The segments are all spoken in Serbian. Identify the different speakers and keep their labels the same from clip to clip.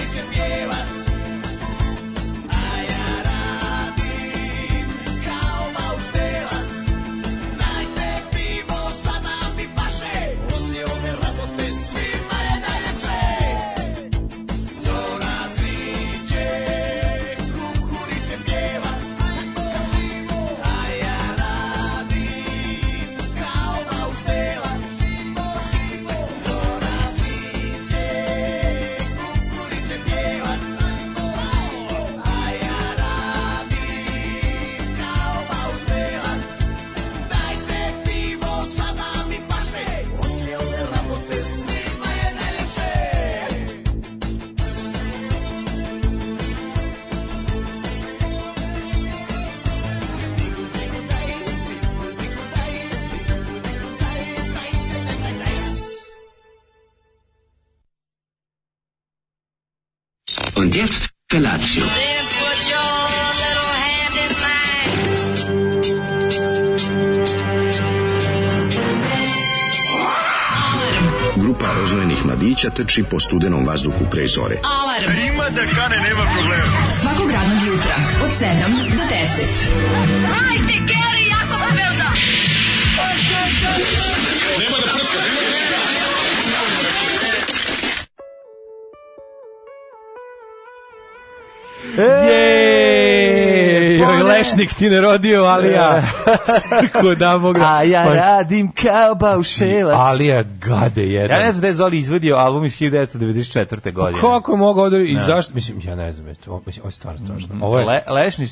Speaker 1: da
Speaker 2: Und jetzt Felatio.
Speaker 1: Then put your little hand in mine.
Speaker 3: Grupa roznojenih mladića trči po studenom vazduhu pre zore.
Speaker 4: Alarm. Ima da kane, nema problema. Svakog radnog jutra, od 7 do 10.
Speaker 5: Ej, joj,
Speaker 6: Bore.
Speaker 5: lešnik ti ne rodio, ali ja. Ko da mogu.
Speaker 6: A ja
Speaker 5: Pa,
Speaker 6: radim kao baušelac.
Speaker 5: Ali ja gade jedan.
Speaker 6: Ja ne znam da je Zoli izvodio album iz 1994. godine.
Speaker 5: Kako je mogao da... I zašto? Mislim, ja ne znam. eto, ovo- Mislim, ovo je stvarno strašno. Ovo je...
Speaker 6: Le, lešniš,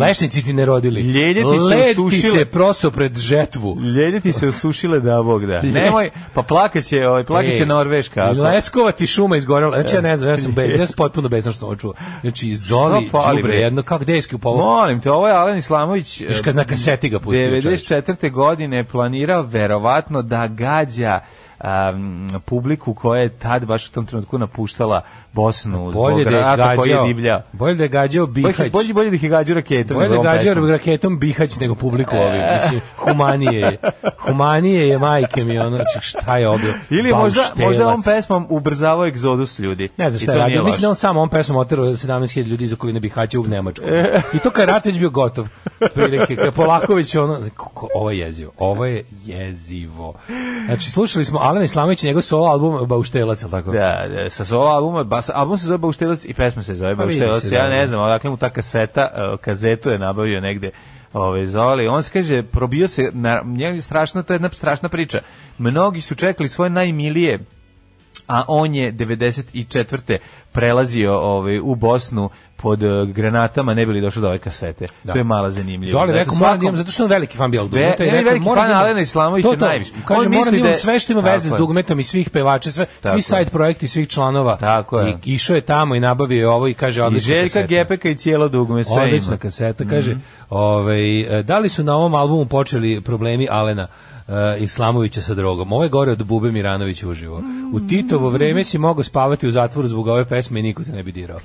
Speaker 5: Lešnici ti ne rodili.
Speaker 6: Ljelje ti se
Speaker 5: Led
Speaker 6: osušile.
Speaker 5: se proso pred žetvu.
Speaker 6: Ljelje ti se osušile da Bog da. Nemoj, pa plakaće, ovaj, plakaće
Speaker 5: Ej,
Speaker 6: Norveška. ako-
Speaker 5: Leskova ti šuma izgorela. Znači ja ne znam, ja sam bez, ja sam potpuno bezan što sam ovo čuo. Znači Zoli,
Speaker 6: fali,
Speaker 5: đubre
Speaker 6: bre?
Speaker 5: jedno, kako dejski u povu.
Speaker 6: Molim te, ovo je Alen Islamović
Speaker 5: Viš kad na kaseti ga pustio. čovječe.
Speaker 6: 94. godine planirao verovatno da gađa um, publiku koja je tad baš u tom trenutku napuštala Bosnu
Speaker 5: Bolje
Speaker 6: zbog
Speaker 5: da je
Speaker 6: rata koji je
Speaker 5: gađao,
Speaker 6: divljao.
Speaker 5: bolje da je gađao
Speaker 6: Bolje,
Speaker 5: Bihać.
Speaker 6: bolje, bolje da ih je gađao raketom.
Speaker 5: Bolje
Speaker 6: nego
Speaker 5: da
Speaker 6: ovom
Speaker 5: gađa
Speaker 6: pesmom. E.
Speaker 5: raketom Bihać nego publiku ovim. Mislim, humanije je. Humanije je majke mi, ono, znači, šta je ovo?
Speaker 6: Ili možda, možda on
Speaker 5: Bauštelac.
Speaker 6: pesmom ubrzavao egzodus ljudi.
Speaker 5: Ne znam
Speaker 6: I
Speaker 5: šta
Speaker 6: to
Speaker 5: je
Speaker 6: nije
Speaker 5: radio. Mislim da
Speaker 6: loše.
Speaker 5: on sam on pesmom oterao 17.000 ljudi iz okoline Bihaća u Nemačku.
Speaker 6: E.
Speaker 5: I to kad je rat već bio gotov. Prilike, kad je Polaković ono, kako, ovo je jezivo, ovo je jezivo. Znači, slušali smo Alena Islamović i njegov solo album Bauštelac, ili tako?
Speaker 6: Da, da, sa svoj albuma, bas, album se zove Bauštelac i pesma se zove
Speaker 5: Pa vidi
Speaker 6: Bauštelac.
Speaker 5: se,
Speaker 6: Ja
Speaker 5: da,
Speaker 6: ne
Speaker 5: da.
Speaker 6: znam, odakle mu ta kaseta, eh, kazetu je nabavio negde ove, Zoli. On se kaže, probio se, na, njega je strašno, to je jedna strašna priča. Mnogi su čekali svoje najmilije a on je 94. prelazio ovaj, u Bosnu pod eh, granatama, ne bili došao do ove kasete.
Speaker 5: Da.
Speaker 6: To je mala zanimljivost.
Speaker 5: Zoli
Speaker 6: Zato
Speaker 5: rekao, moram
Speaker 6: svakom-
Speaker 5: da imam, zato što on veliki fan bio
Speaker 6: Ve-
Speaker 5: Dugmeta. i
Speaker 6: ne,
Speaker 5: rekao,
Speaker 6: veliki
Speaker 5: moram
Speaker 6: fan
Speaker 5: da imam-
Speaker 6: Alena Islamovića
Speaker 5: To, to.
Speaker 6: najviše.
Speaker 5: Kaže,
Speaker 6: On
Speaker 5: moram
Speaker 6: misli
Speaker 5: da imam
Speaker 6: da-
Speaker 5: sve što ima
Speaker 6: Tako
Speaker 5: veze s
Speaker 6: je.
Speaker 5: dugmetom i svih pevača, sve,
Speaker 6: Tako je.
Speaker 5: svi side projekti, svih članova.
Speaker 6: Tako je.
Speaker 5: I išao je tamo i nabavio je ovo i kaže,
Speaker 6: I
Speaker 5: odlično.
Speaker 6: Željka Gepeka i cijelo dugme, sve
Speaker 5: Odlična
Speaker 6: ima. Mhm.
Speaker 5: kaseta, kaže. ovaj, e, da li su na ovom albumu počeli problemi Alena e, Islamovića sa drogom? Ovo je gore od Bube Miranovića uživo. U Titovo vreme si mogao spavati u zatvoru zbog ove pesme i niko te ne bi dirao.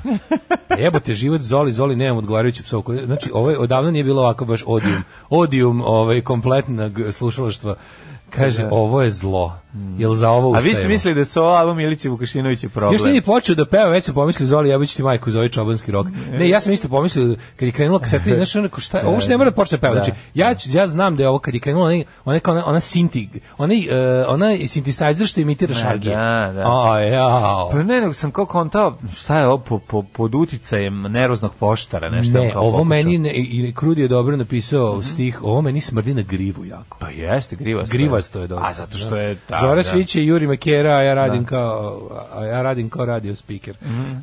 Speaker 5: Jebote, život Zoli, Zoli, nemam odgovarajuću psovku. Znači, ovo je- odavno nije bilo ovako baš odijum. Odijum ovaj, kompletnog slušalaštva. Kaže, ovo je zlo. Jel za ovo
Speaker 6: Da. Mhm. A vi ste
Speaker 5: ustajemo?
Speaker 6: mislili da su ovo album Ilića Vukašinovića problem?
Speaker 5: Još nije ni počeo da peva, već sam pomislio Zoli, ja ti majku zove čobanski rok. Ne, ja sam isto pomislio kad je krenula kaseta, znaš, ono, ko šta, ovo što ne mora da počne peva. Znači, ja, ću- ja znam da je ovo kad je krenula onaj, onaj, kao ona, ona sinti, onaj, uh, onaj synthesizer što imitira šagije.
Speaker 6: da, da.
Speaker 5: A, jao.
Speaker 6: Pa ne, nego sam kao kontao, šta je ovo po, po, pod uticajem nervoznog poštara, nešto.
Speaker 5: Ne,
Speaker 6: kao
Speaker 5: ovo
Speaker 6: pokušao. Mhm.
Speaker 5: meni, ne, i i Krudi je dobro napisao stih, ovo meni smrdi na grivu jako.
Speaker 6: Pa jeste, grivasto.
Speaker 5: Grivasto je dosta.
Speaker 6: A zato što je...
Speaker 5: Da.
Speaker 6: Da,
Speaker 5: Zora
Speaker 6: da.
Speaker 5: Svić je Juri Makera, a ja radim kao a ja radim kao radio speaker.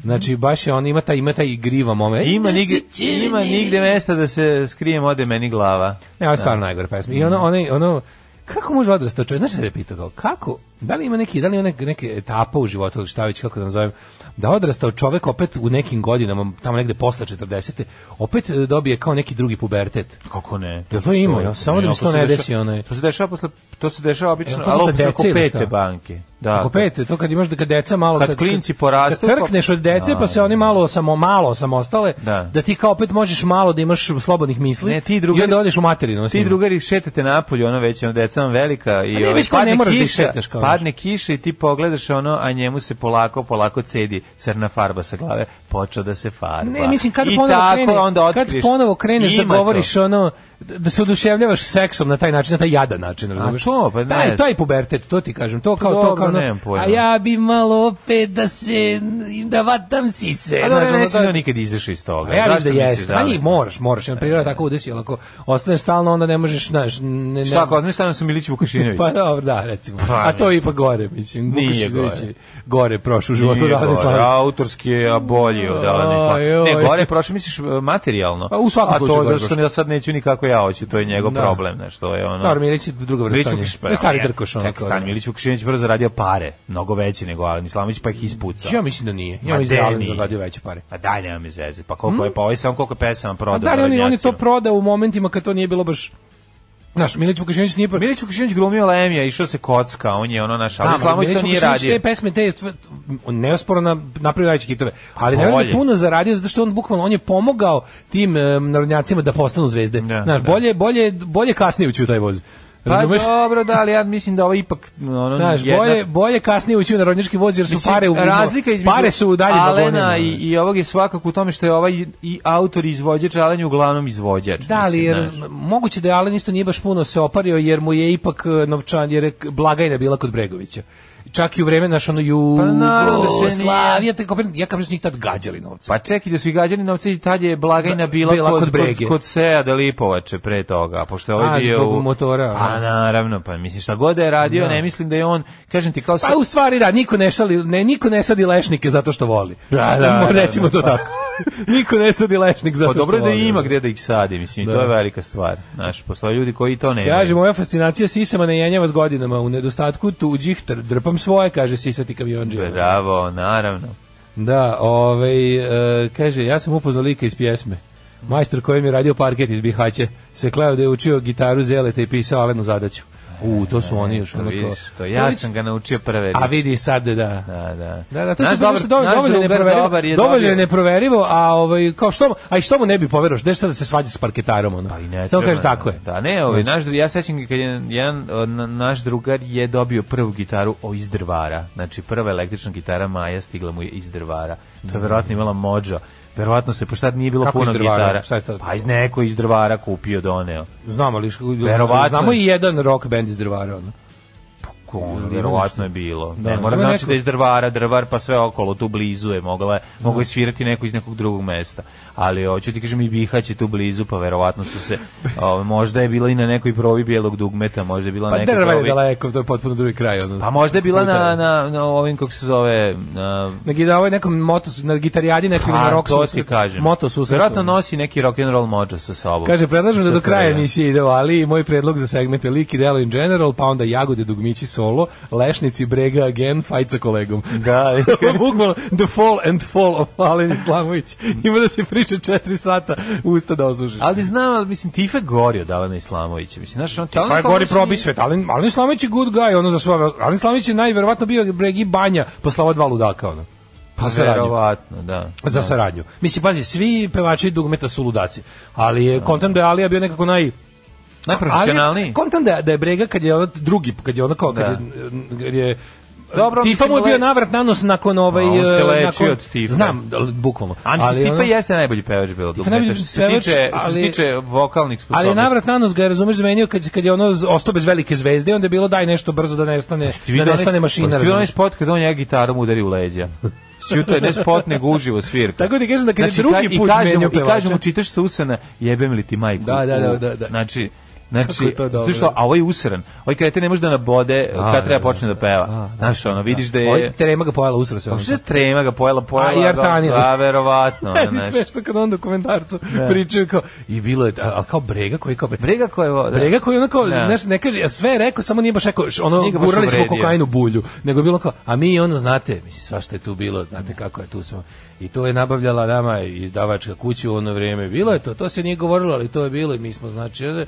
Speaker 5: Znači baš je on ima taj ima taj griva moment.
Speaker 6: Mhm. Ima nigde, ima nigde mesta da se skrijem, ode meni glava.
Speaker 5: Ne, ovo je stvarno najgore pesma. I
Speaker 6: Mhm.
Speaker 5: ono, ono, ono, kako može da odrastao čovjek? Znaš šta je pitao? Kao, kako? Da li ima neki, da li ima neke, neke etapa u životu, ili šta već, kako da nazovem, da odrastao čovjek opet u nekim godinama, tamo negde posle 40. opet e, dobije kao neki drugi pubertet.
Speaker 6: Kako ne?
Speaker 5: Jel to ima? Ja, samo da mi se to
Speaker 6: se
Speaker 5: ne
Speaker 6: dešava-
Speaker 5: desi, onaj.
Speaker 6: To se dešava posle, to se dešava obično,
Speaker 5: Jel to
Speaker 6: ali
Speaker 5: posle
Speaker 6: obično oko
Speaker 5: dece ili
Speaker 6: pete
Speaker 5: šta?
Speaker 6: banke. Da,
Speaker 5: Ako pete, to kad imaš da kad deca malo
Speaker 6: Kad klinci porastu,
Speaker 5: kad crkneš od dece
Speaker 6: Da.
Speaker 5: pa se oni malo samo malo samostale
Speaker 6: Da.
Speaker 5: da. ti kao opet možeš malo da imaš slobodnih misli
Speaker 6: Ne, ti
Speaker 5: i
Speaker 6: drugari-
Speaker 5: onda odeš u materinu s
Speaker 6: Ti
Speaker 5: njima.
Speaker 6: drugari šetate napolje, ono već ono deca vam velika i
Speaker 5: ne,
Speaker 6: ovaj,
Speaker 5: već kao ne moraš da ih šetaš kao
Speaker 6: padne kiša i ti pogledaš ono, a njemu se polako, polako cedi crna farba sa glave, počeo da se farba.
Speaker 5: Ne, mislim kad
Speaker 6: I
Speaker 5: ponovo
Speaker 6: tako
Speaker 5: krene,
Speaker 6: onda
Speaker 5: kad
Speaker 6: otkriješ.
Speaker 5: ponovo kreneš da
Speaker 6: Ima to.
Speaker 5: govoriš ono da se oduševljavaš seksom na taj način, na taj jadan način, razumeš?
Speaker 6: to, pa ne.
Speaker 5: Taj taj pubertet, to ti kažem, to kao to
Speaker 6: dobro,
Speaker 5: kao ono,
Speaker 6: nemam pojma.
Speaker 5: a ja bi malo opet da se da vatam sise.
Speaker 6: A
Speaker 5: znaš,
Speaker 6: dobro,
Speaker 5: ono,
Speaker 6: ne
Speaker 5: to-
Speaker 6: si da nikad izašao iz toga.
Speaker 5: A ja
Speaker 6: Zašto
Speaker 5: vidim da
Speaker 6: misliš
Speaker 5: jeste. Da,
Speaker 6: li- E.
Speaker 5: moraš, moraš. Jedna priroda tako udesi, ali ako ostaneš stalno, onda ne možeš, znaš... Ne, ne,
Speaker 6: Šta ako znaš šta nam su Milić Vukašinović?
Speaker 5: Pa dobro, da, recimo.
Speaker 6: Pa,
Speaker 5: A to
Speaker 6: mislim.
Speaker 5: je ipak gore, mislim.
Speaker 6: Nije
Speaker 5: Vukić je
Speaker 6: gore.
Speaker 5: već i Gore prošao u životu
Speaker 6: Nije
Speaker 5: da
Speaker 6: gore,
Speaker 5: ne slavić.
Speaker 6: autorski je a bolji od Alane Slavić. Ne,
Speaker 5: Ajoj.
Speaker 6: gore je prošlo, misliš, e, materijalno.
Speaker 5: Pa, u svakom
Speaker 6: A
Speaker 5: slučaju
Speaker 6: to
Speaker 5: gore
Speaker 6: zašto
Speaker 5: prošlo.
Speaker 6: ja sad neću ni kako ja hoću, to je njegov
Speaker 5: Da.
Speaker 6: problem, znaš, to je ono.
Speaker 5: Dobro, Milić je druga
Speaker 6: Milić
Speaker 5: vrsta. on je.
Speaker 6: Vukišić, pa
Speaker 5: To je stari
Speaker 6: ne,
Speaker 5: drkaš. ono,
Speaker 6: Čekaj,
Speaker 5: kao
Speaker 6: stani,
Speaker 5: da.
Speaker 6: Milić Vukišinović brzo zaradio pare, mnogo veće nego Alen Islamović, pa ih ispucao.
Speaker 5: Ja mislim da nije.
Speaker 6: Ma
Speaker 5: Ja mislim da
Speaker 6: gde
Speaker 5: je Alen
Speaker 6: nije?
Speaker 5: zaradio veće pare.
Speaker 6: Pa daj, nema mi zeze. Pa koliko je, pa ovaj sam koliko je pesama prodao.
Speaker 5: Da li Hmm? on, on je to
Speaker 6: narodnjacima.
Speaker 5: prodao u momentima kad to nije bilo baš Znaš, Milić Vukašinović nije... pro-
Speaker 6: Milić Vukašinović glumio Lemija, išao se kocka, on je ono naš,
Speaker 5: Znam,
Speaker 6: ali Slamović
Speaker 5: Milić
Speaker 6: to nije
Speaker 5: Vukašinović
Speaker 6: radio.
Speaker 5: Te pesme, te, stv- neosporno na, napravio najveće hitove, ali ne
Speaker 6: Bolje.
Speaker 5: je puno zaradio, zato što on bukvalno, on je pomogao tim e, narodnjacima da postanu zvezde.
Speaker 6: Da,
Speaker 5: Znaš,
Speaker 6: da.
Speaker 5: bolje, bolje, bolje kasnije ući u taj voz.
Speaker 6: Pa
Speaker 5: Razumeš?
Speaker 6: dobro, da, ali ja mislim da ovo ipak ono,
Speaker 5: Znaš,
Speaker 6: jedna-
Speaker 5: bolje, bolje kasnije ući u narodnjački voz, jer su
Speaker 6: Mislim,
Speaker 5: pare u...
Speaker 6: razlika između
Speaker 5: Pare su u daljim vagonima.
Speaker 6: Alena i, i ovog je svakako u tome što je ovaj i autor i izvođač, Alen je uglavnom izvođač.
Speaker 5: Da, ali
Speaker 6: mislim,
Speaker 5: jer,
Speaker 6: znaš.
Speaker 5: moguće da je Alen isto nije baš puno se opario, jer mu je ipak e, novčan, jer je k- blagajna bila kod Bregovića. Čak i u vreme naš ono
Speaker 6: naravno da se nije.
Speaker 5: Jugoslavija, te kopirani- ja kao njih tad gađali novce.
Speaker 6: Pa čekaj da su i gađani novci i tad je blagajna bila,
Speaker 5: Da, bila
Speaker 6: kod,
Speaker 5: kod
Speaker 6: kod,
Speaker 5: Brege.
Speaker 6: kod Seja da Lipovače pre toga, pošto je
Speaker 5: A,
Speaker 6: ovaj bio...
Speaker 5: zbog
Speaker 6: u-
Speaker 5: motora,
Speaker 6: Pa
Speaker 5: da.
Speaker 6: naravno, pa mislim šta god da je radio, ne mislim da je on, kažem ti kao... sa-
Speaker 5: Pa u stvari da, niko ne šali, ne, niko ne sadi lešnike zato što voli.
Speaker 6: Da, da,
Speaker 5: Mo-
Speaker 6: da,
Speaker 5: Recimo
Speaker 6: da.
Speaker 5: to tako. niko ne sadi lešnik zato
Speaker 6: Pa
Speaker 5: što voli.
Speaker 6: dobro da ima gde da ih sadi, mislim, i to je velika stvar. Znaš, postoje ljudi koji to ne
Speaker 5: Kaže, moja fascinacija sisama ne jenjava s godinama, u nedostatku tuđih tr- drpam svoje, kaže sisati
Speaker 6: Da,
Speaker 5: kamionđe.
Speaker 6: Bravo, naravno.
Speaker 5: Da, ovaj, e, kaže, ja sam upoznao lika iz pjesme. Majstor koji mi je radio parket iz Bihaće se kleo da je učio gitaru zelete i pisao Alenu zadaću. U, to su oni još
Speaker 6: To
Speaker 5: onako.
Speaker 6: vidiš, to ja sam ga naučio prve.
Speaker 5: A vidi sad da.
Speaker 6: Da, da.
Speaker 5: Da, da, to
Speaker 6: Naš
Speaker 5: se dobar,
Speaker 6: dobar-
Speaker 5: dovoljno,
Speaker 6: naš
Speaker 5: dovoljno je
Speaker 6: drugar
Speaker 5: neproverivo.
Speaker 6: dobar je
Speaker 5: Dovoljno je
Speaker 6: dobio-
Speaker 5: neproverivo, a ovaj kao što mu, a i što mu ne bi poveroš, da šta da se svađa s parketarom ono.
Speaker 6: Pa i ne
Speaker 5: Samo
Speaker 6: treba,
Speaker 5: kaže tako je. Znači,
Speaker 6: Da, ne, ovaj, naš, dru- ja sećam ga kad je jedan od na- naš drugar je dobio prvu gitaru o iz drvara. Znači, prva električna gitara Maja stigla mu je iz drvara. To je verovatno imala mođa. Verovatno se, pošto tad nije bilo
Speaker 5: Mm. Kako iz
Speaker 6: puno
Speaker 5: drvara?
Speaker 6: gitara.
Speaker 5: Šta je to?
Speaker 6: Pa iz neko iz drvara kupio, doneo.
Speaker 5: Znamo ali što-
Speaker 6: Verovatno. Pa
Speaker 5: znamo i jedan rock band iz drvara ono.
Speaker 6: Ko, verovatno je bilo.
Speaker 5: Da,
Speaker 6: ne, mora
Speaker 5: ima
Speaker 6: znači
Speaker 5: neko-
Speaker 6: da je iz drvara, drvar, pa sve okolo, tu blizu je mogla, je-
Speaker 5: Da.
Speaker 6: mogao je svirati neko iz nekog drugog mesta. Ali hoću ti kažem i Bihać je tu blizu, pa verovatno su se, o, možda je bila i na nekoj provi bijelog dugmeta, možda je bila na
Speaker 5: Pa
Speaker 6: nekoj
Speaker 5: drva je
Speaker 6: provi-
Speaker 5: daleko, to je potpuno drugi kraj ono.
Speaker 6: Pa možda je bila na,
Speaker 5: Puta.
Speaker 6: na, na ovim, kako se zove, na,
Speaker 5: na gita- ovaj nekom motos na gitarijadi nekom ili na
Speaker 6: pa,
Speaker 5: rock
Speaker 6: to ti
Speaker 5: susretu.
Speaker 6: kažem.
Speaker 5: Moto susretu.
Speaker 6: Verovatno nosi neki rock'n'roll mođa sa sobom.
Speaker 5: Kaže, predlažem da do
Speaker 6: Sa
Speaker 5: kraja
Speaker 6: kraja.
Speaker 5: emisije ide o Ali i moj predlog za segmente lik i delo in general, pa onda jagode, dugmići, solo, lešnici, brega, again, fajt sa kolegom.
Speaker 6: Da,
Speaker 5: Bukvalno, the fall and fall of Alen Islamović. Ima da se priča četiri sata, usta da osužiš.
Speaker 6: Mm. ali znam, ali mislim, Tife gori od Alana Islamovića. Mislim, znaš, on ti Alana
Speaker 5: Pa je gori
Speaker 6: Islamović nije-
Speaker 5: probi svet. Alen, Alen Islamović je good guy, ono za svoje. Alen Islamović je najverovatno bio bregi banja posle ova dva ludaka, ono.
Speaker 6: Pa
Speaker 5: Za saradnju.
Speaker 6: verovatno, da.
Speaker 5: za saradnju. Mislim, pazi, svi pevači dugmeta su ludaci, ali je kontam da je Alija bio nekako naj...
Speaker 6: Najprofesionalniji.
Speaker 5: Ali kontam da, da je Brega kad je ono drugi, kad je ono kao, kad, je, kad je
Speaker 6: Da. Dobro,
Speaker 5: Tipa
Speaker 6: mislim,
Speaker 5: mu je bio
Speaker 6: le-
Speaker 5: navrat na nos nakon ovaj...
Speaker 6: A on se
Speaker 5: eh,
Speaker 6: leči
Speaker 5: nakon-
Speaker 6: od tifa.
Speaker 5: Znam, ali bukvalno.
Speaker 6: A mislim, Tifa
Speaker 5: ono-
Speaker 6: jeste najbolji pevač bilo. Tifa
Speaker 5: najbolji
Speaker 6: što se
Speaker 5: pevač,
Speaker 6: tiče, što se
Speaker 5: ali-
Speaker 6: tiče vokalnih sposobnosti.
Speaker 5: Ali je navrat na nos ga je, razumeš, zamenio kad, kad je ono z- ostao bez velike zvezde, onda je bilo daj nešto brzo da nestane, da nestane mašina.
Speaker 6: pa Ti onaj
Speaker 5: razumeš.
Speaker 6: spot kad on njega gitarom udari u leđa. Sjuto je ne spot, nego uživo svirka.
Speaker 5: Tako ti kažem da kad je
Speaker 6: Znači,
Speaker 5: drugi
Speaker 6: ka- i
Speaker 5: put
Speaker 6: kaže mu-
Speaker 5: menio
Speaker 6: I kaže
Speaker 5: pevača.
Speaker 6: mu, čitaš sa usana, jebem li ti majku.
Speaker 5: Da, da, da, da, da.
Speaker 6: Znači,
Speaker 5: Kako
Speaker 6: Znači,
Speaker 5: je to dobro.
Speaker 6: zato što, a ovaj je usran, ovaj krete ne može da nabode kad treba počne da peva. Znaš, ono, vidiš da
Speaker 5: Ovaj
Speaker 6: je...
Speaker 5: trema ga pojela usra se. ono.
Speaker 6: Pa što je trema ga pojela, pojela
Speaker 5: A, i
Speaker 6: ga,
Speaker 5: artanija.
Speaker 6: Da, verovatno. ono,
Speaker 5: Meni
Speaker 6: znaš. Da.
Speaker 5: sve što kad on dokumentarcu pričaju kao, i bilo je, ali kao brega koji kao brega.
Speaker 6: Briga koja je voda.
Speaker 5: Brega koji onako,
Speaker 6: Da.
Speaker 5: znaš, ne kaže, a sve je rekao, samo nije baš rekao, š- ono,
Speaker 6: Nije ga baš
Speaker 5: gurali smo
Speaker 6: uvredio.
Speaker 5: kokainu bulju, nego je bilo kao, a mi ono, znate, mislim, svašta je tu bilo, znate kako je tu smo. I to je nabavljala nama izdavačka kuća u ono vrijeme, bilo je to, to se nije govorilo, ali to je bilo i mi smo, znači, e,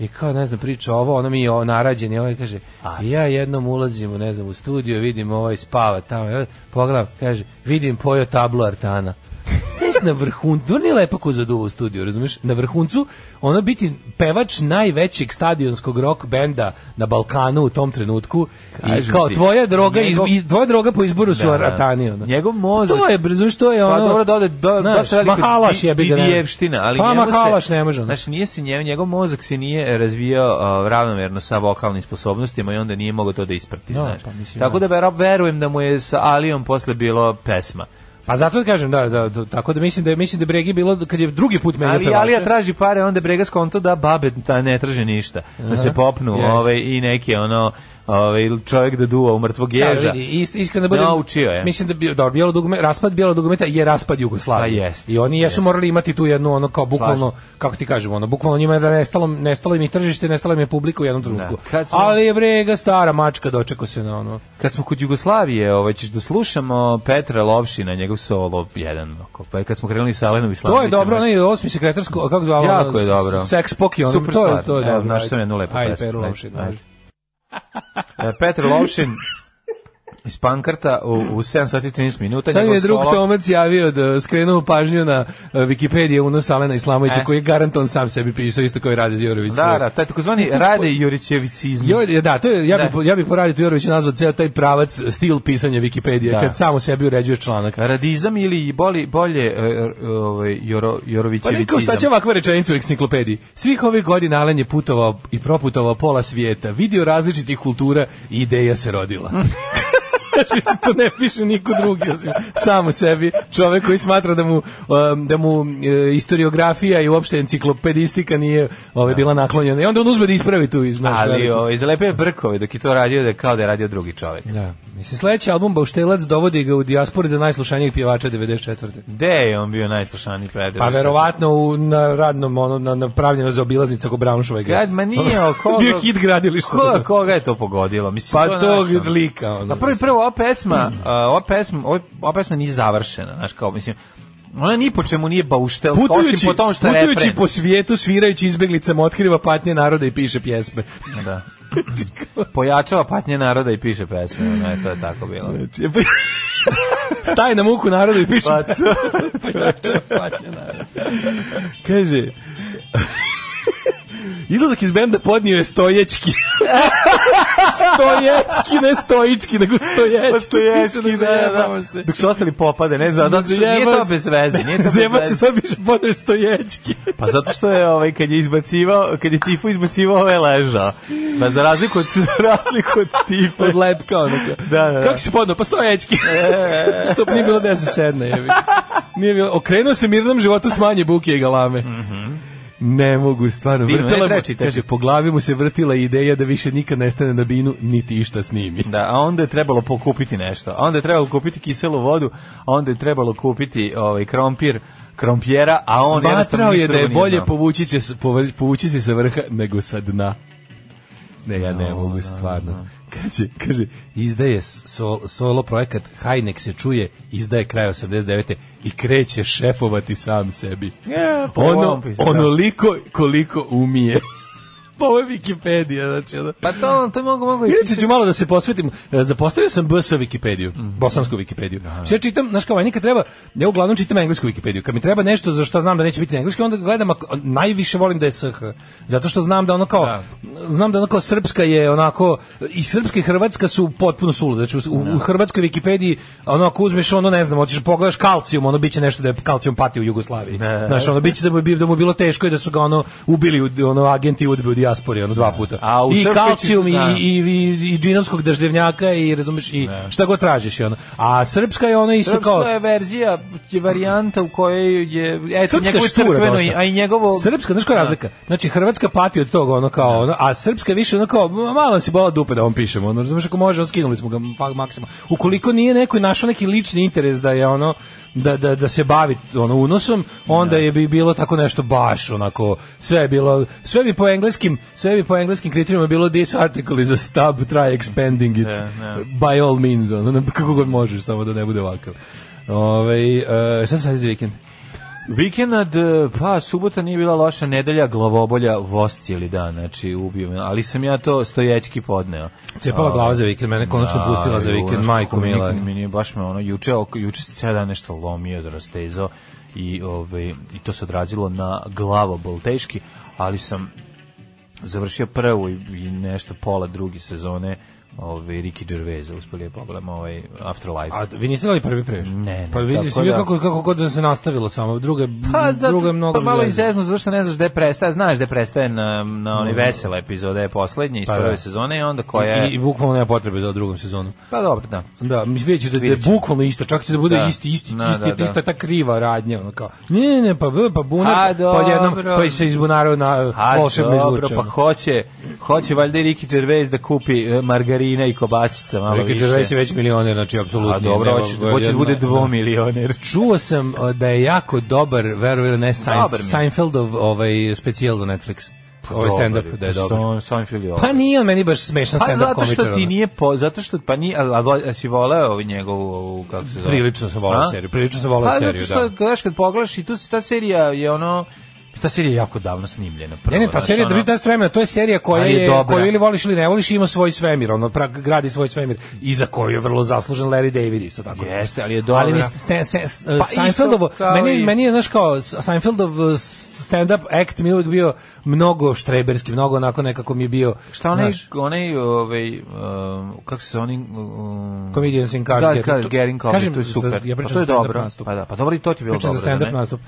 Speaker 5: i kao, ne znam, priča ovo, ono mi je o- narađen i ovaj kaže, i ja jednom ulazim, u, ne znam, u studio, vidim ovaj spava tamo, ja pogledam, kaže, vidim pojo tablo Artana. Znaš, na vrhuncu, to nije lepo ko zaduva u studiju, razumiješ? Na vrhuncu, ono biti pevač najvećeg stadionskog rock benda na Balkanu u tom trenutku
Speaker 6: Kažem
Speaker 5: i kao
Speaker 6: ti,
Speaker 5: tvoja droga,
Speaker 6: njegov-
Speaker 5: iz, i tvoja droga po izboru su
Speaker 6: Da,
Speaker 5: da,
Speaker 6: da.
Speaker 5: Aratani. Ono.
Speaker 6: Njegov mozak-
Speaker 5: To je, razumiješ, to je
Speaker 6: Pa
Speaker 5: ono...
Speaker 6: dobro, dole, do,
Speaker 5: znaš,
Speaker 6: dosta velika
Speaker 5: Mahalaš
Speaker 6: di-
Speaker 5: je, ga, ne.
Speaker 6: didijevština, ali
Speaker 5: Pa
Speaker 6: njemu se-
Speaker 5: Mahalaš ne može. ono.
Speaker 6: Znači, nije se njemu, njegov mozak se nije razvijao uh, ravnomerno sa vokalnim sposobnostima i onda nije mogao to da isprati.
Speaker 5: Da,
Speaker 6: znaš.
Speaker 5: pa mislim,
Speaker 6: Tako da vero- verujem da mu je sa Alijom posle bilo pesma.
Speaker 5: Pa zato da kažem, da, da, da, tako da mislim da je, mislim da je Bregi bilo kad je drugi put menio
Speaker 6: Ali
Speaker 5: pevača.
Speaker 6: Alija traži pare, onda Brega skonto da babe ta ne traže ništa. Da se popnu
Speaker 5: Yes.
Speaker 6: ovaj, i neke ono ovaj čovjek da duva u mrtvog ježa.
Speaker 5: Da, vidi, ist, iskreno da budem,
Speaker 6: Naučio je.
Speaker 5: Mislim da bi, da, bijelo dugme, raspad bijelo dugmeta je raspad Jugoslavije.
Speaker 6: Pa jest,
Speaker 5: I oni jesu
Speaker 6: jest.
Speaker 5: morali imati tu jednu ono kao bukvalno, kako ti kažemo, ono, bukvalno njima je da nestalo, nestalo im je tržište, nestalo im je publika u jednom trenutku.
Speaker 6: Da, Kad smo-
Speaker 5: Ali je brega stara mačka dočekao se na ono.
Speaker 6: Kad smo kod Jugoslavije, ovaj ćeš da slušamo Petra Lovšina, njegov solo jedan. oko- Pa kad smo krenuli sa Alenom Islamićem.
Speaker 5: To je dobro, onaj osmi sekretarsko, a kako zvala? ono,
Speaker 6: Jako je dobro.
Speaker 5: Sex poki, ono,
Speaker 6: Super
Speaker 5: to je,
Speaker 6: stvar.
Speaker 5: to je
Speaker 6: Evo,
Speaker 5: dobro.
Speaker 6: našao
Speaker 5: ajde.
Speaker 6: sam jednu lepu
Speaker 5: Ajde,
Speaker 6: pesmu,
Speaker 5: Peru
Speaker 6: ajde,
Speaker 5: Lovšin,
Speaker 6: ajde.
Speaker 5: ajde.
Speaker 6: E, Petar Lovšin iz Pankarta u, u 7 sati i 13 minuta.
Speaker 5: Sad mi
Speaker 6: njegov
Speaker 5: je drug
Speaker 6: solo.
Speaker 5: Tomac javio da skrenuo pažnju na e, Wikipediju unos Alena Islamovića,
Speaker 6: E.
Speaker 5: koji je garanton sam sebi pisao, isto kao i Rade Đorović.
Speaker 6: Da, da, taj takozvani Rade Jurićevicizm.
Speaker 5: Jo, da, to je, ja
Speaker 6: Da.
Speaker 5: bih po- ja bih po Radi Todoroviću nazvao ceo taj pravac stil pisanja Wikipedije
Speaker 6: Da.
Speaker 5: kad samo sebi uređuješ članak.
Speaker 6: Radizam ili i boli, bolje e, e, ovaj, Joro,
Speaker 5: Pa
Speaker 6: Jorovićevicizam.
Speaker 5: neko šta će ovakva rečenica u enciklopediji. Svih ovih godina Alen je putovao i proputovao pola svijeta, vidio različitih kultura i ideja se rodila. Mislim, to ne piše niko drugi osim samo sebi. Čovek koji smatra da mu, um, da mu e, istoriografija i uopšte enciklopedistika nije ove, bila naklonjena. I onda on uzme da ispravi tu iz naš
Speaker 6: Ali
Speaker 5: veliki.
Speaker 6: ovaj, zalepio je brkove dok je to radio da kao da je radio drugi čovjek.
Speaker 5: Da. Mislim, sledeći album Bauštelac dovodi ga u dijaspori do najslušanijeg pjevača 94.
Speaker 6: Gde je on bio najslušaniji pedofil?
Speaker 5: Pa verovatno u, na radnom, ono, na, na pravljeno za obilaznica oko Braunschweiga.
Speaker 6: Kad, ma nije, o koga...
Speaker 5: Bio hit gradilišta.
Speaker 6: Koga, koga je to pogodilo? Mislim,
Speaker 5: Pa tog
Speaker 6: znaš, ono.
Speaker 5: lika, ono.
Speaker 6: Na prvi prvo, ova pesma, a, ova pesma, ova- ova pesma nije završena, znaš, kao, mislim, ona ni po čemu nije bauštelska,
Speaker 5: Putujući,
Speaker 6: osim po tom što je
Speaker 5: putujući
Speaker 6: refren.
Speaker 5: po svijetu, svirajući izbeglicama, otkriva patnje naroda i piše pjesme.
Speaker 6: Da. Pojačava patnje naroda i piše pesme, ne, to je tako bilo.
Speaker 5: Znači, pa- Staje na muku narodu i piše
Speaker 6: Pa to,
Speaker 5: patnje naroda. Kaže, izlazak iz benda podnio je stoječki. stoječki, ne stojički, nego
Speaker 6: pa
Speaker 5: stoječki.
Speaker 6: to je,
Speaker 5: Piše da zajebamo se.
Speaker 6: Dok su ostali popade, ne znam, zato što nije to
Speaker 5: Zajebao se.
Speaker 6: bez veze, nije to bez
Speaker 5: Zajebao se,
Speaker 6: veze.
Speaker 5: sad piše podnio stoječki.
Speaker 6: Pa zato što je ovaj kad je izbacivao, kad je Tifo izbacivao, ovaj ležao. Pa za razliku od za razliku od Tifa.
Speaker 5: pod lepka onako.
Speaker 6: Da, da, E, da.
Speaker 5: Kako si podno? Pa stoječki. Što nije bilo da se sedne. jebi. Nije bilo. Okrenuo se mirnom životu s manje buke i galame.
Speaker 6: Mhm.
Speaker 5: Ne mogu, stvarno.
Speaker 6: Divno, ne
Speaker 5: vrtela
Speaker 6: treba
Speaker 5: mu,
Speaker 6: čitati.
Speaker 5: kaže, po glavi mu se vrtila ideja da više nikad ne stane na binu, niti išta snimi.
Speaker 6: Da, a onda je trebalo pokupiti nešto. A onda je trebalo kupiti kiselu vodu, a onda je trebalo kupiti ovaj krompir, krompjera, a on
Speaker 5: Smatrao
Speaker 6: jednostavno
Speaker 5: je da je bolje
Speaker 6: po...
Speaker 5: povući se, s- povr- povući se sa vrha nego sa dna. Ne, ja
Speaker 6: Da,
Speaker 5: ne mogu, stvarno. Kaže, kaže, izdaje sol, solo projekat Hajnek se čuje, izdaje kraj 89. i kreće šefovati sam sebi.
Speaker 6: Ja, po
Speaker 5: ono,
Speaker 6: ovom pisu, da.
Speaker 5: onoliko koliko umije. Pa Ovo je Wikipedia, znači ono.
Speaker 6: Pa to, to mogu, mogu i
Speaker 5: Inače ću malo da se posvetim, e, zapostavio sam BS Wikipediju, bosansku Wikipediju. Sve čitam, znaš kao, meni kad treba, ja uglavnom čitam englesku Wikipediju, kad mi treba nešto za što znam da neće biti na engleski, onda gledam, ako- najviše volim da je SH, zato što znam da ono kao,
Speaker 6: Da.
Speaker 5: znam da ono kao srpska je onako, i srpska i hrvatska su potpuno sulude, znači u,
Speaker 6: Da.
Speaker 5: u hrvatskoj Wikipediji, ono ako uzmeš ono, ne znam, hoćeš da pogledaš kalcijum, ono biće nešto da je kalcijum pati u Jugoslaviji,
Speaker 6: Da, da, da.
Speaker 5: znaš, ono biće da mu, je bi- da mu je bilo teško i da su ga ono ubili, u- ono agenti udbi u dijaspori, ono dva puta.
Speaker 6: A u
Speaker 5: I
Speaker 6: srpskoj
Speaker 5: kalcijum i,
Speaker 6: čit- da.
Speaker 5: i i, i, i džinovskog deždevnjaka i razumeš i šta god tražiš i ono. A srpska je ona isto kao
Speaker 6: Srpska je verzija, je varijanta u kojoj je, eto,
Speaker 5: Srpska
Speaker 6: njegovo
Speaker 5: je štura
Speaker 6: crkveno,
Speaker 5: dosta.
Speaker 6: a i Da. njegovo...
Speaker 5: Srpska, znaš koja je razlika? Znači, Hrvatska pati od toga, ono kao, ono, a Srpska je više ono kao, ma, malo si bola dupe da vam pišemo, ono, razumiješ, ako može, ono, skinuli smo ga pa, maksima. Ukoliko nije neko našao neki lični interes da je ono, da, da, da se bavi ono unosom,
Speaker 6: Da.
Speaker 5: onda je bi bilo tako nešto baš onako, sve je bilo, sve bi po engleskim, sve bi po engleskim kriterijima bilo this article is a stub, try expanding it,
Speaker 6: da.
Speaker 5: by all means, ono, kako god možeš, samo da ne bude ovakav. Ove, e, šta se radi za vikend?
Speaker 6: Vikend, e, pa subota nije bila loša, nedelja glavobolja voz cijeli dan, znači ubio me, ali sam ja to stojećki podneo.
Speaker 5: Cepala
Speaker 6: A,
Speaker 5: glava za vikend, mene konačno
Speaker 6: da,
Speaker 5: pustila za
Speaker 6: ju,
Speaker 5: vikend,
Speaker 6: znaš,
Speaker 5: majko
Speaker 6: kako
Speaker 5: mila.
Speaker 6: nikad mi nije baš me ono juče, oko- juče se cijel dan nešto lomio, da rastezao i ovaj i to se odrazilo na glavobol teški, ali sam završio prvu i, i nešto pola druge sezone ovaj Ricky Gervaisa, uspeli je pogledam ovaj Afterlife.
Speaker 5: A vi niste dali prvi previše?
Speaker 6: Ne, ne,
Speaker 5: Pa vidite
Speaker 6: tako
Speaker 5: svi
Speaker 6: da-
Speaker 5: kako, kako god da se nastavilo samo. Druga,
Speaker 6: Pa,
Speaker 5: pa,
Speaker 6: da,
Speaker 5: druga je mnogo
Speaker 6: pa malo
Speaker 5: zvezda.
Speaker 6: izezno, zato što ne znaš gde prestaje. Znaš gde prestaje na, na one vesele epizode, poslednje iz
Speaker 5: Pa, da.
Speaker 6: prve sezone i onda koja je...
Speaker 5: I, I bukvalno nema potrebe za drugom sezonu.
Speaker 6: Pa dobro, da.
Speaker 5: Da, mi vidjet ćete da je
Speaker 6: Vidjet ćete.
Speaker 5: bukvalno isto, čak će da bude
Speaker 6: Da.
Speaker 5: isti, isti,
Speaker 6: Da,
Speaker 5: isti,
Speaker 6: da, da.
Speaker 5: ista ta kriva radnja, ono kao, ne, ne, pa, b, pa
Speaker 6: A,
Speaker 5: bunar, pa odjednom,
Speaker 6: dobro.
Speaker 5: pa i se iz bunara na,
Speaker 6: A
Speaker 5: volšebno
Speaker 6: dobro,
Speaker 5: izvuče.
Speaker 6: pa hoće, hoće valjda i Ricky Gervais da kupi e, margarina i kobasica malo
Speaker 5: Ricky
Speaker 6: više.
Speaker 5: Gervais je već milioner, znači, apsolutno.
Speaker 6: A dobro, hoće, hoće da bude dvomilioner.
Speaker 5: Čuo sam uh, da je jako dobar, verujem ili ne, Seinf-
Speaker 6: Dobar mi je.
Speaker 5: Seinfeldov ovaj, specijal za Netflix. ovaj stand-up da je dobar.
Speaker 6: Son, Seinfeld je dobar.
Speaker 5: Pa nije on meni baš smešan
Speaker 6: Pa
Speaker 5: stand-up
Speaker 6: zato što
Speaker 5: komičar,
Speaker 6: ti
Speaker 5: ono.
Speaker 6: nije po, zato što pa ni a, a, vo- a si voleo ovu njegovu ovu kako se zove.
Speaker 5: Prilično sam volao
Speaker 6: A?
Speaker 5: seriju, prilično sam volao
Speaker 6: pa,
Speaker 5: seriju,
Speaker 6: zato što
Speaker 5: da.
Speaker 6: gledaš kad pogledaš i tu se ta serija je ono ta serija je jako davno snimljena. Prvo,
Speaker 5: Ne, ne, pa
Speaker 6: znaš,
Speaker 5: serija
Speaker 6: ono-
Speaker 5: drži test vremena, to je serija koja
Speaker 6: Ali je
Speaker 5: je,
Speaker 6: dobra.
Speaker 5: koju ili voliš ili ne voliš, ima svoj svemir, ono, pra, gradi svoj svemir, i za koju je vrlo zaslužen Larry David, isto tako.
Speaker 6: Jeste, ali je dobra.
Speaker 5: Ali mi ste, ste, ste, ste,
Speaker 6: Pa
Speaker 5: Seinfeldovo,
Speaker 6: isto kao
Speaker 5: meni,
Speaker 6: i-
Speaker 5: meni je, znaš kao, Seinfeldov uh, stand-up act mi je uvijek bio mnogo štreberski, mnogo onako nekako mi je bio,
Speaker 6: Šta onaj,
Speaker 5: znaš,
Speaker 6: onaj, ovaj, um, kako se zove, onaj... Um,
Speaker 5: Comedians in Cars.
Speaker 6: Da,
Speaker 5: Getting-
Speaker 6: Cars Getting Comedy,
Speaker 5: Kažem,
Speaker 6: to je
Speaker 5: za-
Speaker 6: super.
Speaker 5: ja
Speaker 6: pa
Speaker 5: pričam
Speaker 6: to je
Speaker 5: za stand-up
Speaker 6: dobro.
Speaker 5: nastup.
Speaker 6: Pa da, pa dobro i to ti je bilo
Speaker 5: Pričam
Speaker 6: dobro.
Speaker 5: za stand-up
Speaker 6: da ne?
Speaker 5: nastup.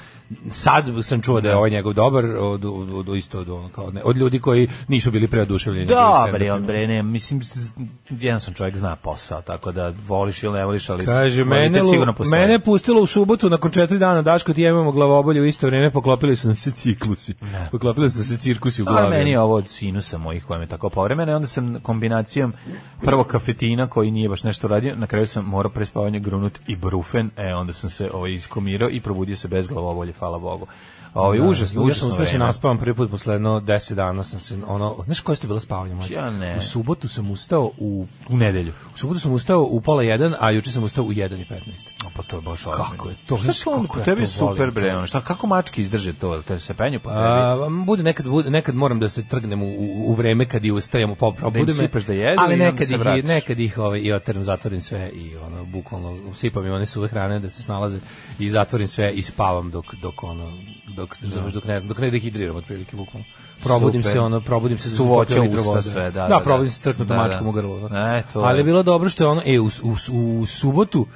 Speaker 5: Sad sam čuo da je ovaj njegov dobar od, od, od, isto od, ono, kao, ne, od ljudi koji nisu bili preoduševljeni.
Speaker 6: Dobar je
Speaker 5: njegovim
Speaker 6: on, Da, bre, ne, mislim, s- jedan sam čovjek zna posao, tako da voliš ili ne voliš, ali...
Speaker 5: Kaže,
Speaker 6: kvalitet
Speaker 5: mene, lu-
Speaker 6: sigurno postoji.
Speaker 5: mene je pustilo u subotu, nakon četiri dana Daško ti ja imamo glavobolje u isto vrijeme, poklopili su nam se ciklusi. Poklopili su se cirkusi u
Speaker 6: A
Speaker 5: glavi.
Speaker 6: Pa meni je ovo od sinusa mojih koja me tako povremena i onda sam kombinacijom prvo kafetina koji nije baš nešto radio, na kraju sam morao pre spavanja grunut i brufen, e onda sam se ovaj, iskomirao i probudio se bez glavobolje, hvala Bogu. Ovo Pa je
Speaker 5: Da,
Speaker 6: užasno,
Speaker 5: Ja sam
Speaker 6: užasno
Speaker 5: uspio se
Speaker 6: vreme.
Speaker 5: naspavam prvi put posle jedno 10 dana sam se ono, znaš koje ste bila spavanje mlađe?
Speaker 6: Ja ne.
Speaker 5: U subotu sam ustao u
Speaker 6: U nedelju.
Speaker 5: U subotu sam ustao u pola jedan, a juče sam ustao u jedan i petnaest.
Speaker 6: A pa to je baš
Speaker 5: Kako je to?
Speaker 6: Šta
Speaker 5: Znaš
Speaker 6: se on
Speaker 5: kako ja
Speaker 6: tebi
Speaker 5: to
Speaker 6: super
Speaker 5: volim,
Speaker 6: bre, ono, šta kako mački izdrže to, te se penju po tebi.
Speaker 5: A, pa vam bude nekad, bude, nekad moram da se trgnem u, u, u vreme kad i ustajemo, pa probudim me.
Speaker 6: sipaš da jedu i
Speaker 5: ali
Speaker 6: onda
Speaker 5: nekad
Speaker 6: se
Speaker 5: ih, i-
Speaker 6: vratiš.
Speaker 5: nekad ih ovaj, i otvorim, zatvorim sve i ono, bukvalno sipam im one suve hrane da se snalaze i zatvorim sve i spavam dok, dok ono, dok, dok, dok ne znam, dok ne dehidriram otprilike bukvalno. Probudim
Speaker 6: Da. Super.
Speaker 5: se ono, probudim se
Speaker 6: Su voće
Speaker 5: popio litru
Speaker 6: usta
Speaker 5: vode.
Speaker 6: sve, da,
Speaker 5: da,
Speaker 6: da,
Speaker 5: probudim
Speaker 6: da.
Speaker 5: se trknutom
Speaker 6: Da, da.
Speaker 5: mačkom u grlo. ono.
Speaker 6: E, to je.
Speaker 5: ali je bilo dobro što je ono, e, u, u, u subotu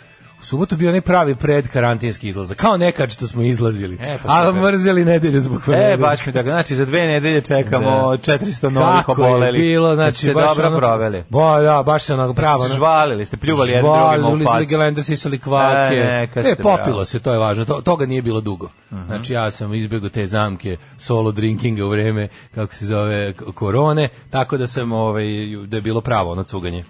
Speaker 5: u subotu bio onaj pravi pred karantinski izlazak, kao nekad što smo izlazili.
Speaker 6: E, pa
Speaker 5: a
Speaker 6: super.
Speaker 5: mrzeli nedelju zbog
Speaker 6: E,
Speaker 5: nedelje.
Speaker 6: baš mi tako, znači za dve nedelje čekamo 400 novih
Speaker 5: Da. Kako je
Speaker 6: oboleli.
Speaker 5: bilo, znači
Speaker 6: Jeste se
Speaker 5: baš
Speaker 6: dobro
Speaker 5: ono-
Speaker 6: proveli.
Speaker 5: Ba, da, baš se onako pravo. ono-
Speaker 6: Žvalili ste, pljuvali jedan drugima u
Speaker 5: Žvalili,
Speaker 6: facu.
Speaker 5: lizali gelender, sisali kvake.
Speaker 6: E, neka ste,
Speaker 5: E, popilo
Speaker 6: bravo. Mhm.
Speaker 5: se, to je važno. To, toga nije bilo dugo. Znači, ja sam izbjegao te zamke solo drinkinga u vreme, kako se zove, k- korone, tako da sam, ovaj, da je bilo pravo ono cuganje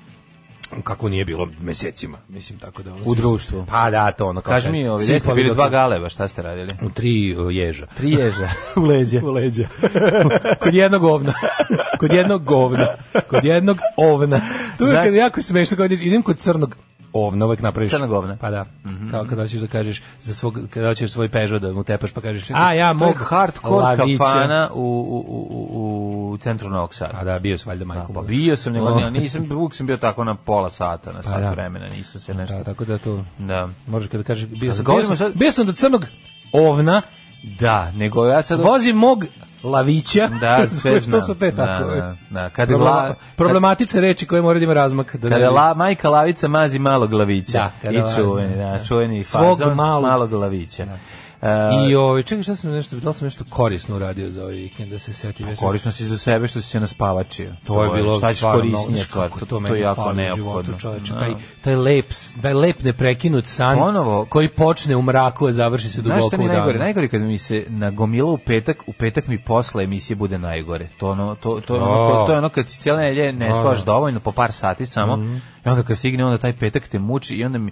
Speaker 5: kako nije bilo mesecima, mislim tako da ono
Speaker 6: U društvu.
Speaker 5: Pa da, to ono kao
Speaker 6: Kaži
Speaker 5: sad,
Speaker 6: mi, ovi,
Speaker 5: sipali
Speaker 6: jeste bili
Speaker 5: dok-
Speaker 6: dva galeba, šta ste radili?
Speaker 5: u tri o, ježa.
Speaker 6: Tri ježa u leđe.
Speaker 5: u leđa. Kod jednog ovna. Kod jednog govna. Kod jednog ovna. Tu je
Speaker 6: Znači-
Speaker 5: kad jako smešno kad ideš, idem kod crnog ovna, uvek napraviš.
Speaker 6: Crnog ovna. Mhm.
Speaker 5: Pa da. Kao kad hoćeš da kažeš, za svog, kad hoćeš svoj Peugeot da mu tepaš, pa kažeš, a ja mog
Speaker 6: To je hardcore
Speaker 5: lavića.
Speaker 6: kafana u, u, u, u- u centru Novog Sada.
Speaker 5: A da, bio sam valjda Da, majkom.
Speaker 6: Pa bio sam, nego
Speaker 5: O.
Speaker 6: ja nisam, uvijek sam bio tako na pola sata, na sat
Speaker 5: da.
Speaker 6: vremena, nisam se nešto...
Speaker 5: Da, tako da to,
Speaker 6: Da.
Speaker 5: možeš kada kažeš, bio sam, bio
Speaker 6: govorimo
Speaker 5: sam,
Speaker 6: sad-
Speaker 5: bio sam do crnog ovna,
Speaker 6: Da, nego ja sad...
Speaker 5: vozim mog lavića.
Speaker 6: Da, sve
Speaker 5: Što
Speaker 6: znam.
Speaker 5: su te tako? e.
Speaker 6: Da, da, da. Kad je
Speaker 5: Problema-
Speaker 6: la-
Speaker 5: problematične reči koje mora da ima razmak. Da ne
Speaker 6: Kada
Speaker 5: bi-
Speaker 6: la, majka lavica mazi malo glavića.
Speaker 5: Da, kada
Speaker 6: I
Speaker 5: la-
Speaker 6: čuveni, da, čuveni
Speaker 5: Svog
Speaker 6: fazon,
Speaker 5: malog- Da.
Speaker 6: malog glavića. E,
Speaker 5: I ovaj čekaj šta sam nešto, da li sam nešto korisno uradio za ovaj vikend da se setim. Ja sam-
Speaker 6: Pa Korisno si za sebe što si se naspavačio.
Speaker 5: To je bilo
Speaker 6: šta ćeš
Speaker 5: stvarno
Speaker 6: korisnije
Speaker 5: mnogo-
Speaker 6: stvar,
Speaker 5: kako
Speaker 6: to,
Speaker 5: to,
Speaker 6: to,
Speaker 5: meni
Speaker 6: je jako
Speaker 5: fali u
Speaker 6: neophodno.
Speaker 5: Životu, čoveče,
Speaker 6: Da.
Speaker 5: taj taj lep, taj lep neprekinut san
Speaker 6: Ponovo-
Speaker 5: koji počne u mraku a završi se
Speaker 6: Znaš
Speaker 5: duboko
Speaker 6: šta mi
Speaker 5: u
Speaker 6: je najgore?
Speaker 5: danu.
Speaker 6: Najgore kad mi se nagomila u petak, u petak mi posle emisije bude najgore. To ono, to, to, je
Speaker 5: O.
Speaker 6: ono, to je ono kad si cijela nelje
Speaker 5: Da,
Speaker 6: ne spavaš dovoljno, po par sati samo,
Speaker 5: Mhm.
Speaker 6: i onda kad stigne, onda taj petak te muči i onda mi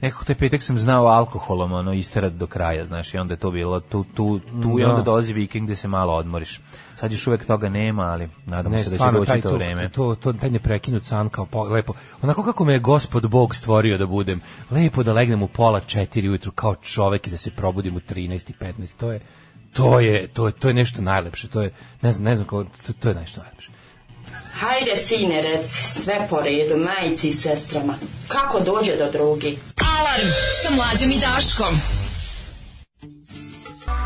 Speaker 6: nekako taj petak sam znao alkoholom ono isterat do kraja, znaš, i onda je to bilo tu, tu, tu i
Speaker 5: Da.
Speaker 6: onda dolazi vikend gde se malo odmoriš. Sad još uvek toga nema, ali nadamo
Speaker 5: Ne,
Speaker 6: se da će
Speaker 5: stvarno,
Speaker 6: doći
Speaker 5: taj
Speaker 6: to
Speaker 5: to-
Speaker 6: vreme.
Speaker 5: To, to, taj neprekinut san kao po, lepo. Onako kako me je gospod Bog stvorio da budem. Lepo da legnem u pola četiri ujutru kao čovek i da se probudim u 13 i 15. To je, to je, to je, to je nešto najlepše. To je, ne znam, ne znam kako, to, to je nešto najlepše.
Speaker 2: Hajde, sine, rec, sve po redu, majici i sestrama. Kako dođe do drugi?
Speaker 4: Alarm sa mlađom i Daškom.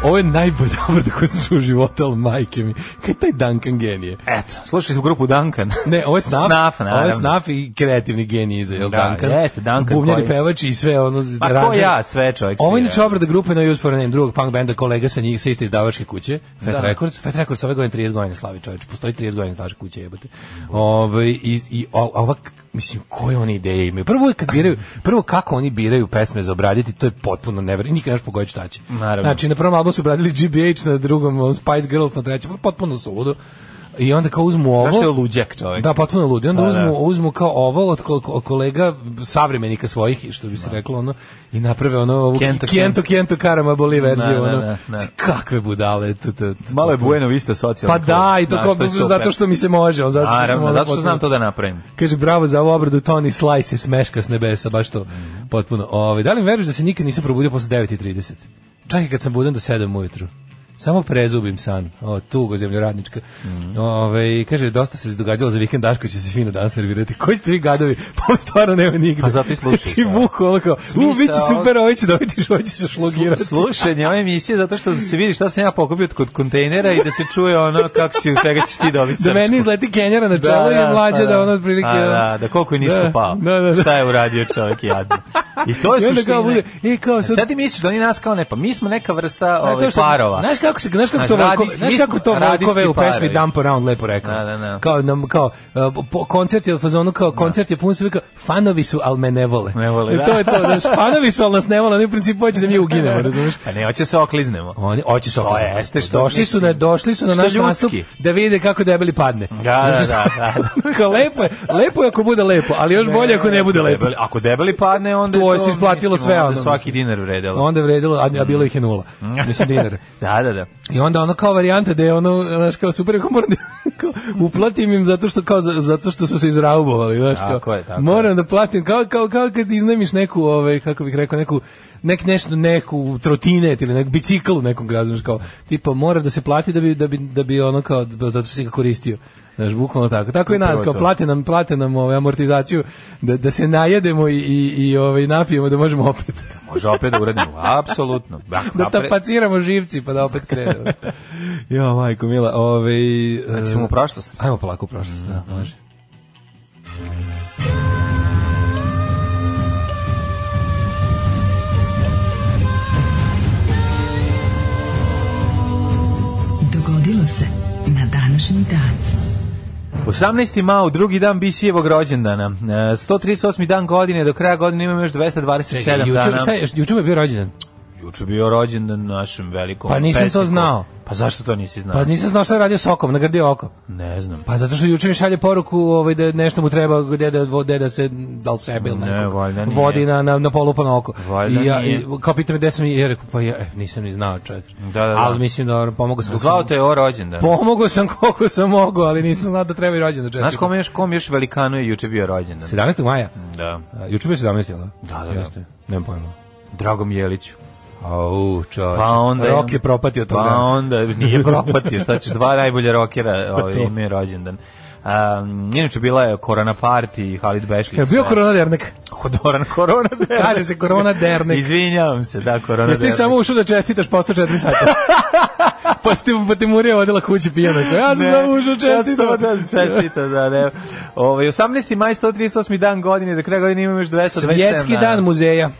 Speaker 5: Ovo je najbolja obrada koju sam čuo u životu, ali majke mi. Kaj taj Duncan genije?
Speaker 6: Eto, slušali smo grupu Duncan.
Speaker 5: Ne, ovo je Snaf,
Speaker 6: Snaf
Speaker 5: ovo je
Speaker 6: naravno.
Speaker 5: Snaf i kreativni genij iza, jel
Speaker 6: Da,
Speaker 5: Duncan?
Speaker 6: jeste, Duncan
Speaker 5: Bubnjari
Speaker 6: koji-
Speaker 5: pevač i sve ono...
Speaker 6: Ma ko
Speaker 5: aranžer.
Speaker 6: ja, sve čovjek. da.
Speaker 5: Ovo je
Speaker 6: svira.
Speaker 5: inače obrada grupe na Use for a Name, drugog punk benda, kolega sa njih, sa iste izdavačke kuće, Fat
Speaker 6: Da.
Speaker 5: Records. Fat Records ove godine 30 godina slavi čovječ, postoji 30 godina izdavačke kuće, jebote. Ove, i, i o- a ovak, mislim, koje oni ideje imaju? Prvo je kad biraju, prvo kako oni biraju pesme za obraditi, to je potpuno never, nikad nemaš pogoditi šta će.
Speaker 6: Naravno.
Speaker 5: Znači, na prvom albumu su obradili GBH, na drugom ono, Spice Girls, na trećem, potpuno suludo. I onda kao uzmu ovo...
Speaker 6: Znaš što je luđak čovjek?
Speaker 5: Da, potpuno ludi. Onda
Speaker 6: Pa,
Speaker 5: uzmu,
Speaker 6: da.
Speaker 5: uzmu kao ovo od ko- ko- kolega savremenika svojih, što bi
Speaker 6: Da.
Speaker 5: se reklo, ono, i naprave ono ovu
Speaker 6: Kento,
Speaker 5: Kento, Kento, Kento Karama Boli verziju,
Speaker 6: Da, da,
Speaker 5: ono. Znači,
Speaker 6: da, da.
Speaker 5: Kakve budale. Tu, tu, tu.
Speaker 6: Malo je Bueno isto socijalno.
Speaker 5: Pa da, i to kao zato što mi se može, on zato što sam
Speaker 6: Naravno,
Speaker 5: ono
Speaker 6: zato što znam
Speaker 5: potpuno-
Speaker 6: to da napravim.
Speaker 5: Kaže, bravo za ovu obradu, Tony Slice je smeška s nebesa, baš to, potpuno. Ove, da li mi veruješ da se nikad nisam probudio posle 9.30? Čak i kad sam budan do 7 ujutru. Samo prezubim san. O, tugo zemljoradnička. Ove, kaže, dosta se događalo za vikend, Daško će se fino danas nervirati. Koji ste vi gadovi? Pa ovo stvarno nema nigde.
Speaker 6: Pa zato i slušaš,
Speaker 5: Ti
Speaker 6: da.
Speaker 5: buku, ono kao, u, bit će
Speaker 6: Smisao-
Speaker 5: super, ovo će dobiti, ovo će se šlogirati.
Speaker 6: Slušanje ove emisije zato što se vidi šta sam ja pokupio kod kontejnera i da se čuje ono kako si, čega ćeš ti dobiti
Speaker 5: Da meni
Speaker 6: srpsku.
Speaker 5: izleti Kenjara na čelo i mlađe da, ono otprilike...
Speaker 6: A, pa da, da koliko je nisko
Speaker 5: Da,
Speaker 6: pao.
Speaker 5: da, da, da.
Speaker 6: Šta je uradio čovjek jadno. I to
Speaker 5: I
Speaker 6: je
Speaker 5: onda
Speaker 6: suština.
Speaker 5: kao bude, i kao sad-
Speaker 6: sad... ti misliš da oni nas kao ne, pa mi smo neka vrsta
Speaker 5: A,
Speaker 6: ovaj,
Speaker 5: to što-
Speaker 6: parova.
Speaker 5: Znaš kako se znaš kako to
Speaker 6: Znaš,
Speaker 5: volko,
Speaker 6: radijski-
Speaker 5: znaš
Speaker 6: mi
Speaker 5: kako
Speaker 6: smo
Speaker 5: to volkove
Speaker 6: radijski
Speaker 5: u pesmi
Speaker 6: parovi.
Speaker 5: Dump Around lepo rekao.
Speaker 6: Da, da, da.
Speaker 5: Kao nam kao e, po- koncert je u fazonu kao koncert je pun sve kao fanovi su al me ne vole. E,
Speaker 6: Ne vole, da.
Speaker 5: To je to, znaš, fanovi su al nas ne vole, oni u principu hoće da mi uginemo, razumeš?
Speaker 6: A Pa ne, hoće se okliznemo.
Speaker 5: Oni hoće se
Speaker 6: To
Speaker 5: okazati.
Speaker 6: jeste što
Speaker 5: došli su na
Speaker 6: mislim.
Speaker 5: došli su na
Speaker 6: Što
Speaker 5: naš
Speaker 6: ljudski.
Speaker 5: nastup da vide kako debeli padne.
Speaker 6: da,
Speaker 5: Znaš
Speaker 6: da,
Speaker 5: šta?
Speaker 6: da.
Speaker 5: Kao lepo je, lepo je ako bude lepo, ali još bolje ako ne bude lepo.
Speaker 6: Debeli, ako debeli padne, onda
Speaker 5: To
Speaker 6: je
Speaker 5: je se isplatilo
Speaker 6: mislim,
Speaker 5: sve,
Speaker 6: onda
Speaker 5: ono,
Speaker 6: svaki
Speaker 5: mislim.
Speaker 6: dinar vredelo.
Speaker 5: Onda je vredilo, a, a bilo ih je nula.
Speaker 6: Mm.
Speaker 5: Mislim dinar.
Speaker 6: Da, da, da.
Speaker 5: I onda ono kao varijanta da je ono, znaš, kao super, ako moram da kao, uplatim im zato što, kao, za- zato što su se izraubovali, znaš, kao,
Speaker 6: Tako je, tako je.
Speaker 5: moram da platim, kao, kao, kao kad iznajmiš neku, ovaj, kako bih rekao, neku, nek nešto, neku trotinet ili neku bicikl u nekom gradu, znaš, kao, tipa, mora da se plati da bi, da bi, da bi ono kao, zato što si ga koristio. Znaš, bukvalno tako. Tako i nas,
Speaker 6: Upravo
Speaker 5: kao,
Speaker 6: to.
Speaker 5: plate nam, plate nam ovaj, amortizaciju, da, da se najedemo i, i, i ovaj, napijemo da možemo opet.
Speaker 6: Može opet da uradimo, apsolutno. Ako
Speaker 5: da
Speaker 6: napred-
Speaker 5: tapaciramo živci pa da opet krenemo. jo, majko mila, ovaj... e,
Speaker 6: Hoćemo u Znači, prošlost. Mm.
Speaker 5: Ajmo polako u prošlost, da, može.
Speaker 4: Dogodilo se na današnji dan.
Speaker 6: 18. mao, drugi dan Bisijevog rođendana. E, 138. dan godine, do kraja godine imamo još 227
Speaker 5: Čekaj, juče-
Speaker 6: dana.
Speaker 5: Šta je, juče mi je bio rođendan?
Speaker 6: Juče bio rođendan našem velikom
Speaker 5: Pa nisam to
Speaker 6: pesniku.
Speaker 5: znao.
Speaker 6: Pa zašto to nisi znao?
Speaker 5: Pa nisam znao šta je radio s okom, nagradio oko.
Speaker 6: Ne znam.
Speaker 5: Pa zato što juče mi šalje poruku ovaj, da nešto mu treba gde da, gde da se, da li sebe ili
Speaker 6: Ne,
Speaker 5: nekog,
Speaker 6: valjda nije.
Speaker 5: vodi na, na, na polupano oko.
Speaker 6: Valjda
Speaker 5: I ja,
Speaker 6: nije.
Speaker 5: i kao pita me gde sam i ja rekao, pa ja eh, nisam ni znao čovjek.
Speaker 6: Da, da, da.
Speaker 5: Ali mislim da pomogao sam.
Speaker 6: Zvao te je o rođendan.
Speaker 5: Pomogao sam koliko sam mogao, ali nisam znao da treba i rođendan čestitam.
Speaker 6: Znaš kom još, kom još velikanu je juče bio rođendan?
Speaker 5: 17. maja?
Speaker 6: Da.
Speaker 5: A, Juče bio 17, jel da?
Speaker 6: Da, da, da.
Speaker 5: Jeste. Nemam pojma.
Speaker 6: Dragom Jeliću.
Speaker 5: Au, čovječe.
Speaker 6: Pa onda...
Speaker 5: Rok je propatio toga.
Speaker 6: Pa onda nije propatio, šta ćeš, dva najbolja rokera ovaj,
Speaker 5: Pa to.
Speaker 6: ime rođendan. Um, inače bila je Korona Party i Halid Bešlić.
Speaker 5: Je bio
Speaker 6: sve.
Speaker 5: korona dernek.
Speaker 6: Doran Korona Dernek.
Speaker 5: Kaže se Korona Dernek.
Speaker 6: Izvinjavam se, da, Korona
Speaker 5: Jesi ti
Speaker 6: Dernek.
Speaker 5: samo ušao da čestitaš posle 4 sata? pa si ti, pa ti Murija vodila kući pijena. Ja sam
Speaker 6: Ne,
Speaker 5: samo ušao
Speaker 6: Ja sam samo
Speaker 5: čestitao.
Speaker 6: da čestito, da, ne. Ovaj 18. maj 138. dan godine, do kraja godine imamo još 227.
Speaker 5: Svjetski
Speaker 6: dana.
Speaker 5: dan muzeja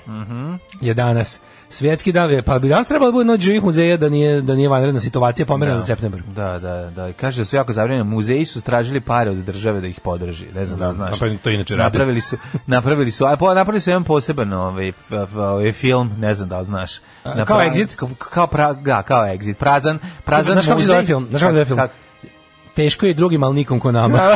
Speaker 5: je danas. Svjetski dan, je- pa bi danas trebalo da bude noć živih muzeja da nije, da nije vanredna situacija pomera za septembar.
Speaker 6: Da, da, da. Kaže da su jako zabrinjeni. Muzeji su stražili pare od države da ih podrži. Ne znam da, li znaš.
Speaker 5: napravili- pa to inače rade.
Speaker 6: napravili su, napravili su, a po, napravili su jedan poseban ovaj, f- f- ovaj film, ne znam da li znaš.
Speaker 5: A,
Speaker 6: Napravili-
Speaker 5: kao Exit?
Speaker 6: Kao, kao pra, da, kao Exit. Prazan, prazan
Speaker 5: Znaš kako se
Speaker 6: muzej.
Speaker 5: zove film? Znaš kako se zove film? Teško je drugim, ali nikom ko nama.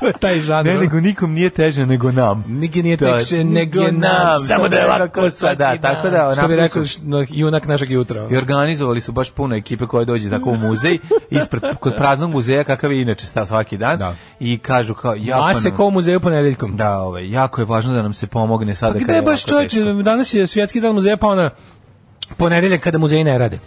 Speaker 5: to je taj žanr.
Speaker 6: Ne, nego nikom nije teže nego nam.
Speaker 5: Nigdje nije
Speaker 6: To je-
Speaker 5: tekše, negdje
Speaker 6: nego
Speaker 5: nam,
Speaker 6: nam,
Speaker 5: samo da je lako svaki
Speaker 6: Da,
Speaker 5: dan.
Speaker 6: tako da,
Speaker 5: Što bi
Speaker 6: napravili
Speaker 5: rekao,
Speaker 6: su-
Speaker 5: š- no, junak našeg jutra.
Speaker 6: I organizovali su baš puno ekipe koja dođe tako u muzej, ispred kod praznog muzeja kakav je inače stav svaki dan
Speaker 5: Da.
Speaker 6: i kažu kao jako
Speaker 5: A se
Speaker 6: nam-
Speaker 5: ko u muzeju ponedeljkom.
Speaker 6: da, ovaj jako je važno da nam se pomogne sada
Speaker 5: Pa
Speaker 6: kada
Speaker 5: gde
Speaker 6: je
Speaker 5: je baš
Speaker 6: ovako
Speaker 5: čovječe,
Speaker 6: teško.
Speaker 5: danas je svjetski dan muzeja, pa ona ponedeljak kada muzeji ne rade.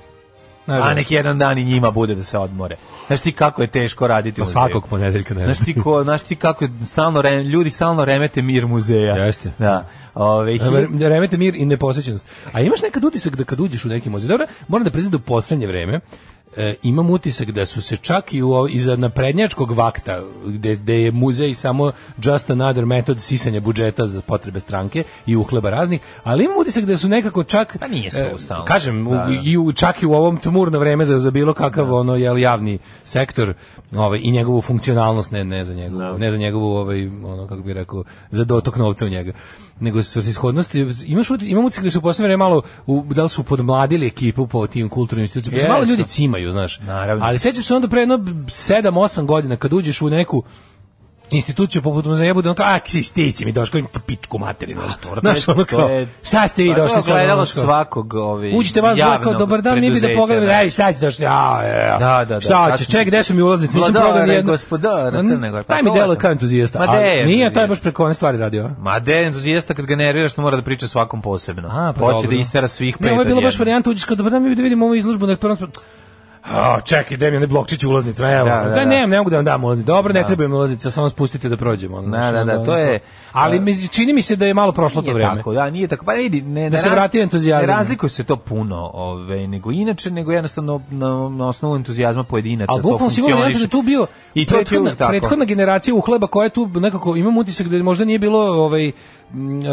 Speaker 5: Naravno.
Speaker 6: a nek jedan dan i njima bude da se odmore. Znaš ti kako je teško raditi
Speaker 5: Pa
Speaker 6: u muzeju?
Speaker 5: svakog ponedeljka, ne
Speaker 6: Znaš
Speaker 5: znam.
Speaker 6: ti, ko, znaš ti kako je stalno re, ljudi stalno remete mir muzeja.
Speaker 5: Jeste.
Speaker 6: Da. Ove, hilj-
Speaker 5: Re- Remete mir i neposećenost. A imaš nekad utisak da kad uđeš u neki muzej, dobro, moram da priznam da u poslednje vreme e, imam utisak da su se čak i u, ovo- iza naprednjačkog vakta, gde, gde je muzej samo just another method sisanja budžeta za potrebe stranke i uhleba raznih, ali imam utisak da su nekako čak... eh,
Speaker 6: Pa nije sve stalno.
Speaker 5: Kažem, u-
Speaker 6: Da, da.
Speaker 5: i u, čak i u ovom tmurno vreme za, za bilo kakav ono jel, javni sektor ovaj, i njegovu funkcionalnost, ne, ne za njegovu,
Speaker 6: Da.
Speaker 5: ne za njegovu, ovaj, ono, kako bih rekao, za dotok novca u njega nego svrsishodnost imaš uti- imam utisak da su u poslednje vreme malo u, da li su podmladili ekipu po tim kulturnim institucijama pa se malo
Speaker 6: Jesu.
Speaker 5: ljudi cimaju znaš
Speaker 6: Naravno.
Speaker 5: ali sećam se onda pre jedno 7 8 godina kad uđeš u neku instituciju poput muzeja bude ono kao, a ksistici mi došli, pičku materinu. Znaš, ono kao, šta ste vi
Speaker 6: Pa to je
Speaker 5: došli sad? ono,
Speaker 6: ogledalo
Speaker 5: kao-
Speaker 6: svakog ovaj
Speaker 5: Uđite vas dvoje kao
Speaker 6: javnog
Speaker 5: dobar dan, mi bi da
Speaker 6: preduzeća,
Speaker 5: pogledamo.
Speaker 6: da.
Speaker 5: Ej, sad ćeš došli. A, e,
Speaker 6: Da, da, da.
Speaker 5: Šta
Speaker 6: Sad
Speaker 5: ćeš?
Speaker 6: smo-
Speaker 5: Ček, gde su mi ulaznice? Nisam
Speaker 6: Ma
Speaker 5: prodao
Speaker 6: dobro,
Speaker 5: ni jednu.
Speaker 6: gospodo, na Crne Gore, pa
Speaker 5: Taj mi
Speaker 6: to
Speaker 5: delo
Speaker 6: lepo.
Speaker 5: kao entuzijasta.
Speaker 6: Ma
Speaker 5: Ma
Speaker 6: de je
Speaker 5: Nije, taj je
Speaker 6: entuzijasta.
Speaker 5: baš preko one stvari radio. a?
Speaker 6: Ma de entuzijasta kad ga nervira što mora da priča svakom posebno.
Speaker 5: A, pa
Speaker 6: Hoće
Speaker 5: dobro.
Speaker 6: da istera svih pet.
Speaker 5: Ne, ovo je
Speaker 6: od
Speaker 5: bilo baš
Speaker 6: jednom.
Speaker 5: varijanta, uđeš kao dobar dan, mi bi da vidimo ovu izložbu na prvom spratu. A, čekaj, gde mi je onaj blokčić ulaznicu, evo.
Speaker 6: Da, da,
Speaker 5: Znači,
Speaker 6: da.
Speaker 5: ne, ne mogu da vam dam ulaznicu. Dobro, ne treba im ulaznica, samo spustite da prođemo. ono,
Speaker 6: Da,
Speaker 5: znaš,
Speaker 6: da,
Speaker 5: ono,
Speaker 6: da, to je-
Speaker 5: Ali mi- čini mi se da je malo prošlo to
Speaker 6: Nije
Speaker 5: vreme.
Speaker 6: Tako, da, nije tako. Pa vidi, ne, ne
Speaker 5: Da se
Speaker 6: raz-
Speaker 5: vrati entuzijazam.
Speaker 6: Ne razlikuje se to puno, ovaj, nego inače, nego jednostavno na, na osnovu entuzijazma pojedinaca
Speaker 5: Ali
Speaker 6: Pa to
Speaker 5: bukvalno si imao
Speaker 6: funkcioniše.
Speaker 5: varijantu da je tu bio
Speaker 6: I
Speaker 5: I
Speaker 6: to ti je
Speaker 5: prethodna,
Speaker 6: uvek tako.
Speaker 5: prethodna generacija uhleba koja je tu nekako, imam utisak da možda nije bilo ovaj, m, e,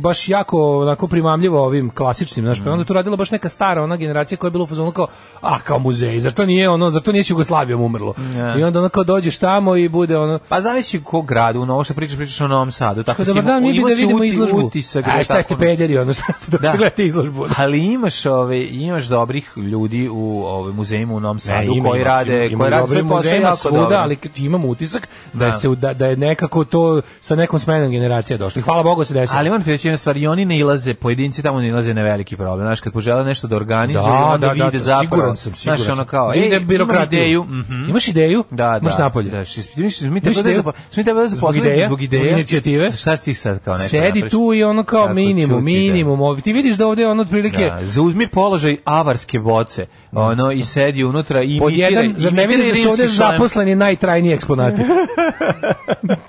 Speaker 5: baš jako onako primamljivo ovim klasičnim, znaš, pa je onda tu radila baš neka stara ona generacija koja je bila u fazonu kao, a kao muzej, zar to nije ono, zar to nije s Jugoslavijom umrlo? I onda ono kao dođeš tamo i bude ono,
Speaker 6: Pa zavisi u kog gradu, ono što pričaš, pričaš o Novom Sadu. Tako
Speaker 5: kao
Speaker 6: si
Speaker 5: dobar
Speaker 6: imao-
Speaker 5: dan, mi bi
Speaker 6: imao
Speaker 5: da
Speaker 6: si
Speaker 5: vidimo
Speaker 6: uti-
Speaker 5: izložbu.
Speaker 6: utisak da
Speaker 5: A
Speaker 6: je
Speaker 5: šta ste
Speaker 6: tako-
Speaker 5: pederi, ono, šta ste došli
Speaker 6: Da.
Speaker 5: gledati izložbu?
Speaker 6: Ali imaš ove imaš dobrih ljudi u ovim muzejima u Novom Sadu
Speaker 5: ima,
Speaker 6: koji
Speaker 5: ima,
Speaker 6: rade
Speaker 5: ima
Speaker 6: koji rade
Speaker 5: dobrih
Speaker 6: svoj posao
Speaker 5: muzeja
Speaker 6: jako
Speaker 5: svuda,
Speaker 6: dobro.
Speaker 5: da, ali k- imam utisak da,
Speaker 6: Da.
Speaker 5: je se u- da, da je nekako to sa nekom smenom generacija došlo. I Hvala Bogu da se desilo.
Speaker 6: Ali moram ti reći jednu stvar, i oni ne ilaze, pojedinci tamo ne ilaze na veliki problem. Znaš, kad požele nešto da organizuju,
Speaker 5: da,
Speaker 6: onda
Speaker 5: da, da,
Speaker 6: vide
Speaker 5: da,
Speaker 6: zapravo.
Speaker 5: siguran sam, siguran
Speaker 6: Znaš, ono
Speaker 5: sam.
Speaker 6: kao,
Speaker 5: Vide
Speaker 6: ej, imam
Speaker 5: birokratiju.
Speaker 6: ideju. mhm.
Speaker 5: Imaš ideju?
Speaker 6: Da, da.
Speaker 5: Imaš napolje.
Speaker 6: Da, ši- mi, mi, mi,
Speaker 5: Imaš
Speaker 6: tako da
Speaker 5: ideju?
Speaker 6: zapo- mi tebe da zaposlili
Speaker 5: Zbog ideja?
Speaker 6: zbog
Speaker 5: Zbog
Speaker 6: ideja.
Speaker 5: inicijative?
Speaker 6: Šta si ti sad kao nešto
Speaker 5: Sedi
Speaker 6: napraviš?
Speaker 5: tu i ono kao
Speaker 6: Tako,
Speaker 5: minimum,
Speaker 6: ćuti, da.
Speaker 5: minimum. Ovo- Ti vidiš da ovde ono otprilike
Speaker 6: Da, zauzmi položaj avarske boce, ono, i sedi unutra i
Speaker 5: Da. Pod
Speaker 6: imitira-
Speaker 5: jedan, zar ne
Speaker 6: imitira
Speaker 5: vidiš da su
Speaker 6: rimski
Speaker 5: ovde
Speaker 6: šlem.
Speaker 5: zaposleni najtrajniji eksponati?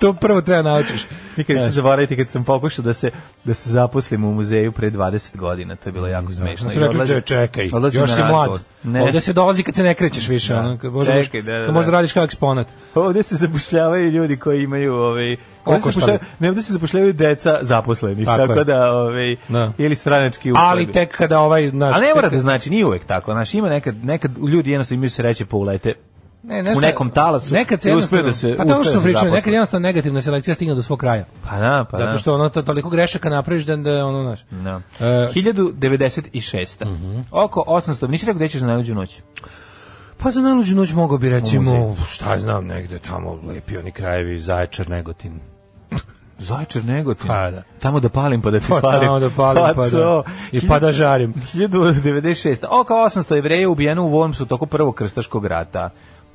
Speaker 5: to prvo treba naučiš.
Speaker 6: Nikad neću zaboraviti kad sam pokušao da se da se zaposlim u muzeju pre 20 godina, to je bilo jako smešno.
Speaker 5: Onda Mm, da. Pa su
Speaker 6: I odlazim-
Speaker 5: rekli, "Đe, čekaj,
Speaker 6: odlazim
Speaker 5: još
Speaker 6: na
Speaker 5: si mlad.
Speaker 6: razgovor. Ne.
Speaker 5: Ovde se dolazi kad se ne krećeš više. ono, kad možda,
Speaker 6: Čekaj,
Speaker 5: možeš-
Speaker 6: da, da,
Speaker 5: kad možda
Speaker 6: da.
Speaker 5: radiš kao eksponat.
Speaker 6: Ovde se zapošljavaju ljudi koji imaju ovaj ovde se
Speaker 5: Okoštali.
Speaker 6: zapošljavaju, ne ovde se zapošljavaju deca zaposlenih,
Speaker 5: Tako
Speaker 6: tako,
Speaker 5: je.
Speaker 6: da ovaj
Speaker 5: Da.
Speaker 6: ili stranački uhlebi.
Speaker 5: Ali tek kada ovaj naš...
Speaker 6: A ne mora
Speaker 5: tek-
Speaker 6: da znači, nije uvek tako. Znači, ima nekad, nekad ljudi jednostavno imaju sreće pa ulete.
Speaker 5: ne,
Speaker 6: u nekom talasu
Speaker 5: nekad se
Speaker 6: i
Speaker 5: jednostavno-
Speaker 6: uspeju da se-
Speaker 5: pa to je ono
Speaker 6: uspeju
Speaker 5: što
Speaker 6: da
Speaker 5: smo
Speaker 6: se
Speaker 5: pričali,
Speaker 6: zaposle.
Speaker 5: nekad jednostavno negativna selekcija stigne do svog kraja.
Speaker 6: Pa da, pa da.
Speaker 5: Zato što ono to, toliko grešaka napraviš da, da je ono naš.
Speaker 6: Da.
Speaker 5: E, Mhm.
Speaker 6: 1096. Oko 800. Nisi rekao gde ćeš na najluđu noć?
Speaker 5: pa za najluđu noć mogu bi recimo,
Speaker 6: muzej.
Speaker 5: šta ja znam, negde tamo lepi oni krajevi, Zaječar, Negotin.
Speaker 6: Zajčar Negotin.
Speaker 5: Pa da.
Speaker 6: Tamo da palim pa da ti
Speaker 5: Pa
Speaker 6: palim.
Speaker 5: tamo da palim, pa, da,
Speaker 6: co?
Speaker 5: i pa da žarim.
Speaker 6: 1096. Oko 800 jevreja ubijeno u Wormsu toku prvog krstaškog rata.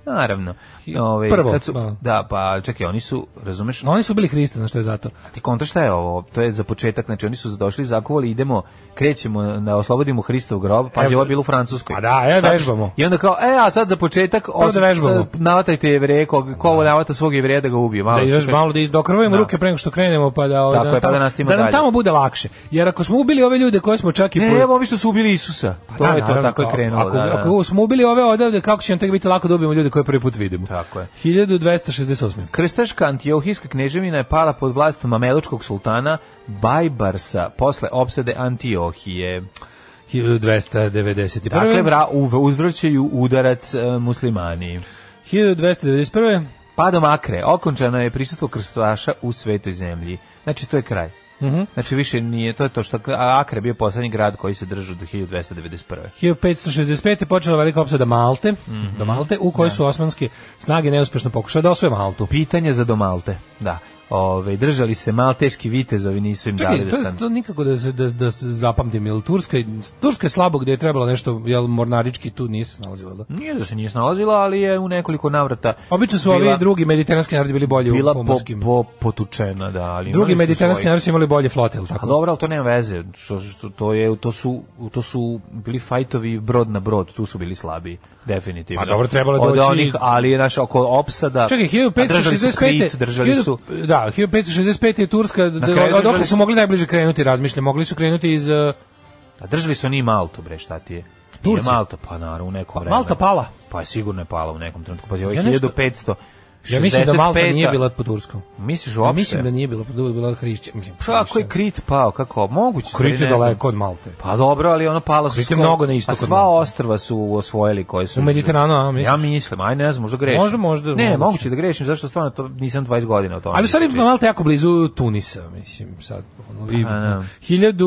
Speaker 6: Naravno. Ove,
Speaker 5: Prvo,
Speaker 6: kad su,
Speaker 5: pa.
Speaker 6: da, pa čekaj, oni su, razumeš,
Speaker 5: No, oni su bili hristi, što je zato.
Speaker 6: ti konta šta je ovo? To je za početak, znači oni su došli, zakuvali, idemo, krećemo, na, oslobodimo Hristov grob, pa je
Speaker 5: Evo.
Speaker 6: ovo je bilo u Francuskoj.
Speaker 5: Pa da, evo
Speaker 6: Sad-
Speaker 5: vežbamo. da
Speaker 6: I onda kao, e, a sad za početak, os-
Speaker 5: vežbamo.
Speaker 6: sad navatajte jevreje, ko, ko ovo navata svog jevreja da ga ubije, malo.
Speaker 5: Da još malo da izdokrvujemo
Speaker 6: Da.
Speaker 5: ruke pre nego što krenemo pa da ovaj,
Speaker 6: Tako
Speaker 5: da, nam
Speaker 6: je, pa
Speaker 5: tamo-
Speaker 6: da nastavimo
Speaker 5: da nam
Speaker 6: dalje.
Speaker 5: tamo bude lakše. Jer ako smo ubili ove ljude koje smo čak i po-
Speaker 6: Ne, Pa evo Pa ovi što su ubili Isusa. To
Speaker 5: Da,
Speaker 6: je to,
Speaker 5: naravno,
Speaker 6: tako je
Speaker 5: kao-
Speaker 6: krenulo.
Speaker 5: Ako,
Speaker 6: da, da.
Speaker 5: ako smo ubili ove odavde, kako će nam tek biti lako da ubijemo ljude koje prvi put vidimo?
Speaker 6: Tako je.
Speaker 5: 1268.
Speaker 6: Krstaška antiohijska kneževina je pala pod vlastom mamelučkog sultana Bajbarsa posle opsade Antiohije.
Speaker 5: 1291.
Speaker 6: Dakle, vra, uv- uzvraćaju udarac e, muslimani.
Speaker 5: 1291.
Speaker 6: Padom Akre, okončano je prisustvo krstaša u svetoj zemlji. Znači, to je kraj. Znači, više nije, to je to što, a Akre je bio poslednji grad koji se držao do 1291.
Speaker 5: 1565. je počela velika opsada Malte,
Speaker 6: Mhm.
Speaker 5: do Malte, u kojoj su osmanske snage neuspešno pokušale da osvoje Maltu.
Speaker 6: Pitanje za Domalte, da. Ove, držali se malo teški vitezovi, nisu im
Speaker 5: Čekaj,
Speaker 6: dali da
Speaker 5: to,
Speaker 6: stanu.
Speaker 5: to nikako da, se- da, da se zapamtim, jel Turska, Turska je slabo gde je trebalo nešto, jel Mornarički tu nije se snalazila, da?
Speaker 6: Nije da se nije snalazila, ali je u nekoliko navrata
Speaker 5: Obično su
Speaker 6: bila,
Speaker 5: ovi drugi mediteranski narodi bili bolji
Speaker 6: bila
Speaker 5: u
Speaker 6: po,
Speaker 5: pomorskim.
Speaker 6: po, potučena, da, ali imali
Speaker 5: drugi
Speaker 6: su
Speaker 5: mediteranski
Speaker 6: svojih.
Speaker 5: narodi su imali bolje flote, jel tako?
Speaker 6: A dobro, ali to nema veze. Što, što, to, je, to, su, to su bili fajtovi brod na brod, tu su bili slabi, definitivno.
Speaker 5: A Pa dobro, trebalo je
Speaker 6: Od
Speaker 5: doći-
Speaker 6: Onih, ali je naš oko opsada,
Speaker 5: Čekaj,
Speaker 6: da. a držali su Krit,
Speaker 5: 1565.
Speaker 6: držali su...
Speaker 5: 1000 Da, 1565 je Turska, d-
Speaker 6: kraju
Speaker 5: od- odakle
Speaker 6: držali
Speaker 5: su
Speaker 6: su-
Speaker 5: mogli najbliže krenuti, razmišljam, mogli su krenuti iz... uh,
Speaker 6: A držali su oni i Maltu, bre, šta ti je?
Speaker 5: Turci?
Speaker 6: Nije Malta, pa naravno, u neko vreme.
Speaker 5: Malta pala?
Speaker 6: Pa je sigurno je pala u nekom trenutku. Pa je ovo
Speaker 5: Ja nešto-
Speaker 6: 1500.
Speaker 5: Ja mislim da Malta nije bila pod Turskom.
Speaker 6: Misliš
Speaker 5: Ja
Speaker 6: uopšte?
Speaker 5: mislim da nije bila pod Turskom, bila Hrišća. Mislim,
Speaker 6: Kako je Pa, Krit pao? Kako? Moguće. stvari,
Speaker 5: Krit je
Speaker 6: ne znam.
Speaker 5: daleko od Malte.
Speaker 6: Pa dobro, ali ono pala su...
Speaker 5: Krit je
Speaker 6: skoro-
Speaker 5: mnogo na istoku
Speaker 6: A
Speaker 5: od
Speaker 6: sva
Speaker 5: Malte.
Speaker 6: ostrva su osvojili koje su...
Speaker 5: U Mediteranu, a, misliš?
Speaker 6: Ja mislim, aj ne znam, možda grešim.
Speaker 5: Možda, možda,
Speaker 6: Ne,
Speaker 5: moguće.
Speaker 6: moguće. da grešim, zašto stvarno to nisam 20 godina o tome.
Speaker 5: Ali u stvari
Speaker 6: pričao.
Speaker 5: Malta je jako blizu Tunisa, mislim, sad. Ono, i,
Speaker 6: Pa, da.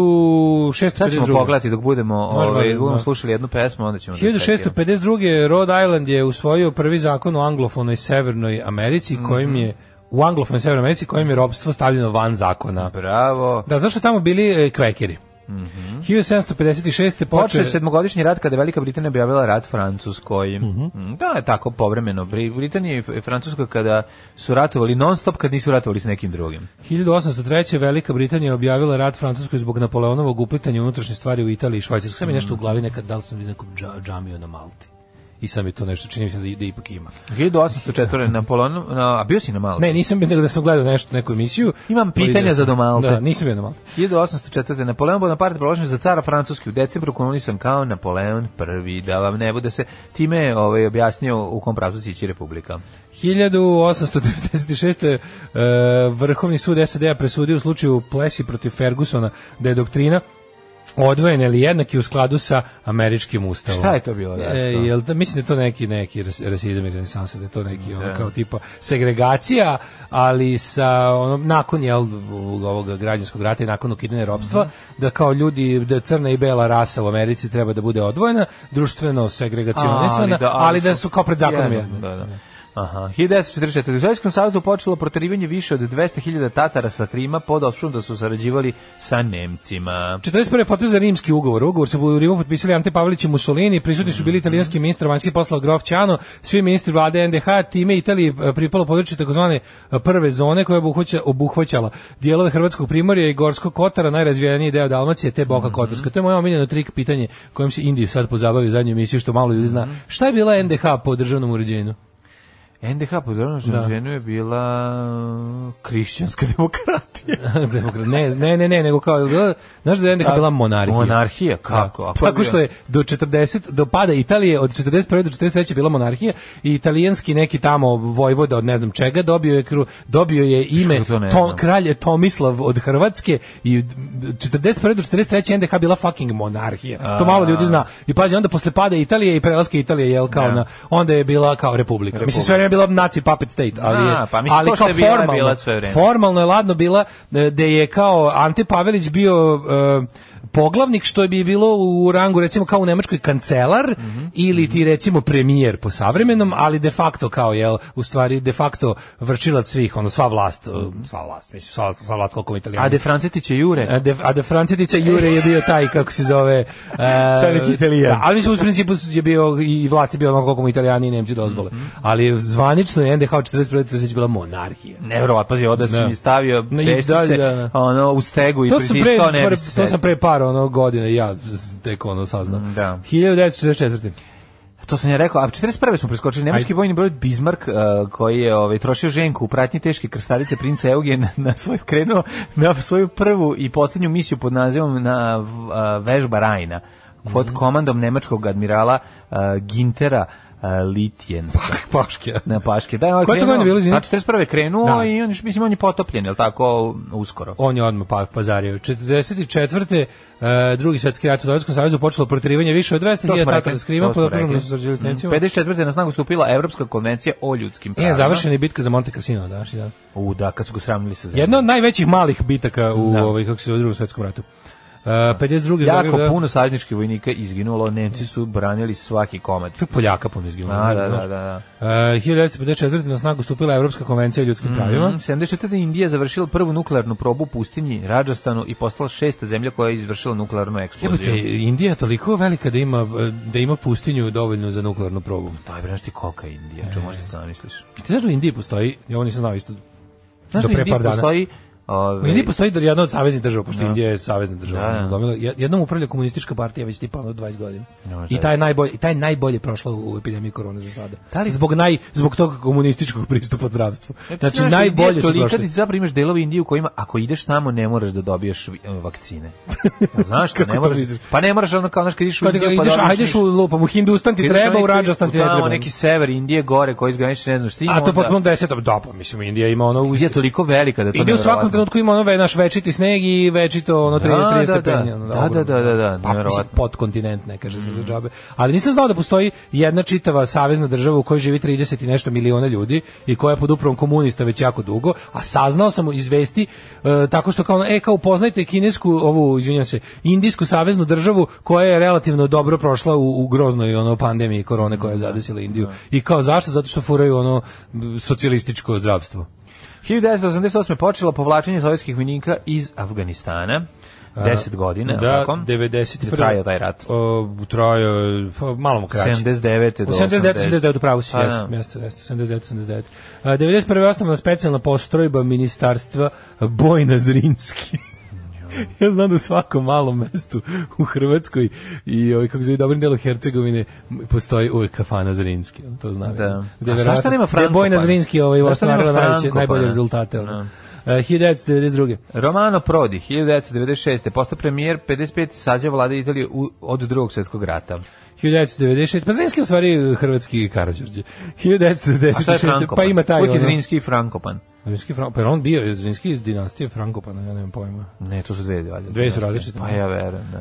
Speaker 5: 1652.
Speaker 6: Sad ćemo pogledati dok budemo,
Speaker 5: Možemo,
Speaker 6: ovaj, budemo
Speaker 5: da.
Speaker 6: slušali jednu pesmu, onda ćemo... da čekamo.
Speaker 5: 1652. Rhode Island je usvojio prvi zakon u anglofonoj Severnoj Americi
Speaker 6: Mhm.
Speaker 5: kojim je u anglofonoj Severnoj Americi kojim je robstvo stavljeno van zakona.
Speaker 6: Bravo.
Speaker 5: Da, zašto tamo bili e, kvekeri? Mm -hmm. 1756.
Speaker 6: Mhm. Počeo
Speaker 5: počeo
Speaker 6: je sedmogodišnji rat kada je Velika Britanija objavila rat Francuskoj.
Speaker 5: Mhm.
Speaker 6: Mm, Da, je tako povremeno. Bri- Britanija i F- Francuska kada su ratovali non stop, kad nisu ratovali s nekim drugim.
Speaker 5: 1803. Velika Britanija objavila rat Francuskoj zbog Napoleonovog uplitanja u unutrašnje stvari u Italiji i Švajcarskoj. Sve mi je nešto u glavi nekad, da li sam vidio nekog dža- džamiju na Malti. I sam je to nešto, čini mi se da, da ipak ima.
Speaker 6: Pa, 1804. Napoleon, na, a bio si na malo.
Speaker 5: Ne, nisam bio, nego da sam gledao nešto, neku emisiju.
Speaker 6: Imam pitanja
Speaker 5: Pa vidio
Speaker 6: za
Speaker 5: sam.
Speaker 6: Domalte.
Speaker 5: Da, nisam bio na Malti.
Speaker 6: 1804. Napoleon Bonaparte proglašen za cara Francuski u decembru kolonisan kao Napoleon prvi, da vam ne bude se time je, ovaj, objasnio u kom pravcu sići republika.
Speaker 5: 1896. E, Vrhovni sud SAD-a presudio u slučaju Plesi protiv Fergusona da je doktrina odvojena ili jednaki u skladu sa američkim ustavom.
Speaker 6: Šta je to bilo, da,
Speaker 5: E,
Speaker 6: što?
Speaker 5: jel, da, mislim da je to neki, neki ras- rasizam i renesansa, da je to neki ono, kao tipa segregacija, ali sa ono, nakon jel, ovog građanskog rata i nakon ukidanja ropstva, da kao ljudi, da crna i bela rasa u Americi treba da bude odvojena, društveno segregacionisana, ali da, su kao pred zakonom jedno.
Speaker 6: Da, da. Aha, 1944. U Sovjetskom savezu počelo proterivanje više od 200.000 Tatara sa Krima pod opštom da su sarađivali sa Nemcima.
Speaker 5: 41. potpisan za rimski ugovor. Ugovor su u Rimu potpisali Ante Pavelić i Mussolini, prisutni su bili italijanski ministar vanjskih poslova Grof Ciano, svi ministri vlade NDH, time Italiji e, pripalo područje takozvane e, prve zone koja je obuhvaća, obuhvaćala dijelove Hrvatskog primorja i Gorskog Kotara, najrazvijeniji deo Dalmacije, te Boka Kotarska. To je moje omiljeno trik pitanje kojim se Indiju sad pozabavi u zadnjoj emisiji, što malo ljudi zna. Šta je bila NDH po državnom uređenju?
Speaker 6: NDH po
Speaker 5: Da.
Speaker 6: ženu je bila krišćanska demokratija.
Speaker 5: Demokrat- ne, ne, ne, ne, nego kao, je bila- znaš da je NDH bila monarhija?
Speaker 6: Monarhija, kako?
Speaker 5: Da.
Speaker 6: Ako
Speaker 5: Tako što je do 40 do pada Italije od 41 do 43 bila monarhija i italijanski neki tamo vojvoda od ne znam čega dobio je kru, dobio je ime
Speaker 6: Što to ne
Speaker 5: Tom,
Speaker 6: znam.
Speaker 5: kralj je Tomislav od Hrvatske i 41 do 43 NDH bila fucking monarhija. To malo ljudi zna. I pazi onda posle pada Italije i prelaska Italije jel
Speaker 6: Da.
Speaker 5: kao na onda je bila kao republika. Mislim sve vreme je bila nazi puppet state, ali je,
Speaker 6: Da, pa mislim,
Speaker 5: ali
Speaker 6: to što
Speaker 5: kao
Speaker 6: je bila, je
Speaker 5: formalno,
Speaker 6: bila sve vreme.
Speaker 5: formalno je ladno bila e, da je kao Ante Pavelić bio e, poglavnik što bi bilo u rangu recimo kao u Nemačkoj kancelar
Speaker 6: Mhm.
Speaker 5: ili ti recimo premijer po savremenom, ali de facto kao jel u stvari de facto vršilac svih, ono sva vlast, e, sva vlast, mislim sva, sva vlast koliko italijani.
Speaker 6: A de Francetić je Jure.
Speaker 5: A de, a de Francetica Jure je bio taj, kako se zove... Uh,
Speaker 6: neki Italijan.
Speaker 5: Da, ali mislim, u principu je bio, i vlast je bio ono koliko mu italijani i nemci dozvole.
Speaker 6: Mhm.
Speaker 5: Ali zvanično je NDH 41. bila monarhija.
Speaker 6: Nevrovatno, pazi, ovdje si
Speaker 5: Da.
Speaker 6: mi stavio
Speaker 5: No i
Speaker 6: pestice
Speaker 5: dalje, da, da.
Speaker 6: ono, u stegu i
Speaker 5: to sam pre,
Speaker 6: pritiskao, ne
Speaker 5: pre-
Speaker 6: bi se
Speaker 5: to sam
Speaker 6: setio.
Speaker 5: pre par ono godina ja z- tek ono saznao.
Speaker 6: Mm, da.
Speaker 5: 1944.
Speaker 6: To sam ja rekao, a 41. smo preskočili nemački vojni brod Bismarck uh, koji je ovaj trošio ženku u pratnji teške krstavice princa Eugena na svoju krenuo na svoju prvu i poslednju misiju pod nazivom na uh, vežba Rajna
Speaker 5: Mhm.
Speaker 6: pod komandom nemačkog admirala uh, Gintera uh, Litjensa.
Speaker 5: Paške.
Speaker 6: Na Paške. Da, on je
Speaker 5: Koja je Pa- to
Speaker 6: krenuo-
Speaker 5: godina bila, izvini?
Speaker 6: A 41. je krenuo
Speaker 5: Da.
Speaker 6: i on, je, mislim, on je potopljen, je li tako, uskoro?
Speaker 5: On je odmah pa, pazario. 44. e, drugi svetski rat u Sovjetskom savezu počelo proterivanje više od 200.000 tatara s Krima,
Speaker 6: to smo
Speaker 5: pod optužbom da
Speaker 6: rekli.
Speaker 5: su sarađivali s
Speaker 6: Mm.
Speaker 5: Nemcima.
Speaker 6: 54. na snagu stupila Evropska konvencija o ljudskim pravima.
Speaker 5: E, završena je bitka za Monte Cassino, znači, daš
Speaker 6: Da.
Speaker 5: dan.
Speaker 6: U, da, kad su ga sravnili sa zemljom.
Speaker 5: Jedna od najvećih malih bitaka u
Speaker 6: Da.
Speaker 5: ovaj kako se zove drugom svetskom ratu. E, 52.
Speaker 6: Jako
Speaker 5: Zagreb, da.
Speaker 6: puno savezničkih vojnika izginulo, Nemci su branili svaki komad.
Speaker 5: To je Poljaka puno izginulo.
Speaker 6: Da, da,
Speaker 5: znaš.
Speaker 6: da, da.
Speaker 5: E, 1954. na snagu stupila Evropska konvencija o ljudskim pravima.
Speaker 6: Mhm. 74. Indija završila prvu nuklearnu probu u pustinji Rajastanu i postala šesta zemlja koja je izvršila nuklearnu
Speaker 5: Jebote,
Speaker 6: eksploziju.
Speaker 5: Indija je toliko velika da ima, e, da ima pustinju dovoljno za nuklearnu probu.
Speaker 6: Taj bre, znaš ti kolika je Indija, čo možda zamisliš.
Speaker 5: Ti znaš da u Indiji postoji, ja ovo nisam znao isto,
Speaker 6: Znaš
Speaker 5: do
Speaker 6: da
Speaker 5: pre
Speaker 6: Indija
Speaker 5: par dana.
Speaker 6: postoji...
Speaker 5: U
Speaker 6: Ove,
Speaker 5: Indiji postoji da jedna od saveznih država, pošto Indija je savezna država.
Speaker 6: Da, da.
Speaker 5: gomila. Je- Jednom upravlja komunistička partija već tipa ono 20 godina.
Speaker 6: možda
Speaker 5: I taj najbolje, i taj najbolje prošla u epidemiji korone za sada.
Speaker 6: Da
Speaker 5: zbog naj zbog tog komunističkog pristupa zdravstvu. Znači
Speaker 6: Znaš, Indija
Speaker 5: najbolje
Speaker 6: je
Speaker 5: su
Speaker 6: tolika da ti
Speaker 5: prošli.
Speaker 6: zapravo imaš delove Indije u kojima ako ideš tamo ne moraš da dobiješ vi- vakcine. Pa Znaš što,
Speaker 5: Kako
Speaker 6: ne
Speaker 5: to
Speaker 6: moraš,
Speaker 5: vidiš?
Speaker 6: pa ne moraš ono kao znaš kad ideš u
Speaker 5: Kad
Speaker 6: Indiju
Speaker 5: ga
Speaker 6: pa
Speaker 5: ideš,
Speaker 6: dobiješ
Speaker 5: ajdeš u
Speaker 6: ništa.
Speaker 5: lupam, u Hindustan ti
Speaker 6: Ideš
Speaker 5: treba,
Speaker 6: onaj
Speaker 5: u Rajasthan
Speaker 6: u
Speaker 5: ti ne
Speaker 6: Tamo
Speaker 5: treba.
Speaker 6: neki sever Indije gore koji izgraniči ne znam šta ima.
Speaker 5: A to
Speaker 6: onda-
Speaker 5: potpuno desetom, da pa mislim Indija ima ono uz
Speaker 6: Indija je toliko velika da to
Speaker 5: Ide u svakom
Speaker 6: nevjerovatno.
Speaker 5: trenutku ima ono ve- naš večiti sneg i večito ono 30
Speaker 6: da,
Speaker 5: 30
Speaker 6: da.
Speaker 5: stepeni. ono,
Speaker 6: Da, da,
Speaker 5: ogromno.
Speaker 6: da, da, da,
Speaker 5: Pa, mislim,
Speaker 6: nevjerovatno.
Speaker 5: podkontinent ne kaže se za džabe. Ali nisam znao da postoji jedna čitava savezna država u kojoj živi 30 i nešto miliona ljudi i koja je pod upravom komunista već jako dugo, a saznao sam iz vesti e, tako što kao ono, e kao upoznajte kinesku ovu izvinjavam se, indijsku saveznu državu koja je relativno dobro prošla u, u groznoj ono pandemiji korone koja je zadesila
Speaker 6: Da.
Speaker 5: Indiju. I kao zašto? Zato što furaju ono m, socijalističko zdravstvo.
Speaker 6: 1988. počelo povlačenje sovjetskih vojnika iz Afganistana. 10 godina,
Speaker 5: da,
Speaker 6: tako?
Speaker 5: 91..
Speaker 6: Je trajao taj rat.
Speaker 5: O, trajao je, pa malo mu kraće.
Speaker 6: 79. do
Speaker 5: 79, 79, u pravu si,
Speaker 6: A,
Speaker 5: jeste,
Speaker 6: da.
Speaker 5: jeste, jeste, 79, 79. A, 91. je osnovna specijalna postrojba ministarstva Bojna Zrinski. Ja znam da u svakom malom mestu u Hrvatskoj i ovaj, kako se zove, dobrim delu Hercegovine m, postoji uvek kafana Zrinski, ono, to znam.
Speaker 6: Da.
Speaker 5: ja.
Speaker 6: A
Speaker 5: Gde je
Speaker 6: zašto
Speaker 5: verovatno-
Speaker 6: nema
Speaker 5: gde je Bojna
Speaker 6: Frankopana?
Speaker 5: Zrinski ovaj,
Speaker 6: Zašto nema
Speaker 5: ostvarila najveće,
Speaker 6: Frankopana?
Speaker 5: najbolje rezultate. Ono.
Speaker 6: Da.
Speaker 5: E, 1992.
Speaker 6: Romano Prodi, 1996. postao premijer 55. saziva vlade Italije u, od drugog svjetskog rata.
Speaker 5: 1996, pa Zrinski je u stvari hrvatski Karadžorđe.
Speaker 6: A šta je
Speaker 5: 1996,
Speaker 6: Frankopan?
Speaker 5: pa ima taj
Speaker 6: Uvijek je
Speaker 5: ono-
Speaker 6: Zrinski i Frankopan.
Speaker 5: Zrinski Franko, pa je on bio je Zrinski iz dinastije Frankopana, ja nemam pojma.
Speaker 6: Ne, to su dve valjda.
Speaker 5: Dve su različite.
Speaker 6: Pa ja verujem, da.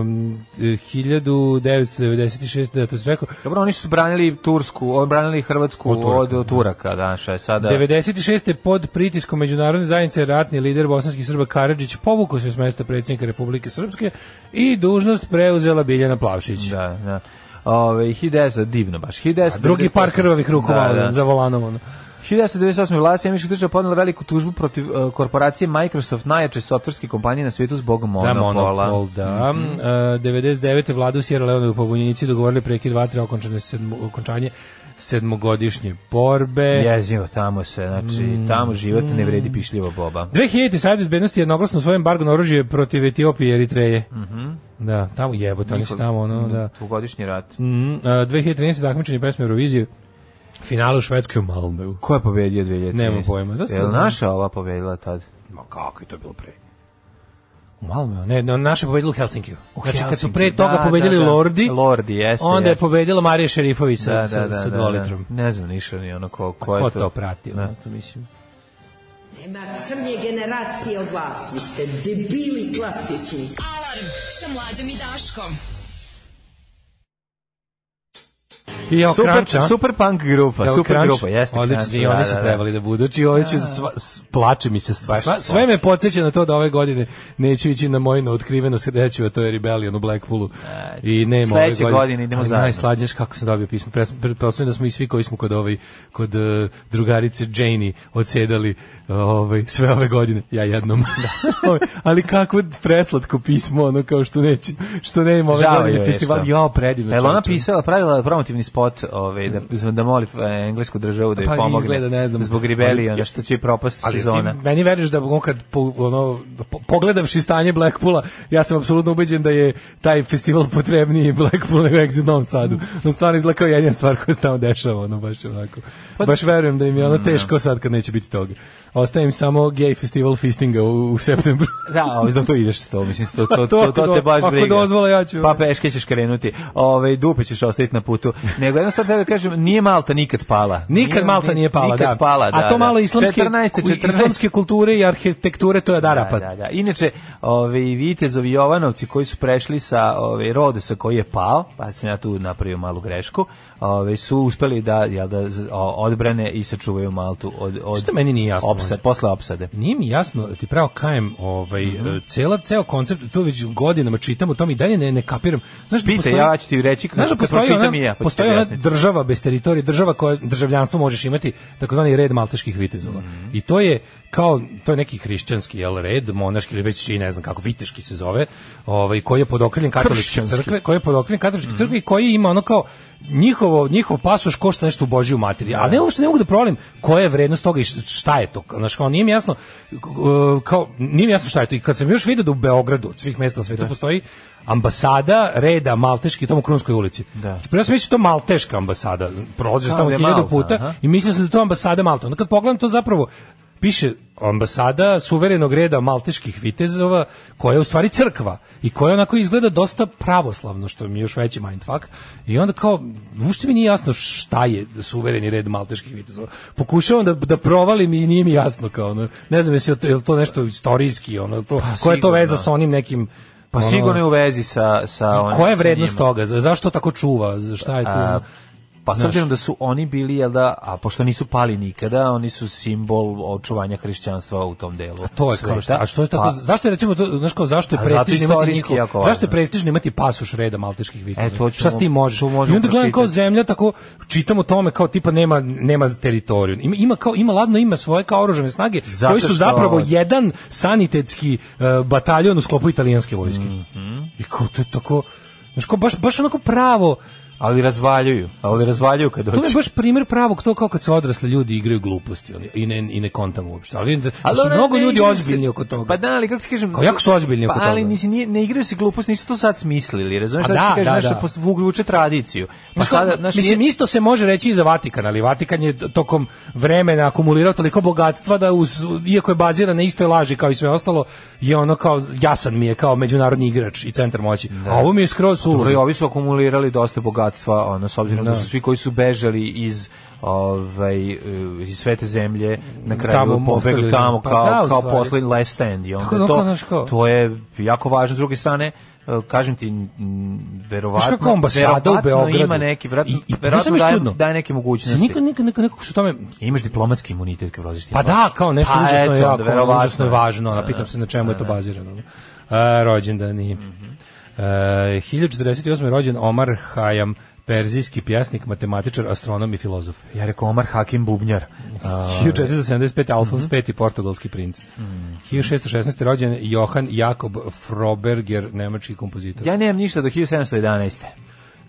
Speaker 5: Um, 1996, da to se rekao,
Speaker 6: Dobro, oni su branili Tursku, odbranili Hrvatsku
Speaker 5: Od Turaka,
Speaker 6: od, od Turaka, da, šta je sada...
Speaker 5: 96. je pod pritiskom međunarodne zajednice ratni lider bosanskih Srba Karadžić povukao se s mesta predsjednika Republike Srpske i dužnost preuzela Biljana Plavšić.
Speaker 6: Da, da. Ove, 1900, divno baš. 1900,
Speaker 5: A drugi par krvavih ruku
Speaker 6: Da,
Speaker 5: malo
Speaker 6: da.
Speaker 5: za volanom. Ono.
Speaker 6: 1998. vlada Sjemiških država podnela veliku tužbu protiv e, korporacije Microsoft, najjače softverske kompanije na svijetu zbog
Speaker 5: Za
Speaker 6: monopola.
Speaker 5: monopol, da.
Speaker 6: Mhm.
Speaker 5: Mm -hmm. uh, 99. vlada u Sierra Leone u pobunjenici dogovorili prekid vatre okončane sedmo, okončanje sedmogodišnje borbe.
Speaker 6: Jezivo, tamo se, znači,
Speaker 5: Mm.
Speaker 6: tamo život ne vredi pišljivo boba.
Speaker 5: 2000. Savjet bezbednosti je jednoglasno svoj embargo na oružje protiv Etiopije i Eritreje.
Speaker 6: Mhm.
Speaker 5: Da, tamo jebote, oni su tamo, ono, da.
Speaker 6: Dvogodišnji rat.
Speaker 5: Mm, uh, 2013. takmičenje pesme Eurovizije, finale u Švedskoj u Malmeu.
Speaker 6: Ko je pobedio 2013?
Speaker 5: Nemam pojma, da ste-
Speaker 6: je li naša ova pobedila tad?
Speaker 5: Ma kako je to bilo pre? U Malmeu, ne, ne naše je pobedilo u Helsinkiju. znači, kad su
Speaker 6: Helsinki,
Speaker 5: pre toga
Speaker 6: da,
Speaker 5: pobedili
Speaker 6: da, da.
Speaker 5: Lordi,
Speaker 6: Lordi, jeste,
Speaker 5: onda je
Speaker 6: jeste. Da,
Speaker 5: pobedila Marija Šerifović sa, sa, sa dvolitrom.
Speaker 6: Ne znam ništa ni ono ko, ko je
Speaker 5: Ko
Speaker 6: to.
Speaker 5: to prati,
Speaker 6: Da.
Speaker 5: ono, to mislim.
Speaker 4: Nema crnje generacije od vas. Vi ste debili klasični.
Speaker 1: Alarm sa mlađom i Daškom.
Speaker 5: I
Speaker 6: Super,
Speaker 5: Okranča.
Speaker 6: super punk grupa,
Speaker 5: Evo,
Speaker 6: super
Speaker 5: Crunch,
Speaker 6: grupa, jeste.
Speaker 5: Odlični,
Speaker 6: Crunch,
Speaker 5: i
Speaker 6: da,
Speaker 5: oni su
Speaker 6: da, da.
Speaker 5: trebali da budu. Znači, ovo ću, sva, s- plače mi se stvar. Sva, sve me podsjeća na to da ove godine neću ići na moju neotkrivenu sreću, a to je Rebellion u Blackpoolu. I nema ove
Speaker 6: Sledeće godine idemo
Speaker 5: Ali
Speaker 6: zajedno.
Speaker 5: Najslađe je kako sam dobio pismo. Pre- Pretpostavljam da smo i svi koji smo kod, ovaj, kod eh, drugarice Janie odsedali ovaj, sve ove godine. Ja jednom. Ovaj, Ali kako preslatko pismo, ono kao što neću, što nema ove
Speaker 6: Žao joj
Speaker 5: godine
Speaker 6: je
Speaker 5: festival.
Speaker 6: što.
Speaker 5: Jao, predivno.
Speaker 6: Jel ona
Speaker 5: čoveče.
Speaker 6: pisala, pravila promotivni spot ovaj, da, da moli e, englesku državu da joj
Speaker 5: Pa
Speaker 6: pomogne
Speaker 5: izgleda, ne znam.
Speaker 6: zbog rebelije,
Speaker 5: Ali-
Speaker 6: ono što će i propast
Speaker 5: Ali
Speaker 6: sezona.
Speaker 5: ti meni veriš da ono kad po, ono, po, pogledavši stanje Blackpoola, ja sam apsolutno ubeđen da je taj festival potrebniji Blackpool nego Exit Novom Sadu. No stvarno izgleda kao jedina stvar koja se tamo dešava, ono baš onako. baš verujem da im je ono teško sad kad neće biti toga. Ostaje im samo gay festival fistinga u, u septembru.
Speaker 6: Da, ali znam to ideš s to, mislim, to, to,
Speaker 5: to
Speaker 6: to,
Speaker 5: ako
Speaker 6: to te
Speaker 5: do-
Speaker 6: baš
Speaker 5: ako
Speaker 6: briga.
Speaker 5: dozvole, ja ću.
Speaker 6: Pa peške ćeš krenuti, ove, dupe ćeš ostaviti na putu. nego jedna stvar tebe kažem, nije Malta nikad pala.
Speaker 5: Nikad
Speaker 6: Nije-
Speaker 5: Malta nije pala,
Speaker 6: nikad
Speaker 5: da.
Speaker 6: pala, da.
Speaker 5: A to malo
Speaker 6: da.
Speaker 5: islamske,
Speaker 6: 14. 14.
Speaker 5: islamske kulture i arhitekture, to je od Arapa.
Speaker 6: Da, da, da. Inače, ove, i Vitezovi Jovanovci koji su prešli sa ove, Rodosa koji je pao, pa sam ja tu napravio malu grešku, ove, su uspeli da, jel da z- o- odbrane i sačuvaju Maltu od, od
Speaker 5: Što meni nije jasno.
Speaker 6: opsa- posle opsade.
Speaker 5: Nije mi jasno, ti pravo kajem, ovaj,
Speaker 6: Mhm.
Speaker 5: e, cela, ceo koncept, to već godinama čitam o tom i dalje ne, ne kapiram. Znaš, da
Speaker 6: Pite, ja ću ti reći kad-
Speaker 5: znaš da
Speaker 6: kad
Speaker 5: postoji
Speaker 6: pročitam
Speaker 5: ona,
Speaker 6: i ja, pa ću ti
Speaker 5: postoji ona
Speaker 6: objasniti.
Speaker 5: država bez teritorije, država koja državljanstvo možeš imati, takozvani red malteških vitezova.
Speaker 6: Mhm.
Speaker 5: I to je kao, to je neki hrišćanski jel, red, monaški ili već čiji, ne znam kako, viteški se zove, ovaj, koji je pod okriljem katoličke
Speaker 6: Kršćanski.
Speaker 5: crkve, koji je pod okriljem katoličke crkve i koji ima ono kao njihovo, njihov pasoš košta nešto u Božiju materiju. Ali ne, uopšte ne mogu da provalim koja je vrednost toga i š- šta je to. Znaš, kao nije mi jasno, k- e, kao, nije mi jasno šta je to. I kad sam još vidio da u Beogradu, od svih mesta na
Speaker 6: Da.
Speaker 5: svetu, postoji ambasada reda malteški tamo u Krunskoj ulici.
Speaker 6: Da.
Speaker 5: Znači, prvo sam mislio da je to malteška ambasada. Prođe
Speaker 6: Kao
Speaker 5: tamo
Speaker 6: da je
Speaker 5: hiljadu
Speaker 6: Malta,
Speaker 5: puta
Speaker 6: aha.
Speaker 5: i mislio sam da je to ambasada Malta. Onda kad pogledam to zapravo piše ambasada suverenog reda malteških vitezova koja je u stvari crkva i koja onako izgleda dosta pravoslavno što mi je još veći mindfuck i onda kao uopšte mi nije jasno šta je suvereni red malteških vitezova pokušavam da, da provalim i nije mi jasno kao ono, ne znam jesi je li to nešto istorijski ono, je li to, koja je
Speaker 6: Pa sigurno.
Speaker 5: to veza sa onim nekim
Speaker 6: Pa
Speaker 5: ono,
Speaker 6: sigurno je u vezi sa... sa onim-
Speaker 5: koja je
Speaker 6: sa
Speaker 5: vrednost
Speaker 6: njima.
Speaker 5: toga Za- zašto tako čuva Za šta je tu
Speaker 6: A,
Speaker 5: ono?
Speaker 6: pa s
Speaker 5: Znaš.
Speaker 6: obzirom da su oni bili, jel da, a pošto nisu pali nikada, oni su simbol očuvanja hrišćanstva u tom delu.
Speaker 5: To je kao šta, a što je tako,
Speaker 6: Pa,
Speaker 5: zašto je recimo, to, znaš kao, zašto je
Speaker 6: A zato
Speaker 5: prestižno imati
Speaker 6: istorijski
Speaker 5: njihov,
Speaker 6: jako važno.
Speaker 5: zašto je prestižno imati pasoš reda malteških viteza?
Speaker 6: E, to ćemo-
Speaker 5: Šta s tim možeš?
Speaker 6: to možemo
Speaker 5: I onda gledam kao
Speaker 6: pročitati.
Speaker 5: zemlja, tako, čitam o tome kao tipa nema, nema teritoriju. Ima, ima kao, ima ladno ima svoje kao oružane snage,
Speaker 6: Zato
Speaker 5: koji su
Speaker 6: što-
Speaker 5: zapravo jedan sanitetski e, bataljon u sklopu italijanske vojske.
Speaker 6: Mhm.
Speaker 5: I kao, to je tako, znaš kao, baš, baš onako pravo,
Speaker 6: ali razvaljuju, ali razvaljuju kad
Speaker 5: To mi je
Speaker 6: dođe.
Speaker 5: baš primjer pravog to kao kad se odrasli ljudi igraju gluposti ono, i ne, i ne kontam uopšte. Ali vidim da, da su
Speaker 6: dobro,
Speaker 5: mnogo
Speaker 6: ne
Speaker 5: ljudi
Speaker 6: igraju
Speaker 5: ozbiljni
Speaker 6: se-
Speaker 5: oko toga.
Speaker 6: Pa da, ali kako ti kažem...
Speaker 5: Kao jako su ozbiljni
Speaker 6: pa,
Speaker 5: oko toga.
Speaker 6: Ali nisi, nije, ne igraju se glupost, nisu to sad smislili, razumiješ?
Speaker 5: Pa
Speaker 6: Da, da,
Speaker 5: da, da,
Speaker 6: kažem, da,
Speaker 5: da.
Speaker 6: vuče tradiciju. Pa
Speaker 5: Znaš kao,
Speaker 6: sada, znaš,
Speaker 5: mislim,
Speaker 6: nije-
Speaker 5: isto se može reći i za Vatikan, ali Vatikan je tokom vremena akumulirao toliko bogatstva da, uz, iako je baziran na istoj laži kao i sve ostalo, je ono kao, jasan mi je kao međunarodni igrač i centar moći. A ovo mi je skroz
Speaker 6: Da. Pa Dobro, i
Speaker 5: ulo.
Speaker 6: ovi su akumulirali dosta bogatstva, ono, s obzirom da.
Speaker 5: Da.
Speaker 6: su svi koji su bežali iz ovaj e, iz svete zemlje na kraju
Speaker 5: Tamo
Speaker 6: pobegli
Speaker 5: ostavili.
Speaker 6: tamo
Speaker 5: Pa
Speaker 6: kao
Speaker 5: da, u
Speaker 6: kao
Speaker 5: stvari.
Speaker 6: poslednji last stand i onda
Speaker 5: Tako da,
Speaker 6: to
Speaker 5: kao, znaš, kao-
Speaker 6: to je jako važno s druge strane e, kažem ti m, verovatno
Speaker 5: Znaš kako ambasada u
Speaker 6: verovatno
Speaker 5: Beogradu?
Speaker 6: ima neki verovatno,
Speaker 5: I- i-
Speaker 6: verovatno
Speaker 5: znaš šta mi je
Speaker 6: daje,
Speaker 5: čudno?
Speaker 6: daje neke
Speaker 5: Znači,
Speaker 6: mogućnosti
Speaker 5: niko, niko, niko, nekako su tome
Speaker 6: imaš diplomatski imunitet kad voziš
Speaker 5: Pa da, kao nešto
Speaker 6: Pa
Speaker 5: užasno je
Speaker 6: eto,
Speaker 5: jako,
Speaker 6: verovatno. Da,
Speaker 5: užasno je važno, ono, pitam se na čemu je to bazirano. ono. A, rođendani.
Speaker 6: Mhm.
Speaker 5: E, 1048. je rođen Omar Hayam, perzijski pjesnik, matematičar, astronom i filozof.
Speaker 6: ja rekao Omar Hakim Bubnjar
Speaker 5: Pa-
Speaker 6: A,
Speaker 5: 1475. Alfons V, portugalski princ. 1616. je rođen Johan Jakob Froberger, nemački kompozitor.
Speaker 6: ja nemam ništa do 1711.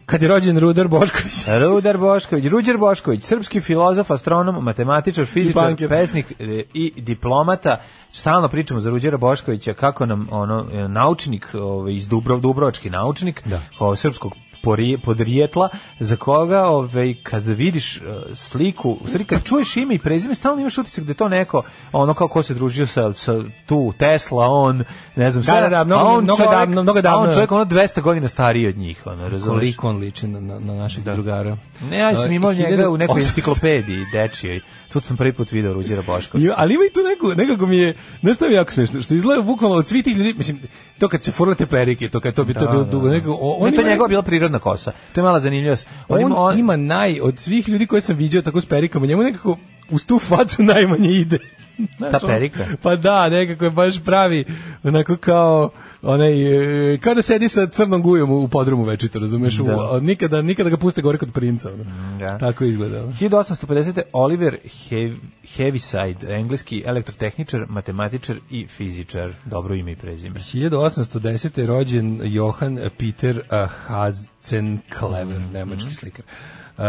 Speaker 5: Kad je rođen Rudar Bošković.
Speaker 6: Rudar Bošković, Ruđer Bošković, srpski filozof, astronom, matematičar, fizičar,
Speaker 5: banker.
Speaker 6: pesnik e, i diplomata. Stalno pričamo za Ruđera Boškovića kako nam ono e, naučnik ovaj iz Dubrov Dubrovački naučnik,
Speaker 5: Da.
Speaker 6: ovaj, srpskog pori- podrijetla za koga ovaj kad vidiš e, sliku u stvari kad čuješ ime i prezime stalno imaš utisak da je to neko ono kao ko se družio sa, sa tu Tesla on ne znam
Speaker 5: Da,
Speaker 6: sve,
Speaker 5: da, da,
Speaker 6: a
Speaker 5: mnogo-
Speaker 6: on
Speaker 5: mnogo
Speaker 6: čovjek-
Speaker 5: davno- mnogo
Speaker 6: a on
Speaker 5: davno.
Speaker 6: čovjek ono 200 godina stariji od njih ono razumeš
Speaker 5: Koliko on liči na, na, na našeg drugara.
Speaker 6: ne, ja sam
Speaker 5: E,
Speaker 6: imao njega u nekoj
Speaker 5: 1800.
Speaker 6: enciklopediji dečijoj. Tu sam prvi put video Ruđera Boškovića.
Speaker 5: Jo, ali ima i tu neku, nekako mi je, znaš šta mi je jako smiješno, što izgleda bukvalno od svih tih ljudi, mislim, to kad se furlate perike, to kad to bi to bilo dugo, nekako, o- on
Speaker 6: Ne, to
Speaker 5: ima-
Speaker 6: njegova bila prirodna kosa. To je mala zanimljivost.
Speaker 5: on, ima naj, od svih ljudi koje sam viđao tako s perikama, njemu nekako uz tu facu najmanje ide. Znaš,
Speaker 6: Ta
Speaker 5: ono,
Speaker 6: perika?
Speaker 5: Pa da, nekako je baš pravi, onako kao, onaj, e, kao da sedi sa crnom gujom u u podrumu večito, razumeš? U-
Speaker 6: Da.
Speaker 5: a nikada, nikada ga puste gore kod princa. ono.
Speaker 6: da.
Speaker 5: Tako izgleda. ono.
Speaker 6: 1850. Oliver Hev- Heaviside, engleski elektrotehničar, matematičar i fizičar. Dobro ime i prezime.
Speaker 5: 1810. je rođen Johan Peter uh, Hazenklever,
Speaker 6: Mm.
Speaker 5: nemački slikar. Uh,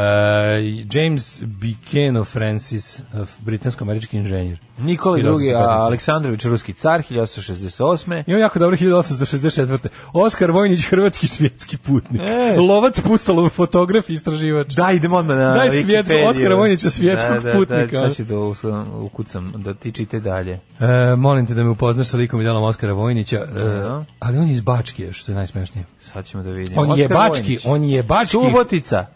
Speaker 5: James Bikeno Francis, uh, britansko-američki inženjer.
Speaker 6: Nikola II.
Speaker 5: 1815.
Speaker 6: Aleksandrović, ruski car, 1868.
Speaker 5: Imam jako dobro 1864. Oskar Vojnić, hrvatski svjetski putnik.
Speaker 6: E.
Speaker 5: Lovac pustalo fotograf i istraživač.
Speaker 6: Da, idemo odmah na
Speaker 5: Daj svjetskog,
Speaker 6: Wikipediju.
Speaker 5: Oskara Vojnića, svjetskog
Speaker 6: da, da,
Speaker 5: putnika.
Speaker 6: Da, sad ću da us- ukucam, da ti čite dalje.
Speaker 5: E, molim te da me upoznaš sa likom i delom Oskara Vojnića. E,
Speaker 6: Da.
Speaker 5: ali on je iz Bačke, što je najsmešnije.
Speaker 6: Sad ćemo da vidimo.
Speaker 5: On je
Speaker 6: Oskar
Speaker 5: bački,
Speaker 6: Vojnić.
Speaker 5: on je bački.
Speaker 6: Subotica.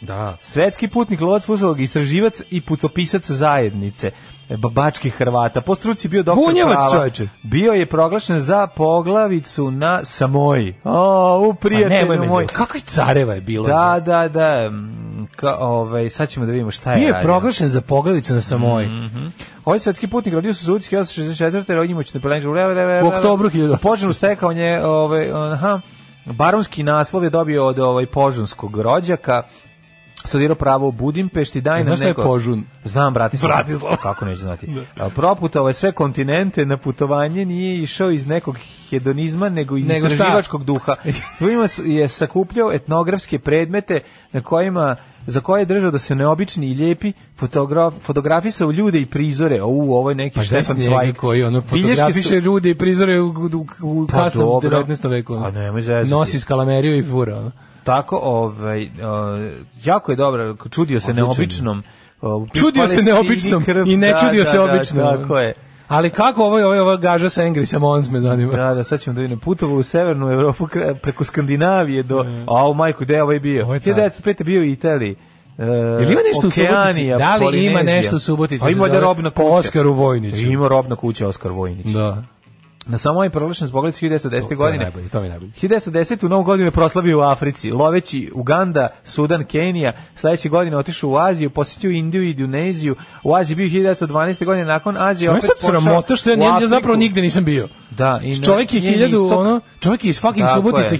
Speaker 5: Da.
Speaker 6: Svetski putnik, lovac pusolog, istraživac i putopisac zajednice babačkih Hrvata. Po struci bio doktor
Speaker 5: Bunjevac,
Speaker 6: prava.
Speaker 5: čoveče.
Speaker 6: Bio je proglašen za poglavicu na Samoji. O, u
Speaker 5: Pa nemoj
Speaker 6: prijatelju
Speaker 5: me
Speaker 6: moj.
Speaker 5: zezati. Kako je careva je bilo?
Speaker 6: Da, da, da. Mm, Ka, ovaj, sad ćemo da vidimo šta je
Speaker 5: Bio je
Speaker 6: radio.
Speaker 5: proglašen za poglavicu na samoj.
Speaker 6: Ovaj svetski putnik rodio se u Zudski 864. rođen mu će na pelenđu.
Speaker 5: U oktobru 1800.
Speaker 6: Požun stekao nje, ovaj, aha, baronski naslov je dobio od ovaj požunskog rođaka. Studirao pravo u Budimpešti, daj nam
Speaker 5: E, Znaš šta je
Speaker 6: pa, neko...
Speaker 5: Požun?
Speaker 6: Znam, Bratislava.
Speaker 5: Bratislava. Da.
Speaker 6: Kako neću znati. A, Proputovao je sve kontinente, na putovanje nije išao iz nekog hedonizma, nego iz
Speaker 5: Nego šta?
Speaker 6: istraživačkog duha. Svojima s- je sakupljao etnografske predmete na kojima za koje je držao da se neobični i lijepi fotograf, fotografisao ljude i prizore. O, u, ovo je neki
Speaker 5: Pa šta
Speaker 6: Štefan
Speaker 5: sam njega
Speaker 6: Cvajg.
Speaker 5: koji ono
Speaker 6: Bilješke
Speaker 5: fotografiše
Speaker 6: su-
Speaker 5: ljude i prizore u, u, u
Speaker 6: Pa
Speaker 5: kasnom
Speaker 6: dobro.
Speaker 5: 19. veku. ono.
Speaker 6: Pa nemoj zezati.
Speaker 5: Nosi skalameriju i fura. ono.
Speaker 6: Tako, ovaj, e, jako je dobro, čudio se
Speaker 5: Odličan je.
Speaker 6: neobičnom. o,
Speaker 5: Čudio se
Speaker 6: Palestini,
Speaker 5: neobičnom
Speaker 6: krv,
Speaker 5: i ne
Speaker 6: da,
Speaker 5: čudio
Speaker 6: da,
Speaker 5: se
Speaker 6: da,
Speaker 5: običnom.
Speaker 6: tako je.
Speaker 5: Ali kako ovo je ovo, je- ovo gaža sa Angry Samons me zanima.
Speaker 6: Da, da, sad ćemo da vidimo. Putovo u severnu Evropu kre- preko Skandinavije do... A, o majku, gde je ovaj bio?
Speaker 5: Ovo je car.
Speaker 6: 1905. bio u Italiji. E,
Speaker 5: Jel ima nešto u Subotici?
Speaker 6: Okeanija,
Speaker 5: Da li ima
Speaker 6: Polinezija.
Speaker 5: nešto u Subotici?
Speaker 6: A
Speaker 5: se
Speaker 6: ima da
Speaker 5: zove
Speaker 6: robna
Speaker 5: po
Speaker 6: kuća.
Speaker 5: Oskaru Vojniću.
Speaker 6: Ima robna kuća Oskar Vojnić.
Speaker 5: Da.
Speaker 6: Na samoj prolašen zbog 1910.
Speaker 5: To je
Speaker 6: godine.
Speaker 5: najbolje, to mi je najbolje.
Speaker 6: 1910. u novu godinu je proslavio u Africi, loveći Uganda, Sudan, Kenija, sledeće godine otišao u Aziju, posjetio Indiju i Indoneziju, u Aziji bio 1912. godine, nakon Azije
Speaker 5: Što je
Speaker 6: opet
Speaker 5: sad
Speaker 6: pošao
Speaker 5: sramota što ja,
Speaker 6: u
Speaker 5: nije, ja
Speaker 6: Afriku.
Speaker 5: zapravo nigde nisam bio.
Speaker 6: Da, i ne-
Speaker 5: čovjek je
Speaker 6: nije ni
Speaker 5: 1000
Speaker 6: istok.
Speaker 5: ono, čovjek je iz fucking
Speaker 6: Tako
Speaker 5: Subotice
Speaker 6: je.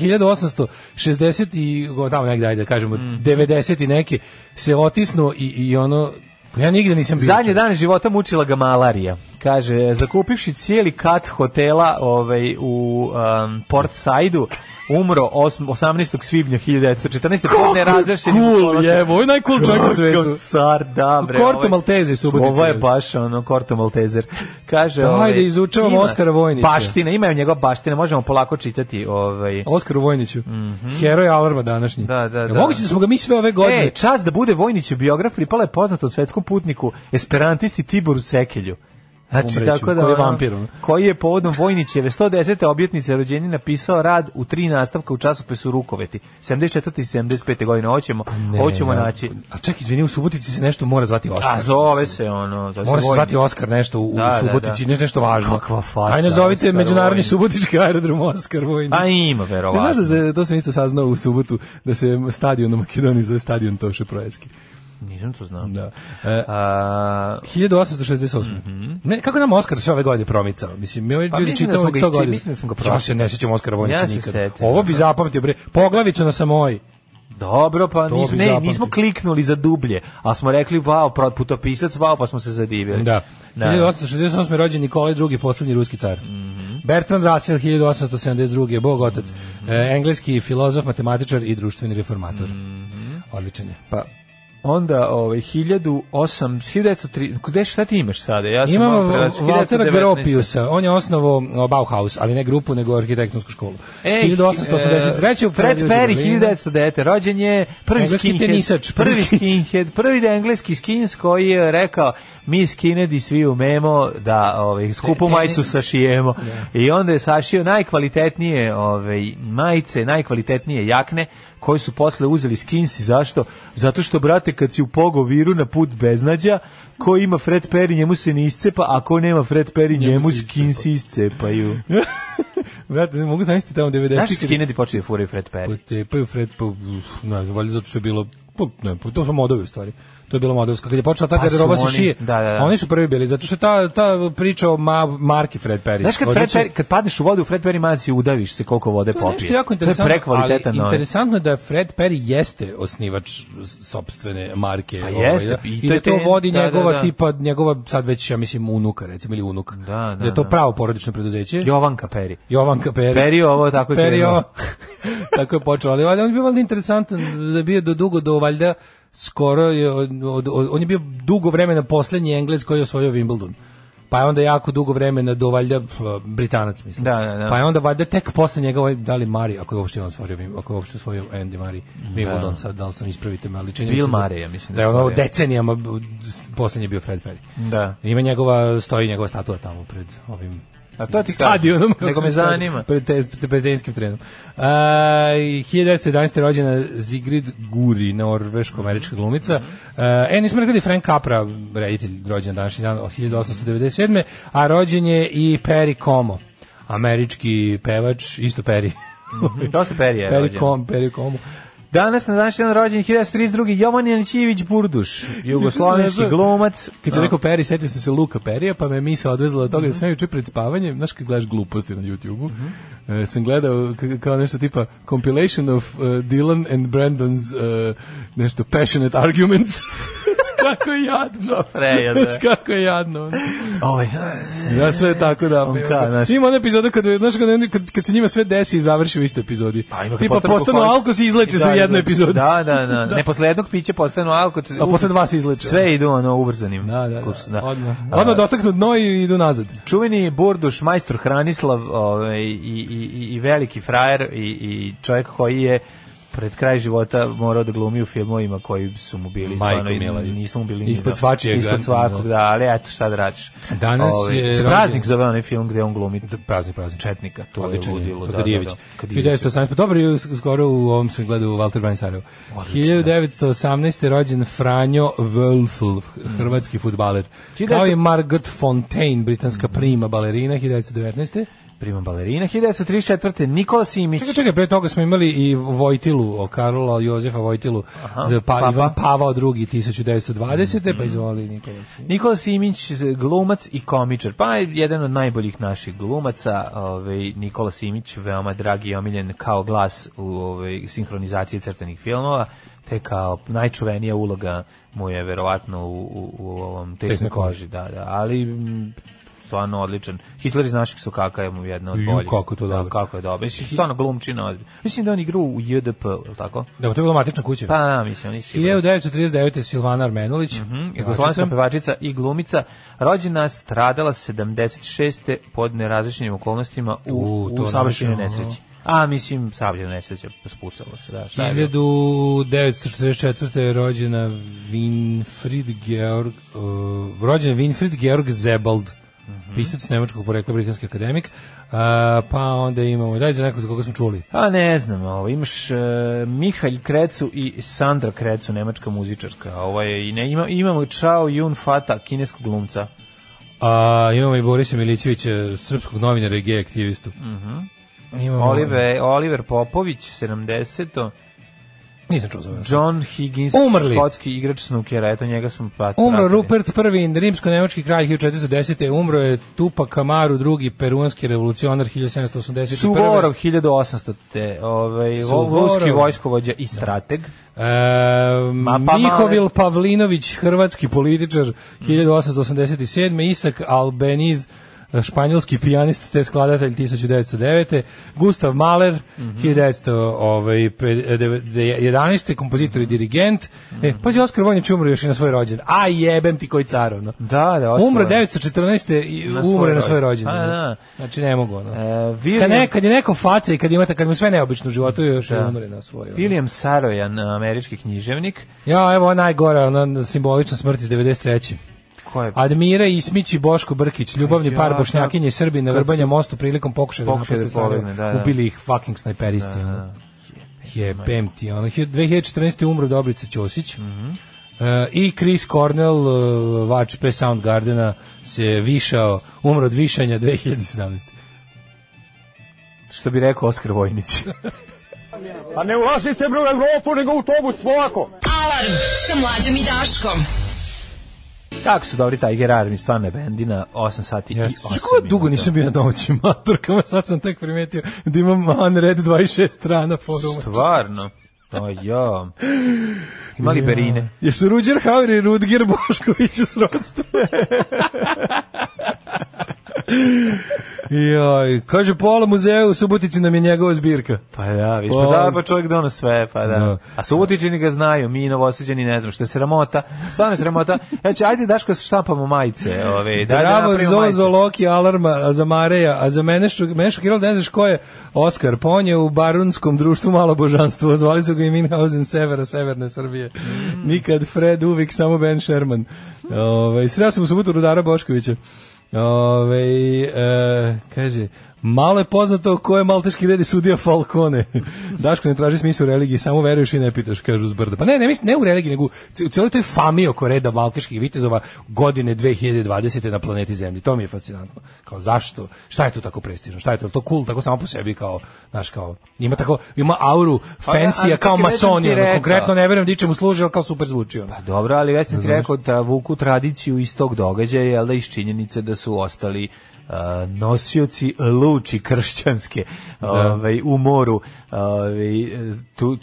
Speaker 5: 1860 i go tamo negde ajde da kažemo
Speaker 6: Mhm.
Speaker 5: 90 i neki se otisnuo i i ono ja nigde nisam bio.
Speaker 6: Zadnji dan života mučila ga malarija. Kaže, zakupivši cijeli kat hotela ovaj, u um, Port Saidu, umro osm- 18. svibnja 1914. Kako
Speaker 5: cool, jebo, ovo je najcool čovjek na svetu.
Speaker 6: car, da, bre.
Speaker 5: Korto
Speaker 6: ovo je-
Speaker 5: Malteze iz Subotice.
Speaker 6: Ovo je baš ono Korto Maltezer. Kaže,
Speaker 5: Ajde,
Speaker 6: ovaj,
Speaker 5: da izučavamo
Speaker 6: ima
Speaker 5: Oskara Vojnića.
Speaker 6: Baština, ima njegova baština, možemo polako čitati. Ovaj.
Speaker 5: Oskaru Vojniću, heroj alarma današnji.
Speaker 6: Mhm. Da, da,
Speaker 5: Jel
Speaker 6: da.
Speaker 5: Moguće da smo ga mi sve ove godine.
Speaker 6: E, čas da bude Vojnić biograf, pripala je poznatom svetskom putniku, esperantisti Tiboru Sekelju. Znači,
Speaker 5: Umreću,
Speaker 6: tako da,
Speaker 5: koji je
Speaker 6: ono,
Speaker 5: vampir, ono.
Speaker 6: koji je povodom Vojnićeve 110. objetnice rođenja napisao rad u tri nastavka u časopisu Rukoveti. 74. i 75. godine. Ovo ćemo, ovo ćemo
Speaker 5: Pa ja- pa
Speaker 6: naći.
Speaker 5: E, da. A ček, izvini, u Subotici se nešto mora zvati Oskar.
Speaker 6: A zove se ono... Zove
Speaker 5: Mora se
Speaker 6: Vojnić.
Speaker 5: zvati Oskar nešto u,
Speaker 6: Da, da,
Speaker 5: u Subotici,
Speaker 6: da.
Speaker 5: nešto, nešto važno.
Speaker 6: Kakva faca,
Speaker 5: Ajde, nazovite
Speaker 6: Oskar
Speaker 5: Međunarodni
Speaker 6: Vojnić.
Speaker 5: subotički aerodrom Oskar Vojnić.
Speaker 6: A Pa ima,
Speaker 5: Ne znaš da
Speaker 6: verovatno.
Speaker 5: se, to sam isto saznao u subotu, da se stadion u Makedoniji zove stadion Toše Projecki.
Speaker 6: Nisam to znao.
Speaker 5: Da. E,
Speaker 6: A,
Speaker 5: 1868. Ne, kako nam Oskar sve ove godine promicao? Mislim, mi ovaj
Speaker 6: Mhm. Pa
Speaker 5: ljudi
Speaker 6: mislim da
Speaker 5: čitamo
Speaker 6: smo ga
Speaker 5: već 100
Speaker 6: iščitali,
Speaker 5: godina.
Speaker 6: mislim da smo ga
Speaker 5: Ja
Speaker 6: pročitali.
Speaker 5: se ne sećam Oskara Vojnića
Speaker 6: Ja se
Speaker 5: nikad.
Speaker 6: setim,
Speaker 5: Ovo bi
Speaker 6: da.
Speaker 5: zapamtio, bre. Poglavicu na samoj.
Speaker 6: Dobro, pa
Speaker 5: To
Speaker 6: nismo,
Speaker 5: bi
Speaker 6: ne,
Speaker 5: zapamtio.
Speaker 6: nismo kliknuli za dublje, ali smo rekli, vau, pro- putopisac, vau, pa smo se zadivili.
Speaker 5: Da.
Speaker 6: Da.
Speaker 5: 1868. rođen Nikolaj II, posljednji ruski car.
Speaker 6: Mhm.
Speaker 5: Bertrand Russell, 1872. Bog otac. E, engleski filozof, matematičar i društveni reformator. Odličan je.
Speaker 6: Pa, onda, ovaj, 1008, 1903, gde, šta ti imaš sada? Ja sam
Speaker 5: Imamo
Speaker 6: Pa malo prelačio,
Speaker 5: Waltera
Speaker 6: 1919.
Speaker 5: Gropiusa, on je osnovao Bauhaus, ali ne grupu, nego arhitektonsku školu.
Speaker 6: Ej,
Speaker 5: 1883.
Speaker 6: e, Fred Perry, 1909. Rođen je prvi
Speaker 5: Engleski
Speaker 6: skinhead,
Speaker 5: tenisač, prvi
Speaker 6: prvi
Speaker 5: skins.
Speaker 6: skinhead, prvi da engleski skins koji je rekao mi skinheadi svi umemo da ovaj, skupu
Speaker 5: Ne, ne,
Speaker 6: majicu
Speaker 5: ne. Da.
Speaker 6: sašijemo. I onda je sašio najkvalitetnije ovaj, majice, najkvalitetnije jakne koji su posle uzeli skinsi. Zašto? Zato što, brate, kad si u pogoviru na put beznađa, ko ima Fred Perry njemu se ne iscepa, a ko nema Fred Perry njemu,
Speaker 5: Njemu se iscepa.
Speaker 6: skinsi iscepaju.
Speaker 5: Brate, ne mogu zamisliti tamo 90.
Speaker 6: Znaš skinheadi počeli da furaju Fred Perry?
Speaker 5: Potepaju Fred, pa, uf, ne znam, valjda zato što je bilo, pa, ne, pa, to su modovi u stvari. To je bilo modovsko. Kad je počela ta
Speaker 6: Pa
Speaker 5: garderoba
Speaker 6: su
Speaker 5: se
Speaker 6: oni-
Speaker 5: šije,
Speaker 6: da, da, da.
Speaker 5: oni su prvi bili, zato što ta, ta priča o ma, marki Fred Perry.
Speaker 6: Znaš kad, Fred
Speaker 5: odličan-
Speaker 6: Perry, kad padneš u vodu, u Fred Perry majici udaviš se koliko vode
Speaker 5: To je
Speaker 6: popije.
Speaker 5: nešto jako interesantno,
Speaker 6: To je prekvalitetan
Speaker 5: ali
Speaker 6: novac.
Speaker 5: interesantno je da Fred Perry jeste osnivač sopstvene marke.
Speaker 6: Pa
Speaker 5: ovaj,
Speaker 6: jeste,
Speaker 5: da,
Speaker 6: i
Speaker 5: i,
Speaker 6: to je
Speaker 5: da to
Speaker 6: te-
Speaker 5: vodi
Speaker 6: da, da,
Speaker 5: njegova
Speaker 6: da.
Speaker 5: tipa, njegova sad već, ja mislim, unuka, recimo, ili unuk.
Speaker 6: Da, da,
Speaker 5: je to
Speaker 6: da.
Speaker 5: pravo porodično preduzeće.
Speaker 6: Jovanka Perry.
Speaker 5: Jovanka Peri.
Speaker 6: Peri ovo, tako je
Speaker 5: Peri
Speaker 6: krenuo.
Speaker 5: ovo. tako je počeo, ali on je bio valjda interesantan, da je bio do dugo do valjda skoro je od, od, od- on je bio dugo vremena poslednji Englez koji je osvojio Wimbledon. Pa je onda jako dugo vremena do valjda p- Britanac mislim.
Speaker 6: Da, da, da.
Speaker 5: Pa je onda valjda tek posle njega ovaj da li Mari, ako je uopšte on osvojio, Wim- ako je uopšte osvojio Andy Mari Wimbledon, sad da li sam ispravite me, ali čini mi
Speaker 6: Bill
Speaker 5: se da-
Speaker 6: Murray, ja mislim da
Speaker 5: da je
Speaker 6: je
Speaker 5: ono
Speaker 6: osvojio.
Speaker 5: decenijama b- s- poslednji je bio Fred Perry.
Speaker 6: Da.
Speaker 5: Ima njegova stoji njegova statua tamo pred ovim
Speaker 6: A to ti
Speaker 5: stadionom.
Speaker 6: kažem. Da, Nego me zanima.
Speaker 5: Pred, te, pred tenskim trenom. A, 1911. rođena Zigrid Guri, norveško-američka glumica. Mm -hmm. E, nismo rekli da je Frank Capra, reditelj, rođen današnji dan, 1897. A rođen je i Perry Como, američki pevač, isto Perry.
Speaker 6: Dosta perije je
Speaker 5: Perry
Speaker 6: E, rođen.
Speaker 5: Como, Perry Como.
Speaker 6: Danas na današnji dan rođen 1932. Jovan Janićivić Burduš, jugoslovenski glumac. Da.
Speaker 5: Kad sam rekao Peri, setio sam se Luka Perija, pa me misa odvezla od toga
Speaker 6: Mhm.
Speaker 5: da sam juče pred spavanjem, znaš kad gledaš gluposti na YouTubeu,
Speaker 6: Mhm.
Speaker 5: e, sam gledao k- kao nešto tipa compilation of uh, Dylan and Brandon's uh, nešto passionate arguments. Znaš kako je jadno.
Speaker 6: prejadno je.
Speaker 5: Znaš kako je jadno. ono.
Speaker 6: Ovaj,
Speaker 5: Da, sve je tako da.
Speaker 6: On kao, znaš-
Speaker 5: Ima ona epizoda kad, znaš, kad, oni- kad, kad se njima sve desi i završi u istoj epizodi.
Speaker 6: pa ima kad
Speaker 5: Tipa
Speaker 6: postanu
Speaker 5: postanu
Speaker 6: alkoholički.
Speaker 5: alkos i izleče se
Speaker 6: Da,
Speaker 5: u jednoj
Speaker 6: izleče se.
Speaker 5: epizodi.
Speaker 6: Da, da, da. Ne posle jednog pića postanu alko.
Speaker 5: A posle dva se izleče.
Speaker 6: Sve idu ono ubrzanim.
Speaker 5: Da, da,
Speaker 6: kursom,
Speaker 5: da. Odmah, odmah dotaknu dno i idu nazad.
Speaker 6: Čuveni Burduš, majstor Hranislav ovaj, i, i, i- i veliki frajer i, i čovjek koji je pred kraj života morao da glumi u filmovima koji su mu bili
Speaker 5: Majko
Speaker 6: stvarno i
Speaker 5: mila.
Speaker 6: nisu mu bili ni
Speaker 5: Ispod
Speaker 6: do-
Speaker 5: svačijeg,
Speaker 6: ispod
Speaker 5: da.
Speaker 6: svakog da ali eto šta da radiš Ovaj,
Speaker 5: Danas je
Speaker 6: se
Speaker 5: rođen- Da,
Speaker 6: praznik zove onaj film gde on glumi
Speaker 5: Prazni, prazni.
Speaker 6: četnika to
Speaker 5: Odličan
Speaker 6: je
Speaker 5: je,
Speaker 6: ludilo
Speaker 5: Todorijević.
Speaker 6: da, da, da.
Speaker 5: 1918. pa Dobro, je skoro u ovom sam gledao u Walter Branisarevu. 1918. rođen Franjo Wölfl, hrvatski futbaler.
Speaker 6: 1900
Speaker 5: Kao i Margot Fontaine, britanska prima balerina, 1919.
Speaker 6: prima balerina 1934 Nikola Simić
Speaker 5: Čekaj, čekaj, pre toga smo imali i Vojtilu, o Karola Jozefa Vojtilu, za pa,
Speaker 6: papa.
Speaker 5: Ivan Pavao II, 1920.
Speaker 6: Mhm.
Speaker 5: Pa izvoli Nikola Simić.
Speaker 6: Nikola Simić, glumac i komičar, pa je jedan od najboljih naših glumaca, ovaj, Nikola Simić, veoma dragi i omiljen kao glas u ovaj, sinhronizaciji crtenih filmova, te kao najčuvenija uloga mu je verovatno u, u, u ovom tesnoj
Speaker 5: Tesnoj koži.
Speaker 6: koži, da, da, ali mm, stvarno odličan. Hitler iz naših sokaka je mu jedna od
Speaker 5: Ju,
Speaker 6: boljih.
Speaker 5: kako je to
Speaker 6: Da,
Speaker 5: dobro.
Speaker 6: kako je dobro. Mislim, stvarno glumčina. ozbiljno. Mislim da on igra u JDP, je li tako?
Speaker 5: Da, to je bila matična kuća.
Speaker 6: Pa, da, mislim, nisi siguran.
Speaker 5: 1939. Silvana Armenulić. Mm
Speaker 6: Mhm, Jugoslovenska pevačica i glumica, rođena stradala 76. pod nerazličnim okolnostima u,
Speaker 5: U,
Speaker 6: u,
Speaker 5: to
Speaker 6: saobraćajnoj
Speaker 5: naravno.
Speaker 6: nesreći. A, mislim, saobraćajna nesreća, spucalo se, da. Šta je bilo?
Speaker 5: 1944. je rođena Winfried Georg uh, rođen Winfried Georg Zebald
Speaker 6: Mhm.
Speaker 5: pisac nemačkog porekla, britanski akademik. Uh, pa onda imamo, daj za nekog za koga smo čuli.
Speaker 6: A ne znam, ovo, imaš e, Mihalj Krecu i Sandra Krecu, nemačka muzičarka. a Ovo je, i ne, ima, imamo Chao Yun Fata, kineskog glumca.
Speaker 5: A, Uh, imamo i Borisa Milićevića, srpskog novinara i gej aktivistu. Imamo,
Speaker 6: Mhm. Oliver, Oliver Popović, 70.
Speaker 5: Nisam čuo za ovo.
Speaker 6: John Higgins,
Speaker 5: Umrli.
Speaker 6: škotski igrač snukera, eto njega smo pat-
Speaker 5: Umro
Speaker 6: pratili.
Speaker 5: Rupert I, rimsko-nemački kralj 1410. Umro je Tupac Amaru II, peruanski revolucionar 1781.
Speaker 6: Suvorov 1800 te, ovaj
Speaker 5: Suvorov.
Speaker 6: ruski vojskovođa i strateg.
Speaker 5: E,
Speaker 6: Ma, pa
Speaker 5: Mihovil
Speaker 6: male.
Speaker 5: Pavlinović, hrvatski političar
Speaker 6: Mm.
Speaker 5: 1887. Isak Albeniz, španjolski pijanist te skladatelj 1909. Gustav Mahler,
Speaker 6: Mhm.
Speaker 5: ovaj, 1911.
Speaker 6: Mhm.
Speaker 5: kompozitor i dirigent. E, pa je Oskar Vojnić umro još i na svoj rođen. A jebem ti koji car, ono.
Speaker 6: Da, da, Oskar.
Speaker 5: Umro 914. i
Speaker 6: Na svoj
Speaker 5: umre na
Speaker 6: rođen-
Speaker 5: svoj rođendan.
Speaker 6: A, da.
Speaker 5: Znači ne mogu ono.
Speaker 6: E,
Speaker 5: Kad, ne,
Speaker 6: William,
Speaker 5: kad je neko faca i kad imate, kad mu sve neobično u životu još
Speaker 6: Da.
Speaker 5: i umre na svoj. ono.
Speaker 6: William Sarojan, američki književnik.
Speaker 5: Ja, evo najgora, ona simbolična smrt iz 93.
Speaker 6: Ko je
Speaker 5: Admira Ismić i Boško Brkić, ljubavni
Speaker 6: Ja,
Speaker 5: par
Speaker 6: da.
Speaker 5: Bošnjakinje i Srbi na
Speaker 6: Kad
Speaker 5: Vrbanjem
Speaker 6: su-
Speaker 5: mostu prilikom pokušaja da
Speaker 6: Pokušaj da
Speaker 5: napuste Sarajevo.
Speaker 6: pobegne, da, da.
Speaker 5: Ubili ih fucking snajperisti. Da, da. Jebem ti. Ono. Hil- 2014. umro Dobrica Ćosić.
Speaker 6: Mhm.
Speaker 5: E, I Chris Cornell, uh, vač P. Soundgardena, se višao, umro od višanja 2017.
Speaker 6: što bi rekao Oskar Vojnić.
Speaker 7: Pa ne ulazite bre u Evropu, nego u autobus, polako.
Speaker 4: Alarm sa mlađom i Daškom.
Speaker 6: Kako su dobri Tiger Army, stvarno je bendina, 8 sati i 8
Speaker 5: Yes. Kako dugo
Speaker 6: minuta.
Speaker 5: nisam bio na domaćim maturkama, sad sam tek primetio da imam unred 26 strana foruma.
Speaker 6: Stvarno. O, jo. Imali berine.
Speaker 5: Jesu Ruđer Hauer i Rudger Bošković u srodstvu? Joj, kaže pola muzeja u Subotici nam je njegova zbirka.
Speaker 6: Pa da, viš,
Speaker 5: Pa-
Speaker 6: pa da, pa čovjek dono sve, pa da.
Speaker 5: Da.
Speaker 6: A subotičani ga znaju, mi novoseđani ne znam, što je sramota, stvarno je sramota. Ja ću, ajde Daško, štampamo majice, ove, da, da
Speaker 5: Bravo,
Speaker 6: napravimo majice.
Speaker 5: Zozo, Loki, Alarma, a za Mareja, a za mene što, mene što ne znaš ko je Oskar, pa on je u barunskom društvu malo božanstvo, zvali su ga i Minhausen Severa, Severne Srbije.
Speaker 6: Mm.
Speaker 5: Ovaj, Nikad Fred, uvijek samo Ben Sherman. Ove, sreo sam u subotu Rudara Boškovića. Ove, e, kaže, malo je poznato ko je malteški red i sudija Falcone. Daško ne traži smisla u religiji, samo veruješ i ne pitaš, kažu s brda. Pa ne, ne, mislim, ne u religiji, nego u c- u cijeloj toj fami oko reda malteških vitezova godine 2020. na planeti Zemlji. To mi je fascinantno. Kao zašto? Šta je tu tako prestižno? Šta je to? Je to cool tako samo po sebi kao, znaš, kao, ima tako, ima auru
Speaker 6: Pa da,
Speaker 5: fancy
Speaker 6: ali
Speaker 5: kao
Speaker 6: kako je, već sam ti
Speaker 5: masoni, ono,
Speaker 6: rekao.
Speaker 5: konkretno ne verujem ničemu služi, ali kao super zvuči. Ono.
Speaker 6: Pa dobro, ali već sam ti rekao da vuku tradiciju iz tog događaja, jel da iz činjenice da su ostali uh, nosioci luči kršćanske
Speaker 5: Da.
Speaker 6: ovaj, u moru. Ovaj, tu,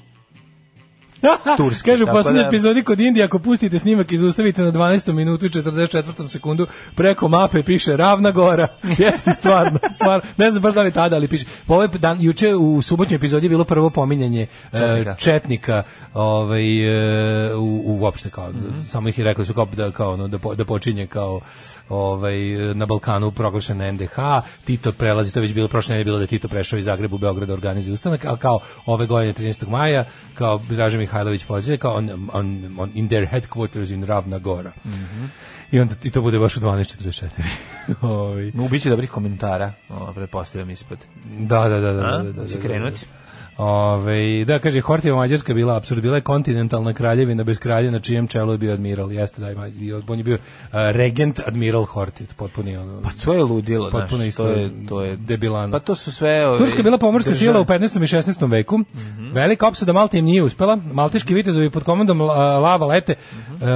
Speaker 6: Turske,
Speaker 5: Kaže u
Speaker 6: tako
Speaker 5: poslednjoj
Speaker 6: da-
Speaker 5: epizodi kod Indije, ako pustite snimak i zaustavite na 12. minutu i 44. sekundu, preko mape piše Ravna gora. Jeste stvarno, stvarno. Ne znam baš da li tada, ali piše. Po ovaj dan, juče u subotnjoj epizodi je bilo prvo pominjanje četnika,
Speaker 6: Četnika.
Speaker 5: četnika ovaj, e, u, uopšte kao,
Speaker 6: Mhm.
Speaker 5: samo ih je rekli su kao da, kao, ono, da, po, da počinje kao ovaj, na Balkanu proglašen NDH, Tito prelazi, to je već bilo prošle nedelje bilo da je Tito prešao iz Zagreba u Beograd da organizuje ustanak, ali kao ove godine 13. maja, kao Draža Mihajlović poziva, kao on, on, on, in their headquarters in Ravna Gora. I onda i to bude baš u 12.44. Ovaj.
Speaker 6: Ubiće dobrih komentara, o, pretpostavljam ispod.
Speaker 5: Da, da, da, da, da,
Speaker 6: A?
Speaker 5: da, da,
Speaker 6: Hoće
Speaker 5: da,
Speaker 6: krenuti?
Speaker 5: da. Ove, da, kaže, Hortijeva Mađarska bila absurd, bila je kontinentalna kraljevina bez kralja na čijem čelu je bio admiral, jeste da, ima- i on je bio a, regent admiral Hortit, potpuni ono...
Speaker 6: Pa to je ludilo,
Speaker 5: Potpuno
Speaker 6: znaš,
Speaker 5: isto
Speaker 6: to je, to je
Speaker 5: debilano.
Speaker 6: Pa to su sve... Ovaj,
Speaker 5: Turska je bila pomorska
Speaker 6: države.
Speaker 5: sila u 15. i 16. veku.
Speaker 6: Mhm.
Speaker 5: Velika opsada Malte im nije uspela. Malteški vitezovi pod komandom La- Lava Lete
Speaker 6: Mhm.
Speaker 5: e,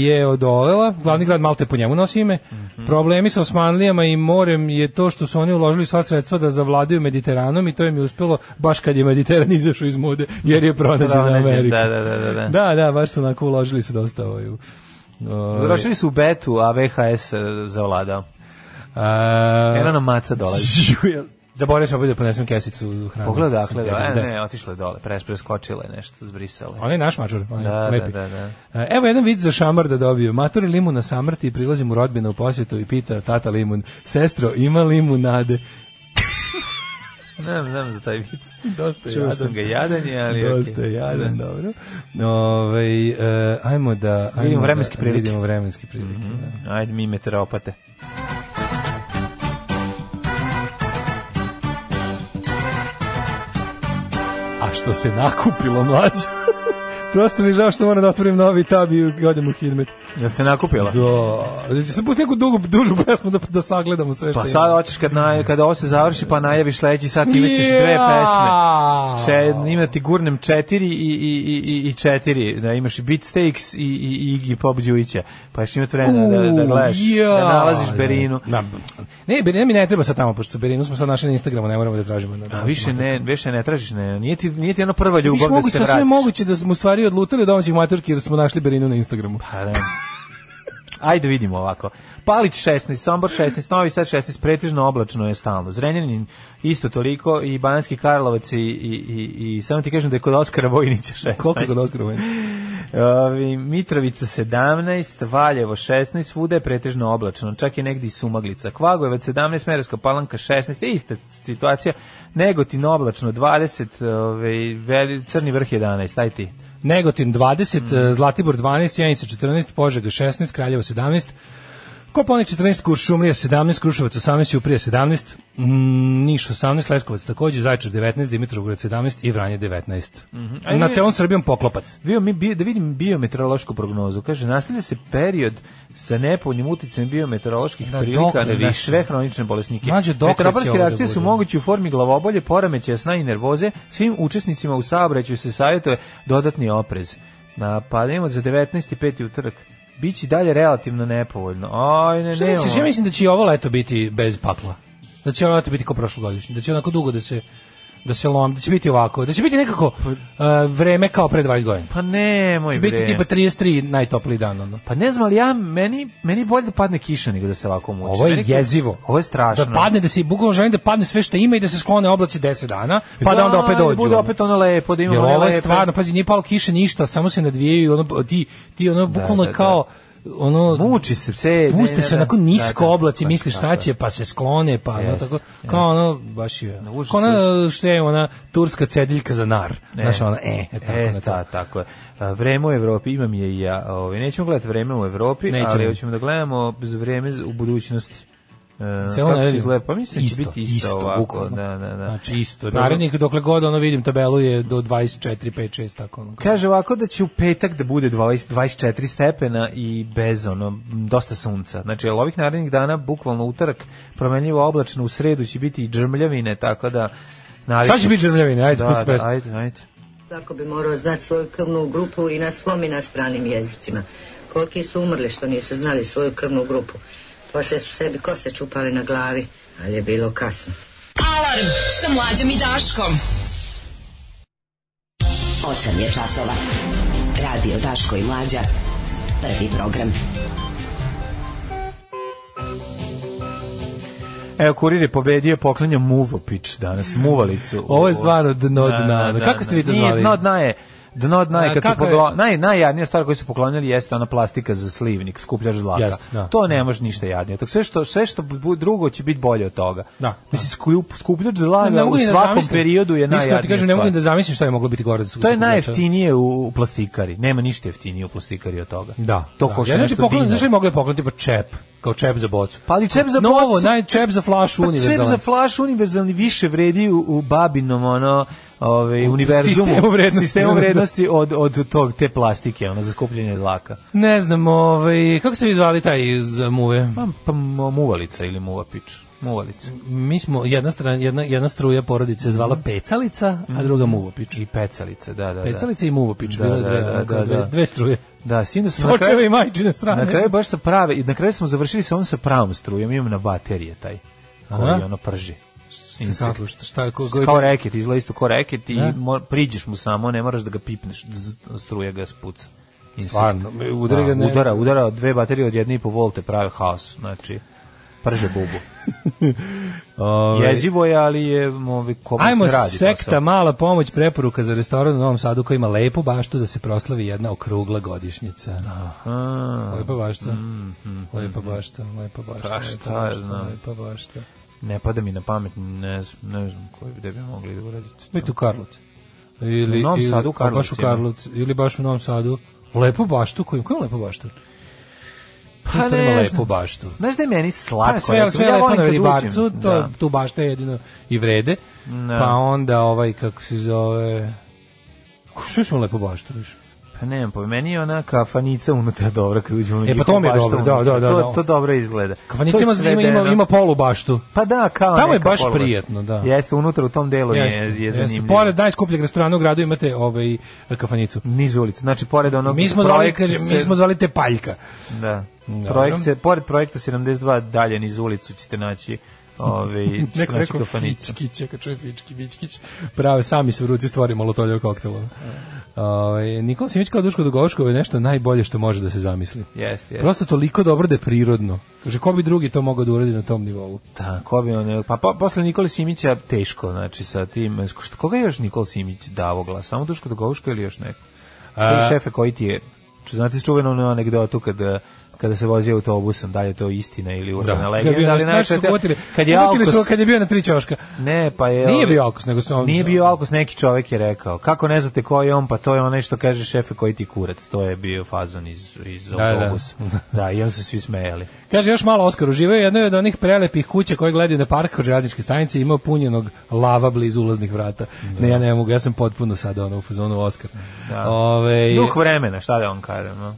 Speaker 5: je odolela. Glavni grad Malte po njemu nosi ime.
Speaker 6: Mhm.
Speaker 5: Problemi sa Osmanlijama i morem je to što su oni uložili sva sredstva da zavladaju Mediteranom i to im je uspelo baš kad je Mediteran izašao iz mode jer je pronađena
Speaker 6: Pronađen,
Speaker 5: Amerika.
Speaker 6: da, da, da, da, da.
Speaker 5: Da, da, baš su onako uložili su dosta ovaj, u- ovaj,
Speaker 6: Završili su u betu, a VHS e, zavladao.
Speaker 5: a-
Speaker 6: Eno nam maca dolazi.
Speaker 5: Ovaj, eh, Zaboravio sam opet da ponesem kesicu hrane.
Speaker 6: Pogledaj
Speaker 5: Sam
Speaker 6: dakle, da,
Speaker 5: teo,
Speaker 6: e, ne, otišla je dole, preš, preskočila je nešto, zbrisala. je.
Speaker 5: Onaj naš mačur, onaj
Speaker 6: Da, da,
Speaker 5: lepi.
Speaker 6: da, da.
Speaker 5: E, Evo jedan vid za šamar da dobio. Maturi limun na samrti i prilazim u rodbinu u posjetu i pita tata limun, sestro, ima limunade?
Speaker 6: Ne znam za taj vic.
Speaker 5: Dosta je
Speaker 6: Čuo
Speaker 5: jadan.
Speaker 6: sam ga jadanje, ali
Speaker 5: Dosta
Speaker 6: okej.
Speaker 5: je jadan, dobro. Ovaj, e, ajmo da... Ajmo
Speaker 6: Vidimo vremenske
Speaker 5: da,
Speaker 6: prilike. Mhm.
Speaker 5: Vidimo vremenske prilike, da.
Speaker 6: Ajde mi meteoropate.
Speaker 5: A što se nakupilo, mlađe? Prosto mi je žao što moram da otvorim novi tab i odem u hidmet.
Speaker 6: Jel se nakupila?
Speaker 5: Da, sam pusti neku dugu, dužu pesmu da, da sagledamo sve što
Speaker 6: Pa sad hoćeš kad na, kada ovo se završi pa najaviš sledeći sat i imaćeš dve pesme.
Speaker 5: Ja!
Speaker 6: Se, ima ti gurnem četiri i, i, i, i- i četiri. Da imaš i Beatsteaks i, i, i Iggy Pop Đujića. Pa ćeš imati vremena da, da gledaš,
Speaker 5: ja.
Speaker 6: da nalaziš Berinu.
Speaker 5: Na, ne, Berina mi ne treba sad tamo, pošto Berinu smo sad našli na Instagramu, ne moramo da tražimo. Na,
Speaker 6: A više ne, više ne tražiš, ne, nije ti, nije ti ono prva
Speaker 5: Više
Speaker 6: ljubav da
Speaker 5: moguće,
Speaker 6: se
Speaker 5: sasvim je
Speaker 6: vratiš.
Speaker 5: moguće da smo u stvari odlutali od domaćih maturki jer smo našli Berinu na Instagramu.
Speaker 6: Pa da. Ajde da vidimo ovako. Palić 16, Sombor 16, Novi Sad 16, pretežno oblačno je stalno. Zrenjanin isto toliko i Bananski Karlovac i, i, i, i samo ti kažem da je kod Oskara Vojnića 16.
Speaker 5: Koliko je kod Oskara Vojnića?
Speaker 6: Ovi, Mitrovica 17, Valjevo 16, svuda je pretežno oblačno, čak i negdje i Sumaglica. Kvagojevac 17, Merska Palanka 16, je ista situacija. Negotin oblačno 20, ovaj, Veli- Crni vrh 11, aj ti.
Speaker 5: Negotin
Speaker 6: Mm.
Speaker 5: 20, eh, Zlatibor 12, Janica 14, Požega 16, Kraljevo 17, Koponik 14, Kuršumlija 17, Kruševac 18, Uprija 17, mm, Niš 18, Leskovac takođe, Zaječar 19, Dimitrovgrad 17 i Vranje 19.
Speaker 6: Mhm. Ajde.
Speaker 5: Na celom Srbijom poklopac.
Speaker 6: Bio mi bio, da vidim biometeorološku prognozu. Kaže nastavlja se period sa nepovoljnim uticajem biometeoroloških
Speaker 5: Da,
Speaker 6: prilika
Speaker 5: dokle
Speaker 6: na
Speaker 5: više?
Speaker 6: sve hronične bolesnike.
Speaker 5: Mlađe, dokle će
Speaker 6: Meteorološke
Speaker 5: ovo da
Speaker 6: reakcije su
Speaker 5: bude?
Speaker 6: moguće u formi glavobolje, poremećaja sna i nervoze. Svim učesnicima u saobraćaju se savjetuje dodatni oprez. Na pademo za 19. i 5. utorak. Biće i dalje relativno nepovoljno. Aj, ne,
Speaker 5: Šta
Speaker 6: ne.
Speaker 5: misliš, ja mislim da će i ovo leto biti bez pakla. Da će ovo leto biti kao prošlogodišnje, da će onako dugo da se da se lom, da će biti ovako, da će biti nekako uh, vreme kao pre 20 godina. Da
Speaker 6: Pa nemoj
Speaker 5: Će
Speaker 6: Pa- bre.
Speaker 5: biti tipa 33 najtopliji dan. Ono.
Speaker 6: Pa ne znam, ali ja, meni, meni bolje da padne kiša nego da se ovako muči.
Speaker 5: Ovo je
Speaker 6: Meni-
Speaker 5: jezivo.
Speaker 6: Ovo je strašno.
Speaker 5: Da padne, da se, bukvalno želim da padne sve što ima i da se sklone oblaci 10 dana, pa da onda opet
Speaker 6: da
Speaker 5: dođu.
Speaker 6: bude opet ono lepo, da imamo
Speaker 5: Jer
Speaker 6: one
Speaker 5: ovo je
Speaker 6: lepe.
Speaker 5: stvarno, pazi, nije palo kiše ništa, samo se nadvijaju i ono, ti, ti ono, bukvalno
Speaker 6: da, da.
Speaker 5: kao, ono,
Speaker 6: Muči se, ce-
Speaker 5: spuste
Speaker 6: ne, ne,
Speaker 5: se
Speaker 6: ne.
Speaker 5: onako nisko
Speaker 6: Da, da,
Speaker 5: oblaci,
Speaker 6: da,
Speaker 5: misliš
Speaker 6: da,
Speaker 5: sad će, pa se sklone, pa ono,
Speaker 6: Jeste,
Speaker 5: tako, kao ono, baš je,
Speaker 6: užas,
Speaker 5: kao ona, što je ona, turska cediljka za nar, znaš, ona, e, e, tako,
Speaker 6: E,
Speaker 5: na to.
Speaker 6: ta, tako je. A, Vreme u Evropi imam je i ja. Ovaj nećemo gledati vreme u Evropi,
Speaker 5: Nećemo.
Speaker 6: ali hoćemo da gledamo z- vreme z- u budućnosti. E,
Speaker 5: Celo
Speaker 6: kako će
Speaker 5: nedelju.
Speaker 6: izgleda? Pa mislim da će
Speaker 5: Isto,
Speaker 6: biti isto,
Speaker 5: isto,
Speaker 6: ovako.
Speaker 5: bukvalno.
Speaker 6: Da, da, da.
Speaker 5: Znači isto. Narednih dokle god ono vidim tabelu je do 24, 5, 6 tako ono.
Speaker 6: Kaže ovako da će u petak da bude 20, 24 stepena i bez ono, m, dosta sunca. Znači, jel ovih narednih dana, bukvalno utorak, promenljivo oblačno, u sredu će biti i džrmljavine, tako da... naviknite
Speaker 5: Sad će biti
Speaker 6: se.
Speaker 5: džrmljavine, ajde,
Speaker 6: da,
Speaker 5: pusti
Speaker 6: da,
Speaker 5: pesmu.
Speaker 6: ajde, ajde.
Speaker 8: Tako bi morao znati svoju krvnu grupu i na svom i na stranim jezicima. Koliki su umrli što nisu znali svoju krvnu grupu. Poslije su sebi kose čupali na glavi, ali je bilo kasno.
Speaker 4: Alarm sa mlađom i Daškom.
Speaker 9: 8 je časova. Radio Daško i Mlađa. Prvi program.
Speaker 6: Evo, kurir je pobedio, poklanja muvopić danas, muvalicu. Da,
Speaker 5: Ovo je stvarno dno dna. Kako ste vi to zvali?
Speaker 6: Nije, dno dna je, dno dna je,
Speaker 5: A,
Speaker 6: kad su
Speaker 5: kako je?
Speaker 6: pogla- naj, najjadnija stvar koju su poklonili jeste ona plastika za slivnik, skupljač dlaka.
Speaker 5: Jeste, da.
Speaker 6: To ne može ništa jadnije. Tako sve što, sve što bu- drugo će biti bolje od toga.
Speaker 5: Da.
Speaker 6: Mislim, skup- skupljač dlaka Pa u
Speaker 5: ni da
Speaker 6: svakom
Speaker 5: zamislim.
Speaker 6: periodu je
Speaker 5: Iskreno ti
Speaker 6: najjadnija
Speaker 5: kažem, ne
Speaker 6: stvar.
Speaker 5: mogu ni da zamislim šta je moglo biti gore. od
Speaker 6: To je
Speaker 5: skupljača.
Speaker 6: najjeftinije u, u plastikari. Nema ništa jeftinije u plastikari od toga.
Speaker 5: Da.
Speaker 6: To
Speaker 5: da.
Speaker 6: košta
Speaker 5: Ja, znači,
Speaker 6: nešto
Speaker 5: poklon,
Speaker 6: dinar.
Speaker 5: znaš li mogli pokloniti pa čep, kao čep za bocu.
Speaker 6: Pa ali čep za
Speaker 5: No,
Speaker 6: bocu-
Speaker 5: ovo, naj, čep za flašu
Speaker 6: Pa čep
Speaker 5: univerzalan.
Speaker 6: za flaš univerzalni više vredi u, u babinom ono ovaj
Speaker 5: U
Speaker 6: univerzumu
Speaker 5: sistemu vrednosti.
Speaker 6: sistemu vrednosti od od tog te plastike ono za skupljanje dlaka.
Speaker 5: Ne znam, ovaj, kako ste vi zvali taj iz eh, muve?
Speaker 6: Pa, pa mu- muvalica ili muvapić. Muvalica
Speaker 5: Mi smo, jedna, strana, jedna, jedna struja porodice je zvala pecalica, a druga muvopić.
Speaker 6: i pecalica, Mhm. da, da, da.
Speaker 5: Pecalica i muvopić,
Speaker 6: Da,
Speaker 5: bile
Speaker 6: da,
Speaker 5: dve,
Speaker 6: da,
Speaker 5: onako,
Speaker 6: da,
Speaker 5: dve,
Speaker 6: da.
Speaker 5: dve struje.
Speaker 6: Da, s tim da sam na
Speaker 5: Sočeve i
Speaker 6: kraju,
Speaker 5: majčine strane.
Speaker 6: na kraju baš sa prave i na kraju smo završili sa onom sa pravom strujom, imam na baterije taj koji
Speaker 5: Aha.
Speaker 6: ono prži.
Speaker 5: Kako, šta, šta, ko, ko,
Speaker 6: Kao reket, izgleda isto kao reket i
Speaker 5: Da.
Speaker 6: mo- priđeš mu samo, ne moraš da ga pipneš, zzz, struja ga spuca. Insekt.
Speaker 5: Stvarno, udari
Speaker 6: Da,
Speaker 5: ga ne-
Speaker 6: udara, udara dve baterije od jedne i po volte prave haos, znači prže bubu.
Speaker 5: Ovaj,
Speaker 6: Jezivo je, ali je ovaj, kome
Speaker 5: Ajmo
Speaker 6: se radi.
Speaker 5: sekta,
Speaker 6: posao.
Speaker 5: mala pomoć, preporuka za restoran u Novom Sadu koji ima lepu baštu da se proslavi jedna okrugla godišnjica.
Speaker 6: A,
Speaker 5: Lepa bašta. Lepa bašta, lepa
Speaker 6: Pa
Speaker 5: bašta. lepa
Speaker 6: Mhm, šta
Speaker 5: bašta,
Speaker 6: ja znam.
Speaker 5: Lepa bašta.
Speaker 6: ne pada mi na pamet, ne, znam- ne znam koji gde bi mogli da uradite.
Speaker 5: Biti u Karlovcu. Ili,
Speaker 6: U Novom
Speaker 5: ili-
Speaker 6: Sadu u
Speaker 5: a Baš u
Speaker 6: Karlovcu ima.
Speaker 5: Karlovcu. Ili baš u Novom Sadu. Lepu baštu, koju, koju lepu baštu? Pa
Speaker 6: ne
Speaker 5: ne
Speaker 6: znam.
Speaker 5: lepu baštu.
Speaker 6: Znaš da je meni slatko?
Speaker 5: Pa sve,
Speaker 6: recimo,
Speaker 5: sve
Speaker 6: ja
Speaker 5: lepo
Speaker 6: volim
Speaker 5: na
Speaker 6: kad uđem,
Speaker 5: ribarcu, to,
Speaker 6: da.
Speaker 5: tu bašta je jedino i vrede.
Speaker 6: Da.
Speaker 5: Pa onda ovaj, kako se zove... Što smo lepo baštu, više?
Speaker 6: Pa nemam, pa meni je ona kafanica unutra dobra kad uđemo. u
Speaker 5: E, pa
Speaker 6: njihovu
Speaker 5: to mi je
Speaker 6: baštu
Speaker 5: dobro, da,
Speaker 6: unutra.
Speaker 5: da, da,
Speaker 6: To,
Speaker 5: da.
Speaker 6: to dobro izgleda.
Speaker 5: Kafanica
Speaker 6: To je
Speaker 5: ima, ima, ima,
Speaker 6: svedeno.
Speaker 5: ima polu baštu.
Speaker 6: Pa da, kao
Speaker 5: Tamo je
Speaker 6: neka
Speaker 5: baš
Speaker 6: poluba.
Speaker 5: prijetno, da.
Speaker 6: Jeste, unutra u tom delu
Speaker 5: Jeste,
Speaker 6: je, je
Speaker 5: jeste.
Speaker 6: zanimljivo.
Speaker 5: Pored najskupljeg restorana u gradu imate ovaj kafanicu.
Speaker 6: niz ulica, znači pored onog
Speaker 5: Mi smo zvali,
Speaker 6: projekta
Speaker 5: kaže, mi
Speaker 6: se-
Speaker 5: smo zvali te paljka.
Speaker 6: da.
Speaker 5: Dobro.
Speaker 6: Projekt se, pored projekta 72 dalje niz ulicu ćete naći ovaj ćete
Speaker 5: Neko
Speaker 6: naći
Speaker 5: rekao
Speaker 6: kafanicu.
Speaker 5: Fičkić, ako čuje Fički, Fičkić. Prave, sami su u ruci stvorimo molotoljev koktel. Ovaj Nikola Simić kao Duško Dugovoško je nešto najbolje što može da se zamisli.
Speaker 6: Jeste, jeste.
Speaker 5: Prosto toliko dobro da je prirodno. Kaže, ko bi drugi to mogao da uradi na tom nivou?
Speaker 6: Da, ko bi on, pa, pa posle Nikola Simića teško, znači sa tim, šta- koga je još Nikola Simić davo glas? Samo Duško Dogovuško ili još neko? Koji
Speaker 5: A-
Speaker 6: šefe koji ti je, ču, znate čuvenu onu anegdotu kada kada se vozi autobusom, da li je to istina ili urbana legenda,
Speaker 5: Da, bio,
Speaker 6: ali
Speaker 5: znaš, znaš,
Speaker 6: najčešće-
Speaker 5: su uhvatili-
Speaker 6: kad je
Speaker 5: uhvatili su
Speaker 6: Alkos,
Speaker 5: ga kad je bio na tri ćoška.
Speaker 6: Ne, pa je...
Speaker 5: Nije bio Alkos, nego su-
Speaker 6: Nije bio Alkos, neki čovek je rekao. Kako ne znate ko je on, pa to je onaj što kaže šefe koji ti kurac. To je bio fazon iz, iz
Speaker 5: da.
Speaker 6: autobusa. Da. i onda su svi smejali.
Speaker 5: Kaže još malo Oskar uživao je jednoj od onih prelepih kuća koje gledaju na park kod železničke stanice i imao punjenog lava blizu ulaznih vrata. Ne, ja ne mogu, ja sam potpuno sada ono u fazonu Oskar.
Speaker 6: Da.
Speaker 5: Ovaj,
Speaker 6: Duh vremena, šta da on kaže, no?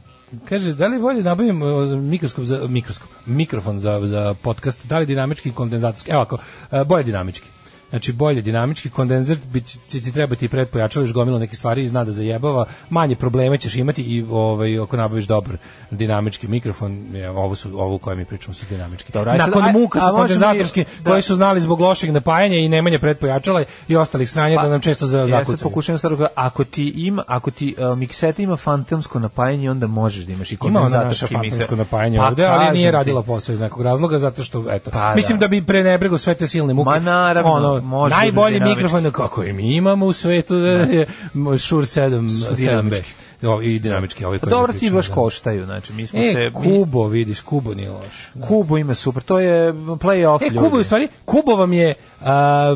Speaker 5: kaže, da li bolje nabavim e, mikroskop za, mikroskop, mikrofon za, za podcast, da li dinamički i kondenzatorski? Evo ako, bolje dinamički. Znači bolje dinamički kondenzer bi će, će ti trebati pretpojačališ gomilo neke stvari i zna da zajebava, manje problema ćeš imati i ovaj ako nabaviš dobar dinamički mikrofon, je, ovo su ovo koje mi pričamo su dinamički.
Speaker 6: Dobro, aj sad-
Speaker 5: Nakon
Speaker 6: aj-
Speaker 5: muka
Speaker 6: a
Speaker 5: sa
Speaker 6: možemo i-
Speaker 5: kondenzatorski
Speaker 6: da.
Speaker 5: koji su znali zbog lošeg napajanja i nemanja pretpojačala i ostalih sranja da nam često za
Speaker 6: Pa, E, Ja sad
Speaker 5: zakucaju.
Speaker 6: pokušavam stvar, ako ti ima, ako ti uh, mikseta ima fantomsko napajanje, onda možeš da imaš i
Speaker 5: Ima ona naša
Speaker 6: kondenzatorski
Speaker 5: fantomsko
Speaker 6: mikser.
Speaker 5: napajanje
Speaker 6: Pa
Speaker 5: ovde, ali
Speaker 6: kažem
Speaker 5: nije
Speaker 6: ti.
Speaker 5: radila posao iz nekog razloga, zato što, eto,
Speaker 6: Pa da.
Speaker 5: mislim da bi prenebrego sve te silne muke.
Speaker 6: Ma naravno, može da
Speaker 5: najbolji
Speaker 6: dinamički. Da.
Speaker 5: mikrofon kako je mi imamo u svetu da, je Shure 7,
Speaker 6: Su
Speaker 5: 7B.
Speaker 6: dinamički.
Speaker 5: O, I dinamički, ovaj
Speaker 6: Pa
Speaker 5: koji
Speaker 6: dobro
Speaker 5: mi
Speaker 6: ti
Speaker 5: pričamo,
Speaker 6: baš
Speaker 5: da.
Speaker 6: koštaju, znači mi smo se...
Speaker 5: E,
Speaker 6: mi-
Speaker 5: Kubo, vidiš, Kubo nije loš.
Speaker 6: Kubo ima super, to je play-off
Speaker 5: E,
Speaker 6: ljudi.
Speaker 5: Kubo, je u stvari, Kubo vam je a,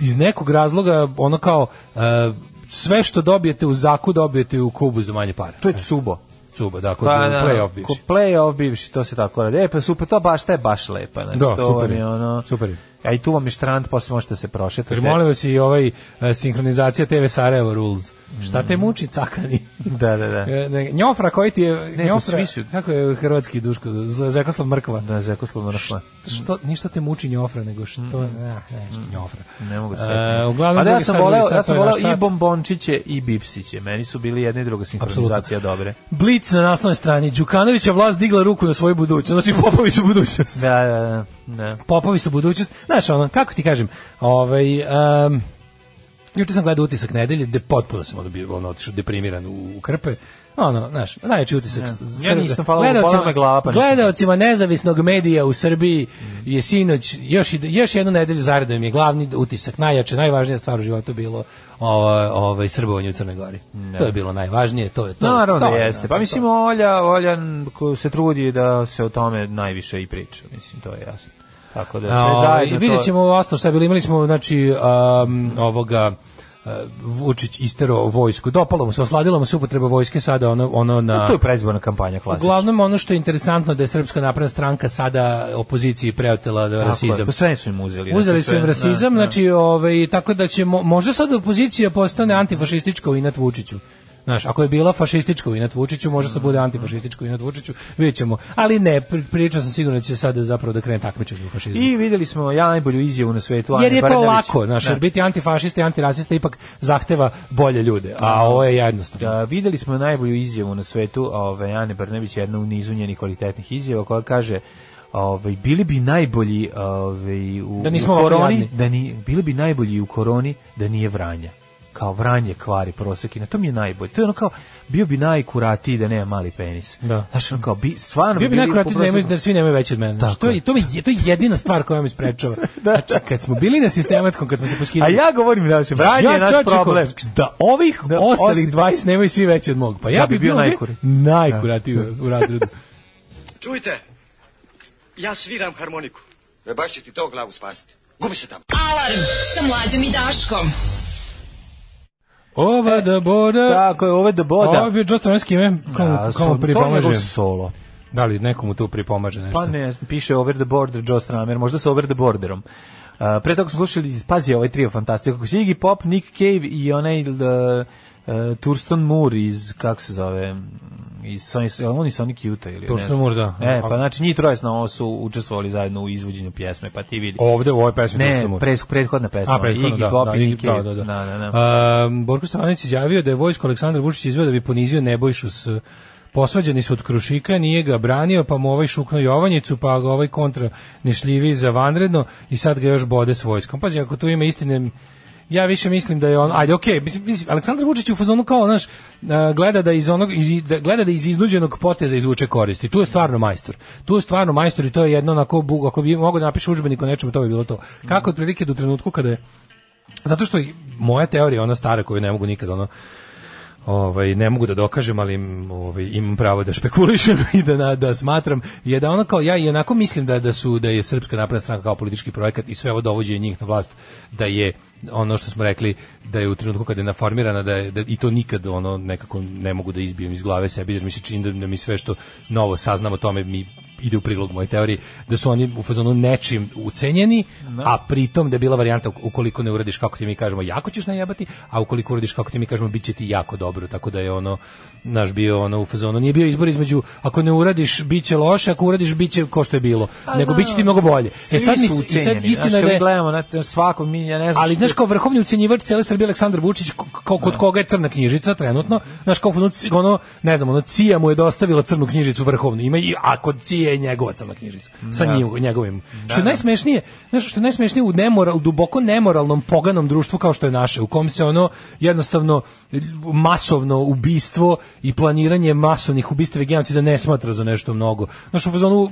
Speaker 5: iz nekog razloga, ono kao, a, sve što dobijete u zaku, dobijete u Kubu za manje pare.
Speaker 6: To je Cubo.
Speaker 5: Cuba, da,
Speaker 6: Pa,
Speaker 5: kod play-off bivši.
Speaker 6: Ko play-off bivši, to se tako radi. E, pa super, to baš, ta je baš lepa. Znači,
Speaker 5: Da,
Speaker 6: to
Speaker 5: super
Speaker 6: vam
Speaker 5: je,
Speaker 6: je. Ono,
Speaker 5: super je.
Speaker 6: A i tu vam je štrand, posle možete se prošetati.
Speaker 5: Kaže, molim vas i ovaj e, sinhronizacija TV Sarajevo Rules. Šta te muči, cakani?
Speaker 6: Da, Mm. da, da.
Speaker 5: E, ne, Njofra koji ti je...
Speaker 6: Ne, pa
Speaker 5: njofra,
Speaker 6: svi su-
Speaker 5: kako je hrvatski duško? Zla- Zekoslav Mrkva.
Speaker 6: Da, Zekoslav Mrkva.
Speaker 5: Što, ništa te muči njofra, nego što... Ne, ne, što njofra.
Speaker 6: Ne mogu se.
Speaker 5: E,
Speaker 6: setiti.
Speaker 5: uglavnom,
Speaker 6: A da ja
Speaker 5: drugi
Speaker 6: sam
Speaker 5: sat, drugi
Speaker 6: voleo,
Speaker 5: sat,
Speaker 6: ja
Speaker 5: to
Speaker 6: sam
Speaker 5: je naš
Speaker 6: voleo i
Speaker 5: sat.
Speaker 6: bombončiće i bipsiće. Meni su bili jedna i druga sinhronizacija dobre.
Speaker 5: Blic na naslovnoj strani. Đukanovića vlast digla ruku na svoju budućnost. Znači, popovi su budućnost.
Speaker 6: Da, da, da. da.
Speaker 5: Popovi su budućnost. Znaš, ono, kako ti kažem, ovaj... em, Juče sam gledao utisak nedelje, gde potpuno sam ono bio ono otišao deprimiran u, u krpe. Ono, znaš, najveći utisak.
Speaker 6: Ja nisam, hvala Bogu, bola me glava, pa nisam.
Speaker 5: gledaocima nezavisnog medija u Srbiji je sinoć još i- još jednu nedelju zaredom je glavni utisak, najjače, najvažnija stvar u životu bilo ovaj ovaj srbovanje u Crnoj Gori. To je bilo najvažnije, to je to.
Speaker 6: Naravno
Speaker 5: to
Speaker 6: da
Speaker 5: je,
Speaker 6: jeste. Pa
Speaker 5: to.
Speaker 6: mislim Olja, Olja ko se trudi da se o tome najviše i priča, mislim to je jasno. Tako da sve
Speaker 5: A,
Speaker 6: zajedno.
Speaker 5: i vidjet
Speaker 6: to-
Speaker 5: ćemo ostalo šta je bilo. Imali smo, znači, um, ovoga, uh, Vučić istero vojsku. Dopalo mu se, osladilo mu se upotreba vojske sada ono, ono na...
Speaker 6: Pa To je predizborna kampanja klasična.
Speaker 5: Uglavnom ono što je interesantno da je Srpska napredna stranka sada opoziciji preotela da
Speaker 6: Tako je,
Speaker 5: rasizam.
Speaker 6: Pa sve su im uzeli. znači,
Speaker 5: Uzeli su im
Speaker 6: sve,
Speaker 5: rasizam,
Speaker 6: da, da.
Speaker 5: znači ovaj tako da će mo- možda sad opozicija postane antifašistička u inat Vučiću. Znaš, ako je bila fašistička u inat Vučiću, možda sad bude antifašistička u inat Vučiću, vidjet ćemo. Ali ne, pri- prilično sam siguran da će sada zapravo da krene takmičenje u fašizmu.
Speaker 6: I videli smo ja najbolju izjavu na svetu.
Speaker 5: Jer
Speaker 6: Ane
Speaker 5: je to
Speaker 6: Brnabić.
Speaker 5: lako, znaš, jer
Speaker 6: Da.
Speaker 5: biti antifašista i antirasista ipak zahteva bolje ljude, a ovo je jednostavno.
Speaker 6: Da, videli smo najbolju izjavu na svetu ove, Ane Brnević, jednu u nizu njenih kvalitetnih izjava koja kaže ove, bili bi najbolji ove, u,
Speaker 5: Da nismo
Speaker 6: u
Speaker 5: ovako
Speaker 6: koroni,
Speaker 5: jadni.
Speaker 6: da ni, bili bi najbolji u koroni da nije vranja kao vranje kvari prosek i na tom je najbolji. To je ono kao, bio bi najkuratiji da nema mali penis.
Speaker 5: Da.
Speaker 6: Znaš, ono kao, bi, stvarno
Speaker 5: Bio bi
Speaker 6: bili
Speaker 5: najkratiji da,
Speaker 6: po
Speaker 5: nemaju-
Speaker 6: proseku-
Speaker 5: da svi nemaju veći od mene. Znači,
Speaker 6: Tako
Speaker 5: to, je,
Speaker 6: je. Da.
Speaker 5: to, mi je, to je jedina stvar koja me sprečava. Znači, kad smo bili na sistematskom, kad smo se
Speaker 6: A
Speaker 5: poskidali,
Speaker 6: ja govorim, da vranje je naš
Speaker 5: čovječe,
Speaker 6: problem.
Speaker 5: ko- Da ovih
Speaker 6: Da,
Speaker 5: ostalih
Speaker 6: osim-
Speaker 5: 20 nemaju svi veći od mog. Pa ja,
Speaker 6: Ja
Speaker 5: bi,
Speaker 6: bi
Speaker 5: bio
Speaker 6: bio Da.
Speaker 5: najkur.
Speaker 6: najkuri.
Speaker 5: najkuratiji u- u razredu.
Speaker 10: Čujte, ja sviram harmoniku. E baš će ti to glavu spasiti. Gubi se tamo.
Speaker 4: Alarm sa mlađom i Daškom.
Speaker 5: Ova da boda...
Speaker 6: Tako je, ovo je da boda.
Speaker 5: Ovo je bio Joe Stranski ime,
Speaker 6: Da, so-
Speaker 5: komu, komu
Speaker 6: To je njegov
Speaker 5: pripomaže.
Speaker 6: solo.
Speaker 5: Da li nekomu tu pripomaže nešto?
Speaker 6: Pa ne, piše Over the Border Joe Stramer, možda sa Over the Borderom. Uh, pre toga smo slušali, pazi ovaj trio fantastika, kako se Iggy Pop, Nick Cave i onaj da, uh, Thurston Moore iz, kako se zove, iz Sonic, je li on iz Sonic Utah ili ne
Speaker 5: Thurston
Speaker 6: znam.
Speaker 5: Moore, da.
Speaker 6: E, pa znači njih troje na ovo su učestvovali zajedno u izvođenju pjesme, pa ti vidi.
Speaker 5: Ovde u ovoj pesmi to
Speaker 6: ne,
Speaker 5: što mu-
Speaker 6: pres, prethodna pesma,
Speaker 5: A, prethodno,
Speaker 6: Iggy
Speaker 5: Ah, da,
Speaker 6: Pop
Speaker 5: da,
Speaker 6: i Nick
Speaker 5: Iggy-
Speaker 6: Cave.
Speaker 5: da, da, da.
Speaker 6: da,
Speaker 5: Um, Borko Stevanović izjavio da je vojsko Aleksandar Vučić izveo da bi ponizio Nebojšu s posvađani su od Krušika, nije ga branio, pa mu ovaj šukno Jovanjicu, pa ga ovaj kontra nešljivi za vanredno i sad ga još bode s vojskom. Pazi, ako tu ima istine, ja više mislim da je on, ajde, okej, mislim, mislim, Aleksandar Vučić je u fazonu kao, znaš, a, gleda da iz onog, iz, da, gleda da iz iznuđenog poteza izvuče koristi. Tu je stvarno majstor. Tu je stvarno majstor i to je jedno onako, bug, ako bi mogao da napiše udžbenik o nečemu, to bi bilo to. Kako otprilike do trenutku kada je zato što i moja teorija je ona stara koju ne mogu nikad ono ovaj ne mogu da dokažem, ali im, ovaj imam pravo da špekulišem i da na- da smatram je da ono kao ja i onako mislim da da su da je Srpska napredna stranka kao politički projekat i sve ovo dovođenje njih na vlast da je ono što smo rekli da je u trenutku kada je naformirana da, je, da i to nikad ono nekako ne mogu da izbijem iz glave sebi jer mi se čini da, da mi sve što novo saznamo o tome mi ide u prilog moje teoriji da su oni u fazonu nečim ucenjeni a pritom da je bila varijanta ukoliko ne uradiš kako ti mi kažemo jako ćeš najebati a ukoliko uradiš kako ti mi kažemo biće ti jako dobro tako da je ono naš bio ono u fazonu nije bio izbor između ako ne uradiš biće loše ako uradiš biće ko što je bilo nego
Speaker 6: da.
Speaker 5: biće ti mnogo bolje
Speaker 6: Svi
Speaker 5: mi
Speaker 6: su
Speaker 5: se- i
Speaker 6: ucenjeni, znaš,
Speaker 5: istina je
Speaker 6: kad
Speaker 5: da je-
Speaker 6: gledamo, na svako, mi, ja ne znam
Speaker 5: ali
Speaker 6: što-
Speaker 5: znaš kao vrhovni ucenjivač cele Srbije Aleksandar Vučić ko- ko- kod koga je crna knjižica trenutno znaš kao ono, ono ne znam ono Cija mu je dostavila crnu knjižicu vrhovnu ima i a kod Cije je njegova crna knjižica sa njim, njegovim što je najsmešnije znaš što je najsmešnije u nemora u duboko nemoralnom poganom društvu kao što je naše u kom se ono jednostavno masovno ubistvo i planiranje masovnih ubistava i genocida ne smatra za nešto mnogo znaš u fazonu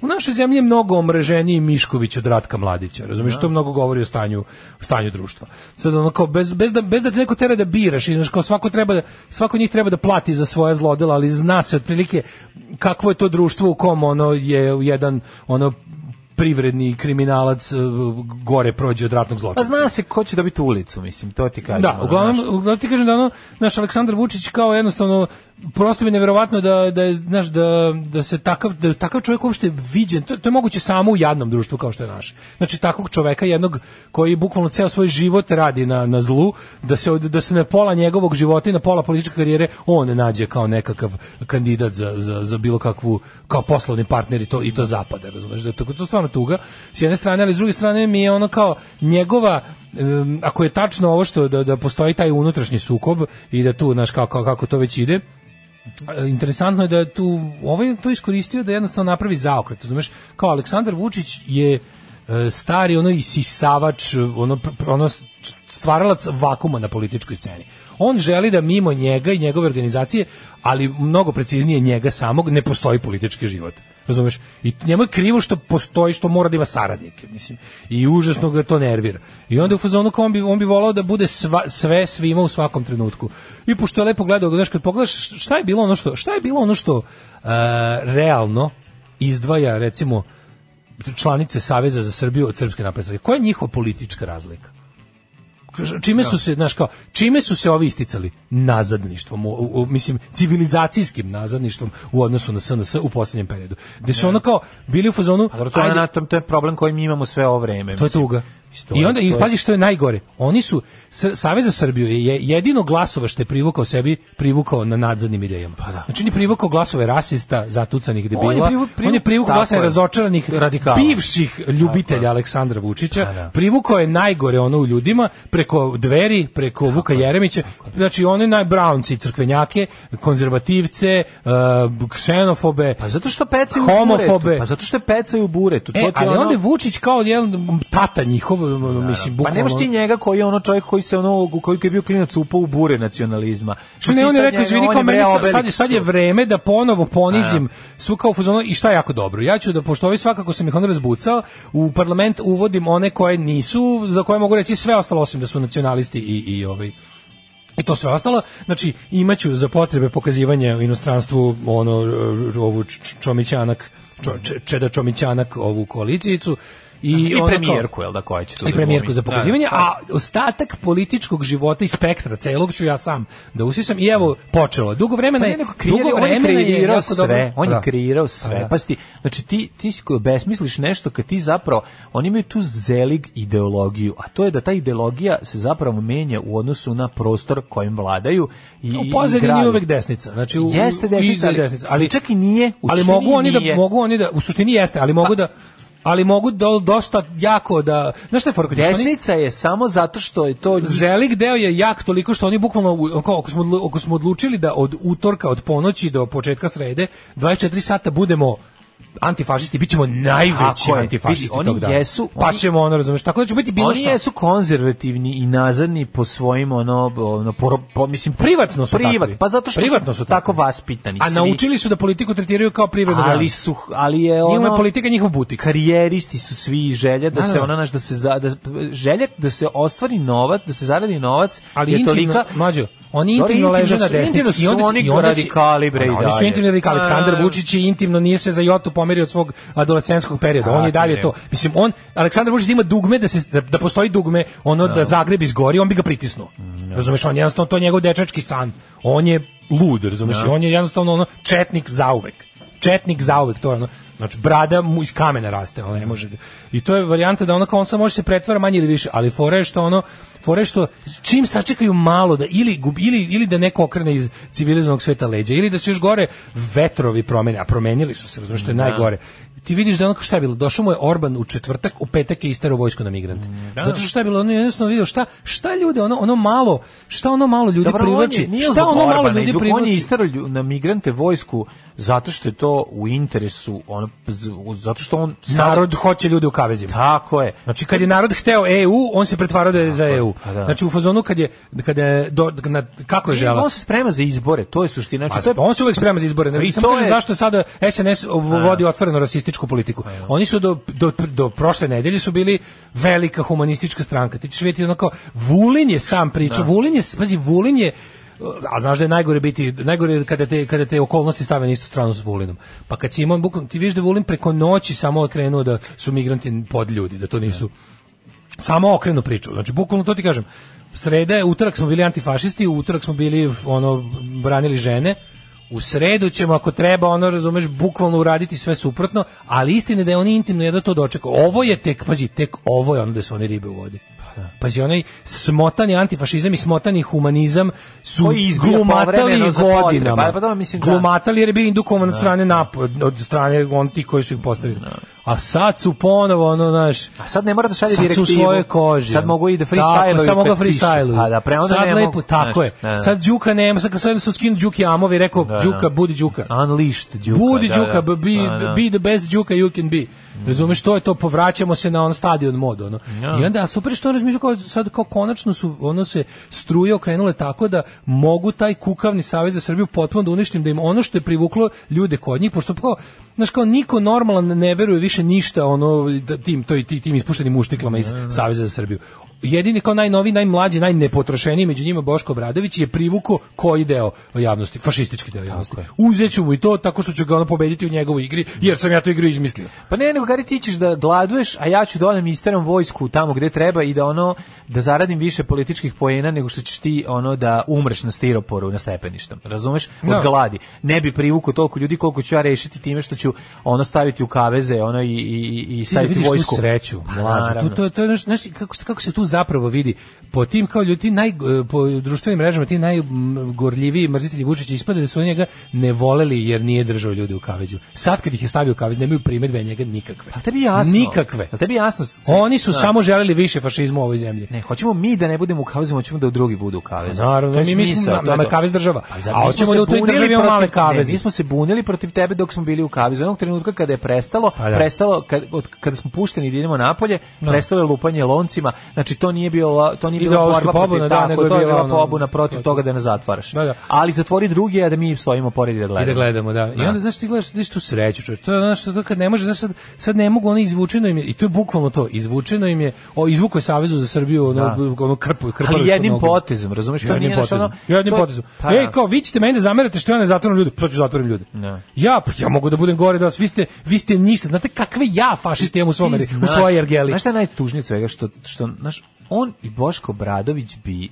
Speaker 5: u našoj zemlji je mnogo omreženiji Mišković od Ratka Mladića, razumiješ, to mnogo govori o stanju, o stanju društva. Sad ono kao, bez, bez, da, bez da te neko tera da biraš, i znaš, kao svako, treba da, svako od njih treba da plati za svoje zlodela, ali zna se otprilike kakvo je to društvo u kom ono je jedan ono privredni kriminalac e, gore prođe od ratnog
Speaker 6: Pa
Speaker 5: zločina.
Speaker 6: zna se ko će dobiti ulicu, mislim, to ti kažem.
Speaker 5: Da,
Speaker 6: ono, znaš.
Speaker 5: uglavnom, uglavnom ti kažem da ono, naš Aleksandar Vučić kao jednostavno prosto mi je neverovatno da da je, znaš da da se takav da je takav čovjek uopšte viđen to, to je moguće samo u jadnom društvu kao što je naše znači takvog čovjeka jednog koji bukvalno ceo svoj život radi na na zlu da se od- da se na pola njegovog života i na pola političke karijere on nađe kao nekakav kandidat za, za, za bilo kakvu kao poslovni partner i to i to zapada razumeš da je to, to je stvarno tuga s jedne strane ali s druge strane mi je ono kao njegova em, ako je tačno ovo što da, da postoji taj unutrašnji sukob i da tu znaš kako kako to već ide e, interesantno je da je tu ovaj je to iskoristio da jednostavno napravi zaokret razumeš kao Aleksandar Vučić je e, stari ono isisavač ono pr- pr- ono stvaralac vakuma na političkoj sceni on želi da mimo njega i njegove organizacije, ali mnogo preciznije njega samog, ne postoji politički život. Razumeš? I njemu je krivo što postoji, što mora da ima saradnike, mislim. I užasno ga to nervira. I onda je u fazonu kao on bi, on bi volao da bude sva, sve svima u svakom trenutku. I pošto je lepo gledao, znaš, kad pogledaš šta je bilo ono što, šta je bilo ono što e, realno izdvaja, recimo, članice Saveza za Srbiju od Srpske napredne stranke. Koja je njihova politička razlika? čime
Speaker 6: Da.
Speaker 5: su se znaš kao čime su se ovi isticali nazadništvom u, u- u- mislim civilizacijskim nazadništvom u odnosu na SNS u poslednjem periodu gde su ono kao bili u fazonu
Speaker 6: Ali Pa to je,
Speaker 5: ajde,
Speaker 6: na, to, to je problem koji mi imamo sve ovo vreme.
Speaker 5: to je
Speaker 6: mislim.
Speaker 5: tuga
Speaker 6: Mislim, to
Speaker 5: I
Speaker 6: je-
Speaker 5: onda,
Speaker 6: to
Speaker 5: i
Speaker 6: je-
Speaker 5: pazi što je najgore, oni su, S- Savez za Srbiju je jedino glasova što je privukao sebi, privukao na nadzornim idejama.
Speaker 6: Pa
Speaker 5: Znači, on je privukao glasove rasista, zatucanih debila, on je,
Speaker 6: da. privu- privu-
Speaker 5: privukao
Speaker 6: tako
Speaker 5: glasove
Speaker 6: je.
Speaker 5: razočaranih
Speaker 6: Radikala. Pa
Speaker 5: bivših ljubitelja Aleksandra Vučića,
Speaker 6: da.
Speaker 5: privukao je najgore ono u ljudima, preko dveri, preko Vuka Jeremića, znači one najbraunci, crkvenjake, konzervativce, uh, ksenofobe,
Speaker 6: Pa zato što pecaju u
Speaker 5: homofobe.
Speaker 6: buretu. Pa zato što pecaju u buretu. to
Speaker 5: E,
Speaker 6: ti
Speaker 5: ali
Speaker 6: ono-
Speaker 5: onda je Vučić kao jedan tata njihov, mislim,
Speaker 6: Pa
Speaker 5: bukvalno...
Speaker 6: nemaš ti njega koji je ono čovjek koji se ono koji je bio klinac upao u bure nacionalizma. Što
Speaker 5: ne,
Speaker 6: ti
Speaker 5: on je
Speaker 6: sad
Speaker 5: rekao,
Speaker 6: njega-
Speaker 5: izvini,
Speaker 6: on
Speaker 5: kao
Speaker 6: je
Speaker 5: meni
Speaker 6: bre
Speaker 5: sad,
Speaker 6: Obelix
Speaker 5: sad, je, sad je
Speaker 6: tu.
Speaker 5: vreme da ponovo ponizim svu kao u fazonu i šta je jako dobro. Ja ću da, pošto ovi svakako sam ih on razbucao, u parlament uvodim one koje nisu, za koje mogu reći sve ostalo osim da su nacionalisti i, i ovaj i to sve ostalo, znači imaću za potrebe pokazivanja u inostranstvu ono r- r- ovu Č- Č- Čomićanak, Čo, Č- Čeda Čomićanak ovu koalicijicu i,
Speaker 6: I
Speaker 5: ono kao-
Speaker 6: premijerku, jel da, koja će tu
Speaker 5: i
Speaker 6: da
Speaker 5: premijerku
Speaker 6: glumi.
Speaker 5: za pokazivanje,
Speaker 6: Da, da.
Speaker 5: a ostatak političkog života i spektra celog ću ja sam da usisam i evo počelo. Dugo vremena
Speaker 6: Pa
Speaker 5: je,
Speaker 6: ne, nego kreirao-
Speaker 5: dugo
Speaker 6: on je
Speaker 5: vremena je
Speaker 6: kreirao
Speaker 5: jako dobro-
Speaker 6: sve, on je
Speaker 5: Da.
Speaker 6: kreirao
Speaker 5: Pa
Speaker 6: sve.
Speaker 5: da.
Speaker 6: Pa si ti, znači ti ti si koji besmisliš nešto kad ti zapravo oni imaju tu zelig ideologiju, a to je da ta ideologija se zapravo menja u odnosu na prostor kojim vladaju i
Speaker 5: U
Speaker 6: i
Speaker 5: pozadini
Speaker 6: grade.
Speaker 5: je uvek desnica. Znači, u,
Speaker 6: Jeste
Speaker 5: u-
Speaker 6: desnica,
Speaker 5: iza
Speaker 6: ali,
Speaker 5: desnica, ali,
Speaker 6: čak i nije. u
Speaker 5: ali
Speaker 6: suštini
Speaker 5: mogu oni da
Speaker 6: nije. Pa-
Speaker 5: mogu oni da u suštini jeste, ali mogu da ali mogu da dosta jako da znaš šta je fora kod njih, što oni-
Speaker 6: Desnica je samo zato što je to njih-
Speaker 5: Zelik deo je jak toliko što oni bukvalno u- ako, ako smo odlu- ako smo odlučili da od utorka od ponoći do početka srede 24 sata budemo antifašisti, bit ćemo najveći
Speaker 6: Tako je.
Speaker 5: antifašisti
Speaker 6: Vidi, oni
Speaker 5: tog dana.
Speaker 6: jesu-
Speaker 5: pa
Speaker 6: oni-
Speaker 5: ćemo ono, razumeš, tako da će biti bilo
Speaker 6: Oni
Speaker 5: šta.
Speaker 6: jesu konzervativni i nazadni po svojim ono, ono po, po, mislim
Speaker 5: Privatno su
Speaker 6: privat,
Speaker 5: takvi.
Speaker 6: pa zato što
Speaker 5: Privatno su
Speaker 6: su tako
Speaker 5: takvi.
Speaker 6: vaspitani
Speaker 5: A
Speaker 6: svi.
Speaker 5: naučili su da politiku tretiraju kao privrednu
Speaker 6: ali
Speaker 5: granu.
Speaker 6: su ali je
Speaker 5: Njihova
Speaker 6: ono
Speaker 5: je politika njihov butik.
Speaker 6: karijeristi su svi i želja da
Speaker 5: Da,
Speaker 6: se
Speaker 5: da.
Speaker 6: ona naš da se za, da želja da se ostvari novac, da se zaradi novac
Speaker 5: ali
Speaker 6: je
Speaker 5: intimno,
Speaker 6: tolika
Speaker 5: mlađo, oni
Speaker 6: Dobro,
Speaker 5: intimno leže
Speaker 6: intimno
Speaker 5: na
Speaker 6: su-
Speaker 5: desnici.
Speaker 6: intimno su
Speaker 5: i onda će-
Speaker 6: oni
Speaker 5: i onda će-
Speaker 6: radikali, bre, i
Speaker 5: Ono, Oni su
Speaker 6: dalje.
Speaker 5: intimni radikali.
Speaker 6: Pa,
Speaker 5: Aleksandar Vučić je intimno nije se za jotu pomerio od svog adolescenskog perioda. On je
Speaker 6: Tako
Speaker 5: dalje
Speaker 6: je.
Speaker 5: to. Mislim, on, Aleksandar Vučić da ima dugme, da, se, da, da postoji dugme, ono da Zagreb izgori, on bi ga pritisnuo.
Speaker 6: Mm, da.
Speaker 5: Razumeš, on je jednostavno, to je njegov dečački san. On je lud, razumeš,
Speaker 6: Da.
Speaker 5: i on je jednostavno ono, četnik zauvek. Četnik zauvek, to je ono, Znači, brada mu iz kamena raste, ono ne može. ga- I to je varijanta da ono kao on samo može se pretvara manje ili više, ali fore što ono, fore što čim sačekaju malo da ili, gub- ili, ili da neko okrene iz civilizovanog sveta leđa, ili da se još gore vetrovi promene, a promenili su se, razumiješ, što je najgore. Ti vidiš da ono kao šta je bilo, došao mu je Orban u četvrtak, u petak je isterao vojsku na migrante.
Speaker 6: Mm, da.
Speaker 5: Zato što šta je bilo, on je jednostavno vidio šta, šta ljude, ono, ono malo, šta ono malo ljudi
Speaker 6: Dobro,
Speaker 5: privlači,
Speaker 6: on je, nije
Speaker 5: šta
Speaker 6: zbog
Speaker 5: ono malo
Speaker 6: Orbana,
Speaker 5: ljudi
Speaker 6: zbog-
Speaker 5: privlači.
Speaker 6: On je isterao lju- na migrante vojsku zato što je to u interesu, ono, z- u- zato što on... sad-
Speaker 5: Narod hoće ljude u kavezima.
Speaker 6: Tako je.
Speaker 5: Znači kad je narod hteo EU, on se pretvarao da je za EU.
Speaker 6: pa da.
Speaker 5: Znači u fazonu kad je kada je do, na, kako je želeo.
Speaker 6: On se sprema za izbore, to je suština. Znači, to je
Speaker 5: Pa, on se uvek sprema za izbore. Ne,
Speaker 6: I
Speaker 5: samo
Speaker 6: to
Speaker 5: kažem
Speaker 6: je-
Speaker 5: zašto sada SNS vodi otvoreno rasističku politiku. Oni su do, do, do prošle nedelje su bili velika humanistička stranka. Ti ćeš vidjeti ono kao, Vulin je sam
Speaker 6: Da.
Speaker 5: pričao. Vulin je, pazi, Vulin je a znaš da je najgore biti, najgore je kada te, kada te okolnosti stave na istu stranu s Vulinom. Pa kad Simon, bukvalno, ti vidiš da je Vulin preko noći samo okrenuo da su migranti pod ljudi, da to nisu samo okrenu priču. Znači, bukvalno to ti kažem. Sreda je, utorak smo bili antifašisti, u utorak smo bili, ono, branili žene, U sredu ćemo, ako treba, ono, razumeš, bukvalno uraditi sve suprotno, ali istina je da je oni intimno jedno to dočekao. Ovo je tek, pazi, tek ovo je ono da su oni ribe u vodi.
Speaker 6: Pa da.
Speaker 5: Pazi, onaj smotani antifašizam i smotani humanizam su
Speaker 6: Koji izbija
Speaker 5: glumatali
Speaker 6: povremeno za potrebe.
Speaker 5: godinama.
Speaker 6: Pa, pa dobro, mislim, da.
Speaker 5: glumatali jer je bio indukovan od strane, nap- od strane on ti koji su ih postavili. A sad su ponovo, ono, znaš,
Speaker 6: Da. A sad ne mora da šalje
Speaker 5: Sad su
Speaker 6: direktivu.
Speaker 5: u svojoj koži.
Speaker 6: Sad mogu i da
Speaker 5: Tako,
Speaker 6: freestyle-uju
Speaker 5: sad mogu
Speaker 6: kad pišu.
Speaker 5: freestyle
Speaker 6: A da, pre onda
Speaker 5: sad
Speaker 6: ne
Speaker 5: lepo,
Speaker 6: mogu,
Speaker 5: tako
Speaker 6: znaš,
Speaker 5: je.
Speaker 6: da, da.
Speaker 5: Sad Đuka nema, sad kad sad su skinu Đuki Amov i rekao,
Speaker 6: da.
Speaker 5: Đuka, budi Đuka.
Speaker 6: Unleashed Đuka.
Speaker 5: budi
Speaker 6: da,
Speaker 5: Đuka,
Speaker 6: da.
Speaker 5: be,
Speaker 6: Da, da.
Speaker 5: be the best Đuka you can be. Razumeš, to je to, povraćamo se na on stadion mod, ono.
Speaker 6: Ja.
Speaker 5: I onda, a super što razmišljam, kao, sad kao konačno su, ono se struje okrenule tako da mogu taj kukavni savez za Srbiju potpuno da uništim, da im ono što je privuklo ljude kod njih, pošto kao, znaš, kao niko normalan ne veruje više ništa ono, da, tim, toj, ti- tim ispuštenim uštiklama
Speaker 6: Da,
Speaker 5: iz Saveza za Srbiju. Jedini kao najnoviji, najmlađi, najnepotrošeniji među njima Boško Obradović je privuko koji deo javnosti, fašistički deo javnosti. Uzeću mu i to tako što ću ga ono pobediti u njegovoj igri, jer sam ja tu igru izmislio.
Speaker 6: Pa ne, nego Gari, ti ćeš da gladuješ, a ja ću da odem i isteram vojsku tamo gde treba i da ono, da zaradim više političkih pojena nego što ćeš ti ono da umreš na stiroporu, na stepeništom. Razumeš? Od
Speaker 5: Da.
Speaker 6: gladi. Ne bi privuku toliko ljudi koliko ću ja rešiti time što ću ono staviti u kaveze, ono i, i, i- i
Speaker 5: Ti da
Speaker 6: staviti
Speaker 5: vidiš
Speaker 6: vojsku.
Speaker 5: tu sreću,
Speaker 6: Pa,
Speaker 5: mlađe.
Speaker 6: naravno.
Speaker 5: Tu, to, to, je, znaš- znaš, kako, se- kako se tu zapravo vidi? Po tim kao ljudi, ti naj, e, po društvenim mrežama, ti najgorljiviji mrzitelji Vučića ispada da su oni njega ne voleli jer nije držao ljude u kavezu. Sad kad ih je stavio u kavez, nemaju primedbe na njega nikakve.
Speaker 6: Pa tebi je jasno.
Speaker 5: Nikakve.
Speaker 6: Pa tebi je jasno.
Speaker 5: Oni su
Speaker 6: Da.
Speaker 5: samo želeli više fašizma u ovoj zemlji.
Speaker 6: Ne, hoćemo mi da ne budemo u kavezu, hoćemo da drugi budu u kavezu.
Speaker 5: Pa Naravno,
Speaker 6: To je
Speaker 5: mi mislimo,
Speaker 6: smisao,
Speaker 5: nam-
Speaker 6: to je
Speaker 5: nama je
Speaker 6: to.
Speaker 5: kavez država.
Speaker 6: Pa zar
Speaker 5: A
Speaker 6: nismo
Speaker 5: hoćemo
Speaker 6: se
Speaker 5: da u toj
Speaker 6: bunili
Speaker 5: državi imamo
Speaker 6: protiv-
Speaker 5: male
Speaker 6: ne,
Speaker 5: kaveze.
Speaker 6: Mi smo se bunili protiv tebe dok smo bili u kavezu. Onog trenutka kada je prestalo,
Speaker 5: Pa da.
Speaker 6: prestalo kad od kada smo pušteni da idemo napolje, prestalo je lupanje loncima. Znači to nije bilo to nije bila
Speaker 5: Ideološka
Speaker 6: borba
Speaker 5: pobuna,
Speaker 6: protiv
Speaker 5: da,
Speaker 6: tako,
Speaker 5: nego je
Speaker 6: to je
Speaker 5: bila
Speaker 6: bila
Speaker 5: ono-
Speaker 6: pobuna protiv toga da ne zatvaraš.
Speaker 5: Da, da.
Speaker 6: Ali zatvori drugi, a da mi stojimo pored i da gledamo.
Speaker 5: I da gledamo, da. I
Speaker 6: Da.
Speaker 5: onda znaš ti gledaš, vidiš tu sreću, čovječe. To je ono što to kad ne može, znaš sad, sad ne mogu, ono izvučeno im je, i to je bukvalno to, izvučeno im je, o, izvuko je Savezu za Srbiju, ono, ono krpu, krpaviš
Speaker 6: Da. Ali
Speaker 5: pod
Speaker 6: jednim
Speaker 5: nogom.
Speaker 6: potezom, razumeš? To
Speaker 5: Jednim
Speaker 6: nije nešto
Speaker 5: potezom.
Speaker 6: ono-
Speaker 5: Jednim
Speaker 6: to-
Speaker 5: potezom.
Speaker 6: Pa
Speaker 5: Ej,
Speaker 6: da.
Speaker 5: kao vi ćete mene da zamerate što ja ne zatvaram ljude, pa ću zatvorim ljude.
Speaker 6: Da.
Speaker 5: Ja, pa ja mogu da budem gore da vas, vi ste, vi ste ništa. Znate kakve ja fašiste imam u svom,
Speaker 6: Ti
Speaker 5: u
Speaker 6: znaš-
Speaker 5: svojoj ergeli.
Speaker 6: Znaš šta je najtužnije od svega? Što, što, znaš, on i Boško Bradović bi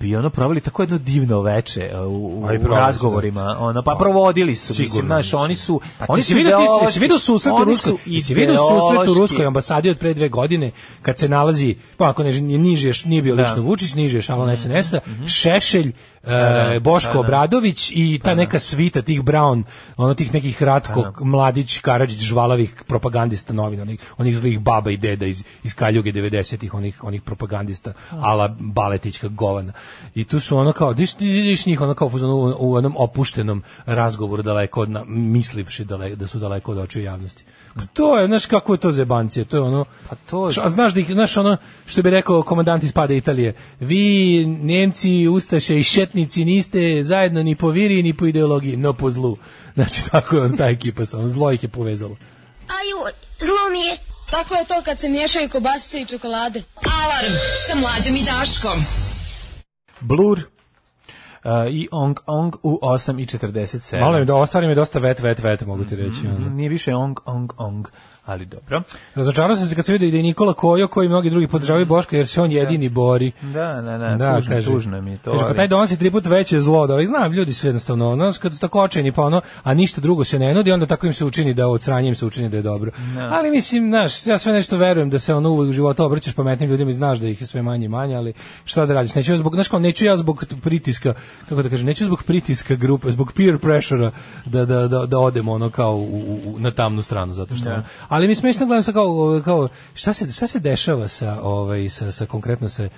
Speaker 6: bi ono proveli tako jedno divno veče uh, u, u
Speaker 5: A i proveli su, da.
Speaker 6: razgovorima ono pa provodili su mislim
Speaker 5: Sigurno,
Speaker 6: znaš oni su
Speaker 5: Pa
Speaker 6: oni
Speaker 5: ti si vidio, ti si- jesi vidio susret u
Speaker 6: oni
Speaker 5: Ruskoj,
Speaker 6: su
Speaker 5: jesi vidio susret u
Speaker 6: ideološki.
Speaker 5: Ruskoj ambasadi od pre dve godine, kad se nalazi, pa ako ne, niže, još- nije bio
Speaker 6: Da. Mhm,
Speaker 5: lično Vučić, niže je šalon SNS-a, Šešelj, e,
Speaker 6: da,
Speaker 5: Boško Obradović i ta neka svita tih Brown, ono tih nekih Ratko,
Speaker 6: Da,
Speaker 5: Mladić, Karadžić, žvalavih propagandista novina, onih, onih zlih baba i deda iz, iz Kaljuge 90-ih, onih, onih propagandista, ala Baletićka govana. I tu su ono kao, diš, diš njih ono kao u fazonu, u, u onom opuštenom razgovoru daleko od, na, mislivši dale, da su daleko od očiju javnosti. Pa to je, znaš kako je to zebancije, to je ono,
Speaker 6: Pa to je-
Speaker 5: Š- a znaš da ih, znaš ono, što bi rekao komandant iz pada Italije, vi Nemci, Ustaše i Šetnici niste zajedno ni po viri, ni po ideologiji, no po zlu. Znači, tako je on, ta ekipa samo, zlo ih je povezalo.
Speaker 1: Aj, zlo mi je.
Speaker 4: Tako je to kad se miješaju kobasice i čokolade.
Speaker 9: Alarm sa Mlađom i Daškom.
Speaker 6: blur uh, i ong ong u 8 i 47
Speaker 5: Malo im da ostvarim je dosta vet, vet, vet, mogu ti reći. ono.
Speaker 6: Mhm, nije više ong ong ong ali dobro
Speaker 5: Razočarao sam se kad se vidio da je Nikola Kojo, koji mnogi drugi podržavaju Boška, jer se on jedini bori.
Speaker 6: da da da, tužno, tužno mi je to
Speaker 5: Kaže, pa
Speaker 6: ali-
Speaker 5: taj donosi tri put veće zlo da ovaj, znam, ljudi su jednostavno ono, znaš, kad su tako očajni, pa ono, a ništa drugo se ne nudi, onda tako im se učini da od sranja im se učini da je dobro. Ali mislim, znaš, ja sve nešto verujem da se ono uvek u životu obrćeš pametnim ljudima i znaš da ih je sve manje i manje, ali šta da radiš? Neću ja zbog, znaš kao, neću ja zbog pritiska, kako da kažem, neću zbog pritiska grupe, zbog peer pressure da, da, da, da odem ono kao u, u- u- na tamnu stranu, zato
Speaker 6: Da.
Speaker 5: što ono- ali mi smešno gledam sa kao, kao šta, se, šta se dešava sa, ovaj, sa, sa konkretno sa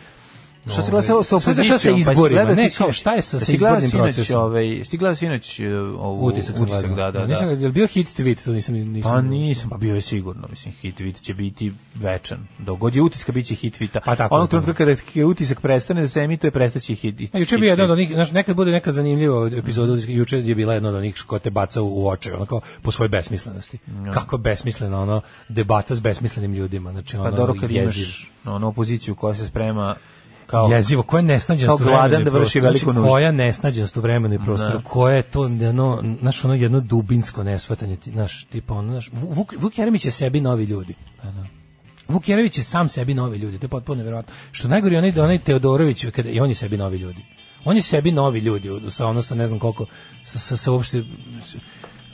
Speaker 6: Šta se glasalo sa
Speaker 5: Sad Ovaj, se
Speaker 6: opozicijom?
Speaker 5: sa
Speaker 6: Pa jesi
Speaker 5: izborima,
Speaker 6: gledao
Speaker 5: ne,
Speaker 6: ti
Speaker 5: kao
Speaker 6: sinoć-
Speaker 5: šta je sa- sa
Speaker 6: jesi gledao
Speaker 5: izbornim
Speaker 6: sinoć
Speaker 5: procesom?
Speaker 6: Ovaj, si gledao sinoć e, ovu
Speaker 5: Utisak sam gledao.
Speaker 6: da, da,
Speaker 5: Nisam,
Speaker 6: da.
Speaker 5: ga- jel bio hit tweet, to nisam, nisam.
Speaker 6: Pa nisam, pa bio je sigurno, mislim, hit tweet će biti večan. Dogod je utiska, bit će hit tweeta.
Speaker 5: Pa tako,
Speaker 6: Onog
Speaker 5: da.
Speaker 6: trenutka kada je utisak prestane da se emituje, prestaće hit, hit,
Speaker 5: E, Juče je bio jedan od onih, znaš, nekad bude neka zanimljiva epizoda, mm. juče je bila jedna od onih ko te baca u, u oči, ono kao po svojoj besmislenosti. Kako besmislena, ono, debata s besmislenim ljudima, znači ono,
Speaker 6: Pa dobro kad
Speaker 5: jezivo.
Speaker 6: imaš ono, opoziciju koja se sprema kao...
Speaker 5: Jezivo, koja je nesnađenost
Speaker 6: Kao
Speaker 5: u vremenu
Speaker 6: gladan
Speaker 5: i
Speaker 6: da vrši
Speaker 5: prostoru. Znači,
Speaker 6: veliku nuždu. Da.
Speaker 5: Koja nesnađenost u vremenu i prostoru, koja je to jedno, znaš, ono jedno dubinsko nesvatanje, ti, znaš, tipa ono, znaš, Vu- Vuk, Vuk Jeremić je sebi novi ljudi.
Speaker 6: Pa da.
Speaker 5: Vuk Jeremić je sam sebi novi ljudi, to je potpuno nevjerojatno. Što najgore je onaj, onaj Teodorović, kada, i on je sebi novi ljudi. On je sebi novi ljudi, u- sa ono sa ne znam koliko, sa, sa, sa uopšte...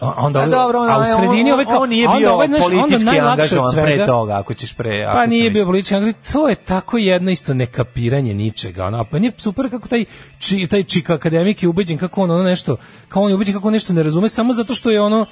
Speaker 5: a- Onda,
Speaker 6: A
Speaker 5: ovaj-
Speaker 6: Pa dobro, on,
Speaker 5: a u sredini
Speaker 6: on,
Speaker 5: ovaj kao,
Speaker 6: on nije
Speaker 5: a onda
Speaker 6: bio
Speaker 5: ovaj, znaš, onda
Speaker 6: politički
Speaker 5: najlakše od
Speaker 6: angažovan pre
Speaker 5: svega-
Speaker 6: toga, ako ćeš pre... ako
Speaker 5: Pa nije
Speaker 6: ćeš-
Speaker 5: bio politički angažovan. To je tako jedno isto nekapiranje ničega. Ono. A Pa nije super kako taj, či, taj čika akademik je ubeđen kako on ono nešto, kao on je ubeđen kako on nešto ne razume, samo zato što je ono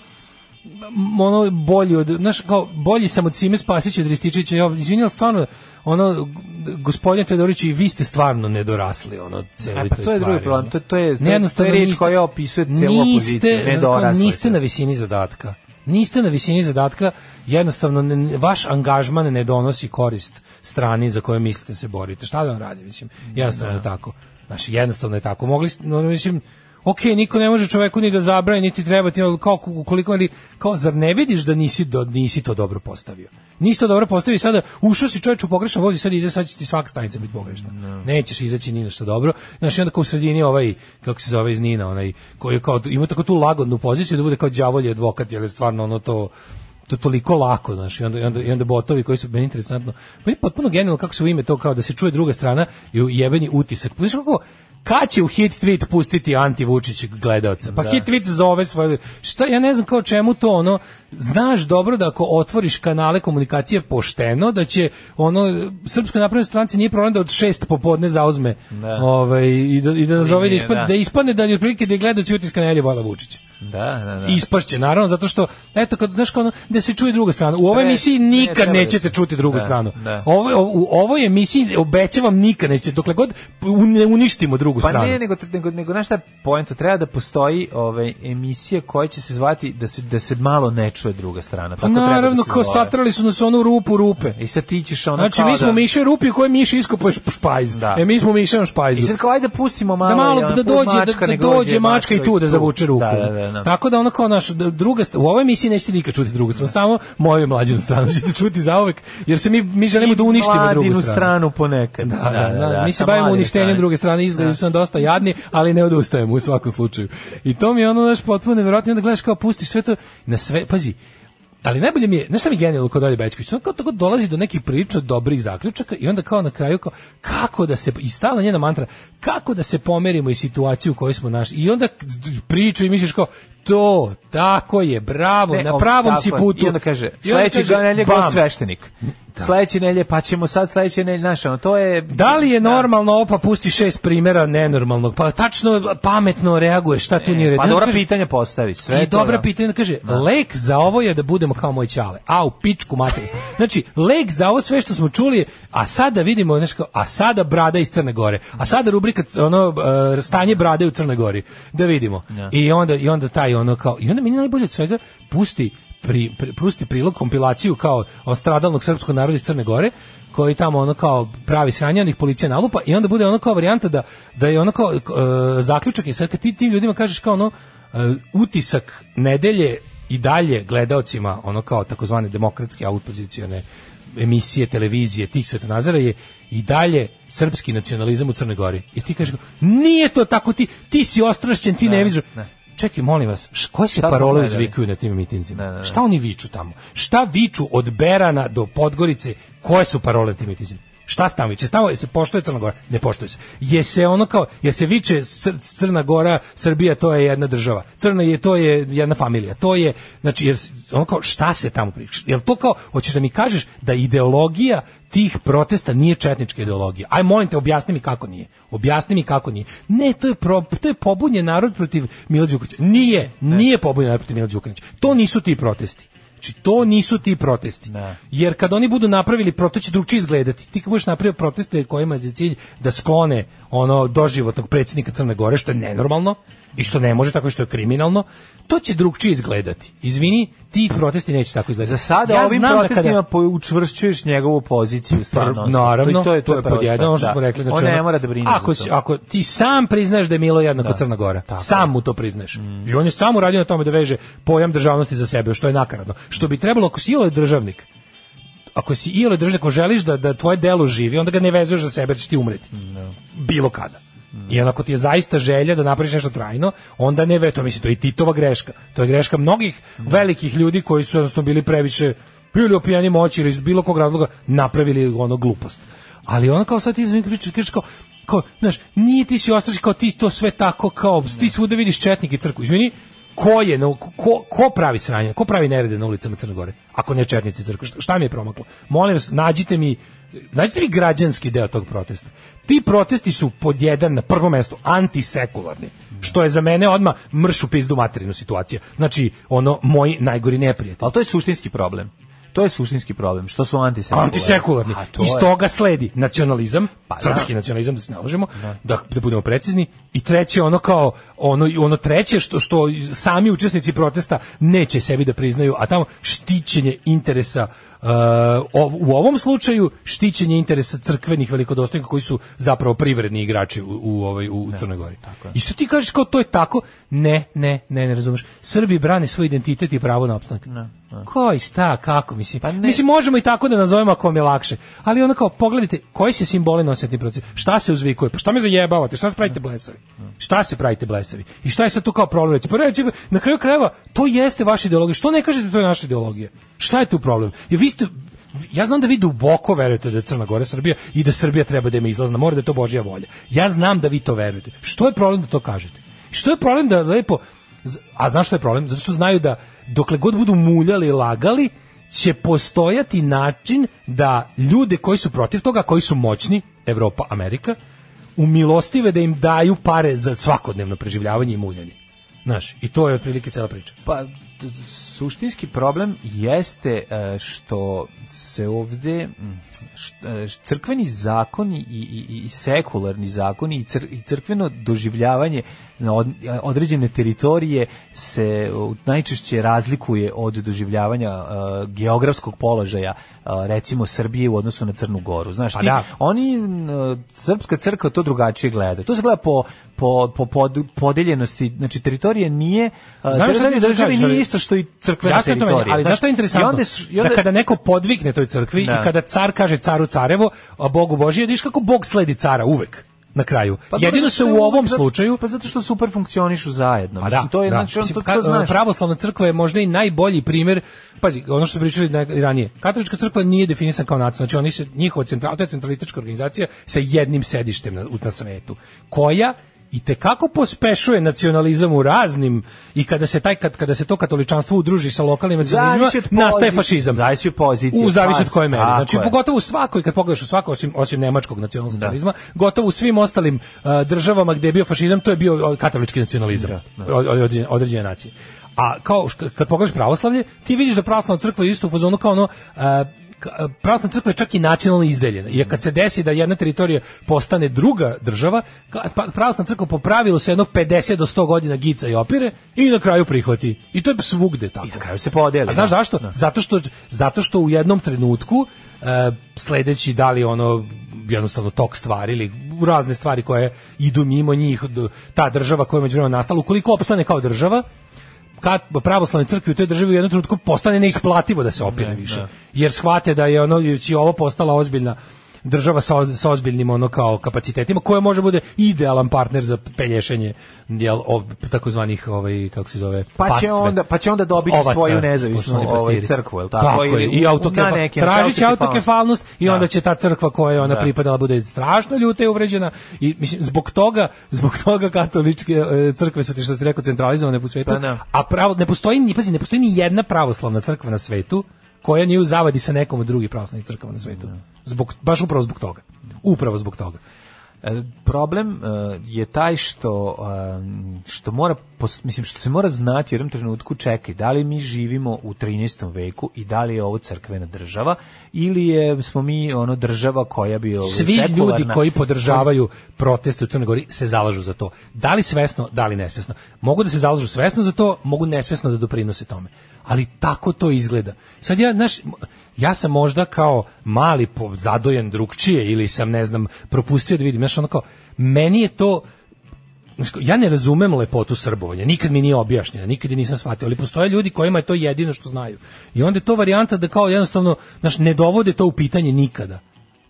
Speaker 5: m, ono bolji od, znaš, kao bolji sam od Sime Spasića od Rističića, ja, izvini, ali stvarno, ono, g- gospodin Fedorić, i vi ste stvarno nedorasli, ono, celoj
Speaker 6: E, pa
Speaker 5: toj
Speaker 6: to je drugi
Speaker 5: stvari,
Speaker 6: problem,
Speaker 5: ono.
Speaker 6: to- to je- to je- to je
Speaker 5: Nejednostavno
Speaker 6: reč
Speaker 5: niste-
Speaker 6: koja opisuje celu opoziciju,
Speaker 5: niste-
Speaker 6: nedorasli
Speaker 5: Niste
Speaker 6: ste.
Speaker 5: na visini zadatka. Niste na visini zadatka, jednostavno ne- vaš angažman ne donosi korist strani za koju mislite se borite. Šta da vam radi, mislim, jednostavno je tako. Znači, jednostavno je tako. Mogli, ste- no, mislim, ok, niko ne može čoveku ni da zabrani, niti treba ti, ali kao, koliko, ali, kao, zar ne vidiš da nisi, do, nisi to dobro postavio? Nisi to dobro postavio i sada ušao si čovječ u pogrešan voz i sad ide, sad će ti svaka stanica biti pogrešna. Nećeš izaći ni na što dobro. Znaš, i onda kao u sredini ovaj, kako se zove iz Nina, onaj, koji je kao, ima tako tu lagodnu poziciju da bude kao đavolji advokat, jer je stvarno ono to, to je toliko lako, znaš, i onda, i onda, i onda botovi koji su meni interesantno, pa je potpuno genijalno kako se u ime to kao da se čuje druga strana i u jebeni utisak. Znaš kako, kad će u hit tweet pustiti anti Vučić gledaoca? Pa hit tweet zove svoje... Šta, ja ne znam kao čemu to ono, znaš dobro da ako otvoriš kanale komunikacije pošteno, da će ono, Srpskoj naprednoj stranci nije problem da od šest popodne zauzme
Speaker 6: Da.
Speaker 5: ovaj, i da, i da nazove da,
Speaker 6: Linije,
Speaker 5: ispadne,
Speaker 6: da.
Speaker 5: da. ispadne da je otprilike da je gledaoci utiska najbolje vola Vučića.
Speaker 6: Da, da, da.
Speaker 5: Da. Ispašće, naravno, zato što, eto, kad, znaš, kao ono, da se čuje druga strana. U ovoj
Speaker 6: Ne,
Speaker 5: emisiji
Speaker 6: ne,
Speaker 5: nikad
Speaker 6: treba da
Speaker 5: nećete
Speaker 6: se.
Speaker 5: čuti drugu
Speaker 6: Da,
Speaker 5: stranu.
Speaker 6: da.
Speaker 5: Ovo, u ovoj emisiji, obećavam, nikad nećete, dokle god u- ne uništimo drugu
Speaker 6: Pa
Speaker 5: stranu.
Speaker 6: ne, nego nego nego znaš šta je poenta, treba da postoji ovaj emisija koja će se zvati da se da se malo ne čuje druga strana. Tako treba da
Speaker 5: Naravno,
Speaker 6: se
Speaker 5: kao
Speaker 6: zove.
Speaker 5: satrali su nas onu rupu rupe.
Speaker 6: I sad ti ćeš ono
Speaker 5: Znači,
Speaker 6: kao
Speaker 5: mi smo
Speaker 6: da-
Speaker 5: miše rupi u kojoj miše iskopuješ špajz.
Speaker 6: Da.
Speaker 5: E, mi smo miše na
Speaker 6: I
Speaker 5: špajzu.
Speaker 6: sad kao ajde pustimo malo.
Speaker 5: da malo
Speaker 6: i ono,
Speaker 5: da
Speaker 6: put
Speaker 5: dođe
Speaker 6: mačka,
Speaker 5: da, da
Speaker 6: nek
Speaker 5: dođe mačka i tu da zavuče ruku.
Speaker 6: Da, da, da, da.
Speaker 5: Tako da ono kao naš d- druga st- u ovoj emisiji nećete nikad čuti drugu stranu, samo moju mlađu stranu ćete čuti zauvek, jer se mi mi želimo da uništimo drugu
Speaker 6: Mladinu
Speaker 5: stranu.
Speaker 6: stranu ponekad.
Speaker 5: Da, da, da, mi se
Speaker 6: sa
Speaker 5: bavimo
Speaker 6: mladine
Speaker 5: uništenjem
Speaker 6: strane. Da.
Speaker 5: druge strane, izgledi su nam dosta jadni, ali ne odustajemo u svakom slučaju. I to mi je ono naš potpuno nevjerojatno, I onda gledaš kao pustiš sve to na sve, pazi, Ali najbolje mi je, znaš šta mi je genijalno kod Olje Bećković? On kao tako dolazi do nekih prilično dobrih zaključaka i onda kao na kraju kao, kako da se, i stalna njena mantra, kako da se pomerimo iz situacije u kojoj smo našli. I onda k- priču i misliš kao, to, tako je, bravo,
Speaker 6: Ne,
Speaker 5: na
Speaker 6: on-
Speaker 5: pravom
Speaker 6: E, tako
Speaker 5: si
Speaker 6: je.
Speaker 5: putu.
Speaker 6: I onda kaže,
Speaker 5: I onda
Speaker 6: sledeći
Speaker 5: kaže,
Speaker 6: nelje
Speaker 5: bam.
Speaker 6: gost sveštenik. Sledeći nelje, pa ćemo sad sledeći nelje, znaš, ono, to je...
Speaker 5: Da li je normalno opa pusti šest primjera nenormalnog? Pa tačno pametno reaguje, šta tu nije u redu?
Speaker 6: Pa
Speaker 5: I onda
Speaker 6: dobra
Speaker 5: kaže-
Speaker 6: pitanja postavi, sve
Speaker 5: I
Speaker 6: to,
Speaker 5: dobra
Speaker 6: da.
Speaker 5: pitanja kaže, lek za ovo je da budemo kao moj ćale. A u pičku materiju. Znači, lek za ovo sve što smo čuli, je, a sada vidimo nešto, a sada brada iz Crne Gore. A sada rubrika ono e, stanje brade u Crnoj Gori. Da vidimo. I onda i onda taj ono kao i onda meni najbolje od svega pusti pri, pri, pusti prilog kompilaciju kao o stradalnog srpskog naroda iz Crne Gore koji tamo ono kao pravi sranje, onih policija nalupa i onda bude ono kao varijanta da, da je ono kao e, zaključak i sad kad ti tim ljudima kažeš kao ono e, utisak nedelje i dalje gledaocima ono kao takozvane demokratske autopozicione emisije, televizije, tih svetonazara je i dalje srpski nacionalizam u Crnoj Gori. I ti kažeš, kao, nije to tako, ti, ti si ostrašćen, ti ne, vidiš. Čekaj, molim vas, š- koje se
Speaker 6: Šta smo
Speaker 5: parole
Speaker 6: gledali?
Speaker 5: uzvikuju na tim mitinzima?
Speaker 6: da, da.
Speaker 5: Šta oni viču tamo? Šta viču od Berana do Podgorice? Koje su parole na tim mitinzima? Šta stamo viče? Stamo je se poštuje Crna Gora? Ne poštuje se. Je se ono kao, je se viče Sr- Crna Gora, Srbija, to je jedna država. Crna je, to je jedna familija. To je, znači, jer, s- ono kao, šta se tamo priča? Jel to kao, hoćeš da mi kažeš da ideologija tih protesta nije četnička ideologija. Aj molim te objasni mi kako nije. Objasni mi kako nije. Ne, to je pro, to je pobunjen narod protiv Mila Đukanovića. Nije, nije pobunjen narod protiv Mila Đukanovića. To nisu ti protesti. Znači, to nisu ti protesti. Jer kad oni budu napravili protest, će drugčije izgledati. Ti kad budeš napravio proteste kojima je za cilj da sklone ono doživotnog predsjednika Crne Gore, što je nenormalno i što ne može tako što je kriminalno, to će drugčije izgledati. Izvini, ti protesti neće tako izgledati.
Speaker 6: Za sada
Speaker 5: Ja
Speaker 6: ovim
Speaker 5: znam da
Speaker 6: protestima kada... učvršćuješ njegovu poziciju stvarno.
Speaker 5: Pr- naravno, to je, to je
Speaker 6: prva
Speaker 5: pod jedan,
Speaker 6: stvar,
Speaker 5: ono što
Speaker 6: da.
Speaker 5: smo rekli. Znači,
Speaker 6: on ne
Speaker 5: ono,
Speaker 6: mora da brine
Speaker 5: ako,
Speaker 6: za
Speaker 5: si-
Speaker 6: to.
Speaker 5: ako ti sam priznaš da je Milo jednako Crna Gora, sam mu to priznaš.
Speaker 6: Mm.
Speaker 5: I on je sam uradio na tome da veže pojam državnosti za sebe, što je nakaradno. Što bi trebalo, ako si iole državnik, ako si iole državnik, ako želiš da, da tvoje delo živi, onda ga ne vezuješ za sebe, jer ćeš ti umreti.
Speaker 6: Da.
Speaker 5: Bilo kada. I onako ti je zaista želja da napraviš nešto trajno, onda ne ve, to mislim, to je i Titova greška. To je greška mnogih velikih ljudi koji su jednostavno bili previše bili opijani moći ili iz bilo kog razloga napravili ono glupost. Ali ono kao sad ti izvim pričaš, kažeš kao, kao, znaš, nije ti si ostraš kao ti to sve tako kao, ti svuda vidiš četnike i crku. Izvini, ko je, na- ko, ko pravi sranje, ko pravi nerede na ulicama Crne Gore, ako ne četnici i crkva, šta, šta mi je promaklo? Molim vas, nađite mi, nađite mi građanski deo tog protesta. Ti protesti su pod jedan, na prvo mesto, antisekularni, što je za mene odma mrš u pizdu materinu situacija. Znači, ono, moji najgori neprijatelji.
Speaker 6: Ali to je suštinski problem. To je suštinski problem, što su antisekularni.
Speaker 5: Antisekularni.
Speaker 6: A to
Speaker 5: Iz
Speaker 6: je-
Speaker 5: toga sledi nacionalizam,
Speaker 6: da.
Speaker 5: srpski nacionalizam da se naložimo, da. da budemo precizni i treće ono kao ono ono treće što što sami učesnici protesta neće sebi da priznaju, a tamo štićenje interesa e, ov- u ovom slučaju štićenje interesa crkvenih velikodostojnika koji su zapravo privredni igrači u, u ovaj u
Speaker 6: Da,
Speaker 5: Crnoj Gori. I što ti kažeš kao to je tako? Ne, ne, ne, ne razumeš. Srbi brane svoj identitet i pravo na opstanak. Koji šta, kako, mislim.
Speaker 6: Pa ne.
Speaker 5: mislim, možemo i tako da nazovemo ako vam je lakše. Ali ono kao, pogledajte, koji se simboli nose na tim procesima? Šta se uzvikuje? Pa šta me zajebavate? Šta se pravite blesavi? Šta se pravite blesavi? I šta je sad tu kao problem reći? Pa reći, na kraju krajeva, to jeste vaša ideologija. Što ne kažete to je naša ideologija? Šta je tu problem? Jer vi ste, ja znam da vi duboko verujete da je Crna Gora Srbija i da Srbija treba da ima izlazna mora, da je to Božja volja. Ja znam da vi to verujete. Što je problem da to kažete? Što je problem da lepo... Z- A znaš što je problem? Zato što znaju da dokle god budu muljali i lagali, će postojati način da ljude koji su protiv toga, koji su moćni, Evropa, Amerika, umilostive da im daju pare za svakodnevno preživljavanje i muljanje. Znaš, i to je otprilike cela priča.
Speaker 6: Pa, d- d- suštinski problem jeste e, što se ovde mm, št- e, crkveni zakoni i, i, i- i sekularni zakoni i, cr, i crkveno doživljavanje na od- e, određene teritorije se u- najčešće razlikuje od doživljavanja e, geografskog položaja e, recimo Srbije u odnosu na Crnu Goru. Znaš,
Speaker 5: Pa
Speaker 6: ti,
Speaker 5: da.
Speaker 6: oni n- srpska crkva to drugačije gleda. To se gleda po po po pod, podeljenosti, znači teritorije nije e, a,
Speaker 5: Znam šta
Speaker 6: teritorija
Speaker 5: ti
Speaker 6: države
Speaker 5: kažeš,
Speaker 6: nije
Speaker 5: ali-
Speaker 6: isto što i crkvena
Speaker 5: Jasno je to meni,
Speaker 6: teritorija.
Speaker 5: ali
Speaker 6: znaš,
Speaker 5: zašto
Speaker 6: I
Speaker 5: je interesantno
Speaker 6: onda, su- i onda
Speaker 5: da kada neko podvikne toj crkvi
Speaker 6: Da.
Speaker 5: i kada car kaže caru carevo, a Bogu Božije, vidiš kako Bog sledi cara uvek na kraju.
Speaker 6: dobro,
Speaker 5: Jedino
Speaker 6: Pa zato
Speaker 5: se
Speaker 6: što
Speaker 5: u ovom
Speaker 6: zato-
Speaker 5: slučaju
Speaker 6: pa zato što super funkcionišu zajedno.
Speaker 5: Pa
Speaker 6: Mislim, to je znači on
Speaker 5: Mislim,
Speaker 6: to,
Speaker 5: ka-
Speaker 6: to znaš.
Speaker 5: Pravoslavna crkva je možda i najbolji primer, pazi, ono što smo pričali na- i ranije. Katolička crkva nije definisana kao nacija, znači oni se njihova central, to je centralistička organizacija sa jednim sedištem na, u- na svetu, koja i te kako pospešuje nacionalizam u raznim i kada se taj kad kada se to katoličanstvo udruži sa lokalnim
Speaker 6: da
Speaker 5: nacionalizmima
Speaker 6: Zavisi od
Speaker 5: nastaje
Speaker 6: pozicije,
Speaker 5: fašizam.
Speaker 6: zavisi od pozicije,
Speaker 5: U zavisi od
Speaker 6: pas,
Speaker 5: koje mere.
Speaker 6: tako
Speaker 5: Znači
Speaker 6: je.
Speaker 5: pogotovo u svakoj kad pogledaš u svakoj osim osim nemačkog nacionalsocijalizma,
Speaker 6: Da.
Speaker 5: gotovo u svim ostalim uh, državama gdje je bio fašizam, to je bio uh, katolički nacionalizam
Speaker 6: Da,
Speaker 5: od- od- određene, određene nacije. A kao šk- kad pogledaš pravoslavlje, ti vidiš da pravoslavna crkva je isto u fazonu kao ono uh, ka- pravoslavna crkva je čak i nacionalno izdeljena. Jer kad se desi da jedna teritorija postane druga država, ka- pa- pravoslavna crkva po pravilu se jedno 50 do 100 godina gica i opire i na kraju prihvati. I to je svugde tako.
Speaker 6: I na kraju se podeli.
Speaker 5: A znaš
Speaker 6: da.
Speaker 5: zašto? Zato što zato što u jednom trenutku e, sledeći da li ono jednostavno tok stvari ili razne stvari koje idu mimo njih d- ta država koja je međuvremeno nastala ukoliko opstane kao država kad pravoslavnoj crkvi u toj državi u jednom trenutku postane neisplativo da se opire više jer shvate da je ono jući ovo postala ozbiljna država sa, oz- sa ozbiljnim ono kao kapacitetima koja može bude idealan partner za pelješenje jel ov- takozvanih ovaj kako se zove
Speaker 6: Pa će
Speaker 5: pastve.
Speaker 6: onda- pa će onda dobiti
Speaker 5: Ovaca,
Speaker 6: svoju nezavisnu,
Speaker 5: poštovani
Speaker 6: ovaj,
Speaker 5: pastiri.
Speaker 6: crkvu, jel tako?
Speaker 5: je,
Speaker 6: Ili
Speaker 5: i
Speaker 6: u-
Speaker 5: autokefa,
Speaker 6: na neki
Speaker 5: tražit će
Speaker 6: autokefalnost.
Speaker 5: autokefalnost i
Speaker 6: Da.
Speaker 5: onda će ta crkva koja je ona
Speaker 6: Da.
Speaker 5: pripadala bude strašno ljuta i uvređena i mislim zbog toga zbog toga katoličke e, crkve su ti što se rekao centralizovane po svetu
Speaker 6: Pa da.
Speaker 5: a pravo ne postoji ni pazi ne postoji ni jedna pravoslavna crkva na svetu koja nije u zavadi sa nekom od drugih pravoslavnih crkava na
Speaker 6: Da.
Speaker 5: svetu zbog baš upravo zbog toga upravo zbog toga
Speaker 6: E, problem e, je taj što e, što mora pos- mislim što se mora znati u jednom trenutku čekaj da li mi živimo u 13. veku i da li je ovo crkvena država ili je smo mi ono država koja bi ovaj,
Speaker 5: svi ljudi
Speaker 6: sekularna?
Speaker 5: koji podržavaju proteste u Crnoj Gori se zalažu za to. Da li svesno, da li nesvesno. Mogu da se zalažu svesno za to, mogu nesvesno da doprinose tome. Ali tako to izgleda. Sad ja, znaš, ja sam možda kao mali po- zadojen drugčije ili sam, ne znam, propustio da vidim. Znaš, ono kao, meni je to, Znaš kao, ja ne razumem lepotu srbovanja, nikad mi nije objašnjena, nikad je nisam shvatio, ali postoje ljudi kojima je to jedino što znaju. I onda je to varijanta da kao jednostavno, znaš, ne dovode to u pitanje nikada.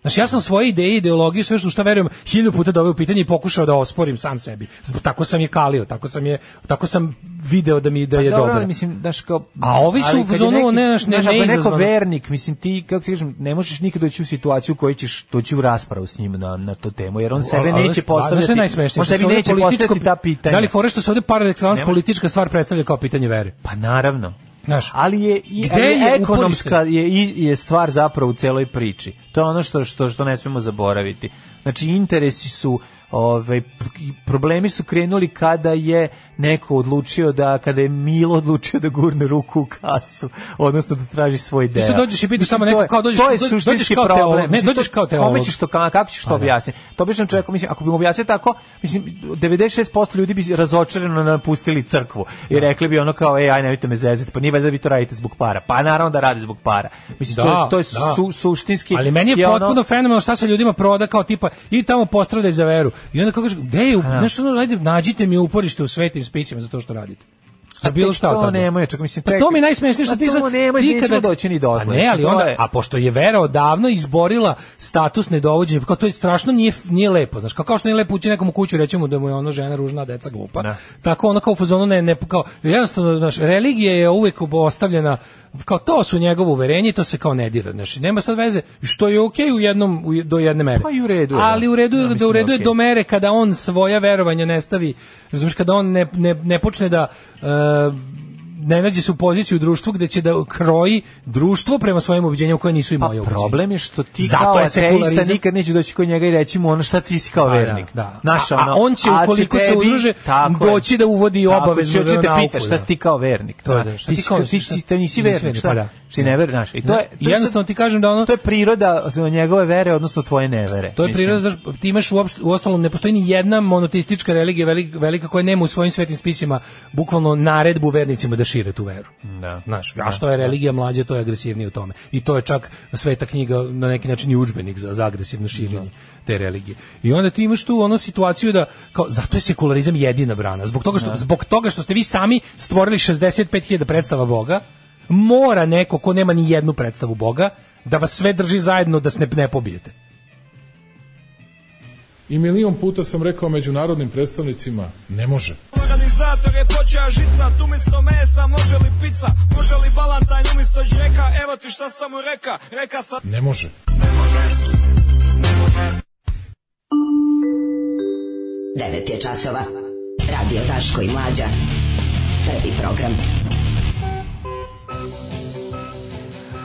Speaker 5: Znači, ja sam svoje ideje, ideologiju, sve što šta verujem, hilju puta doveo u pitanje i pokušao da osporim sam sebi. Zbog- Tako sam je kalio, tako sam je, tako sam video da mi da je
Speaker 6: Pa dobro,
Speaker 5: dobro.
Speaker 6: ali mislim daš kao
Speaker 5: A ovi su
Speaker 6: ali
Speaker 5: u
Speaker 6: kad je
Speaker 5: fazonu,
Speaker 6: neki-
Speaker 5: ne, znaš, ne-
Speaker 6: znaš, ako je neko
Speaker 5: neizazvano.
Speaker 6: vernik, mislim ti kako ti kažem, ne možeš nikad doći u situaciju u kojoj ćeš doći u raspravu s njim na na tu temu, jer on sebe
Speaker 5: Ali- ali
Speaker 6: neće
Speaker 5: stvarno što je
Speaker 6: postavljati.
Speaker 5: najsmešnije,
Speaker 6: On
Speaker 5: što
Speaker 6: sebi
Speaker 5: se ovdje
Speaker 6: neće
Speaker 5: političko-
Speaker 6: postavljati ta pitanja.
Speaker 5: Da li fore što se ovde paradoksalno
Speaker 6: Ne može-
Speaker 5: politička stvar predstavlja kao pitanje vere?
Speaker 6: Pa naravno.
Speaker 5: Znaš,
Speaker 6: ali je i
Speaker 5: Gde
Speaker 6: ali je
Speaker 5: je
Speaker 6: ekonomska je i- je stvar zapravo u celoj priči. To je ono što što što ne smemo zaboraviti. Znači interesi su Ove, p- i problemi su krenuli kada je neko odlučio da kada je Milo odlučio da gurne ruku u kasu, odnosno da traži svoj deo.
Speaker 5: sad dođeš i pitaš
Speaker 6: Mislim,
Speaker 5: samo
Speaker 6: to je-
Speaker 5: neko, kao dođeš-
Speaker 6: to je
Speaker 5: dođeš- dođeš
Speaker 6: suštinski
Speaker 5: kao
Speaker 6: problem.
Speaker 5: teolog, ne,
Speaker 6: Mislim, to-
Speaker 5: dođeš kao
Speaker 6: kome
Speaker 5: teolog.
Speaker 6: ćeš to ka- kako ćeš to
Speaker 5: Pa da.
Speaker 6: objasniti? To običnom čovjeku, mislim, ako bi mu objasnio tako, mislim, 96% ljudi bi razočarano napustili crkvu
Speaker 5: Da.
Speaker 6: i rekli bi ono kao, ej, aj, nemojte me zezati, pa nije valjda da vi to radite zbog para. Pa naravno da radi zbog para. Mislim, to je,
Speaker 5: Da,
Speaker 6: to je
Speaker 5: da.
Speaker 6: su, suštinski...
Speaker 5: Ali meni je,
Speaker 6: ono-
Speaker 5: potpuno fenomenalno šta se ljudima proda kao tipa i tamo postradaj za veru. I onda kako kaže, gde je, znaš, ono, ajde, nađite mi uporište u svetim spisima za to što radite. Za
Speaker 6: A
Speaker 5: bilo
Speaker 6: tek
Speaker 5: šta
Speaker 6: to
Speaker 5: od toga.
Speaker 6: nemoj, čak mislim,
Speaker 5: Pa
Speaker 6: tek-
Speaker 5: to mi je najsmešnije što
Speaker 6: Pa
Speaker 5: ti
Speaker 6: to
Speaker 5: sad...
Speaker 6: nemoj,
Speaker 5: ti
Speaker 6: nećemo doći ni dotle.
Speaker 5: A ne, ali
Speaker 6: To
Speaker 5: onda,
Speaker 6: je-
Speaker 5: a pošto je Vera odavno izborila status nedovođenja, kao to je strašno, nije, nije lepo, znaš, kao, kao što nije lepo ući nekom u kuću i reći mu da mu je ono žena ružna, a deca glupa,
Speaker 6: Da.
Speaker 5: tako ono kao u fazonu ne, ne, kao, jednostavno, znaš, religija je uvek ostavljena, kao to su njegovo uverenje i to se kao ne dira, znaš, i nema sad veze, što je okej u jednom, u, do jedne mere.
Speaker 6: Pa i u redu je, da.
Speaker 5: Ali u redu je,
Speaker 6: Ja
Speaker 5: da
Speaker 6: mislim
Speaker 5: u
Speaker 6: da
Speaker 5: redu je
Speaker 6: okej.
Speaker 5: do mere kada on svoja verovanja ne stavi, razumiješ, kada on ne, ne, ne počne da... e, ne nađe se u poziciju u društvu gde će da kroji društvo prema svojim ubeđenjima koje nisu i
Speaker 6: Pa
Speaker 5: moje ubeđenje.
Speaker 6: problem je što ti
Speaker 5: Zato
Speaker 6: kao
Speaker 5: je
Speaker 6: ateista
Speaker 5: sekularizam-
Speaker 6: nikad neće doći kod njega i reći mu ono šta ti si kao
Speaker 5: Pa da,
Speaker 6: vernik.
Speaker 5: da.
Speaker 6: Znaš,
Speaker 5: A- a
Speaker 6: ono,
Speaker 5: on će,
Speaker 6: ali
Speaker 5: ukoliko se
Speaker 6: tebi-
Speaker 5: udruže,
Speaker 6: tako je.
Speaker 5: doći da uvodi
Speaker 6: Tako,
Speaker 5: obavezno
Speaker 6: će- će te
Speaker 5: veronauku,
Speaker 6: pita
Speaker 5: da.
Speaker 6: šta si ti kao vernik.
Speaker 5: To je,
Speaker 6: znaš.
Speaker 5: da, šta
Speaker 6: Ti
Speaker 5: ti
Speaker 6: si
Speaker 5: kao-
Speaker 6: kao- ti
Speaker 5: šta-
Speaker 6: si- ti nisi
Speaker 5: nisi
Speaker 6: vernik,
Speaker 5: vernik,
Speaker 6: šta?
Speaker 5: pa da.
Speaker 6: Ti ne vernik, znaš. I to je,
Speaker 5: I
Speaker 6: to je
Speaker 5: jednostavno
Speaker 6: sad-
Speaker 5: ti kažem da ono-
Speaker 6: To je priroda njegove vere, odnosno tvoje nevere.
Speaker 5: To je
Speaker 6: mislim.
Speaker 5: priroda, znaš, ti imaš uopšte, u ostalom, ne postoji ni jedna monoteistička religija velika, velika koja nema u svojim svetim spisima bukvalno naredbu vernicima da šire tu veru.
Speaker 6: Da.
Speaker 5: Znaš,
Speaker 6: Da,
Speaker 5: a što je religija mlađe, to je agresivnije u tome. I to je čak sveta knjiga na neki način i udžbenik za, za agresivno
Speaker 6: Da.
Speaker 5: širenje te religije. I onda ti imaš tu onu situaciju da kao zato je sekularizam jedina brana. Zbog toga
Speaker 6: Da.
Speaker 5: što zbog toga što ste vi sami stvorili 65.000 predstava Boga, mora neko ko nema ni jednu predstavu Boga da vas sve drži zajedno da se ne, ne pobijete.
Speaker 11: I milion puta sam rekao međunarodnim predstavnicima, ne može.
Speaker 1: Organizator je počeo žica, tu umjesto mesa može li pizza, može li balantajn umjesto džeka, evo ti šta sam mu reka, reka sam...
Speaker 11: Ne može.
Speaker 9: Devet je časova. Radio Daško i Mlađa. Prvi program.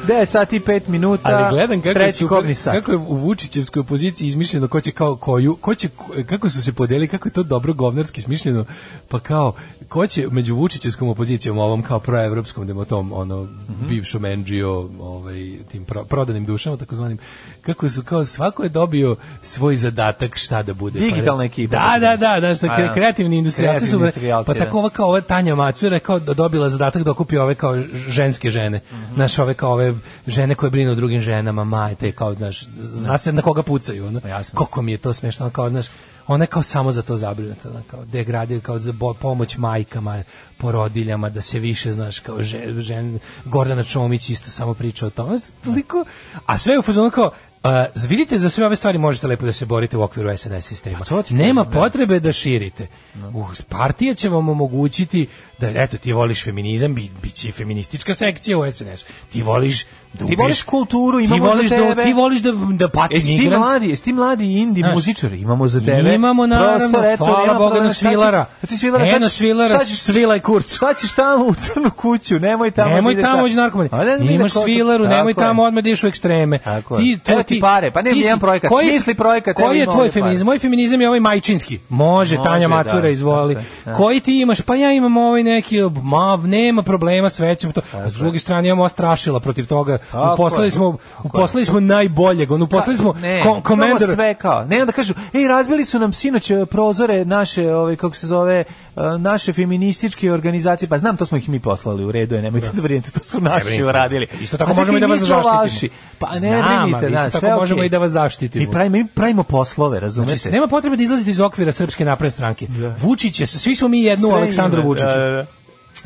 Speaker 6: 9 sati i 5 minuta.
Speaker 5: Ali gledam kako je,
Speaker 6: treći
Speaker 5: super-
Speaker 6: kobni sat.
Speaker 5: kako je u Vučićevskoj opoziciji izmišljeno ko će kao koju, ko će, kako su se podeli, kako je to dobro govnarski smišljeno, pa kao, ko će među Vučićevskom opozicijom, ovom kao proevropskom, demotom, ono,
Speaker 6: Mhm.
Speaker 5: bivšom NGO, ovaj, tim pro- prodanim dušama, takozvanim, kako su kao, svako je dobio svoj zadatak šta da bude. Pa
Speaker 6: Digitalna
Speaker 5: rec-
Speaker 6: ekipa.
Speaker 5: Da, da, da, da, što
Speaker 6: Pa
Speaker 5: kre-
Speaker 6: da.
Speaker 5: kreativni industrijalci su,
Speaker 6: Kreativni industrijalci,
Speaker 5: pa
Speaker 6: da.
Speaker 5: tako ova kao ova Tanja Macura kao da dobila zadatak da okupi ove kao ženske žene. Znaš, ove kao ove žene koje brinu o drugim ženama, majte, kao, znaš, zna se na koga pucaju, ono.
Speaker 6: jasno.
Speaker 5: Koliko mi je to smešno, ono, kao, znaš, ona je kao samo za to zabrinuta, ono, kao degradiraju, kao za bo- pomoć majkama, porodiljama, da se više, znaš, kao žen, žen Gordana Čomić isto samo priča o tome, Znaš, toliko, a sve je u fazonu kao, a, vidite, za sve ove stvari možete lepo da se borite u okviru SNS sistema.
Speaker 6: Pa to ti
Speaker 5: Nema
Speaker 6: kažem, da.
Speaker 5: potrebe da širite. Uh, partija će vam omogućiti da, eto, ti voliš feminizam, bit, bit će i feministička sekcija u SNS-u. Ti voliš da
Speaker 6: Ti
Speaker 5: ubiješ-
Speaker 6: voliš kulturu,
Speaker 5: ti
Speaker 6: imamo za
Speaker 5: voliš
Speaker 6: tebe.
Speaker 5: Da, ti voliš da, da pati
Speaker 6: E, Jesi ti
Speaker 5: migrant.
Speaker 6: mladi, jesi ti mladi indi
Speaker 5: Znaš,
Speaker 6: muzičari, imamo za tebe.
Speaker 5: Imamo, naravno, hvala
Speaker 6: nema
Speaker 5: Bogu,
Speaker 6: problema,
Speaker 5: jedno
Speaker 6: šta će-
Speaker 5: svilara.
Speaker 6: Pa ti svilara, šta
Speaker 5: Jedno
Speaker 6: ćeš-
Speaker 5: svilara,
Speaker 6: šta ćeš-
Speaker 5: svila i kurcu.
Speaker 6: Šta ćeš tamo u crnu kuću, nemoj tamo.
Speaker 5: nemoj
Speaker 6: da ide
Speaker 5: tamo ići narkomani.
Speaker 6: A ne znam ide
Speaker 5: Imaš
Speaker 6: ko-
Speaker 5: svilaru,
Speaker 6: Tako
Speaker 5: nemoj
Speaker 6: je.
Speaker 5: tamo odmah da ideš u ekstreme.
Speaker 6: Tako je. Evo ti pare, pa nemam
Speaker 5: ti si-
Speaker 6: jedan projekat,
Speaker 5: koji-
Speaker 6: smisli projekat, evo
Speaker 5: Koji je
Speaker 6: ima
Speaker 5: tvoj
Speaker 6: ovdje pare.
Speaker 5: feminizam? Moj feminizam je ovaj majčinski. Može,
Speaker 6: Može,
Speaker 5: Tanja Macura,
Speaker 6: da,
Speaker 5: izvoli.
Speaker 6: tako je, da.
Speaker 5: Koji ti imaš? Pa ja imam ovaj neki, ma, nema problema, sve ćemo to. A s druge strane imamo strašila protiv toga.
Speaker 6: Tako je.
Speaker 5: Uposlali smo, uposlali smo najboljeg, on uposlali smo
Speaker 6: Ne,
Speaker 5: ko-
Speaker 6: imamo
Speaker 5: komendora-
Speaker 6: sve kao. Ne, onda kažu, ej, razbili su nam sinoć e, prozore naše, ovaj kako se zove, e, naše feminističke organizacije. Pa znam, to smo ih mi poslali u redu, je, nemojte da brinete, to su naši
Speaker 5: brinite.
Speaker 6: uradili.
Speaker 5: Isto tako
Speaker 6: A čekaj,
Speaker 5: možemo i da
Speaker 6: mi
Speaker 5: vas
Speaker 6: smo
Speaker 5: zaštitimo.
Speaker 6: vaši. Pa ne
Speaker 5: Znam,
Speaker 6: brinite,
Speaker 5: ali isto
Speaker 6: da,
Speaker 5: tako
Speaker 6: sve je
Speaker 5: možemo
Speaker 6: okej.
Speaker 5: i da vas zaštitimo.
Speaker 6: Mi pravimo, mi pravimo poslove, razumete?
Speaker 5: Znači, nema potrebe da izlazite iz okvira Srpske napredne stranke. Vučić je, svi smo mi jednu
Speaker 6: Da. Sve
Speaker 5: Aleksandru
Speaker 6: ima,
Speaker 5: Vučiću.
Speaker 6: da, da, da.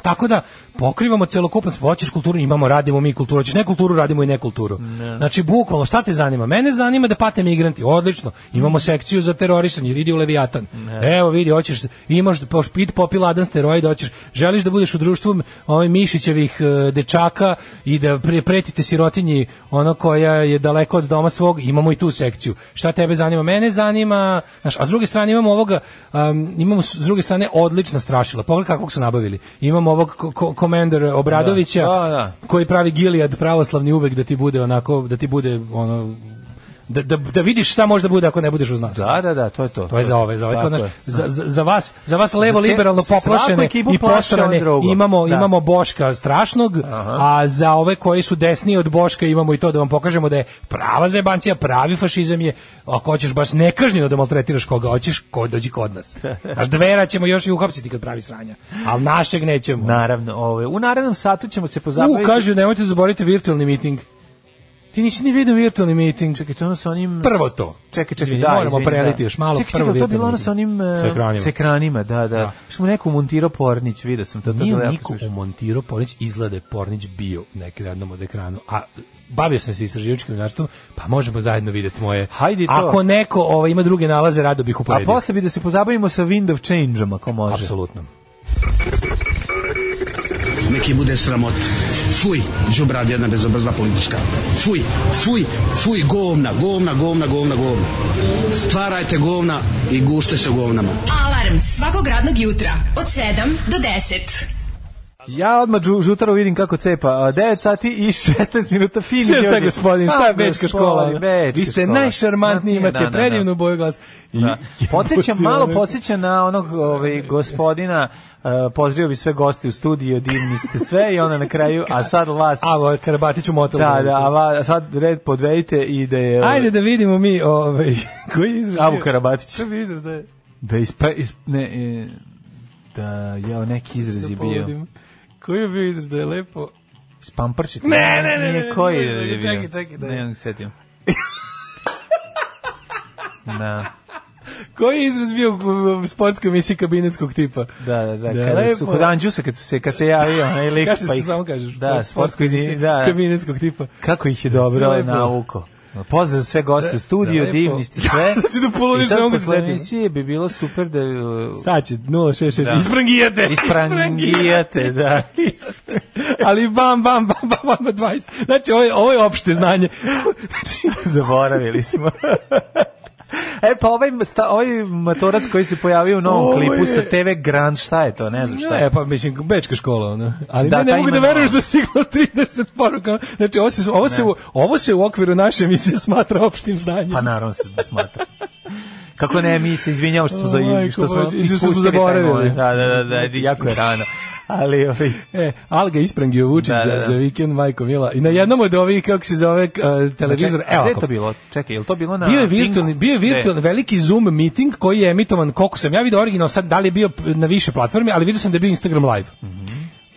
Speaker 5: Tako da pokrivamo celokupan sport. hoćeš kulturu, imamo, radimo mi kulturu, hoćeš ne kulturu, radimo i ne kulturu. Znači bukvalno šta te zanima? Mene zanima da pate migranti. Odlično. Imamo sekciju za terorisanje, vidi u Leviatan. Evo vidi, hoćeš imaš po špit popi ladan steroid, hoćeš želiš da budeš u društvu ovaj Mišićevih eh, dečaka i da pre- pretite sirotinji ono koja je daleko od doma svog, imamo i tu sekciju. Šta tebe zanima? Mene zanima, znaš, a s druge strane imamo ovoga, um, imamo s s druge strane odlična strašila. Pogledaj kakvog su nabavili. Imamo ovog ko- ko- komendor Obradovića
Speaker 6: Da, da, da.
Speaker 5: koji pravi Gilijad pravoslavni uvek da ti bude onako, da ti bude ono Da, da, da vidiš šta može da bude ako ne budeš uz nas.
Speaker 6: Da, da, da, to je to.
Speaker 5: To je za ove, za ove,
Speaker 6: Tako
Speaker 5: kao, znaš,
Speaker 6: je.
Speaker 5: za, za, za vas, za vas levo
Speaker 6: Za ce-
Speaker 5: liberalno
Speaker 6: svaku
Speaker 5: poplašene
Speaker 6: ekipu
Speaker 5: i
Speaker 6: plaše
Speaker 5: posrane
Speaker 6: on drugo.
Speaker 5: imamo,
Speaker 6: Da.
Speaker 5: imamo Boška strašnog, a za ove koji su desniji od Boška imamo i to da vam pokažemo da je prava zebancija, pravi fašizam je, ako hoćeš baš nekažnjeno da maltretiraš koga hoćeš, ko dođi kod nas. Naš dvera ćemo još i uhapsiti kad pravi sranja, ali našeg nećemo.
Speaker 6: Naravno, ovaj u narednom satu ćemo se pozabaviti.
Speaker 5: U, kaže, nemojte zaboraviti virtualni miting. Ti nisi ni vidio virtualni miting.
Speaker 6: Čekaj, to je ono sa onim...
Speaker 5: Prvo to.
Speaker 6: Čekaj, čekaj,
Speaker 5: Izvini,
Speaker 6: da,
Speaker 5: moramo
Speaker 6: izvini,
Speaker 5: preliti
Speaker 6: da.
Speaker 5: još malo.
Speaker 6: Čekaj,
Speaker 5: prvo
Speaker 6: čekaj, to je bilo
Speaker 5: virtualni
Speaker 6: ono sa onim...
Speaker 5: miting.
Speaker 6: e,
Speaker 5: Sa ekranima.
Speaker 6: Sa ekranima, da, da. Što mu neko montirao Pornić, vidio sam to. to
Speaker 5: Nije
Speaker 6: bilo jako
Speaker 5: niko
Speaker 6: smešno.
Speaker 5: umontirao Pornić, izgleda da je Pornić bio neki na jednom od ekranu, a bavio sam se istraživačkim novinarstvom, pa možemo zajedno vidjeti moje.
Speaker 6: Hajde i to.
Speaker 5: Ako neko ovaj, ima druge nalaze, rado bih
Speaker 6: A
Speaker 5: uporedio.
Speaker 6: posle bi da se pozabavimo sa Wind of Change-om, ako može.
Speaker 5: Apsolutno.
Speaker 3: Neki bude sramot. Fuj, džubrad jedna bezobrazna politička. Fuj, fuj, fuj, govna, govna, govna, govna, govna. Stvarajte govna i gušte se u govnama.
Speaker 4: Alarm svakog radnog jutra od 7 do 10.
Speaker 6: Ja odmah žu- žutaro vidim kako cepa. A, 9 sati i 16 minuta fini
Speaker 5: Sve šta
Speaker 6: ljudi.
Speaker 5: gospodin, šta
Speaker 6: A,
Speaker 5: je bečka
Speaker 6: gospodin,
Speaker 5: škola? ono?
Speaker 6: Bečka
Speaker 5: Vi ste
Speaker 6: škola.
Speaker 5: najšarmantniji,
Speaker 6: Da, da,
Speaker 5: imate
Speaker 6: da,
Speaker 5: predivnu boju glasa. I-
Speaker 6: Da. Podsjeća, malo podsjeća na onog ovaj, gospodina, uh, pozdravio bi sve gosti u studiju, divni ste sve i onda na kraju, a sad vas...
Speaker 5: A, ovo je Karabatić u motel.
Speaker 6: Da, da, a va- a sad red podvejte i da je... ovaj,
Speaker 5: Ajde da vidimo mi ovaj, koji je izraz. bio?
Speaker 6: Abu Karabatić.
Speaker 5: Koji je izraz da je?
Speaker 6: Da ispa... Is, ne, e, da, jao, neki izraz je
Speaker 5: Da
Speaker 6: bio.
Speaker 5: pogodim. Koji je bio izraz da je lepo?
Speaker 6: Spamprčit.
Speaker 5: Ne, ne, ne, ne,
Speaker 6: Nije koji
Speaker 5: ne,
Speaker 6: je
Speaker 5: ne,
Speaker 6: bio.
Speaker 5: čekaj, čekaj, da je.
Speaker 6: Ne, ne, setim. da.
Speaker 5: Koji je izraz bio u u sportskoj emisiji kabinetskog tipa?
Speaker 6: Da, da, da,
Speaker 5: Da,
Speaker 6: kada su
Speaker 5: lepo.
Speaker 6: kod Anđusa kad su se kad se javio onaj lik
Speaker 5: Kaže
Speaker 6: pa
Speaker 5: se
Speaker 6: ih,
Speaker 5: samo kažeš.
Speaker 6: Da, sportsko
Speaker 5: emisiji
Speaker 6: da.
Speaker 5: Kabinetskog tipa.
Speaker 6: Kako ih je dobro
Speaker 5: Sve lepo.
Speaker 6: nauko. Pozdrav za sve goste u studiju,
Speaker 5: da, lepo.
Speaker 6: divni ste sve.
Speaker 5: Znači da poludiš,
Speaker 6: I sad
Speaker 5: ne mogu se
Speaker 6: posle
Speaker 5: setim.
Speaker 6: emisije bi bilo super da uh,
Speaker 5: Sad će 066.
Speaker 6: Da.
Speaker 5: Isprangijate.
Speaker 6: isprangijate, da.
Speaker 5: Ali bam, bam, bam, bam, bam, 20. Znači, ovo je, ovo je opšte znanje. Znači,
Speaker 6: Zaboravili smo. E pa ovaj, sta, ovaj matorac koji se pojavio u novom
Speaker 5: Ovo
Speaker 6: klipu sa
Speaker 5: je-
Speaker 6: TV Grand, šta je to? Ne znam šta je.
Speaker 5: Ne, pa mislim, bečka škola, ono. Ali
Speaker 6: Da,
Speaker 5: ne, ne
Speaker 6: taj
Speaker 5: mogu da
Speaker 6: ima
Speaker 5: verujem
Speaker 6: novac.
Speaker 5: što je stiglo 30 poruka. Znači, ovo se, ovo se, u, ovo se u okviru naše emisije smatra opštim znanjem.
Speaker 6: Pa naravno se smatra. Kako ne, mi se izvinjamo što smo, za,
Speaker 5: O, majko
Speaker 6: što smo,
Speaker 5: Bože, i što smo
Speaker 6: ispustili taj
Speaker 5: zaboravili.
Speaker 6: moment. Da, da, da, da, jako je rano. Ali, ovaj,
Speaker 5: E, Alga isprangio Vučić
Speaker 6: Da, da, da.
Speaker 5: za, za vikend, majko Mila. I na jednom od ovih, kako se zove, uh, televizor,
Speaker 6: čekaj, gde je
Speaker 5: evo ovako.
Speaker 6: to bilo? Čekaj, je li to bilo na...
Speaker 5: Bio je
Speaker 6: Pinku?
Speaker 5: virtualni, bio je
Speaker 6: Gde?
Speaker 5: virtualni veliki Zoom meeting koji je emitovan koliko sam ja video originalno sad da li je bio p- na više platformi, ali vidio sam da je bio Instagram live.
Speaker 6: Mhm.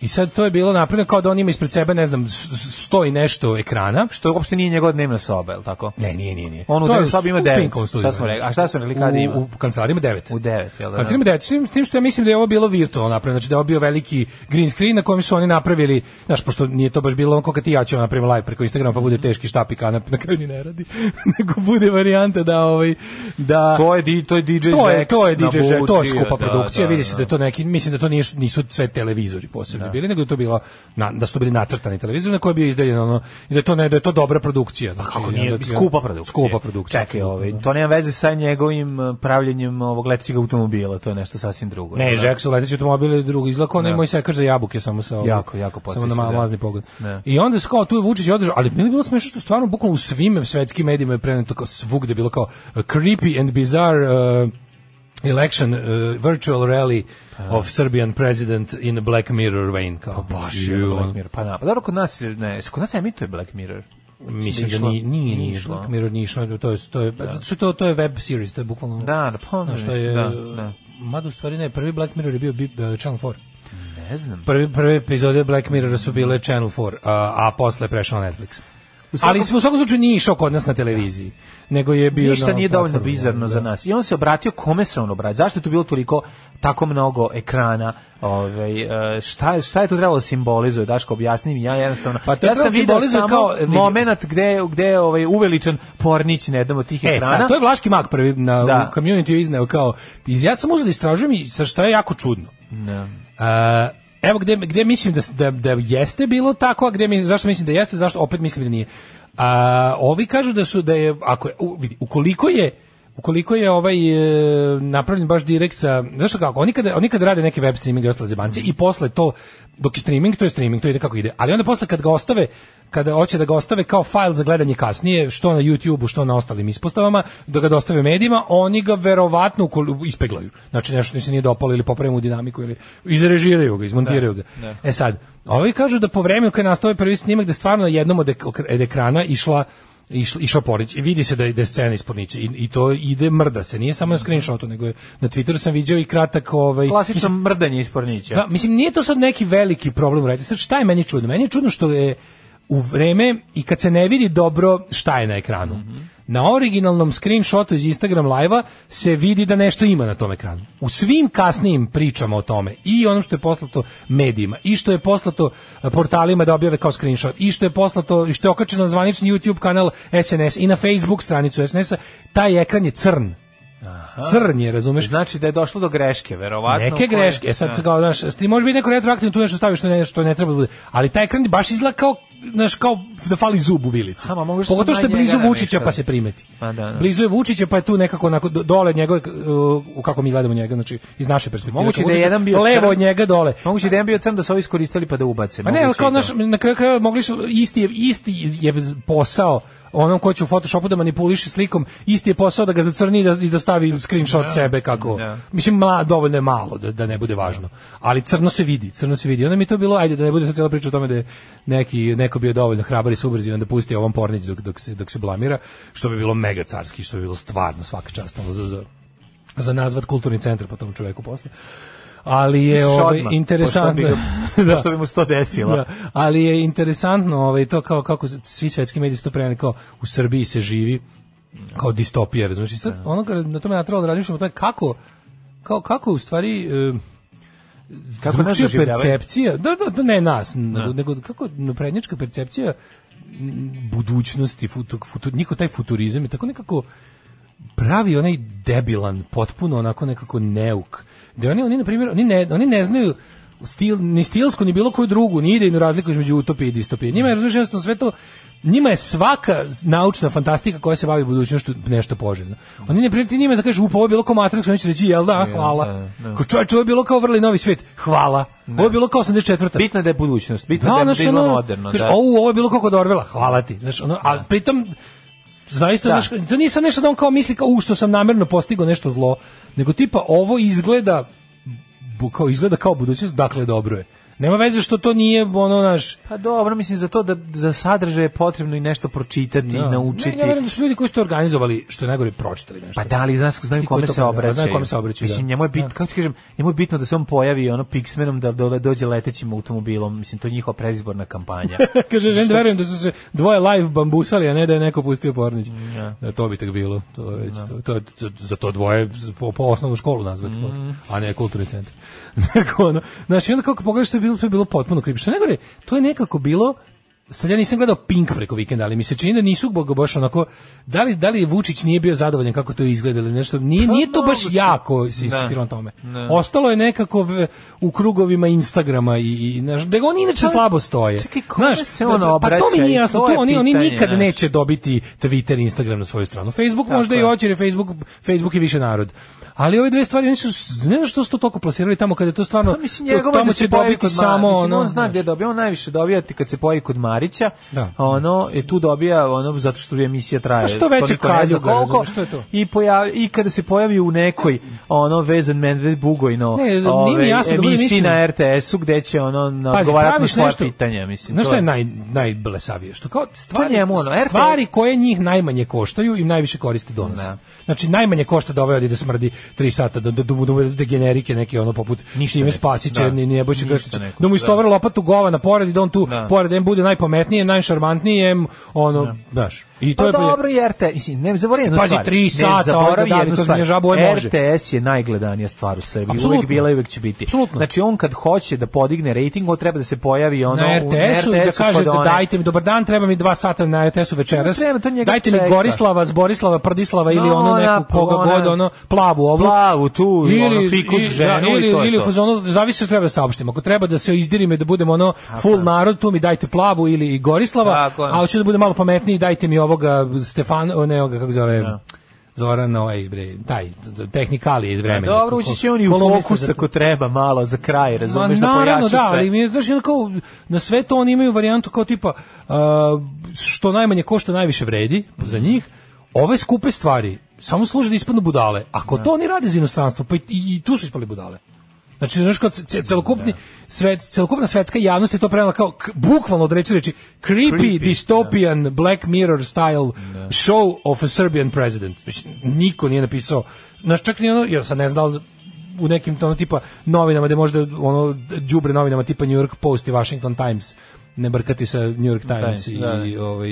Speaker 5: I sad to je bilo napravljeno kao da on ima ispred sebe, ne znam, s- s- sto i nešto ekrana.
Speaker 6: Što uopšte nije njegova dnevna soba, je li tako?
Speaker 5: Ne, nije, nije, nije.
Speaker 6: On u
Speaker 5: To je
Speaker 6: dnevnoj sobi ima
Speaker 5: u
Speaker 6: devet.
Speaker 5: Pinkovom studiju.
Speaker 6: Šta smo rekli? A šta su rekli kada
Speaker 5: U-
Speaker 6: ima?
Speaker 5: U, kancelariji ima devet.
Speaker 6: U devet, jel da?
Speaker 5: Kad idemo deca, s tim- s tim što ja mislim da je ovo bilo virtualno napravljeno, znači da je ovo bio veliki green screen na kojem su oni napravili, znaš, pošto nije to baš bilo onko kad ti i ja ćemo napraviti live preko Instagrama, pa bude teški štap i kanap, na kraju ni ne radi, nego bude varijanta da ovaj, da...
Speaker 6: To je, di- to je DJ Zex.
Speaker 5: To je, to je DJ
Speaker 6: na
Speaker 5: Žek, to je
Speaker 6: Buci,
Speaker 5: skupa
Speaker 6: da,
Speaker 5: produkcija,
Speaker 6: da,
Speaker 5: vidi se
Speaker 6: da.
Speaker 5: da je to neki, mislim da to nisu, nisu sve televizori posebno bili, nego je to bila, na, da su to bili nacrtani televizori na koje je bio izdeljen ono, i da je to, ne, da je to dobra produkcija. Znači,
Speaker 6: Kako
Speaker 5: onda
Speaker 6: nije,
Speaker 5: ti-
Speaker 6: skupa produkcija.
Speaker 5: Skupa produkcija.
Speaker 6: Čekaj,
Speaker 5: apsolutno,
Speaker 6: ovaj,
Speaker 5: da.
Speaker 6: to nema veze sa njegovim uh, pravljenjem ovog letećeg automobila, to je nešto sasvim drugo.
Speaker 5: Ne,
Speaker 6: Da.
Speaker 5: Jack su leteći automobil je drugo izlako,
Speaker 6: Da.
Speaker 5: ne moj sekač za jabuke samo sa ovim.
Speaker 6: Jako, jako
Speaker 5: Samo na
Speaker 6: podsjeća,
Speaker 5: malo
Speaker 6: da.
Speaker 5: mazni pogled.
Speaker 6: Da.
Speaker 5: I onda se kao tu je Vučić održao, ali meni je bilo smešno što stvarno bukvalno u svim svetskim medijima je preneto kao svugde bilo kao uh, creepy and bizarre uh, election uh, virtual rally of Serbian president in a Black Mirror vein kao
Speaker 6: Pa baš je
Speaker 5: Ju,
Speaker 6: Black Mirror. Pa na, pa dobro kod nas, je- ne, kod nas emituje Black Mirror.
Speaker 5: Mislim da
Speaker 6: išlo.
Speaker 5: nije, nije,
Speaker 6: Nije
Speaker 5: nije
Speaker 6: išlo.
Speaker 5: Black Mirror nije išlo, to je, to je, zato što to, to je web series, to je bukvalno...
Speaker 6: Da, da, pa ono
Speaker 5: Znaš, to
Speaker 6: mislim,
Speaker 5: je,
Speaker 6: da, da.
Speaker 5: Mada u stvari ne, prvi Black Mirror je bio Bi- uh, Channel 4.
Speaker 6: Ne znam.
Speaker 5: Prvi, prve epizode Black Mirrora su bile Channel 4, a, a posle je prešao na Netflix. ali u svakom slučaju nije išao kod nas na televiziji, nego je bio
Speaker 6: Ništa
Speaker 5: na
Speaker 6: nije dovoljno
Speaker 5: platformi, da.
Speaker 6: bizarno za nas. I on se obratio kome se on obratio? Zašto je tu bilo toliko tako mnogo ekrana? Ovaj e, šta je šta je tu trebalo da simbolizuje? Daško objasni mi. Ja jednostavno
Speaker 5: Pa to je
Speaker 6: ja
Speaker 5: trebalo
Speaker 6: sam video
Speaker 5: simbolizuje
Speaker 6: samo
Speaker 5: kao-
Speaker 6: kao momenat gde gde je ovaj uveličan Pornić na jednom od tih
Speaker 5: E,
Speaker 6: ekrana.
Speaker 5: sad, to je Vlaški mag prvi na
Speaker 6: Da.
Speaker 5: u community izneo kao, i ja sam uzeo da istražujem i sa što je jako čudno.
Speaker 6: Da.
Speaker 5: A, Uh, evo gde, gde mislim da, da, da jeste bilo tako, a gde mi, zašto mislim da jeste, zašto opet mislim da nije. A, ovi kažu da su, da je, ako je, u- vidi, ukoliko je ukoliko je ovaj e, napravljen baš direkt sa zašto kako oni kada oni kada rade neke web streaming i ostale zebanci i posle to dok je streaming to je streaming to ide kako ide ali onda posle kad ga ostave kada hoće da ga ostave kao fajl za gledanje kasnije, što na YouTubeu, što na ostalim ispostavama, da ga dostave medijima, oni ga verovatno ukol- ispeglaju. Znači nešto im se nije dopalo ili poprave mu dinamiku ili izrežiraju ga, izmontiraju
Speaker 12: Da,
Speaker 5: ga.
Speaker 12: da.
Speaker 5: E sad, ovi kažu da po vremenu kada nastao ovaj prvi snimak da je stvarno na jednom od ek- okre- od ekrana išla išla- išao Pornić i vidi se da je, da je scena iz Pornića i, i to ide mrda se, nije samo na screenshotu, nego je, na Twitteru sam viđao i kratak ovaj...
Speaker 6: Klasično
Speaker 5: mislim-
Speaker 6: mrdanje iz Pornića.
Speaker 5: da, mislim, nije to sad neki veliki problem uraditi. Sad, šta je meni čudno? Meni je čudno što je u vreme i kad se ne vidi dobro šta je na ekranu. Na originalnom screenshotu iz Instagram live-a se vidi da nešto ima na tom ekranu. U svim kasnijim pričama o tome i ono što je poslato medijima i što je poslato e, portalima da objave kao screenshot i što je poslato i što je okačeno na zvanični YouTube kanal SNS i na Facebook stranicu SNS-a, taj ekran je crn. Crn je, razumeš?
Speaker 6: Znači da je došlo do greške, verovatno.
Speaker 5: Neke
Speaker 6: koje-
Speaker 5: greške, e sad
Speaker 6: Da.
Speaker 5: kao, znaš, ti može biti neko retroaktivno tu nešto staviš što ne, što ne treba da bude, ali taj ekran baš izgleda kao, znaš, kao da fali zub u vilici. Pogotovo što je
Speaker 6: na
Speaker 5: blizu
Speaker 6: njega
Speaker 5: Vučića
Speaker 6: namještali.
Speaker 5: pa se primeti.
Speaker 6: Pa da, da.
Speaker 5: Blizu je Vučića pa je tu nekako onako do- dole njegove, uh, kako mi gledamo njega, znači iz naše perspektive.
Speaker 6: Moguće
Speaker 5: Kao
Speaker 6: da je
Speaker 5: Vučića,
Speaker 6: jedan bio
Speaker 5: Levo
Speaker 6: crn.
Speaker 5: od njega dole.
Speaker 6: Moguće da je jedan bio crn da su ovi iskoristili pa da ubace.
Speaker 5: Pa ne,
Speaker 6: Moguće
Speaker 5: ali kao,
Speaker 6: i da.
Speaker 5: znaš, na kraju krajeva mogli su, isti je, isti je posao onom ko će u Photoshopu da manipuliše slikom, isti je posao da ga zacrni i da, i da stavi screenshot sebe kako. Mislim, ma, dovoljno je malo da, da ne bude važno. Ali crno se vidi, crno se vidi. Onda mi je to bilo, ajde, da ne bude sad cijela priča o tome da je neki, neko bio dovoljno hrabar i subrzi i onda pusti ovom pornić dok, dok, se, dok se blamira, što bi bilo mega carski, što bi bilo stvarno svaka čast ono, za, za, za nazvat kulturni centar po tom čoveku posle. Ali je
Speaker 6: Šodma,
Speaker 5: ovaj, interesantno.
Speaker 6: pošto bi ga- pošto bi mu se to desilo.
Speaker 5: Da, ali je interesantno ovaj, to kao kako svi svetski mediji su to preneli, kao u Srbiji se živi kao distopija, razumiješ? I sad ono kada na tome natralo da razmišljamo, to je kako, kao, kako u stvari... e,
Speaker 6: Kako
Speaker 5: drugčija
Speaker 6: nas doživljavaju?
Speaker 5: percepcija, da, da, da, ne nas, nego, nego kako naprednjačka percepcija m, budućnosti, futu, futu, njihov taj futurizam je tako nekako pravi onaj debilan, potpuno onako nekako neuk. Da oni oni na primjer, oni ne oni ne znaju stil ni stilsku ni bilo koju drugu, ni idejnu razliku između utopije i distopije. Njima je razumiješ, jednostavno sve to njima je svaka naučna fantastika koja se bavi budućnošću nešto poželjno. Oni ne primjer, ti njima da kažeš, u, pa ovo je bilo kao Matrix, oni će reći, jel da, hvala.
Speaker 6: da, da.
Speaker 5: Ko čovječ, ovo je bilo kao vrli novi svet, hvala. Ovo je bilo kao 84.
Speaker 6: Bitno je da je budućnost, bitno je da je
Speaker 5: znaš,
Speaker 6: bilo
Speaker 5: ono,
Speaker 6: moderno.
Speaker 5: kažeš,
Speaker 6: da.
Speaker 5: "Au, ovo je bilo kao kod Orvela, hvala ti. Znaš, ono, a pritom, zaista,
Speaker 6: Da.
Speaker 5: znaš, to nije sad nešto da on kao misli kao, u, što sam namjerno postigao nešto zlo, nego tipa, ovo izgleda, bu- kao, izgleda kao budućnost, dakle, dobro je. Nema veze što to nije, ono, naš,
Speaker 6: Pa dobro, mislim za to da za sadržaj je potrebno i nešto pročitati,
Speaker 5: Da.
Speaker 6: naučiti.
Speaker 5: Ne, ja verujem da su ljudi koji su to organizovali, što je najgore, pročitali nešto.
Speaker 6: Pa da li znaš znaju
Speaker 5: Ti koji
Speaker 6: kome
Speaker 5: to
Speaker 6: se
Speaker 5: pravi,
Speaker 6: obraćaju?
Speaker 5: znaju kome se obraćaju,
Speaker 6: Mislim
Speaker 5: da.
Speaker 6: njemu je bitno, kako ti kažem, njemu je bitno da se on pojavi ono Pixmenom da do- dođe letećim automobilom, mislim to je njihova predizborna kampanja.
Speaker 5: Kaže, želim da verujem da su se dvoje live bambusali, a ne da je neko pustio pornić.
Speaker 6: Ja.
Speaker 5: Da, to bi tak bilo. To, je
Speaker 6: Da.
Speaker 5: već, to, to, to, za to dvoje po, po osnovnu školu nazvati,
Speaker 6: Mm.
Speaker 5: posle, a ne kulturni centar. Neko ono, znaš, i onda kako pogledaš, to je bilo, to je bilo potpuno kripi. Što ne gore, to je nekako bilo, Sad ja nisam gledao Pink preko vikenda, ali mi se čini da nisu bog baš onako, da li, da li Vučić nije bio zadovoljan kako to izgleda ili nešto, nije, nije to baš jako se insistirao na tome.
Speaker 6: Pa Da.
Speaker 5: Ostalo je nekako v- u krugovima Instagrama i, i znaš, da ga oni inače
Speaker 6: Pa,
Speaker 5: slabo stoje.
Speaker 6: čekaj, kome se on
Speaker 5: pa to mi
Speaker 6: obraća
Speaker 5: nije
Speaker 6: i
Speaker 5: jasno,
Speaker 6: to
Speaker 5: tu
Speaker 6: je
Speaker 5: oni, oni
Speaker 6: pitanje,
Speaker 5: nikad
Speaker 6: znaš.
Speaker 5: neće dobiti Twitter i Instagram na svoju stranu. Facebook
Speaker 6: Tako
Speaker 5: možda i
Speaker 6: je.
Speaker 5: hoće, jer je Facebook, Facebook je više narod. Ali ove dve stvari, oni su, ne znam što su to toliko plasirali tamo, kada je to stvarno,
Speaker 6: Pa mislim
Speaker 5: to-
Speaker 6: njegovo je
Speaker 5: tamo
Speaker 6: da
Speaker 5: će
Speaker 6: se pojavi
Speaker 5: dobiti
Speaker 6: kod
Speaker 5: samo
Speaker 6: samo mislim,
Speaker 5: ono,
Speaker 6: on zna gdje dobija, on najviše dobija ti kad se pojavi kod Marića.
Speaker 5: Da.
Speaker 6: Ono i tu dobija ono zato što je emisija traje.
Speaker 5: Pa što veće
Speaker 6: toliko ne znam
Speaker 5: kaljuga, razumeš, što je to?
Speaker 6: I pojavi, i kada se pojavi u nekoj ono vezan Medved Bugojno.
Speaker 5: Ne, nije mi
Speaker 6: ove,
Speaker 5: jasno da budem
Speaker 6: emisiji
Speaker 5: iskren.
Speaker 6: na RTS-u gde će ono na
Speaker 5: Pazi,
Speaker 6: odgovarati na
Speaker 5: praviš
Speaker 6: svoja
Speaker 5: nešto-
Speaker 6: pitanja, mislim.
Speaker 5: Znaš
Speaker 6: to
Speaker 5: što je
Speaker 6: je-
Speaker 5: naj, najblesavije? Što kao stvari,
Speaker 6: njemu ono, RTL.
Speaker 5: stvari koje njih najmanje koštaju im najviše koristi donose.
Speaker 6: Da.
Speaker 5: Znači najmanje košta da ovaj odi da smrdi 3 sata, da, da, da, mu- da, mu- da generike neke ono poput Ništa Šime
Speaker 6: neko.
Speaker 5: Spasića,
Speaker 6: Da.
Speaker 5: ni, ni Nebojša
Speaker 6: Ništa
Speaker 5: Krstića,
Speaker 6: neko,
Speaker 5: da mu
Speaker 6: da.
Speaker 5: istovara lopatu gova na pored i da on tu
Speaker 6: Da.
Speaker 5: pored da im bude najpametnije, najšarmantnije, ono, znaš. I to
Speaker 6: pa
Speaker 5: je bolje.
Speaker 6: dobro, i RTS, mislim, ne zaboravi jednu
Speaker 5: Pazi,
Speaker 6: stvar.
Speaker 5: tri
Speaker 6: Ne
Speaker 5: sata, ovaj
Speaker 6: zaboravi
Speaker 5: da,
Speaker 6: jednu
Speaker 5: nikog
Speaker 6: stvar.
Speaker 5: nije žabuje, može.
Speaker 6: RTS je najgledanija stvar u Srbiji.
Speaker 5: Apsolutno.
Speaker 6: Uvijek bila i uvijek će biti.
Speaker 5: Apsolutno.
Speaker 6: Znači, on kad hoće da podigne rating, on treba da se pojavi ono,
Speaker 5: na RTS-u i da
Speaker 6: RTS-u kod
Speaker 5: kaže da
Speaker 6: one-
Speaker 5: dajte mi dobar dan, treba mi dva sata na RTS-u večeras.
Speaker 6: Ne treba, to njega
Speaker 5: dajte
Speaker 6: čeka.
Speaker 5: mi Gorislava, Zborislava, Prdislava ili
Speaker 6: No,
Speaker 5: ono
Speaker 6: ona,
Speaker 5: neku koga
Speaker 6: ona-
Speaker 5: god, ono plavu ovlu.
Speaker 6: Plavu, tu, ono, fikus
Speaker 5: i- da,
Speaker 6: ženu i
Speaker 5: ili,
Speaker 6: to je
Speaker 5: ili u
Speaker 6: to.
Speaker 5: fazonu, zavisi što treba da saopštim. Ako treba da se izdirime da budemo ono full narod, tu mi dajte plavu ili i Gorislava,
Speaker 6: Tako je.
Speaker 5: a hoću da budem malo pametniji, dajte mi ovoga Stefan, o, ne ovoga, kako zove,
Speaker 6: Da.
Speaker 5: Zoran, ovaj, bre, taj, tehnikalije iz vremena.
Speaker 6: Da, Dobro,
Speaker 5: Ko-
Speaker 6: ući će on i u
Speaker 5: kolumnista
Speaker 6: fokus
Speaker 5: za-
Speaker 6: ako treba malo za kraj,
Speaker 5: Ma,
Speaker 6: razumeš, da
Speaker 5: naravno,
Speaker 6: pojača sve.
Speaker 5: da, ali mi je, znaš, jedno kao, na sve to oni imaju varijantu kao tipa, a, što najmanje košta, najviše vredi za njih, ove skupe stvari samo služe da ispadnu budale. Ako to oni rade za inostranstvo, pa i, i tu su ispali budale. Znači, znaš, kao ce-
Speaker 6: Da.
Speaker 5: celokupni, svet, celokupna svetska javnost je to prenala kao, k- bukvalno od reči reči, creepy,
Speaker 6: Creepy, da.
Speaker 5: dystopian, Black Mirror style show of a Serbian president. Mislim, niko nije napisao, znaš, čak ni ono, jer sam ne da znao u nekim ono tipa novinama gde možda ono đubre novinama tipa New York Post i Washington Times ne brkati sa New York Times,
Speaker 6: Times,
Speaker 5: i,
Speaker 6: da,
Speaker 5: i, ovaj,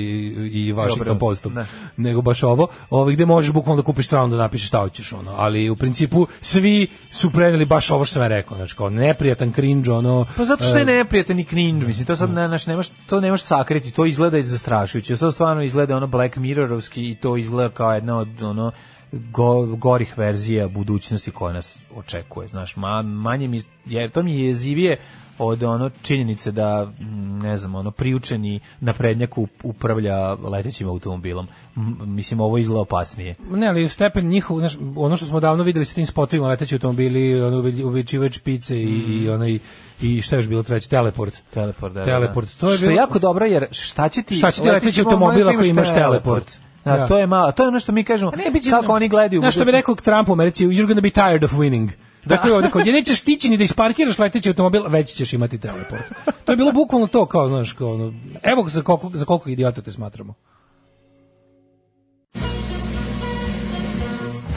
Speaker 5: i Washington
Speaker 6: Dobro,
Speaker 5: Postom
Speaker 6: ne.
Speaker 5: nego baš ovo, ovaj gde možeš bukvalno da kupiš stranu da napišeš šta hoćeš ono, ali u principu svi su preneli baš ovo što sam ja rekao, znači kao neprijatan cringe ono.
Speaker 6: Pa zato što
Speaker 5: e,
Speaker 6: je neprijatan i cringe, mislim, to sad ne, znaš, nemaš, to nemaš sakriti, to izgleda i zastrašujuće, to stvarno izgleda ono Black Mirrorovski i to izgleda kao jedna od ono go, gorih verzija budućnosti koja nas očekuje, znaš, ma, manje mi, je, to mi je jezivije od ono činjenice da mm, ne znam ono priučeni naprednjak up- upravlja letećim automobilom M, mislim ovo izgleda opasnije
Speaker 5: Ne, ali stepen njihov, znaš, ono što smo davno videli sa tim spotovima, leteći automobili, ono uve- uvećivač pice i, i onaj i šta je još bilo treći teleport.
Speaker 6: Mm. Teleport, da, da,
Speaker 5: Teleport.
Speaker 6: da.
Speaker 5: To je
Speaker 6: Što je
Speaker 5: bilo-
Speaker 6: jako dobro, jer šta će ti...
Speaker 5: Šta će ti leteći
Speaker 6: automobil
Speaker 5: automobil ako imaš teleport?
Speaker 6: Da,
Speaker 5: Da. Pa
Speaker 6: to je malo, to je ono što mi kažemo,
Speaker 5: Ne, biće,
Speaker 6: kako oni gledaju. Da.
Speaker 5: Znaš što bi
Speaker 6: budućnost.
Speaker 5: rekao Trump u Americi, you're gonna be tired of winning. Dakle, ovdje kod je nećeš tići ni da isparkiraš leteći automobil, već ćeš imati teleport. To je bilo bukvalno to, kao, znaš, kao, ono, evo za koliko, za koliko idiota te smatramo.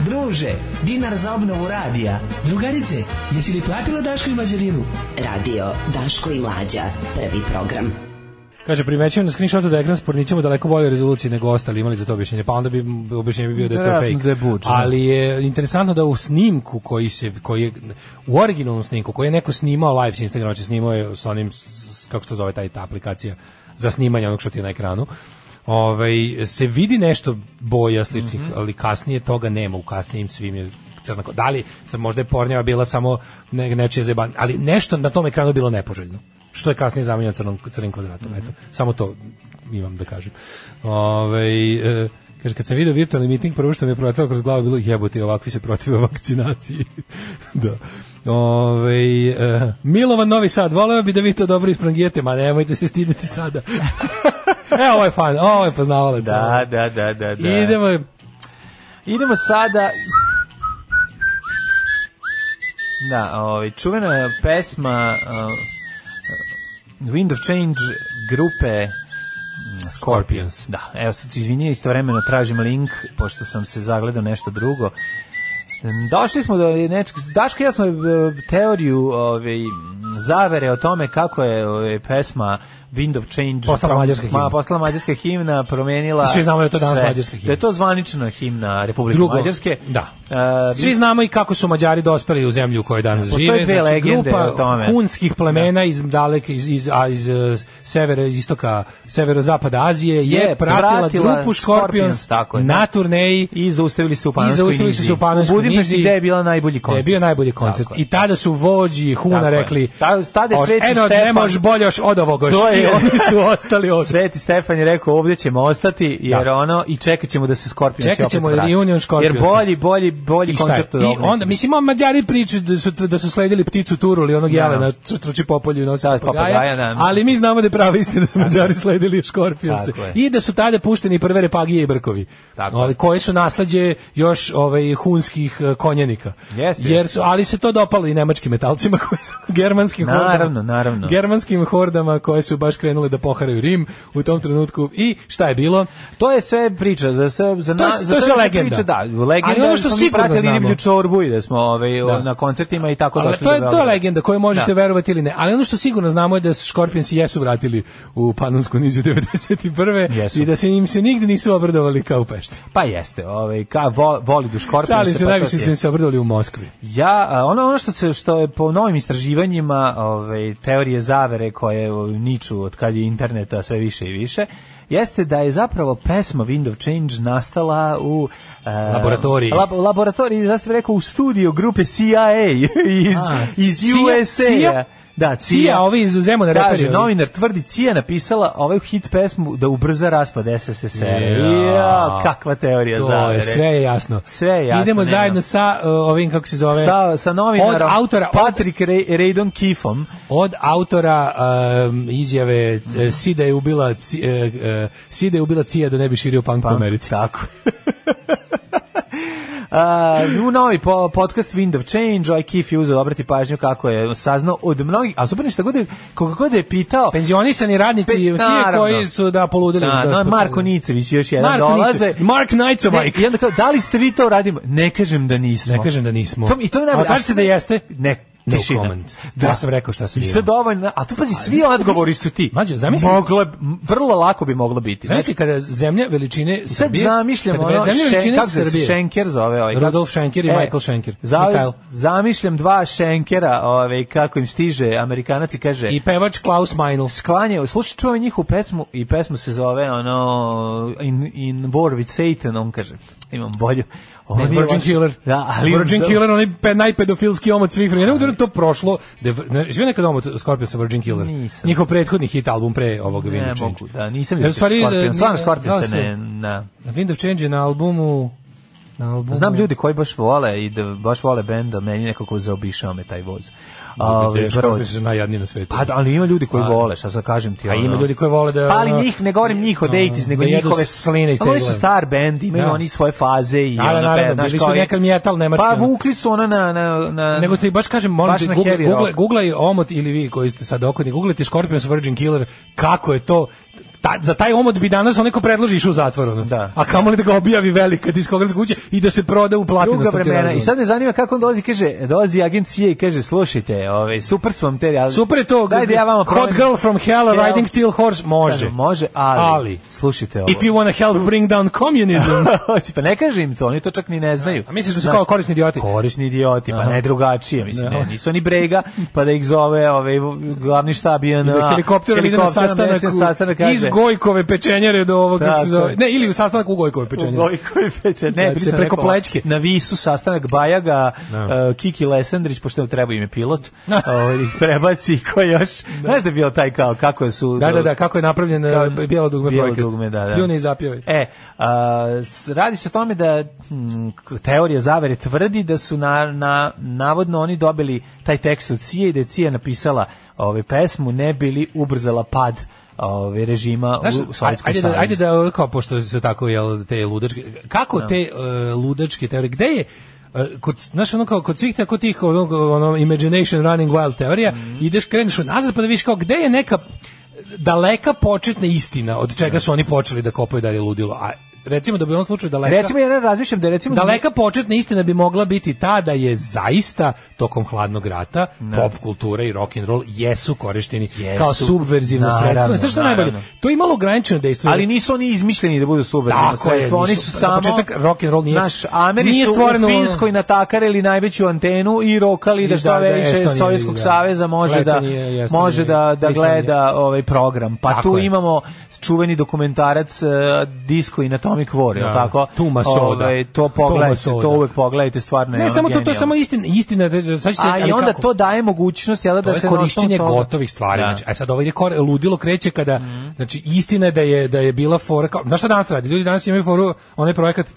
Speaker 12: Druže, dinar za obnovu radija. Drugarice, jesi li platila Daško i Mađarinu?
Speaker 9: Radio Daško i Mlađa. Prvi program.
Speaker 5: Kaže, primećujem na screenshotu da je ekran s pornićima u daleko bolje rezoluciji nego ostali imali za to objašnjenje, pa onda bi m, objašnjenje bi bio da je to
Speaker 6: Vjerojatno
Speaker 5: fake.
Speaker 6: da je buč, da.
Speaker 5: Ali je interesantno da u snimku koji se, koji je, u originalnom snimku koji je neko snimao live s Instagrama, znači snimao je s onim, s- s- kako se to zove taj, ta aplikacija za snimanje onog što ti je na ekranu, ovaj, se vidi nešto boja sličnih, ali kasnije toga nema, u kasnijim svim je crna ko- Da li, sad možda je pornjava bila samo ne, nečije zajebanje, ali nešto na tom ekranu je bilo nepoželjno što je kasnije zamenjeno crnom, crnim kvadratom. Eto, samo to imam da kažem. Ovaj e, kaže, kad sam vidio virtualni miting, prvo što mi je proletalo kroz glavu bilo jebote, ovakvi se protive vakcinaciji. da. Ovaj e, Milovan Novi Sad, voleo bi da vi to dobro isprangijete, ma nemojte se stiditi sada. e, ovo je fan, ovo je poznavalac.
Speaker 6: Da, da, da, da, da.
Speaker 5: Idemo,
Speaker 6: Idemo sada... Da, ovaj, čuvena pesma uh, Wind of Change grupe mm, Scorpions. Da, evo sad se izvinio, istovremeno tražim link, pošto sam se zagledao nešto drugo. Došli smo do nečeg, Daško i ja smo e, teoriju ovaj, zavere o tome kako je ovaj, pesma Wind of Change
Speaker 5: Postala
Speaker 6: prom-
Speaker 5: mađarska himna.
Speaker 6: Ma, postala mađarska himna, promenila
Speaker 5: I svi znamo da je to danas
Speaker 6: sve.
Speaker 5: mađarska himna.
Speaker 6: Da je to zvanična himna Republike
Speaker 5: Drugo,
Speaker 6: Mađarske.
Speaker 5: da.
Speaker 6: E,
Speaker 5: Svi znamo i kako su Mađari dospeli u zemlju u kojoj danas
Speaker 6: Postoje
Speaker 5: žive.
Speaker 6: dve
Speaker 5: znači,
Speaker 6: legende
Speaker 5: grupa
Speaker 6: o tome. Da.
Speaker 5: hunskih plemena iz daleke iz iz a, iz eh, severa iz istoka severozapada Azije je,
Speaker 6: Je
Speaker 5: pratila,
Speaker 6: pratila
Speaker 5: grupu
Speaker 6: Scorpions,
Speaker 5: Scorpions
Speaker 6: tako je, da.
Speaker 5: na turneji
Speaker 6: I zaustavili su u Panonskoj
Speaker 5: i zaustavili su se u Panonskoj
Speaker 6: U Budimpešti
Speaker 5: Nizi,
Speaker 6: gde je bila najbolji
Speaker 5: gde je
Speaker 6: koncert.
Speaker 5: bio najbolji koncert.
Speaker 6: Tako je.
Speaker 5: I tada su vođi Huna
Speaker 6: Tako je.
Speaker 5: rekli
Speaker 6: Ta- tada je
Speaker 5: "Oš-
Speaker 6: Sveti
Speaker 5: eno, ne
Speaker 6: Stefan-
Speaker 5: možeš bolje još od ovoga.
Speaker 6: To je-
Speaker 5: I oni su ostali od
Speaker 6: Sveti Stefan je rekao ovdje ćemo ostati jer
Speaker 5: Da.
Speaker 6: ono i čekat ćemo da se Scorpions
Speaker 5: Čekat ćemo
Speaker 6: opet vrate.
Speaker 5: reunion Scorpionsa.
Speaker 6: Jer bolji, bolji, bolji
Speaker 5: I šta je?
Speaker 6: koncert od
Speaker 5: I
Speaker 6: ovog neće
Speaker 5: onda,
Speaker 6: biti.
Speaker 5: mislim, on Mađari pričaju da su, da su sledili pticu turu ili onog
Speaker 6: Da.
Speaker 5: jelena, što trči po polju i nosi
Speaker 6: Da,
Speaker 5: papagaja,
Speaker 6: papagaja, da.
Speaker 5: ali mi znamo da je prava istina da su Mađari sledili škorpionce.
Speaker 6: Tako je.
Speaker 5: I da su tada pušteni prve repagije i brkovi,
Speaker 6: Tako
Speaker 5: Ovaj,
Speaker 6: je.
Speaker 5: koje su nasleđe još ovaj, hunskih eh, konjenika.
Speaker 6: Jeste.
Speaker 5: Jer su, ali se to dopalo i nemačkim metalcima koji su germanski germanskim hordama.
Speaker 6: Naravno, naravno.
Speaker 5: Germanskim hordama koje su baš krenule da poharaju Rim u tom trenutku. I šta je bilo?
Speaker 6: To je sve priča za sve za
Speaker 5: to je,
Speaker 6: na-
Speaker 5: to
Speaker 6: za
Speaker 5: je sve
Speaker 6: naše
Speaker 5: legenda.
Speaker 6: priče, da, legenda.
Speaker 5: Ali ono
Speaker 6: da
Speaker 5: što
Speaker 6: smo mi
Speaker 5: sigurno
Speaker 6: pratili
Speaker 5: znamo.
Speaker 6: Riblju čorbu i da smo ovaj o, na koncertima i tako
Speaker 5: Ali
Speaker 6: došli
Speaker 5: to je
Speaker 6: do
Speaker 5: to je
Speaker 6: Beograda.
Speaker 5: legenda koju možete
Speaker 6: Da.
Speaker 5: verovati ili ne. Ali ono što sigurno znamo je da su Škorpionsi jesu vratili u Panonsku nizu 91.
Speaker 6: Jesu.
Speaker 5: i da se im se nigde nisu obradovali kao u Pešti.
Speaker 6: Pa jeste, ovaj ka vo, voli du škorpion
Speaker 5: Šalim se, najviše su im se obradovali u Moskvi.
Speaker 6: Ja, a, ono, ono što, se, što je po novim istraživanjima ovaj, teorije zavere koje ovaj, niču od kad je interneta sve više i više, jeste da je zapravo pesma Wind of Change nastala u... e,
Speaker 5: Laboratoriji.
Speaker 6: lab- laboratoriji, da ste rekao, u studiju grupe CIA iz,
Speaker 5: A,
Speaker 6: iz
Speaker 5: CIA?
Speaker 6: USA.
Speaker 5: CIA?
Speaker 6: Da,
Speaker 5: CIA, ovi iz Zemuna reperi,
Speaker 6: Kaže,
Speaker 5: ovi.
Speaker 6: novinar tvrdi CIA napisala ovaj hit pesmu da ubrza raspad SSSR.
Speaker 5: Ja.
Speaker 6: Ja, kakva teorija
Speaker 5: To je,
Speaker 6: zavere.
Speaker 5: sve je jasno.
Speaker 6: Sve je jasno.
Speaker 5: Idemo
Speaker 6: nema.
Speaker 5: zajedno sa uh, ovim, kako se zove?
Speaker 6: sa, sa novinarom
Speaker 5: Od autora,
Speaker 6: Patrick Ray, Raydon Kiffom.
Speaker 5: od autora um, izjave e, Sida je ubila ci- e, e, Sida je ubila Cija da ne bi širio punk,
Speaker 6: Pa,
Speaker 5: u Americi.
Speaker 6: Tako. Uh, u novi po, podcast Wind of Change, ovaj Kif je uzeo obrati pažnju kako je saznao od mnogih, a super ništa god je, koga god je pitao,
Speaker 5: Penzionisani radnici
Speaker 6: Pe-
Speaker 5: Cije
Speaker 6: naravno.
Speaker 5: koji su da poludeli.
Speaker 6: Da,
Speaker 5: Pa To
Speaker 6: no,
Speaker 5: je
Speaker 6: Marko Nicević još jedan
Speaker 5: Marko
Speaker 6: dolaze.
Speaker 5: Nicević, Mark Nicević.
Speaker 6: Ne, I onda kao, da li ste vi to radili? Ne kažem da nismo.
Speaker 5: Ne kažem da nismo.
Speaker 6: To, I to je najbolje.
Speaker 5: A kaže
Speaker 6: A
Speaker 5: se
Speaker 6: sve-
Speaker 5: da jeste?
Speaker 6: Ne,
Speaker 5: No
Speaker 6: tišina. Da.
Speaker 5: comment. Ja sam rekao šta sam
Speaker 6: I
Speaker 5: bio.
Speaker 6: sve dovoljno. A tu pazi, svi
Speaker 5: zamisli-
Speaker 6: odgovori su ti.
Speaker 5: Mađo, zamisli-
Speaker 6: Moglo je- m, vrlo lako bi moglo biti.
Speaker 5: Znači kada zemlja veličine
Speaker 6: Sad
Speaker 5: Srbije,
Speaker 6: zamišljam
Speaker 5: kada
Speaker 6: ono,
Speaker 5: zemlja
Speaker 6: še-
Speaker 5: veličine
Speaker 6: kako se
Speaker 5: Srbije.
Speaker 6: Šenker zove ovaj. kako-
Speaker 5: Rudolf Schenker i Michael Schenker.
Speaker 6: za-
Speaker 5: Mikhail.
Speaker 6: Zamišljam dva Schenkera, ovaj, kako im stiže Amerikanac i kaže...
Speaker 5: I pevač Klaus Meinl.
Speaker 6: sklanjao, slušaj čuo je njihovu pesmu i pesmu se zove ono in, in War with Satan, on kaže, imam bolju. Ovo
Speaker 5: Ne,
Speaker 6: nije
Speaker 5: Virgin
Speaker 6: loše.
Speaker 5: Killer.
Speaker 6: Da, ali
Speaker 5: Virgin
Speaker 6: za-
Speaker 5: Killer, onaj pe, najpedofilski omot svih vremena. Ne mogu da verujem da je to prošlo. Da je, ne, živio nekad omot Scorpion sa Virgin Killer?
Speaker 6: Nisam.
Speaker 5: Njihov prethodni hit album pre ovog
Speaker 6: Ne
Speaker 5: Windows
Speaker 6: mogu,
Speaker 5: Change.
Speaker 6: da, nisam
Speaker 5: E, u
Speaker 6: ljubio
Speaker 5: stvari,
Speaker 6: Scorpion,
Speaker 5: da,
Speaker 6: stvarno
Speaker 5: nije-
Speaker 6: Scorpion se
Speaker 5: zvao
Speaker 6: ne, na.
Speaker 5: Windows Change je na albumu... Na albumu
Speaker 6: Znam ljudi koji baš vole i da baš vole benda, meni nekako zaobišao me taj voz. Ovaj,
Speaker 5: Ovaj Scorpion
Speaker 6: brod.
Speaker 5: su najjadniji na svetu.
Speaker 6: Pa da, ali ima ljudi koji vole, šta sad kažem ti.
Speaker 5: A ima
Speaker 6: ono.
Speaker 5: ljudi koji vole da...
Speaker 6: Pa ali
Speaker 5: ono,
Speaker 6: njih, ne govorim njih od
Speaker 5: ono,
Speaker 6: 80s, nego
Speaker 5: da jedu
Speaker 6: njihove
Speaker 5: sline iz
Speaker 6: Ali Oni su
Speaker 5: tegle.
Speaker 6: star band, imaju
Speaker 5: Da.
Speaker 6: oni svoje faze i
Speaker 5: Ali
Speaker 6: ono,
Speaker 5: naravno,
Speaker 6: znaš,
Speaker 5: bili su
Speaker 6: kao i-
Speaker 5: nekad metal nemački.
Speaker 6: Pa
Speaker 5: ono.
Speaker 6: vukli su ona na... na, na
Speaker 5: Nego ste baš kažem, molim
Speaker 6: Baš
Speaker 5: te,
Speaker 6: na
Speaker 5: Google,
Speaker 6: heavy
Speaker 5: Google,
Speaker 6: rock.
Speaker 5: Googlaj omot ili vi koji ste sad okodni, googlajte Scorpions Virgin Killer, kako je to, ta, za taj omot bi danas onaj ko predloži išao u zatvor, ono.
Speaker 6: Da.
Speaker 5: a kamoli da ga objavi velika diskografska kuća i da se proda u platinu.
Speaker 6: Druga vremena. I sad me zanima kako on dolazi, kaže, dolazi agencije i kaže, slušajte, ovaj, super su vam te... Ali,
Speaker 5: Super je to,
Speaker 6: Daj da ja vama
Speaker 5: Hot
Speaker 6: promenim-
Speaker 5: Girl from Hell,
Speaker 6: Hell.
Speaker 5: Riding Steel Horse, može.
Speaker 6: Kaže, može, ali,
Speaker 5: Ali.
Speaker 6: slušajte ovo.
Speaker 5: If you wanna help bring down communism,
Speaker 6: pa ne kaže im to, oni to čak ni ne znaju.
Speaker 5: A misliš da su
Speaker 6: Znaš,
Speaker 5: kao korisni idioti?
Speaker 6: Korisni idioti, pa
Speaker 5: Aha.
Speaker 6: ne drugačije, mislim,
Speaker 5: Ne.
Speaker 6: ne, nisu ni brega, pa da ih zove ovaj, glavni štab je
Speaker 5: I da
Speaker 6: na...
Speaker 5: helikopterom ide na sastanak, u-
Speaker 6: kaže,
Speaker 5: iz Gojkove pečenjare do ovoga, kako se
Speaker 6: Tako
Speaker 5: zove.
Speaker 6: je.
Speaker 5: Ne, ili u sastanak u Gojkove
Speaker 6: U
Speaker 5: pečenjare.
Speaker 6: Gojkovi peče, ne, bili
Speaker 5: Kad Da, se
Speaker 6: sam
Speaker 5: preko
Speaker 6: rekao,
Speaker 5: plećke. Da.
Speaker 6: Na Visu sastanak Bajaga, uh, Kiki Lesendrić, pošto treba im je pilot, ovaj, ih prebaci ko još, znaš da je bio taj kao, kako su...
Speaker 5: Da, da, da, kako je napravljen
Speaker 6: Kao-
Speaker 5: e, bijelo dugme
Speaker 6: Mm. bijelo
Speaker 5: projekat.
Speaker 6: dugme, da, da.
Speaker 5: Pljune i zapjevaj.
Speaker 6: E, a, s- radi se o tome da hm, k- teorija zavere tvrdi da su na, na, navodno oni dobili taj tekst od Cije i da je Cija napisala ovaj pesmu ne bili ubrzala pad ovaj režima
Speaker 5: Znaš,
Speaker 6: u
Speaker 5: aj-
Speaker 6: Sovjetskom
Speaker 5: ajde, da,
Speaker 6: savezu.
Speaker 5: ajde da, kao, pošto se tako, jel, te ludačke, kako
Speaker 6: Da.
Speaker 5: te e, ludačke teorije, gde je, e, kod, znaš, ono kao, kod svih tako tih, ono, ono, imagination running wild teorija,
Speaker 6: Mhm.
Speaker 5: ideš, kreneš nazad, pa da vidiš kao, gde je neka daleka početna istina od čega su oni počeli da kopaju dalje ludilo, a recimo da bi u ovom slučaju daleka...
Speaker 6: Recimo, ja razmišljam da je recimo...
Speaker 5: Daleka početna istina bi mogla biti ta da je zaista tokom hladnog rata pop kultura i rock and roll jesu korišteni
Speaker 6: Da. Jesu.
Speaker 5: kao subverzivno
Speaker 6: Naravno,
Speaker 5: sredstvo. Sve što je najbolje,
Speaker 6: naravno.
Speaker 5: to je imalo ograničeno dejstvo.
Speaker 6: Ali nisu oni izmišljeni da budu subverzivno
Speaker 5: Tako je,
Speaker 6: sredstvo, oni
Speaker 5: nisu.
Speaker 6: su
Speaker 5: Za
Speaker 6: samo...
Speaker 5: početak rock and roll nije-
Speaker 6: Naš, Ameri
Speaker 5: nije
Speaker 6: su
Speaker 5: stvoreno-
Speaker 6: u Finskoj natakarili najveću antenu i rokali da
Speaker 5: I
Speaker 6: šta
Speaker 5: da, da,
Speaker 6: više
Speaker 5: Estonija,
Speaker 6: Sovjetskog
Speaker 5: da.
Speaker 6: saveza može da,
Speaker 5: Letonije, Estonije,
Speaker 6: može da, da
Speaker 5: Britanije.
Speaker 6: gleda ovaj program. Pa
Speaker 5: Tako
Speaker 6: tu
Speaker 5: je.
Speaker 6: imamo čuveni dokumentarac uh, Disco in Atomic War, jel
Speaker 5: Da.
Speaker 6: tako?
Speaker 5: Tuma soda.
Speaker 6: Ovaj, to
Speaker 5: Tuma
Speaker 6: pogledajte,
Speaker 5: soda.
Speaker 6: to uvek pogledajte, stvarno je
Speaker 5: ne,
Speaker 6: ono
Speaker 5: samo to, to je
Speaker 6: genijalno.
Speaker 5: samo istina, istina da- da- sad ćete-
Speaker 6: A i
Speaker 5: ali
Speaker 6: onda
Speaker 5: kako?
Speaker 6: to daje mogućnost jel, da se...
Speaker 5: to je
Speaker 6: na osnovu
Speaker 5: korišćenje
Speaker 6: toga-
Speaker 5: gotovih stvari.
Speaker 6: Da. Mhm.
Speaker 5: Znači, aj sad ovaj kor, ludilo kreće kada, znači istina je da je da je bila fora kao, znaš šta danas radi? Ljudi danas imaju foru onaj projekat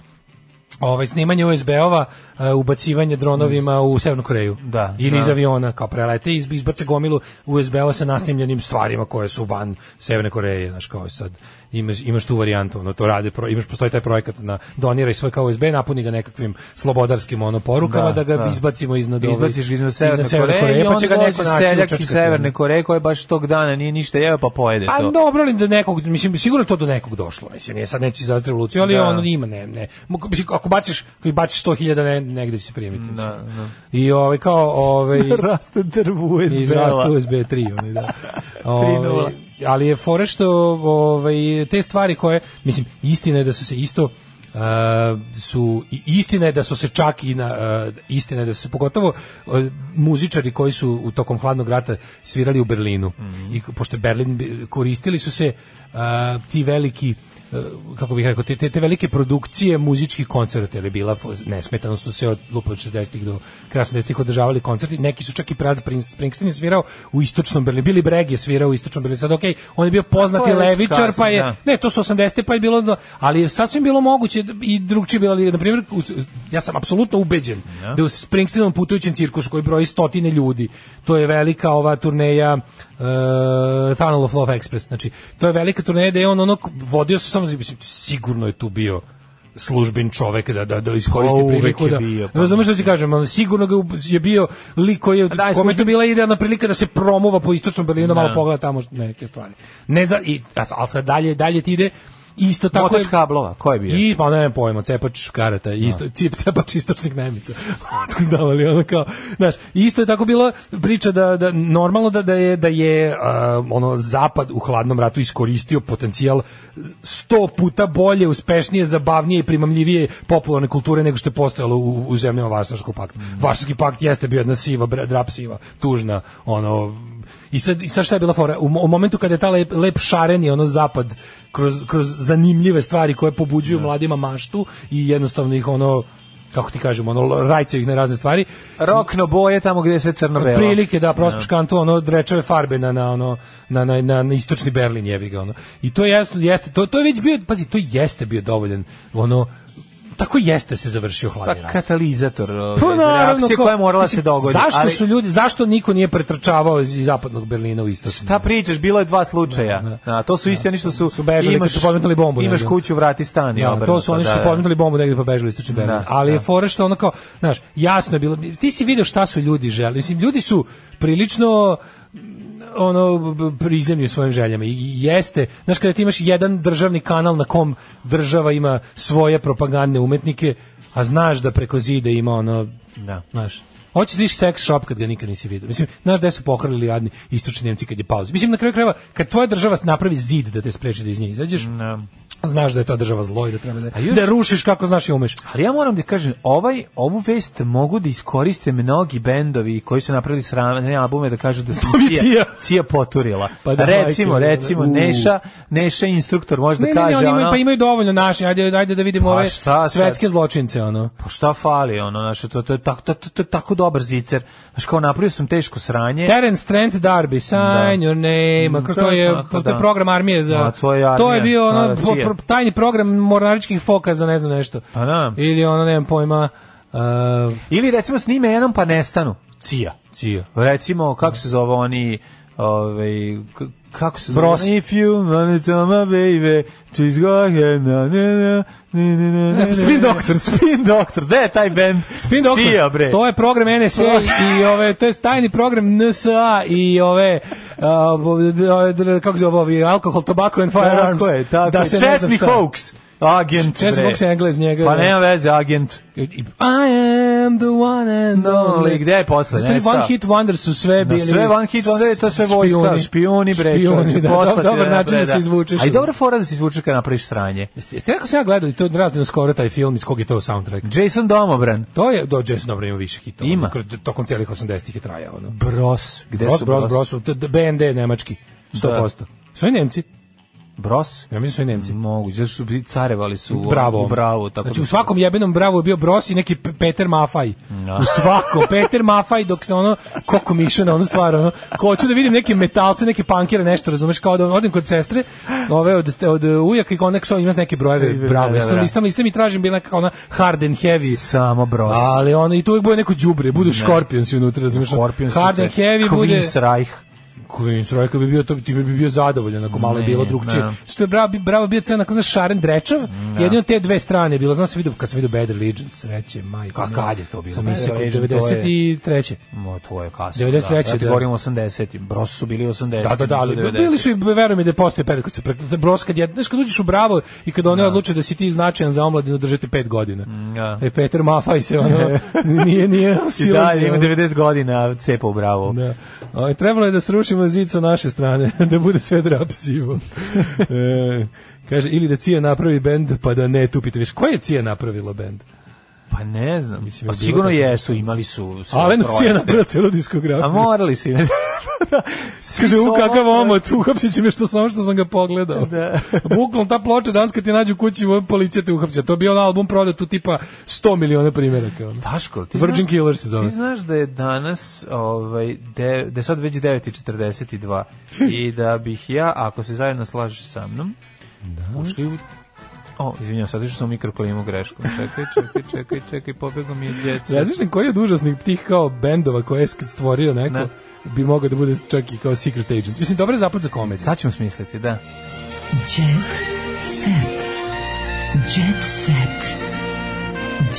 Speaker 5: ovaj snimanje USB-ova, e, ubacivanje dronovima u Severnu Koreju.
Speaker 6: Da,
Speaker 5: Ili
Speaker 6: da.
Speaker 5: iz aviona, kao prelete i iz, izbace gomilu USB-ova sa nasnimljenim stvarima koje su van Severne Koreje, znaš kao sad. imaš, imaš tu varijantu, ono, to rade, pro- imaš, postoji taj projekat na doniraj svoj kao USB, napuni ga nekakvim slobodarskim ono, porukama, da,
Speaker 6: Da,
Speaker 5: ga
Speaker 6: da.
Speaker 5: izbacimo iznad ove-
Speaker 6: Izbaciš ga iznad Severne
Speaker 5: Severne
Speaker 6: Koreje, i
Speaker 5: pa će
Speaker 6: onda
Speaker 5: ga neko
Speaker 6: dođe
Speaker 5: naći i
Speaker 6: seljak iz
Speaker 5: učačkati.
Speaker 6: Severne Koreje koji baš tog dana nije ništa jeo pa pojede
Speaker 5: Pa
Speaker 6: to.
Speaker 5: dobro, ali da nekog, mislim, sigurno je to do nekog došlo. Mislim, nije sad neći izazvati revoluciju, ali
Speaker 6: Da.
Speaker 5: ono ima, ne, ne. Mo- Mislim, ako baciš, ako baciš 100.000, ne, negde će se primiti.
Speaker 6: Da.
Speaker 5: mislim. I ovaj, kao, ovaj...
Speaker 6: Raste drv USB-a.
Speaker 5: Iz rasta USB 3, onaj, da. Ovaj,
Speaker 6: 3.0.
Speaker 5: ali je fore što ovaj, te stvari koje, mislim, istina je da su se isto Uh, su i istina je da su se čak i na uh, istina je da su se pogotovo uh, muzičari koji su u tokom hladnog rata svirali u Berlinu i k- pošto je Berlin bi- koristili su se uh, ti veliki uh, kako bih rekao, te, te, te velike produkcije muzičkih koncerta, jer je bila fo- nesmetano su se od lupa od 60-ih do kraja 70-ih održavali koncerti, neki su čak i Brad Springs- Springsteen je svirao u istočnom Berlinu, Billy Bragg je svirao u istočnom Berlinu, sad okej, on je bio poznati
Speaker 6: To je već
Speaker 5: levičar, pa je,
Speaker 6: kasno, da.
Speaker 5: ne, to su 80 pa je bilo, do- ali je sasvim bilo moguće da- i drugčije bilo, ali, na primjer, u- ja sam apsolutno ubeđen
Speaker 6: Ja.
Speaker 5: da u Springsteenovom putujućem cirkusu koji broji stotine ljudi, to je velika ova turneja e, Tunnel of Love Express, znači, to je velika turneja da je on ono, vodio se samo, mislim, sigurno je tu bio služben čovek da da da iskoristi
Speaker 6: Pa, uvek
Speaker 5: priliku
Speaker 6: je
Speaker 5: da
Speaker 6: bio, pa
Speaker 5: razumeš što ti kažem ali sigurno ga je- je bio lik koji je
Speaker 6: Daj,
Speaker 5: kome je to
Speaker 6: služben-
Speaker 5: bila idealna prilika da se promuva po istočnom Berlinu da malo
Speaker 6: Da.
Speaker 5: pogleda tamo neke stvari ne za i a s- ali sad dalje dalje ti ide isto tako
Speaker 6: Motač kablova, ko je bio?
Speaker 5: i pa ne pojma cepač karata isto cip cepač istočnih Nemica Otko znam ali ono kao znaš isto je tako bilo priča da da normalno da da je da je a, ono zapad u hladnom ratu iskoristio potencijal sto puta bolje uspešnije zabavnije i primamljivije popularne kulture nego što je postojalo u, u zemljama Varšavskog pakta Varšavski pakt jeste bio jedna siva bra- drap siva tužna ono i sad, i sad šta je bila fora? U, mo- u momentu kada je ta lep, lep šareni ono zapad kroz, kroz zanimljive stvari koje
Speaker 6: Da.
Speaker 5: pobuđuju mladima maštu i jednostavno ih ono kako ti kažemo, ono rajce ih na razne stvari.
Speaker 6: Rokno boje tamo gdje je sve crno-belo.
Speaker 5: Prilike da prospaš kantu ono drečeve farbe na na ono na na na, na istočni Berlin jebi ga ono. I to jeste jeste to to je već bio pazi to jeste bio dovoljan ono tako jeste se završio
Speaker 6: Pa
Speaker 5: hladni rat.
Speaker 6: katalizator,
Speaker 5: Pa,
Speaker 6: ovaj,
Speaker 5: naravno,
Speaker 6: reakcija
Speaker 5: kao-
Speaker 6: koja je morala
Speaker 5: mislim,
Speaker 6: se dogoditi.
Speaker 5: Zašto
Speaker 6: ali-
Speaker 5: su ljudi, zašto niko nije pretrčavao iz zapadnog Berlina u istočni?
Speaker 6: Šta pričaš, bilo je dva slučaja.
Speaker 5: Da,
Speaker 6: A to su isti oni što su,
Speaker 5: bežali kad
Speaker 6: imaš,
Speaker 5: da. su podmetnuli bombu, ne
Speaker 6: Imaš
Speaker 5: znam.
Speaker 6: kuću, vrati stan. i
Speaker 5: Da, to
Speaker 6: obrnuto,
Speaker 5: su oni što
Speaker 6: da,
Speaker 5: su
Speaker 6: da.
Speaker 5: podmetnuli bombu negde pa bežali istočni Berlin.
Speaker 6: Da,
Speaker 5: Ali je
Speaker 6: da.
Speaker 5: fora što ono kao, znaš, jasno je bilo, ti si video šta su ljudi želi. Mislim, ljudi su prilično mm, ono b- prizemni u svojim željama i i jeste, znaš kada ti imaš jedan državni kanal na kom država ima svoje propagandne umetnike a znaš da preko zida ima ono
Speaker 6: Da.
Speaker 5: znaš Hoćeš da iš sex shop kad ga nikad nisi vidio. Mislim, znaš gde su pohrlili jadni istočni Nemci kad je pauza. Mislim, na kraju krajeva, kad tvoja država napravi zid da te spreči da iz nje izađeš,
Speaker 6: Mm.
Speaker 5: znaš da je ta država zlo i da treba da,
Speaker 6: A još-
Speaker 5: da rušiš kako znaš i umeš.
Speaker 6: Ali ja moram da kažem, ovaj, ovu vest mogu da iskoriste mnogi bendovi koji su napravili sramne albume da kažu da su
Speaker 5: mi
Speaker 6: Cija,
Speaker 5: Cija.
Speaker 6: cija. poturila.
Speaker 5: Pa da,
Speaker 6: recimo,
Speaker 5: majke,
Speaker 6: recimo,
Speaker 5: da, da.
Speaker 6: Neša, Neša je instruktor može
Speaker 5: Ne,
Speaker 6: da
Speaker 5: ne, ne,
Speaker 6: kaže,
Speaker 5: oni imaju,
Speaker 6: ono,
Speaker 5: pa imaju dovoljno naše, ajde, ajde da vidimo
Speaker 6: Pa
Speaker 5: ove
Speaker 6: šta sad?
Speaker 5: svetske zločince, ono.
Speaker 6: pa šta fali, ono, znaš, to, to, je tak- to, to, to je tako dobar zicer. Znaš, kao napravio sam teško sranje.
Speaker 5: Terence Trent Darby, sign your name,
Speaker 6: E- Mm,
Speaker 5: kako
Speaker 6: to
Speaker 5: to
Speaker 6: je
Speaker 5: je,
Speaker 6: svakako,
Speaker 5: to je
Speaker 6: da.
Speaker 5: program armije za...
Speaker 6: A, to je armija,
Speaker 5: to je bio ono,
Speaker 6: da, da, čije?
Speaker 5: pro- pro- tajni program mornaričkih foka za ne znam nešto.
Speaker 6: Pa da.
Speaker 5: Ili ono, nemam pojma, uh,
Speaker 6: Ili recimo snime jednom pa nestanu. Cija.
Speaker 5: Cija.
Speaker 6: Recimo, kako se zove oni, ovaj, k- kako se
Speaker 5: Bros.
Speaker 6: zove? If you wanna tell my baby, she's go ahead, na, na, na, na, na, na, na, na.
Speaker 5: Spin Doctors.
Speaker 6: Spin Doctor, gde je taj band?
Speaker 5: Spin Doctors,
Speaker 6: Cija, bre.
Speaker 5: to je program NSA i ove, to je tajni program NSA i ove, a, bo- d- ove, d- kako se zove ovi, alkohol, tobacco and firearms.
Speaker 6: Tako je, tako
Speaker 5: da
Speaker 6: je.
Speaker 5: se ne znam
Speaker 6: Chesney
Speaker 5: šta.
Speaker 6: Hawks. Agent,
Speaker 5: Chesney
Speaker 6: bre.
Speaker 5: Hawks je Englez, njega-
Speaker 6: Pa nema veze, agent.
Speaker 5: I- I am the one and
Speaker 6: Only,
Speaker 5: only.
Speaker 6: gde je posle?
Speaker 5: Znači,
Speaker 6: Nestao.
Speaker 5: one hit wonder su sve
Speaker 6: Da,
Speaker 5: bili.
Speaker 6: sve One Hit Wonder je to sve vojska, špijuni, bre,
Speaker 5: Špijuni,
Speaker 6: čovječe,
Speaker 5: da,
Speaker 6: poslati,
Speaker 5: dob- dobar
Speaker 6: ne,
Speaker 5: način
Speaker 6: bre,
Speaker 5: da se izvučeš.
Speaker 6: A i dobra fora da se izvučeš kada napraviš sranje.
Speaker 5: Jeste jeste rekao sam ja gledali, to je relativno skoro taj film, iz kog je to soundtrack?
Speaker 6: Jason Domobran.
Speaker 5: To je, do Jason Dobro ima više hitova.
Speaker 6: Ima.
Speaker 5: Kroz- Tokom cijelih 80-ih je trajao. Ono.
Speaker 6: Bros. Da. Gde
Speaker 5: Bros,
Speaker 6: su
Speaker 5: bros, bros, bros, BND nemački, 100%. Su i Nemci?
Speaker 6: Bros?
Speaker 5: Ja mislim da su i Nemci.
Speaker 6: Moguće, zato su bili carevali su u-
Speaker 5: Bravo.
Speaker 6: u bravo. Tako
Speaker 5: znači
Speaker 6: da
Speaker 5: u
Speaker 6: su-
Speaker 5: svakom jebenom bravo je bio Bros i neki P- Peter Mafaj.
Speaker 6: Da.
Speaker 5: U svakom Peter Mafaj dok se ono koliko miša na onu stvar ono. Ko hoću da vidim neke metalce, neke pankere, nešto, razumeš, kao da odem kod sestre, ove od od ujaka i konek sa ima neke brojeve
Speaker 6: Da,
Speaker 5: bravo.
Speaker 6: da,
Speaker 5: Ja sam
Speaker 6: da.
Speaker 5: listam, listam i tražim bila neka ona hard and heavy.
Speaker 6: Samo bros.
Speaker 5: Ali ono i tu uvijek bude neko đubre, budu Scorpions unutra, razumeš?
Speaker 6: Scorpions.
Speaker 5: hard and heavy bude
Speaker 6: Queen's Reich.
Speaker 5: Queens Rojka bi bio to time bi bio zadovoljan ako malo je bilo
Speaker 6: Ne,
Speaker 5: drugčije.
Speaker 6: ne.
Speaker 5: Što je bravo, bi- bravo bio cena kao Šaren Drečav,
Speaker 6: Da.
Speaker 5: jedino te dve strane je bilo, znam se vidio kad sam vidio Bad Religion, sreće, majko.
Speaker 6: Ka- kad je to bilo?
Speaker 5: Sam
Speaker 6: Bad
Speaker 5: isekao
Speaker 6: Religion, to je-
Speaker 5: 93.
Speaker 6: Mo tvoje kasno.
Speaker 5: 93.,
Speaker 6: Da, ja ti
Speaker 5: da.
Speaker 6: govorim o 80. Bros su bili 80.
Speaker 5: Da, da, da, ali
Speaker 6: nisu 90.
Speaker 5: bili su i verujem mi da postoje period kad se prekl- Bros kad je, znaš kad uđeš u Bravo i kad one odluče da si ti značajan za omladinu držite pet godina.
Speaker 6: da.
Speaker 5: E, Peter Mafaj se ono, nije, nije
Speaker 6: I
Speaker 5: silazio.
Speaker 6: dalje ima 90 godina, cepa u bravo.
Speaker 5: Da. Ovaj, trebalo je da srušimo zid sa naše strane, da bude sve drapsivo. e, kaže, ili da Cija napravi bend, pa da ne tupite više. Koje je Cija napravila bend?
Speaker 6: Pa ne znam, Mislim, pa
Speaker 5: je bilo
Speaker 6: sigurno
Speaker 5: tako.
Speaker 6: jesu, imali su... svoje
Speaker 5: Alen Cija
Speaker 6: projekte.
Speaker 5: napravila celu diskografiju.
Speaker 6: A morali su imati. Svi
Speaker 5: Kaže,
Speaker 6: su
Speaker 5: u kakav
Speaker 6: ovo-
Speaker 5: omot, uhapsit će me što sam, što sam ga pogledao. Da. Bukvalno ta ploča danas kad ti nađu u kući, ovo policija te uhapsija. To je bio onaj album prodat u tipa 100 miliona primjeraka. ono.
Speaker 6: Daško, ti
Speaker 5: Virgin
Speaker 6: znaš,
Speaker 5: Killer se zove.
Speaker 6: Ti znaš da je danas, ovaj, de, da je sad već 9.42 i da bih ja, ako se zajedno slažeš sa mnom, da. ušli u... O, izvinjam, sad išao sam u mikroklimu greškom. Čekaj, čekaj, čekaj, čekaj, pobegao mi je djeca.
Speaker 5: Razmišljam koji od užasnih tih kao bendova koje je stvorio neko,
Speaker 6: Ne.
Speaker 5: bi mogao da bude čak i kao secret agent. Mislim, dobar je zapad za komediju.
Speaker 6: Sad ćemo smisliti, da.
Speaker 4: Jet set. Jet set.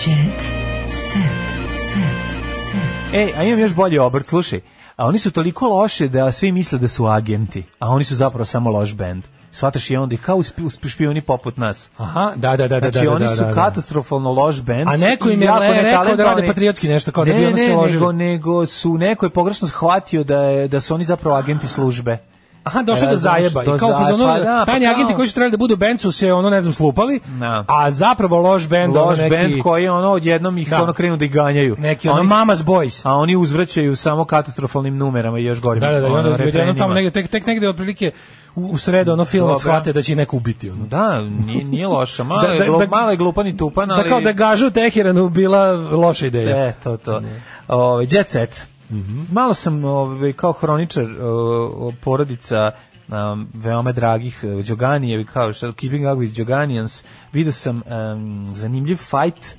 Speaker 4: Jet set. Set. Set.
Speaker 6: Ej, a imam još bolji obrt, slušaj. A oni su toliko loše da svi misle da su agenti, a oni su zapravo samo loš bend. Svataš i onda i kao usp- usp- špijuni poput nas.
Speaker 5: Aha, da, da, da, da,
Speaker 6: Znači,
Speaker 5: da,
Speaker 6: oni
Speaker 5: da,
Speaker 6: su
Speaker 5: da, da.
Speaker 6: katastrofalno loš bend.
Speaker 5: A neko
Speaker 6: i
Speaker 5: im je
Speaker 6: jako
Speaker 5: le- rekao da
Speaker 6: netalentovani.
Speaker 5: rade patriotski nešto, kao da
Speaker 6: ne,
Speaker 5: bi ono
Speaker 6: ne,
Speaker 5: se ložili.
Speaker 6: Nego, nego su, neko je pogrešno shvatio da, je, da su oni zapravo agenti službe.
Speaker 5: Aha, došlo do
Speaker 6: Razumeš,
Speaker 5: zajeba. I
Speaker 6: E, do
Speaker 5: kao u fazonu,
Speaker 6: zajeba, da, pa
Speaker 5: tajni
Speaker 6: kao-
Speaker 5: agenti koji su trebali da budu u bend su se ono ne znam slupali,
Speaker 6: Da.
Speaker 5: a zapravo loš bend, ono
Speaker 6: Loš
Speaker 5: neki
Speaker 6: bend koji ono odjednom ih
Speaker 5: Da.
Speaker 6: ono krenu da ih ganjaju.
Speaker 5: neki ono
Speaker 6: Oni s-
Speaker 5: Mama's Boys.
Speaker 6: A oni uzvraćaju samo katastrofalnim numerama i još gorim.
Speaker 5: Da, da, da, i
Speaker 6: ono,
Speaker 5: onda odjednom tamo
Speaker 6: refrenima.
Speaker 5: negde tek tek negde otprilike u, u sredu ono film
Speaker 6: Dobro.
Speaker 5: shvate da će neko ubiti ono.
Speaker 6: Da, nije, nije loša. Mala,
Speaker 5: Da,
Speaker 6: da,
Speaker 5: da, da-
Speaker 6: mala je glupa ni tupan, ali...
Speaker 5: Da kao da gažu u Teheranu bila loša ideja.
Speaker 6: E, to, to. Ove, jet set.
Speaker 5: Mhm.
Speaker 6: Malo sam ove, kao hroničar o, porodica um, veoma dragih e, Đoganijevi, kao što Keeping Up with Đoganijans, vidio sam em, zanimljiv fight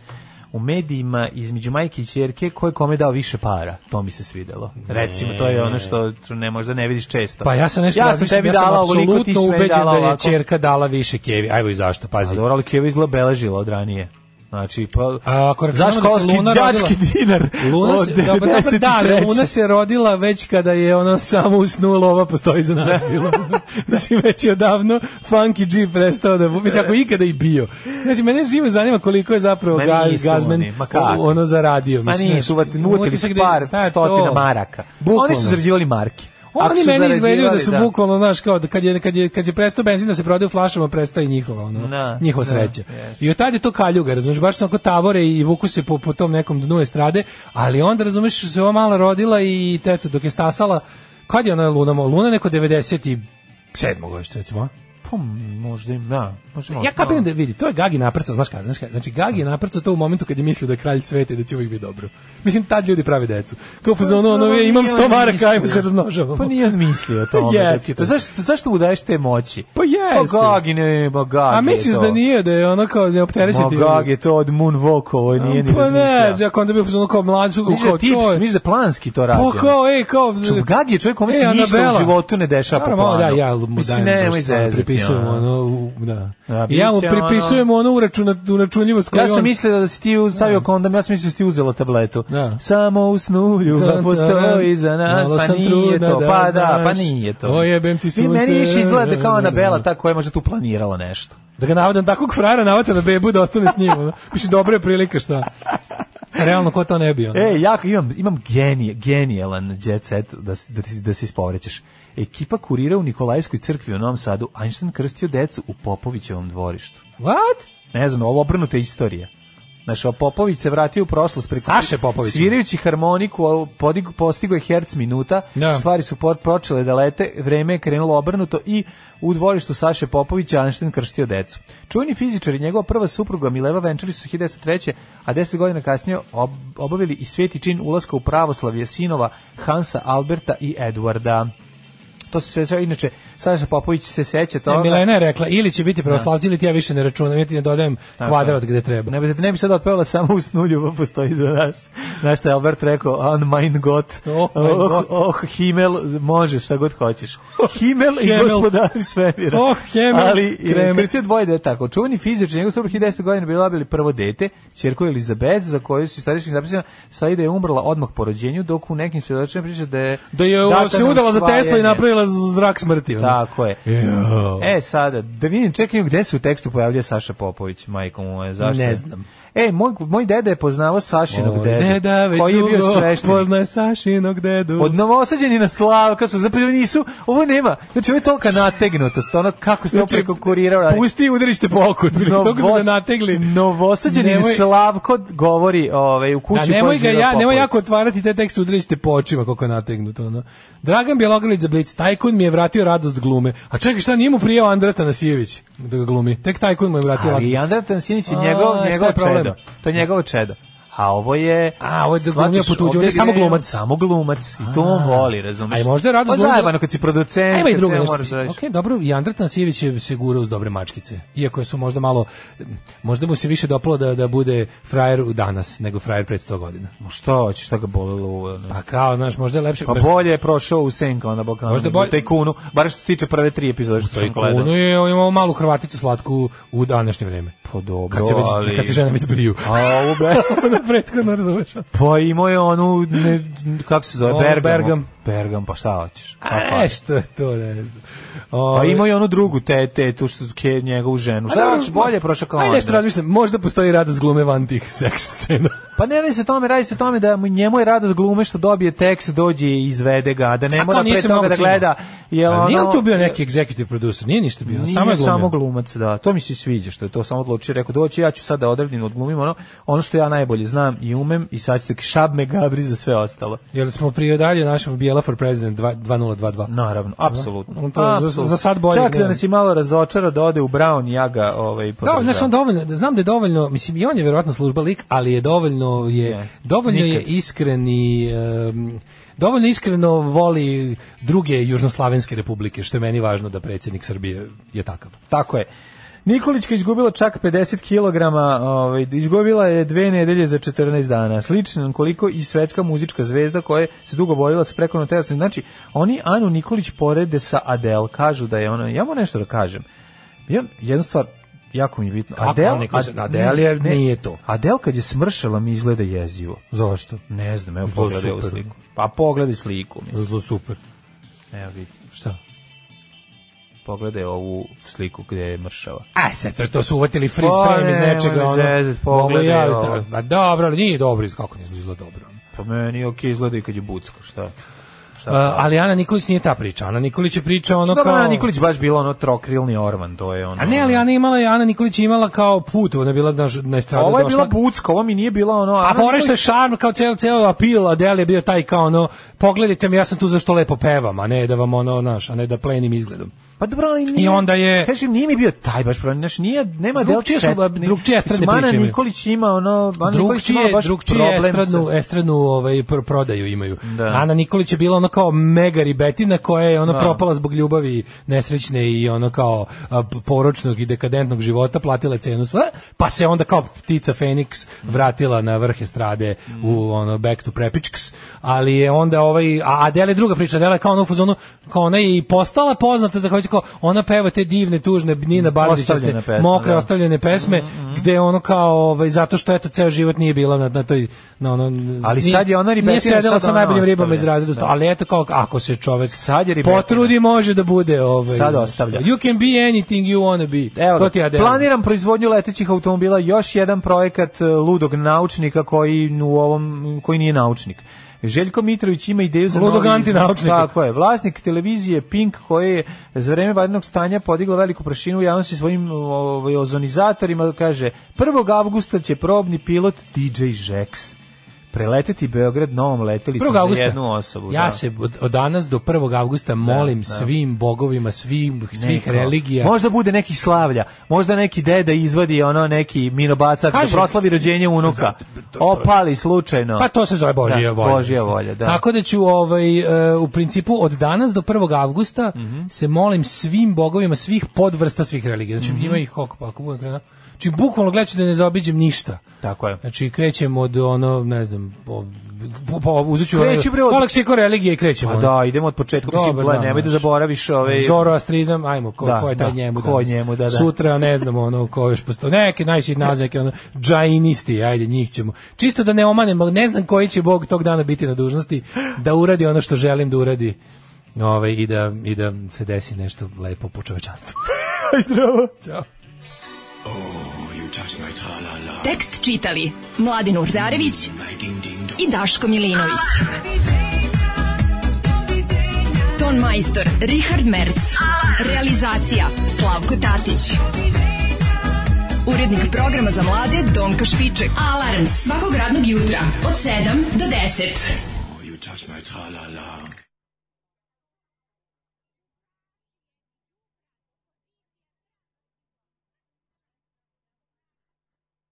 Speaker 6: u medijima između majke i čerke ko je kome dao više para. To mi se svidelo. Recimo, to je ono što tu ne možda ne vidiš često.
Speaker 5: Pa ja sam nešto
Speaker 6: ja sam
Speaker 5: razmišljam,
Speaker 6: tebi
Speaker 5: ja sam
Speaker 6: dala ovoliko, ti si
Speaker 5: apsolutno
Speaker 6: meni
Speaker 5: ubeđen
Speaker 6: dala
Speaker 5: da je
Speaker 6: ovako.
Speaker 5: ćerka dala više Kevi. Ajmo i zašto,
Speaker 6: A
Speaker 5: pazi.
Speaker 6: dobro, ali Keva izgleda beležila od ranije. Znači, pa...
Speaker 5: A, ako
Speaker 6: za
Speaker 5: računamo da se
Speaker 6: školski
Speaker 5: Luna
Speaker 6: đački
Speaker 5: rodila-
Speaker 6: dinar
Speaker 5: Luna
Speaker 6: od
Speaker 5: se, dobro, dobro, da, ali
Speaker 6: 93..
Speaker 5: Luna se rodila već kada je ono samo usnula, ova postoji za nas bilo. Znači već je odavno Funky G prestao da, bu- već ako ikada i bio. Znači mene živo zanima koliko je zapravo
Speaker 6: Ma
Speaker 5: Gaz,
Speaker 6: nisu
Speaker 5: Gazman
Speaker 6: oni, ma kako?
Speaker 5: ono zaradio.
Speaker 6: Ma
Speaker 5: mislim, znači,
Speaker 6: nisu,
Speaker 5: znaš,
Speaker 6: utili
Speaker 5: utisak
Speaker 6: su
Speaker 5: da je-
Speaker 6: par
Speaker 5: pa, to.
Speaker 6: stotina maraka. Oni
Speaker 5: Bukvalno.
Speaker 6: su zarađivali marke. Ako
Speaker 5: Oni
Speaker 6: su
Speaker 5: meni izgledaju da su
Speaker 6: zarađivali,
Speaker 5: bukvalno, znaš, kao da kad je, kad je, kad je prestao benzin da se prodaje u flašama, prestaje njihova, ono,
Speaker 6: Da,
Speaker 5: njihova
Speaker 6: da,
Speaker 5: sreća.
Speaker 6: jeste.
Speaker 5: I od tad je to kaljuga, razumiješ, baš sam oko tavore i vuku se po, po tom nekom dnu estrade, ali onda, razumiješ, se ova mala rodila i eto, dok je stasala, kad je ona Luna, mo- Luna je neko 97. godište, recimo, a?
Speaker 6: Pa, možda im, da. Možda, možda,
Speaker 5: Ja kapiram da vidi, to je Gagi naprcao, znaš kada, znaš kada. Znači Gagi je naprcao to u momentu kad je mislio da je kralj sveta i da će uvijek biti dobro. Mislim tad ljudi prave decu. Kao u fazonu, ono, ja imam 100 maraka, ajmo se razmnožavamo.
Speaker 6: Pa nije on mislio o tome.
Speaker 5: Jeste.
Speaker 6: dečki, to zašto, zašto mu daješ te moći?
Speaker 5: Pa jeste.
Speaker 6: Pa Gagi ne, ma Gagi
Speaker 5: A
Speaker 6: je
Speaker 5: misliš
Speaker 6: to.
Speaker 5: da nije, da je ono kao da je opterećen
Speaker 6: Ma
Speaker 5: ti?
Speaker 6: Gagi je to od Moonwalk, ovo nije ni
Speaker 5: Pa ne,
Speaker 6: razmišljao.
Speaker 5: znači ako onda bi ono kao mlađu,
Speaker 6: Misliš da
Speaker 5: kao
Speaker 6: tips,
Speaker 5: to je.
Speaker 6: misliš da planski to rađeno?
Speaker 5: Pa kao, ej, kao...
Speaker 6: Ču- Gagi je čovjek kome se
Speaker 5: E,
Speaker 6: ništa u
Speaker 5: Anabela.
Speaker 6: životu ne dešava po
Speaker 5: Naravno,
Speaker 6: planu.
Speaker 5: Da, ja mu
Speaker 6: Mislim,
Speaker 5: dajem,
Speaker 6: nemoj
Speaker 5: baš stvarno
Speaker 6: zezati,
Speaker 5: pripisujem
Speaker 6: ono.
Speaker 5: ono, u- da.
Speaker 6: Da,
Speaker 5: I ja mu
Speaker 6: biće ono-
Speaker 5: pripisujem ono uračuna- uračunljivost koju
Speaker 6: Ja sam
Speaker 5: on-
Speaker 6: mislio da si ti stavio kondom, ja sam mislio da si ti uzela tabletu.
Speaker 5: Da.
Speaker 6: Samo u snu ljubav
Speaker 5: Tan, taran,
Speaker 6: postoji za nas,
Speaker 5: malo
Speaker 6: pa
Speaker 5: sam
Speaker 6: nije
Speaker 5: trudna
Speaker 6: to,
Speaker 5: da
Speaker 6: pa da, pa
Speaker 5: znaš.
Speaker 6: nije to.
Speaker 5: O, jebem ti
Speaker 6: I meni
Speaker 5: sunce.
Speaker 6: više izgleda kao
Speaker 5: Da, da,
Speaker 6: Anabela,
Speaker 5: da.
Speaker 6: ta koja je možda tu planirala nešto.
Speaker 5: Da ga navadam takvog frajera navata na bebu da ostane s njim. Ono. Mislim, dobra je prilika šta. Realno, ko to ne bi? Ono?
Speaker 6: E, ja imam, imam genije, genijalan jet set da, s- da, ti- da se ispovrećeš. Ekipa kurira u Nikolajskoj crkvi u Novom Sadu, Einstein krstio decu u Popovićevom dvorištu.
Speaker 5: What? E,
Speaker 6: Ne znam, ovo obrnuta istorija. Znaš, a Popović se vratio u prošlost preko
Speaker 5: Saše Popović.
Speaker 6: Svirajući harmoniku, a podig- postigao je herc minuta,
Speaker 5: Da.
Speaker 6: stvari su po- počele da lete, vreme je krenulo obrnuto i u dvorištu Saše Popovića Einstein krstio decu. Čuveni fizičar i njegova prva supruga Mileva venčali su se 1903. a 10 godina kasnije ob- obavili i sveti čin ulaska u pravoslavlje sinova Hansa Alberta i Edwarda. to se sve, inače, Saša Popović se seća toga. Da.
Speaker 5: Ne, Milena je rekla, ili će biti pravoslavci, ili ti ja više ne računam, ja ti ne dodajem
Speaker 6: Tako
Speaker 5: kvadrat
Speaker 6: je.
Speaker 5: gde treba.
Speaker 6: Ne bi, ne bi sad otpevala samo u snu ljubav postoji za nas. Znaš što je Albert rekao, on mein Gott, oh,
Speaker 5: mein
Speaker 6: oh,
Speaker 5: Gott.
Speaker 6: Himmel, možeš šta god hoćeš. Himmel i
Speaker 5: Himmel.
Speaker 6: gospodari svemira.
Speaker 5: Oh, Himmel,
Speaker 6: Ali,
Speaker 5: Kreml.
Speaker 6: Kreml. je dvoje deta, tako, čuveni fizičar, njegov suprug 10 godina bila bili prvo dete, čerku Elizabeth, za koju su starički zapisano, stoji da je umrla odmah po rođenju, dok u nekim svedočenima priča da je...
Speaker 5: Da je
Speaker 6: data
Speaker 5: se
Speaker 6: na
Speaker 5: udala za Teslu i
Speaker 6: usvajanje.
Speaker 5: napravila zrak smrti. ono.
Speaker 6: Tako je.
Speaker 5: Jo.
Speaker 6: E, sada, da vidim, čekaj, gde se u tekstu pojavlja Saša Popović, majko moje, zašto?
Speaker 5: Ne znam.
Speaker 6: E, moj, moj deda je poznavao Sašinog
Speaker 5: Moj
Speaker 6: dedu,
Speaker 5: deda da već
Speaker 6: koji je bio
Speaker 5: dugo
Speaker 6: svešten.
Speaker 5: poznaje Sašinog dedu.
Speaker 6: Od Novosađeni na Slavka su, zapravo nisu, ovo nema, znači ovo je tolika nategnutost, ono kako se znači,
Speaker 5: Znači,
Speaker 6: opreko kurirao. radi.
Speaker 5: Pusti i udarište po oku, otprilike, toliko su me
Speaker 6: Novos-
Speaker 5: nategli.
Speaker 6: Novosađeni
Speaker 5: Nemoj-
Speaker 6: Slavko govori ovaj, u kući
Speaker 5: Da,
Speaker 6: u kojoj
Speaker 5: nemoj ga
Speaker 6: živeo
Speaker 5: ja, nemoj
Speaker 6: Popović.
Speaker 5: jako otvarati te tekste, udrište po očima koliko je nategnuto. Ono. Dragan Bjelogrlić za Blitz, tajkun mi je vratio radost glume. A čekaj, šta nije mu prijao Andra Tanasijević da ga glumi? Tek tajkun mu je vratio
Speaker 6: Ali
Speaker 5: radost.
Speaker 6: i Andrej Tansinić je
Speaker 5: A,
Speaker 6: njegov,
Speaker 5: šta je
Speaker 6: njegov
Speaker 5: problem?
Speaker 6: čedo. To je njegovo čedo. A ovo je...
Speaker 5: A, ovo je da
Speaker 6: shvataš,
Speaker 5: glumio po tuđu,
Speaker 6: ovde
Speaker 5: on je samo
Speaker 6: gre-
Speaker 5: glumac.
Speaker 6: Samo glumac. I to on voli, razumiješ?
Speaker 5: A i možda je Radost
Speaker 6: Pa
Speaker 5: Glumac-
Speaker 6: zajebano kad si producent,
Speaker 5: Ajmo i
Speaker 6: kad
Speaker 5: drugo
Speaker 6: sve
Speaker 5: nešto.
Speaker 6: moraš da radiš.
Speaker 5: Ok, dobro, i Andra Tansijević je se gurao uz dobre mačkice. Iako su možda malo, možda mu se više dopalo da, da bude frajer u danas nego frajer pred 100 godina.
Speaker 6: Ma Šta hoćeš, šta ga bolelo uvo? ne?
Speaker 5: Pa kao, znaš, možda je lepše...
Speaker 6: Pa bolje je prošao u Senka na Balkanu,
Speaker 5: Možda
Speaker 6: možda
Speaker 5: bolje-
Speaker 6: bolje... Tajkunu, bar što se tiče prve tri epizode što sam gledao.
Speaker 5: Tajkunu je imao malu Hrvaticu slatku u današnje vreme.
Speaker 6: Pa dobro,
Speaker 5: Kad se, već,
Speaker 6: ali...
Speaker 5: kad se žene već briju.
Speaker 6: A ovo bre...
Speaker 5: Ono prethodno razumeš.
Speaker 6: Pa imao je onu, ne, kako se zove,
Speaker 5: Ono,
Speaker 6: Bergamo.
Speaker 5: Bergam. E,
Speaker 6: Bergam, pa šta hoćeš? Šta
Speaker 5: A,
Speaker 6: fali?
Speaker 5: što je to, ne znam.
Speaker 6: Pa
Speaker 5: Ovaj,
Speaker 6: imao je onu drugu te, te, tu što ke, njegovu ženu.
Speaker 5: A
Speaker 6: Šta
Speaker 5: dobro,
Speaker 6: hoćeš, bolje je prošao kao
Speaker 5: Ajde nešto
Speaker 6: Andra.
Speaker 5: razmišljam, možda postoji radost glume van tih seks scena.
Speaker 6: Pa ne radi se o tome, radi se o tome da mu- njemu je radost glume što dobije tekst, dođe i izvede ga, da ne
Speaker 5: A
Speaker 6: mora
Speaker 5: kao
Speaker 6: pre
Speaker 5: nisi
Speaker 6: toga
Speaker 5: mnogo
Speaker 6: da
Speaker 5: ciljao.
Speaker 6: gleda. Jel
Speaker 5: A
Speaker 6: ono,
Speaker 5: Pa nije on tu bio neki executive producer, nije ništa bio,
Speaker 6: Nije
Speaker 5: samo je glumio.
Speaker 6: samo glumac, da. To mi se sviđa što je to samo odlučio, rekao doći, ja ću sad da odredim, odglumim ono, ono što ja najbolje znam i umem i sad ćete šab me gabri za sve ostalo.
Speaker 5: Jer smo prije dalje našem Bijela for President 2- 2022.
Speaker 6: Naravno, apsolutno.
Speaker 5: Da. On to za-
Speaker 6: apsolutno.
Speaker 5: za sad bolje
Speaker 6: Čak da
Speaker 5: gleda.
Speaker 6: nas i malo razočara da ode u Brown, ja ga ovaj,
Speaker 5: Da,
Speaker 6: podržavam.
Speaker 5: znaš, on dovoljno, znam da je dovoljno, mislim i on je vjerojatno služba lik, ali je dovoljno je
Speaker 6: Ne,
Speaker 5: dovoljno je
Speaker 6: nikad.
Speaker 5: iskren i em, dovoljno iskreno voli druge južnoslavenske republike, što je meni važno da predsjednik Srbije je takav.
Speaker 6: Tako je. Nikolićka izgubila čak 50 kg, ovaj, izgubila je dve nedelje za 14 dana. Slično koliko i svetska muzička zvezda koja se dugo borila sa prekonom telesnim. Znači, oni Anu Nikolić porede sa Adele, kažu da je ona... Ja moram nešto da kažem. Ja, jednu stvar, jako mi je bitno.
Speaker 5: Kako oni kažu? Adele je- nije to.
Speaker 6: Adele kad je smršala mi izgleda jezivo.
Speaker 5: Zašto?
Speaker 6: Ne znam, evo
Speaker 5: Izgleda
Speaker 6: pogledaj ovu
Speaker 5: super.
Speaker 6: sliku. Pa pogledaj sliku. Mislim.
Speaker 5: Zlo super.
Speaker 6: Evo vidi,
Speaker 5: Šta?
Speaker 6: pogledaj ovu sliku gdje je mršava.
Speaker 5: A, sad to, to su uvatili freeze
Speaker 6: Pa,
Speaker 5: frame iz
Speaker 6: nemoj me
Speaker 5: nečega. Ono,
Speaker 6: zezat,
Speaker 5: mogu
Speaker 6: pogledaj
Speaker 5: ja,
Speaker 6: ovo.
Speaker 5: da- Ma dobro, ali nije dobro, iz- kako ne izgleda dobro.
Speaker 6: Pa meni ok, izgleda i kad je bucka, šta?
Speaker 5: Uh, ali Ana Nikolić nije ta priča. Ana Nikolić je priča ono
Speaker 6: Dobro,
Speaker 5: kao...
Speaker 6: Ana Nikolić baš bila ono trokrilni orman, to je ono...
Speaker 5: A ne, ali Ana, imala, je- Ana Nikolić je imala kao put, ona je bila na, na estradu
Speaker 6: Ovo je
Speaker 5: došla.
Speaker 6: bila bucka, ovo mi nije bila ono...
Speaker 5: A
Speaker 6: Ana
Speaker 5: fore što je
Speaker 6: Nikolić-
Speaker 5: šarm kao ceo ceo apil, a Del je bio taj kao ono pogledajte me ja sam tu zašto lepo pevam, a ne da vam ono naš, a ne da plenim izgledom.
Speaker 6: Pa dobro, ali nije...
Speaker 5: I onda je-
Speaker 6: Kažem, nije mi bio taj baš problem, znaš, nije, nema del
Speaker 5: Drugčije su, ba, drugčije estrade priče
Speaker 6: Ana
Speaker 5: imaju.
Speaker 6: Nikolić ima ono... Ana Nikolić ima
Speaker 5: Drugčije,
Speaker 6: baš
Speaker 5: drugčije
Speaker 6: problem
Speaker 5: estradnu,
Speaker 6: sa...
Speaker 5: estradnu ovaj, pr- prodaju imaju.
Speaker 6: Da.
Speaker 5: Ana Nikolić je bila ono kao mega ribetina koja je ono
Speaker 6: Da.
Speaker 5: propala zbog ljubavi nesrećne i ono kao a, p- poročnog i dekadentnog života, platila je cenu sva, pa se onda kao ptica Feniks vratila na vrh estrade u ono back to prepičks, ali je onda ovaj, a Adele je druga priča, Adele je kao ono u fazonu, kao ona je i postala poznata za kao ona peva te divne, tužne Nina Bardićaste,
Speaker 6: Ostavljene pesme,
Speaker 5: mokre,
Speaker 6: da. Mm,
Speaker 5: ostavljene ostavljene pesme gde ono kao ovaj zato što eto ceo život nije bila na na toj na ono
Speaker 6: Ali
Speaker 5: nije-
Speaker 6: sad je ona ribetina,
Speaker 5: nije sedela
Speaker 6: sad
Speaker 5: sa
Speaker 6: ona
Speaker 5: najboljim ribama iz
Speaker 6: ostavlja.
Speaker 5: razreda
Speaker 6: Da.
Speaker 5: ali eto kao ako se čovek
Speaker 6: Sad je ribetina.
Speaker 5: potrudi može da bude ovaj
Speaker 6: Sad ostavlja.
Speaker 5: you can be anything you wanna be
Speaker 6: Evo
Speaker 5: to
Speaker 6: ga,
Speaker 5: ti Adele.
Speaker 6: planiram proizvodnju letećih automobila, još jedan projekat e, ludog naučnika koji u ovom koji nije naučnik. Željko Mitrović ima ideju za
Speaker 5: Ludog
Speaker 6: novi-
Speaker 5: antinaučnika.
Speaker 6: Tako je, vlasnik televizije Pink koji je za vreme vanrednog stanja podigla veliku prašinu u javnosti svojim ovaj, ozonizatorima, kaže 1. avgusta će probni pilot DJ Žeks preleteti Beograd novom letelicom
Speaker 5: 1.
Speaker 6: za
Speaker 5: augusta.
Speaker 6: jednu osobu.
Speaker 5: ja
Speaker 6: da.
Speaker 5: se od, od danas do 1. augusta molim
Speaker 6: da.
Speaker 5: svim bogovima, svim, svih
Speaker 6: Neko.
Speaker 5: religija.
Speaker 6: Možda bude nekih slavlja, možda neki deda izvadi ono neki minobacac da
Speaker 5: Kažem-
Speaker 6: proslavi rođenje unuka. Opali slučajno.
Speaker 5: Pa to se zove Božija
Speaker 6: Da,
Speaker 5: volja.
Speaker 6: Božija
Speaker 5: mislim.
Speaker 6: volja, da.
Speaker 5: Tako da ću ovaj, e, u principu od danas do 1. avgusta
Speaker 6: Mhm.
Speaker 5: se molim svim bogovima svih podvrsta svih religija. Znači
Speaker 6: Mhm.
Speaker 5: ima ih koliko, pa ako budem krenuo. Znači bukvalno gledat ću da ne zaobiđem ništa.
Speaker 6: Tako je.
Speaker 5: Znači krećem od ono, ne znam, po, po, po, uzet ću ono-
Speaker 6: Kreći, bre, od-
Speaker 5: po leksiko religije i krećemo.
Speaker 6: Pa da, idemo od početka, mislim,
Speaker 5: Dobar
Speaker 6: gle,
Speaker 5: dan,
Speaker 6: nemoj da
Speaker 5: znaš.
Speaker 6: zaboraviš ove...
Speaker 5: Zoroastrizam, ajmo, ko,
Speaker 6: Da,
Speaker 5: ko je taj
Speaker 6: da,
Speaker 5: njemu
Speaker 6: ko je
Speaker 5: danas?
Speaker 6: njemu, da, da.
Speaker 5: Sutra, ne znam, ono, ko još postoji. Neki najšit nazvak, ono, džajinisti, ajde, njih ćemo. Čisto da ne omanem, ali ne znam koji će Bog tog dana biti na dužnosti, da uradi ono što želim da uradi. Ove, i, da, I da se desi nešto lepo po čovečanstvu.
Speaker 6: Zdravo.
Speaker 5: Ćao.
Speaker 4: Tekst čitali Mladin Urdarević i Daško Milinović. Ton majstor Richard Merc. Realizacija Slavko Tatić. Urednik programa za mlade Donka Špiček. Alarms svakog radnog jutra od 7 do 10.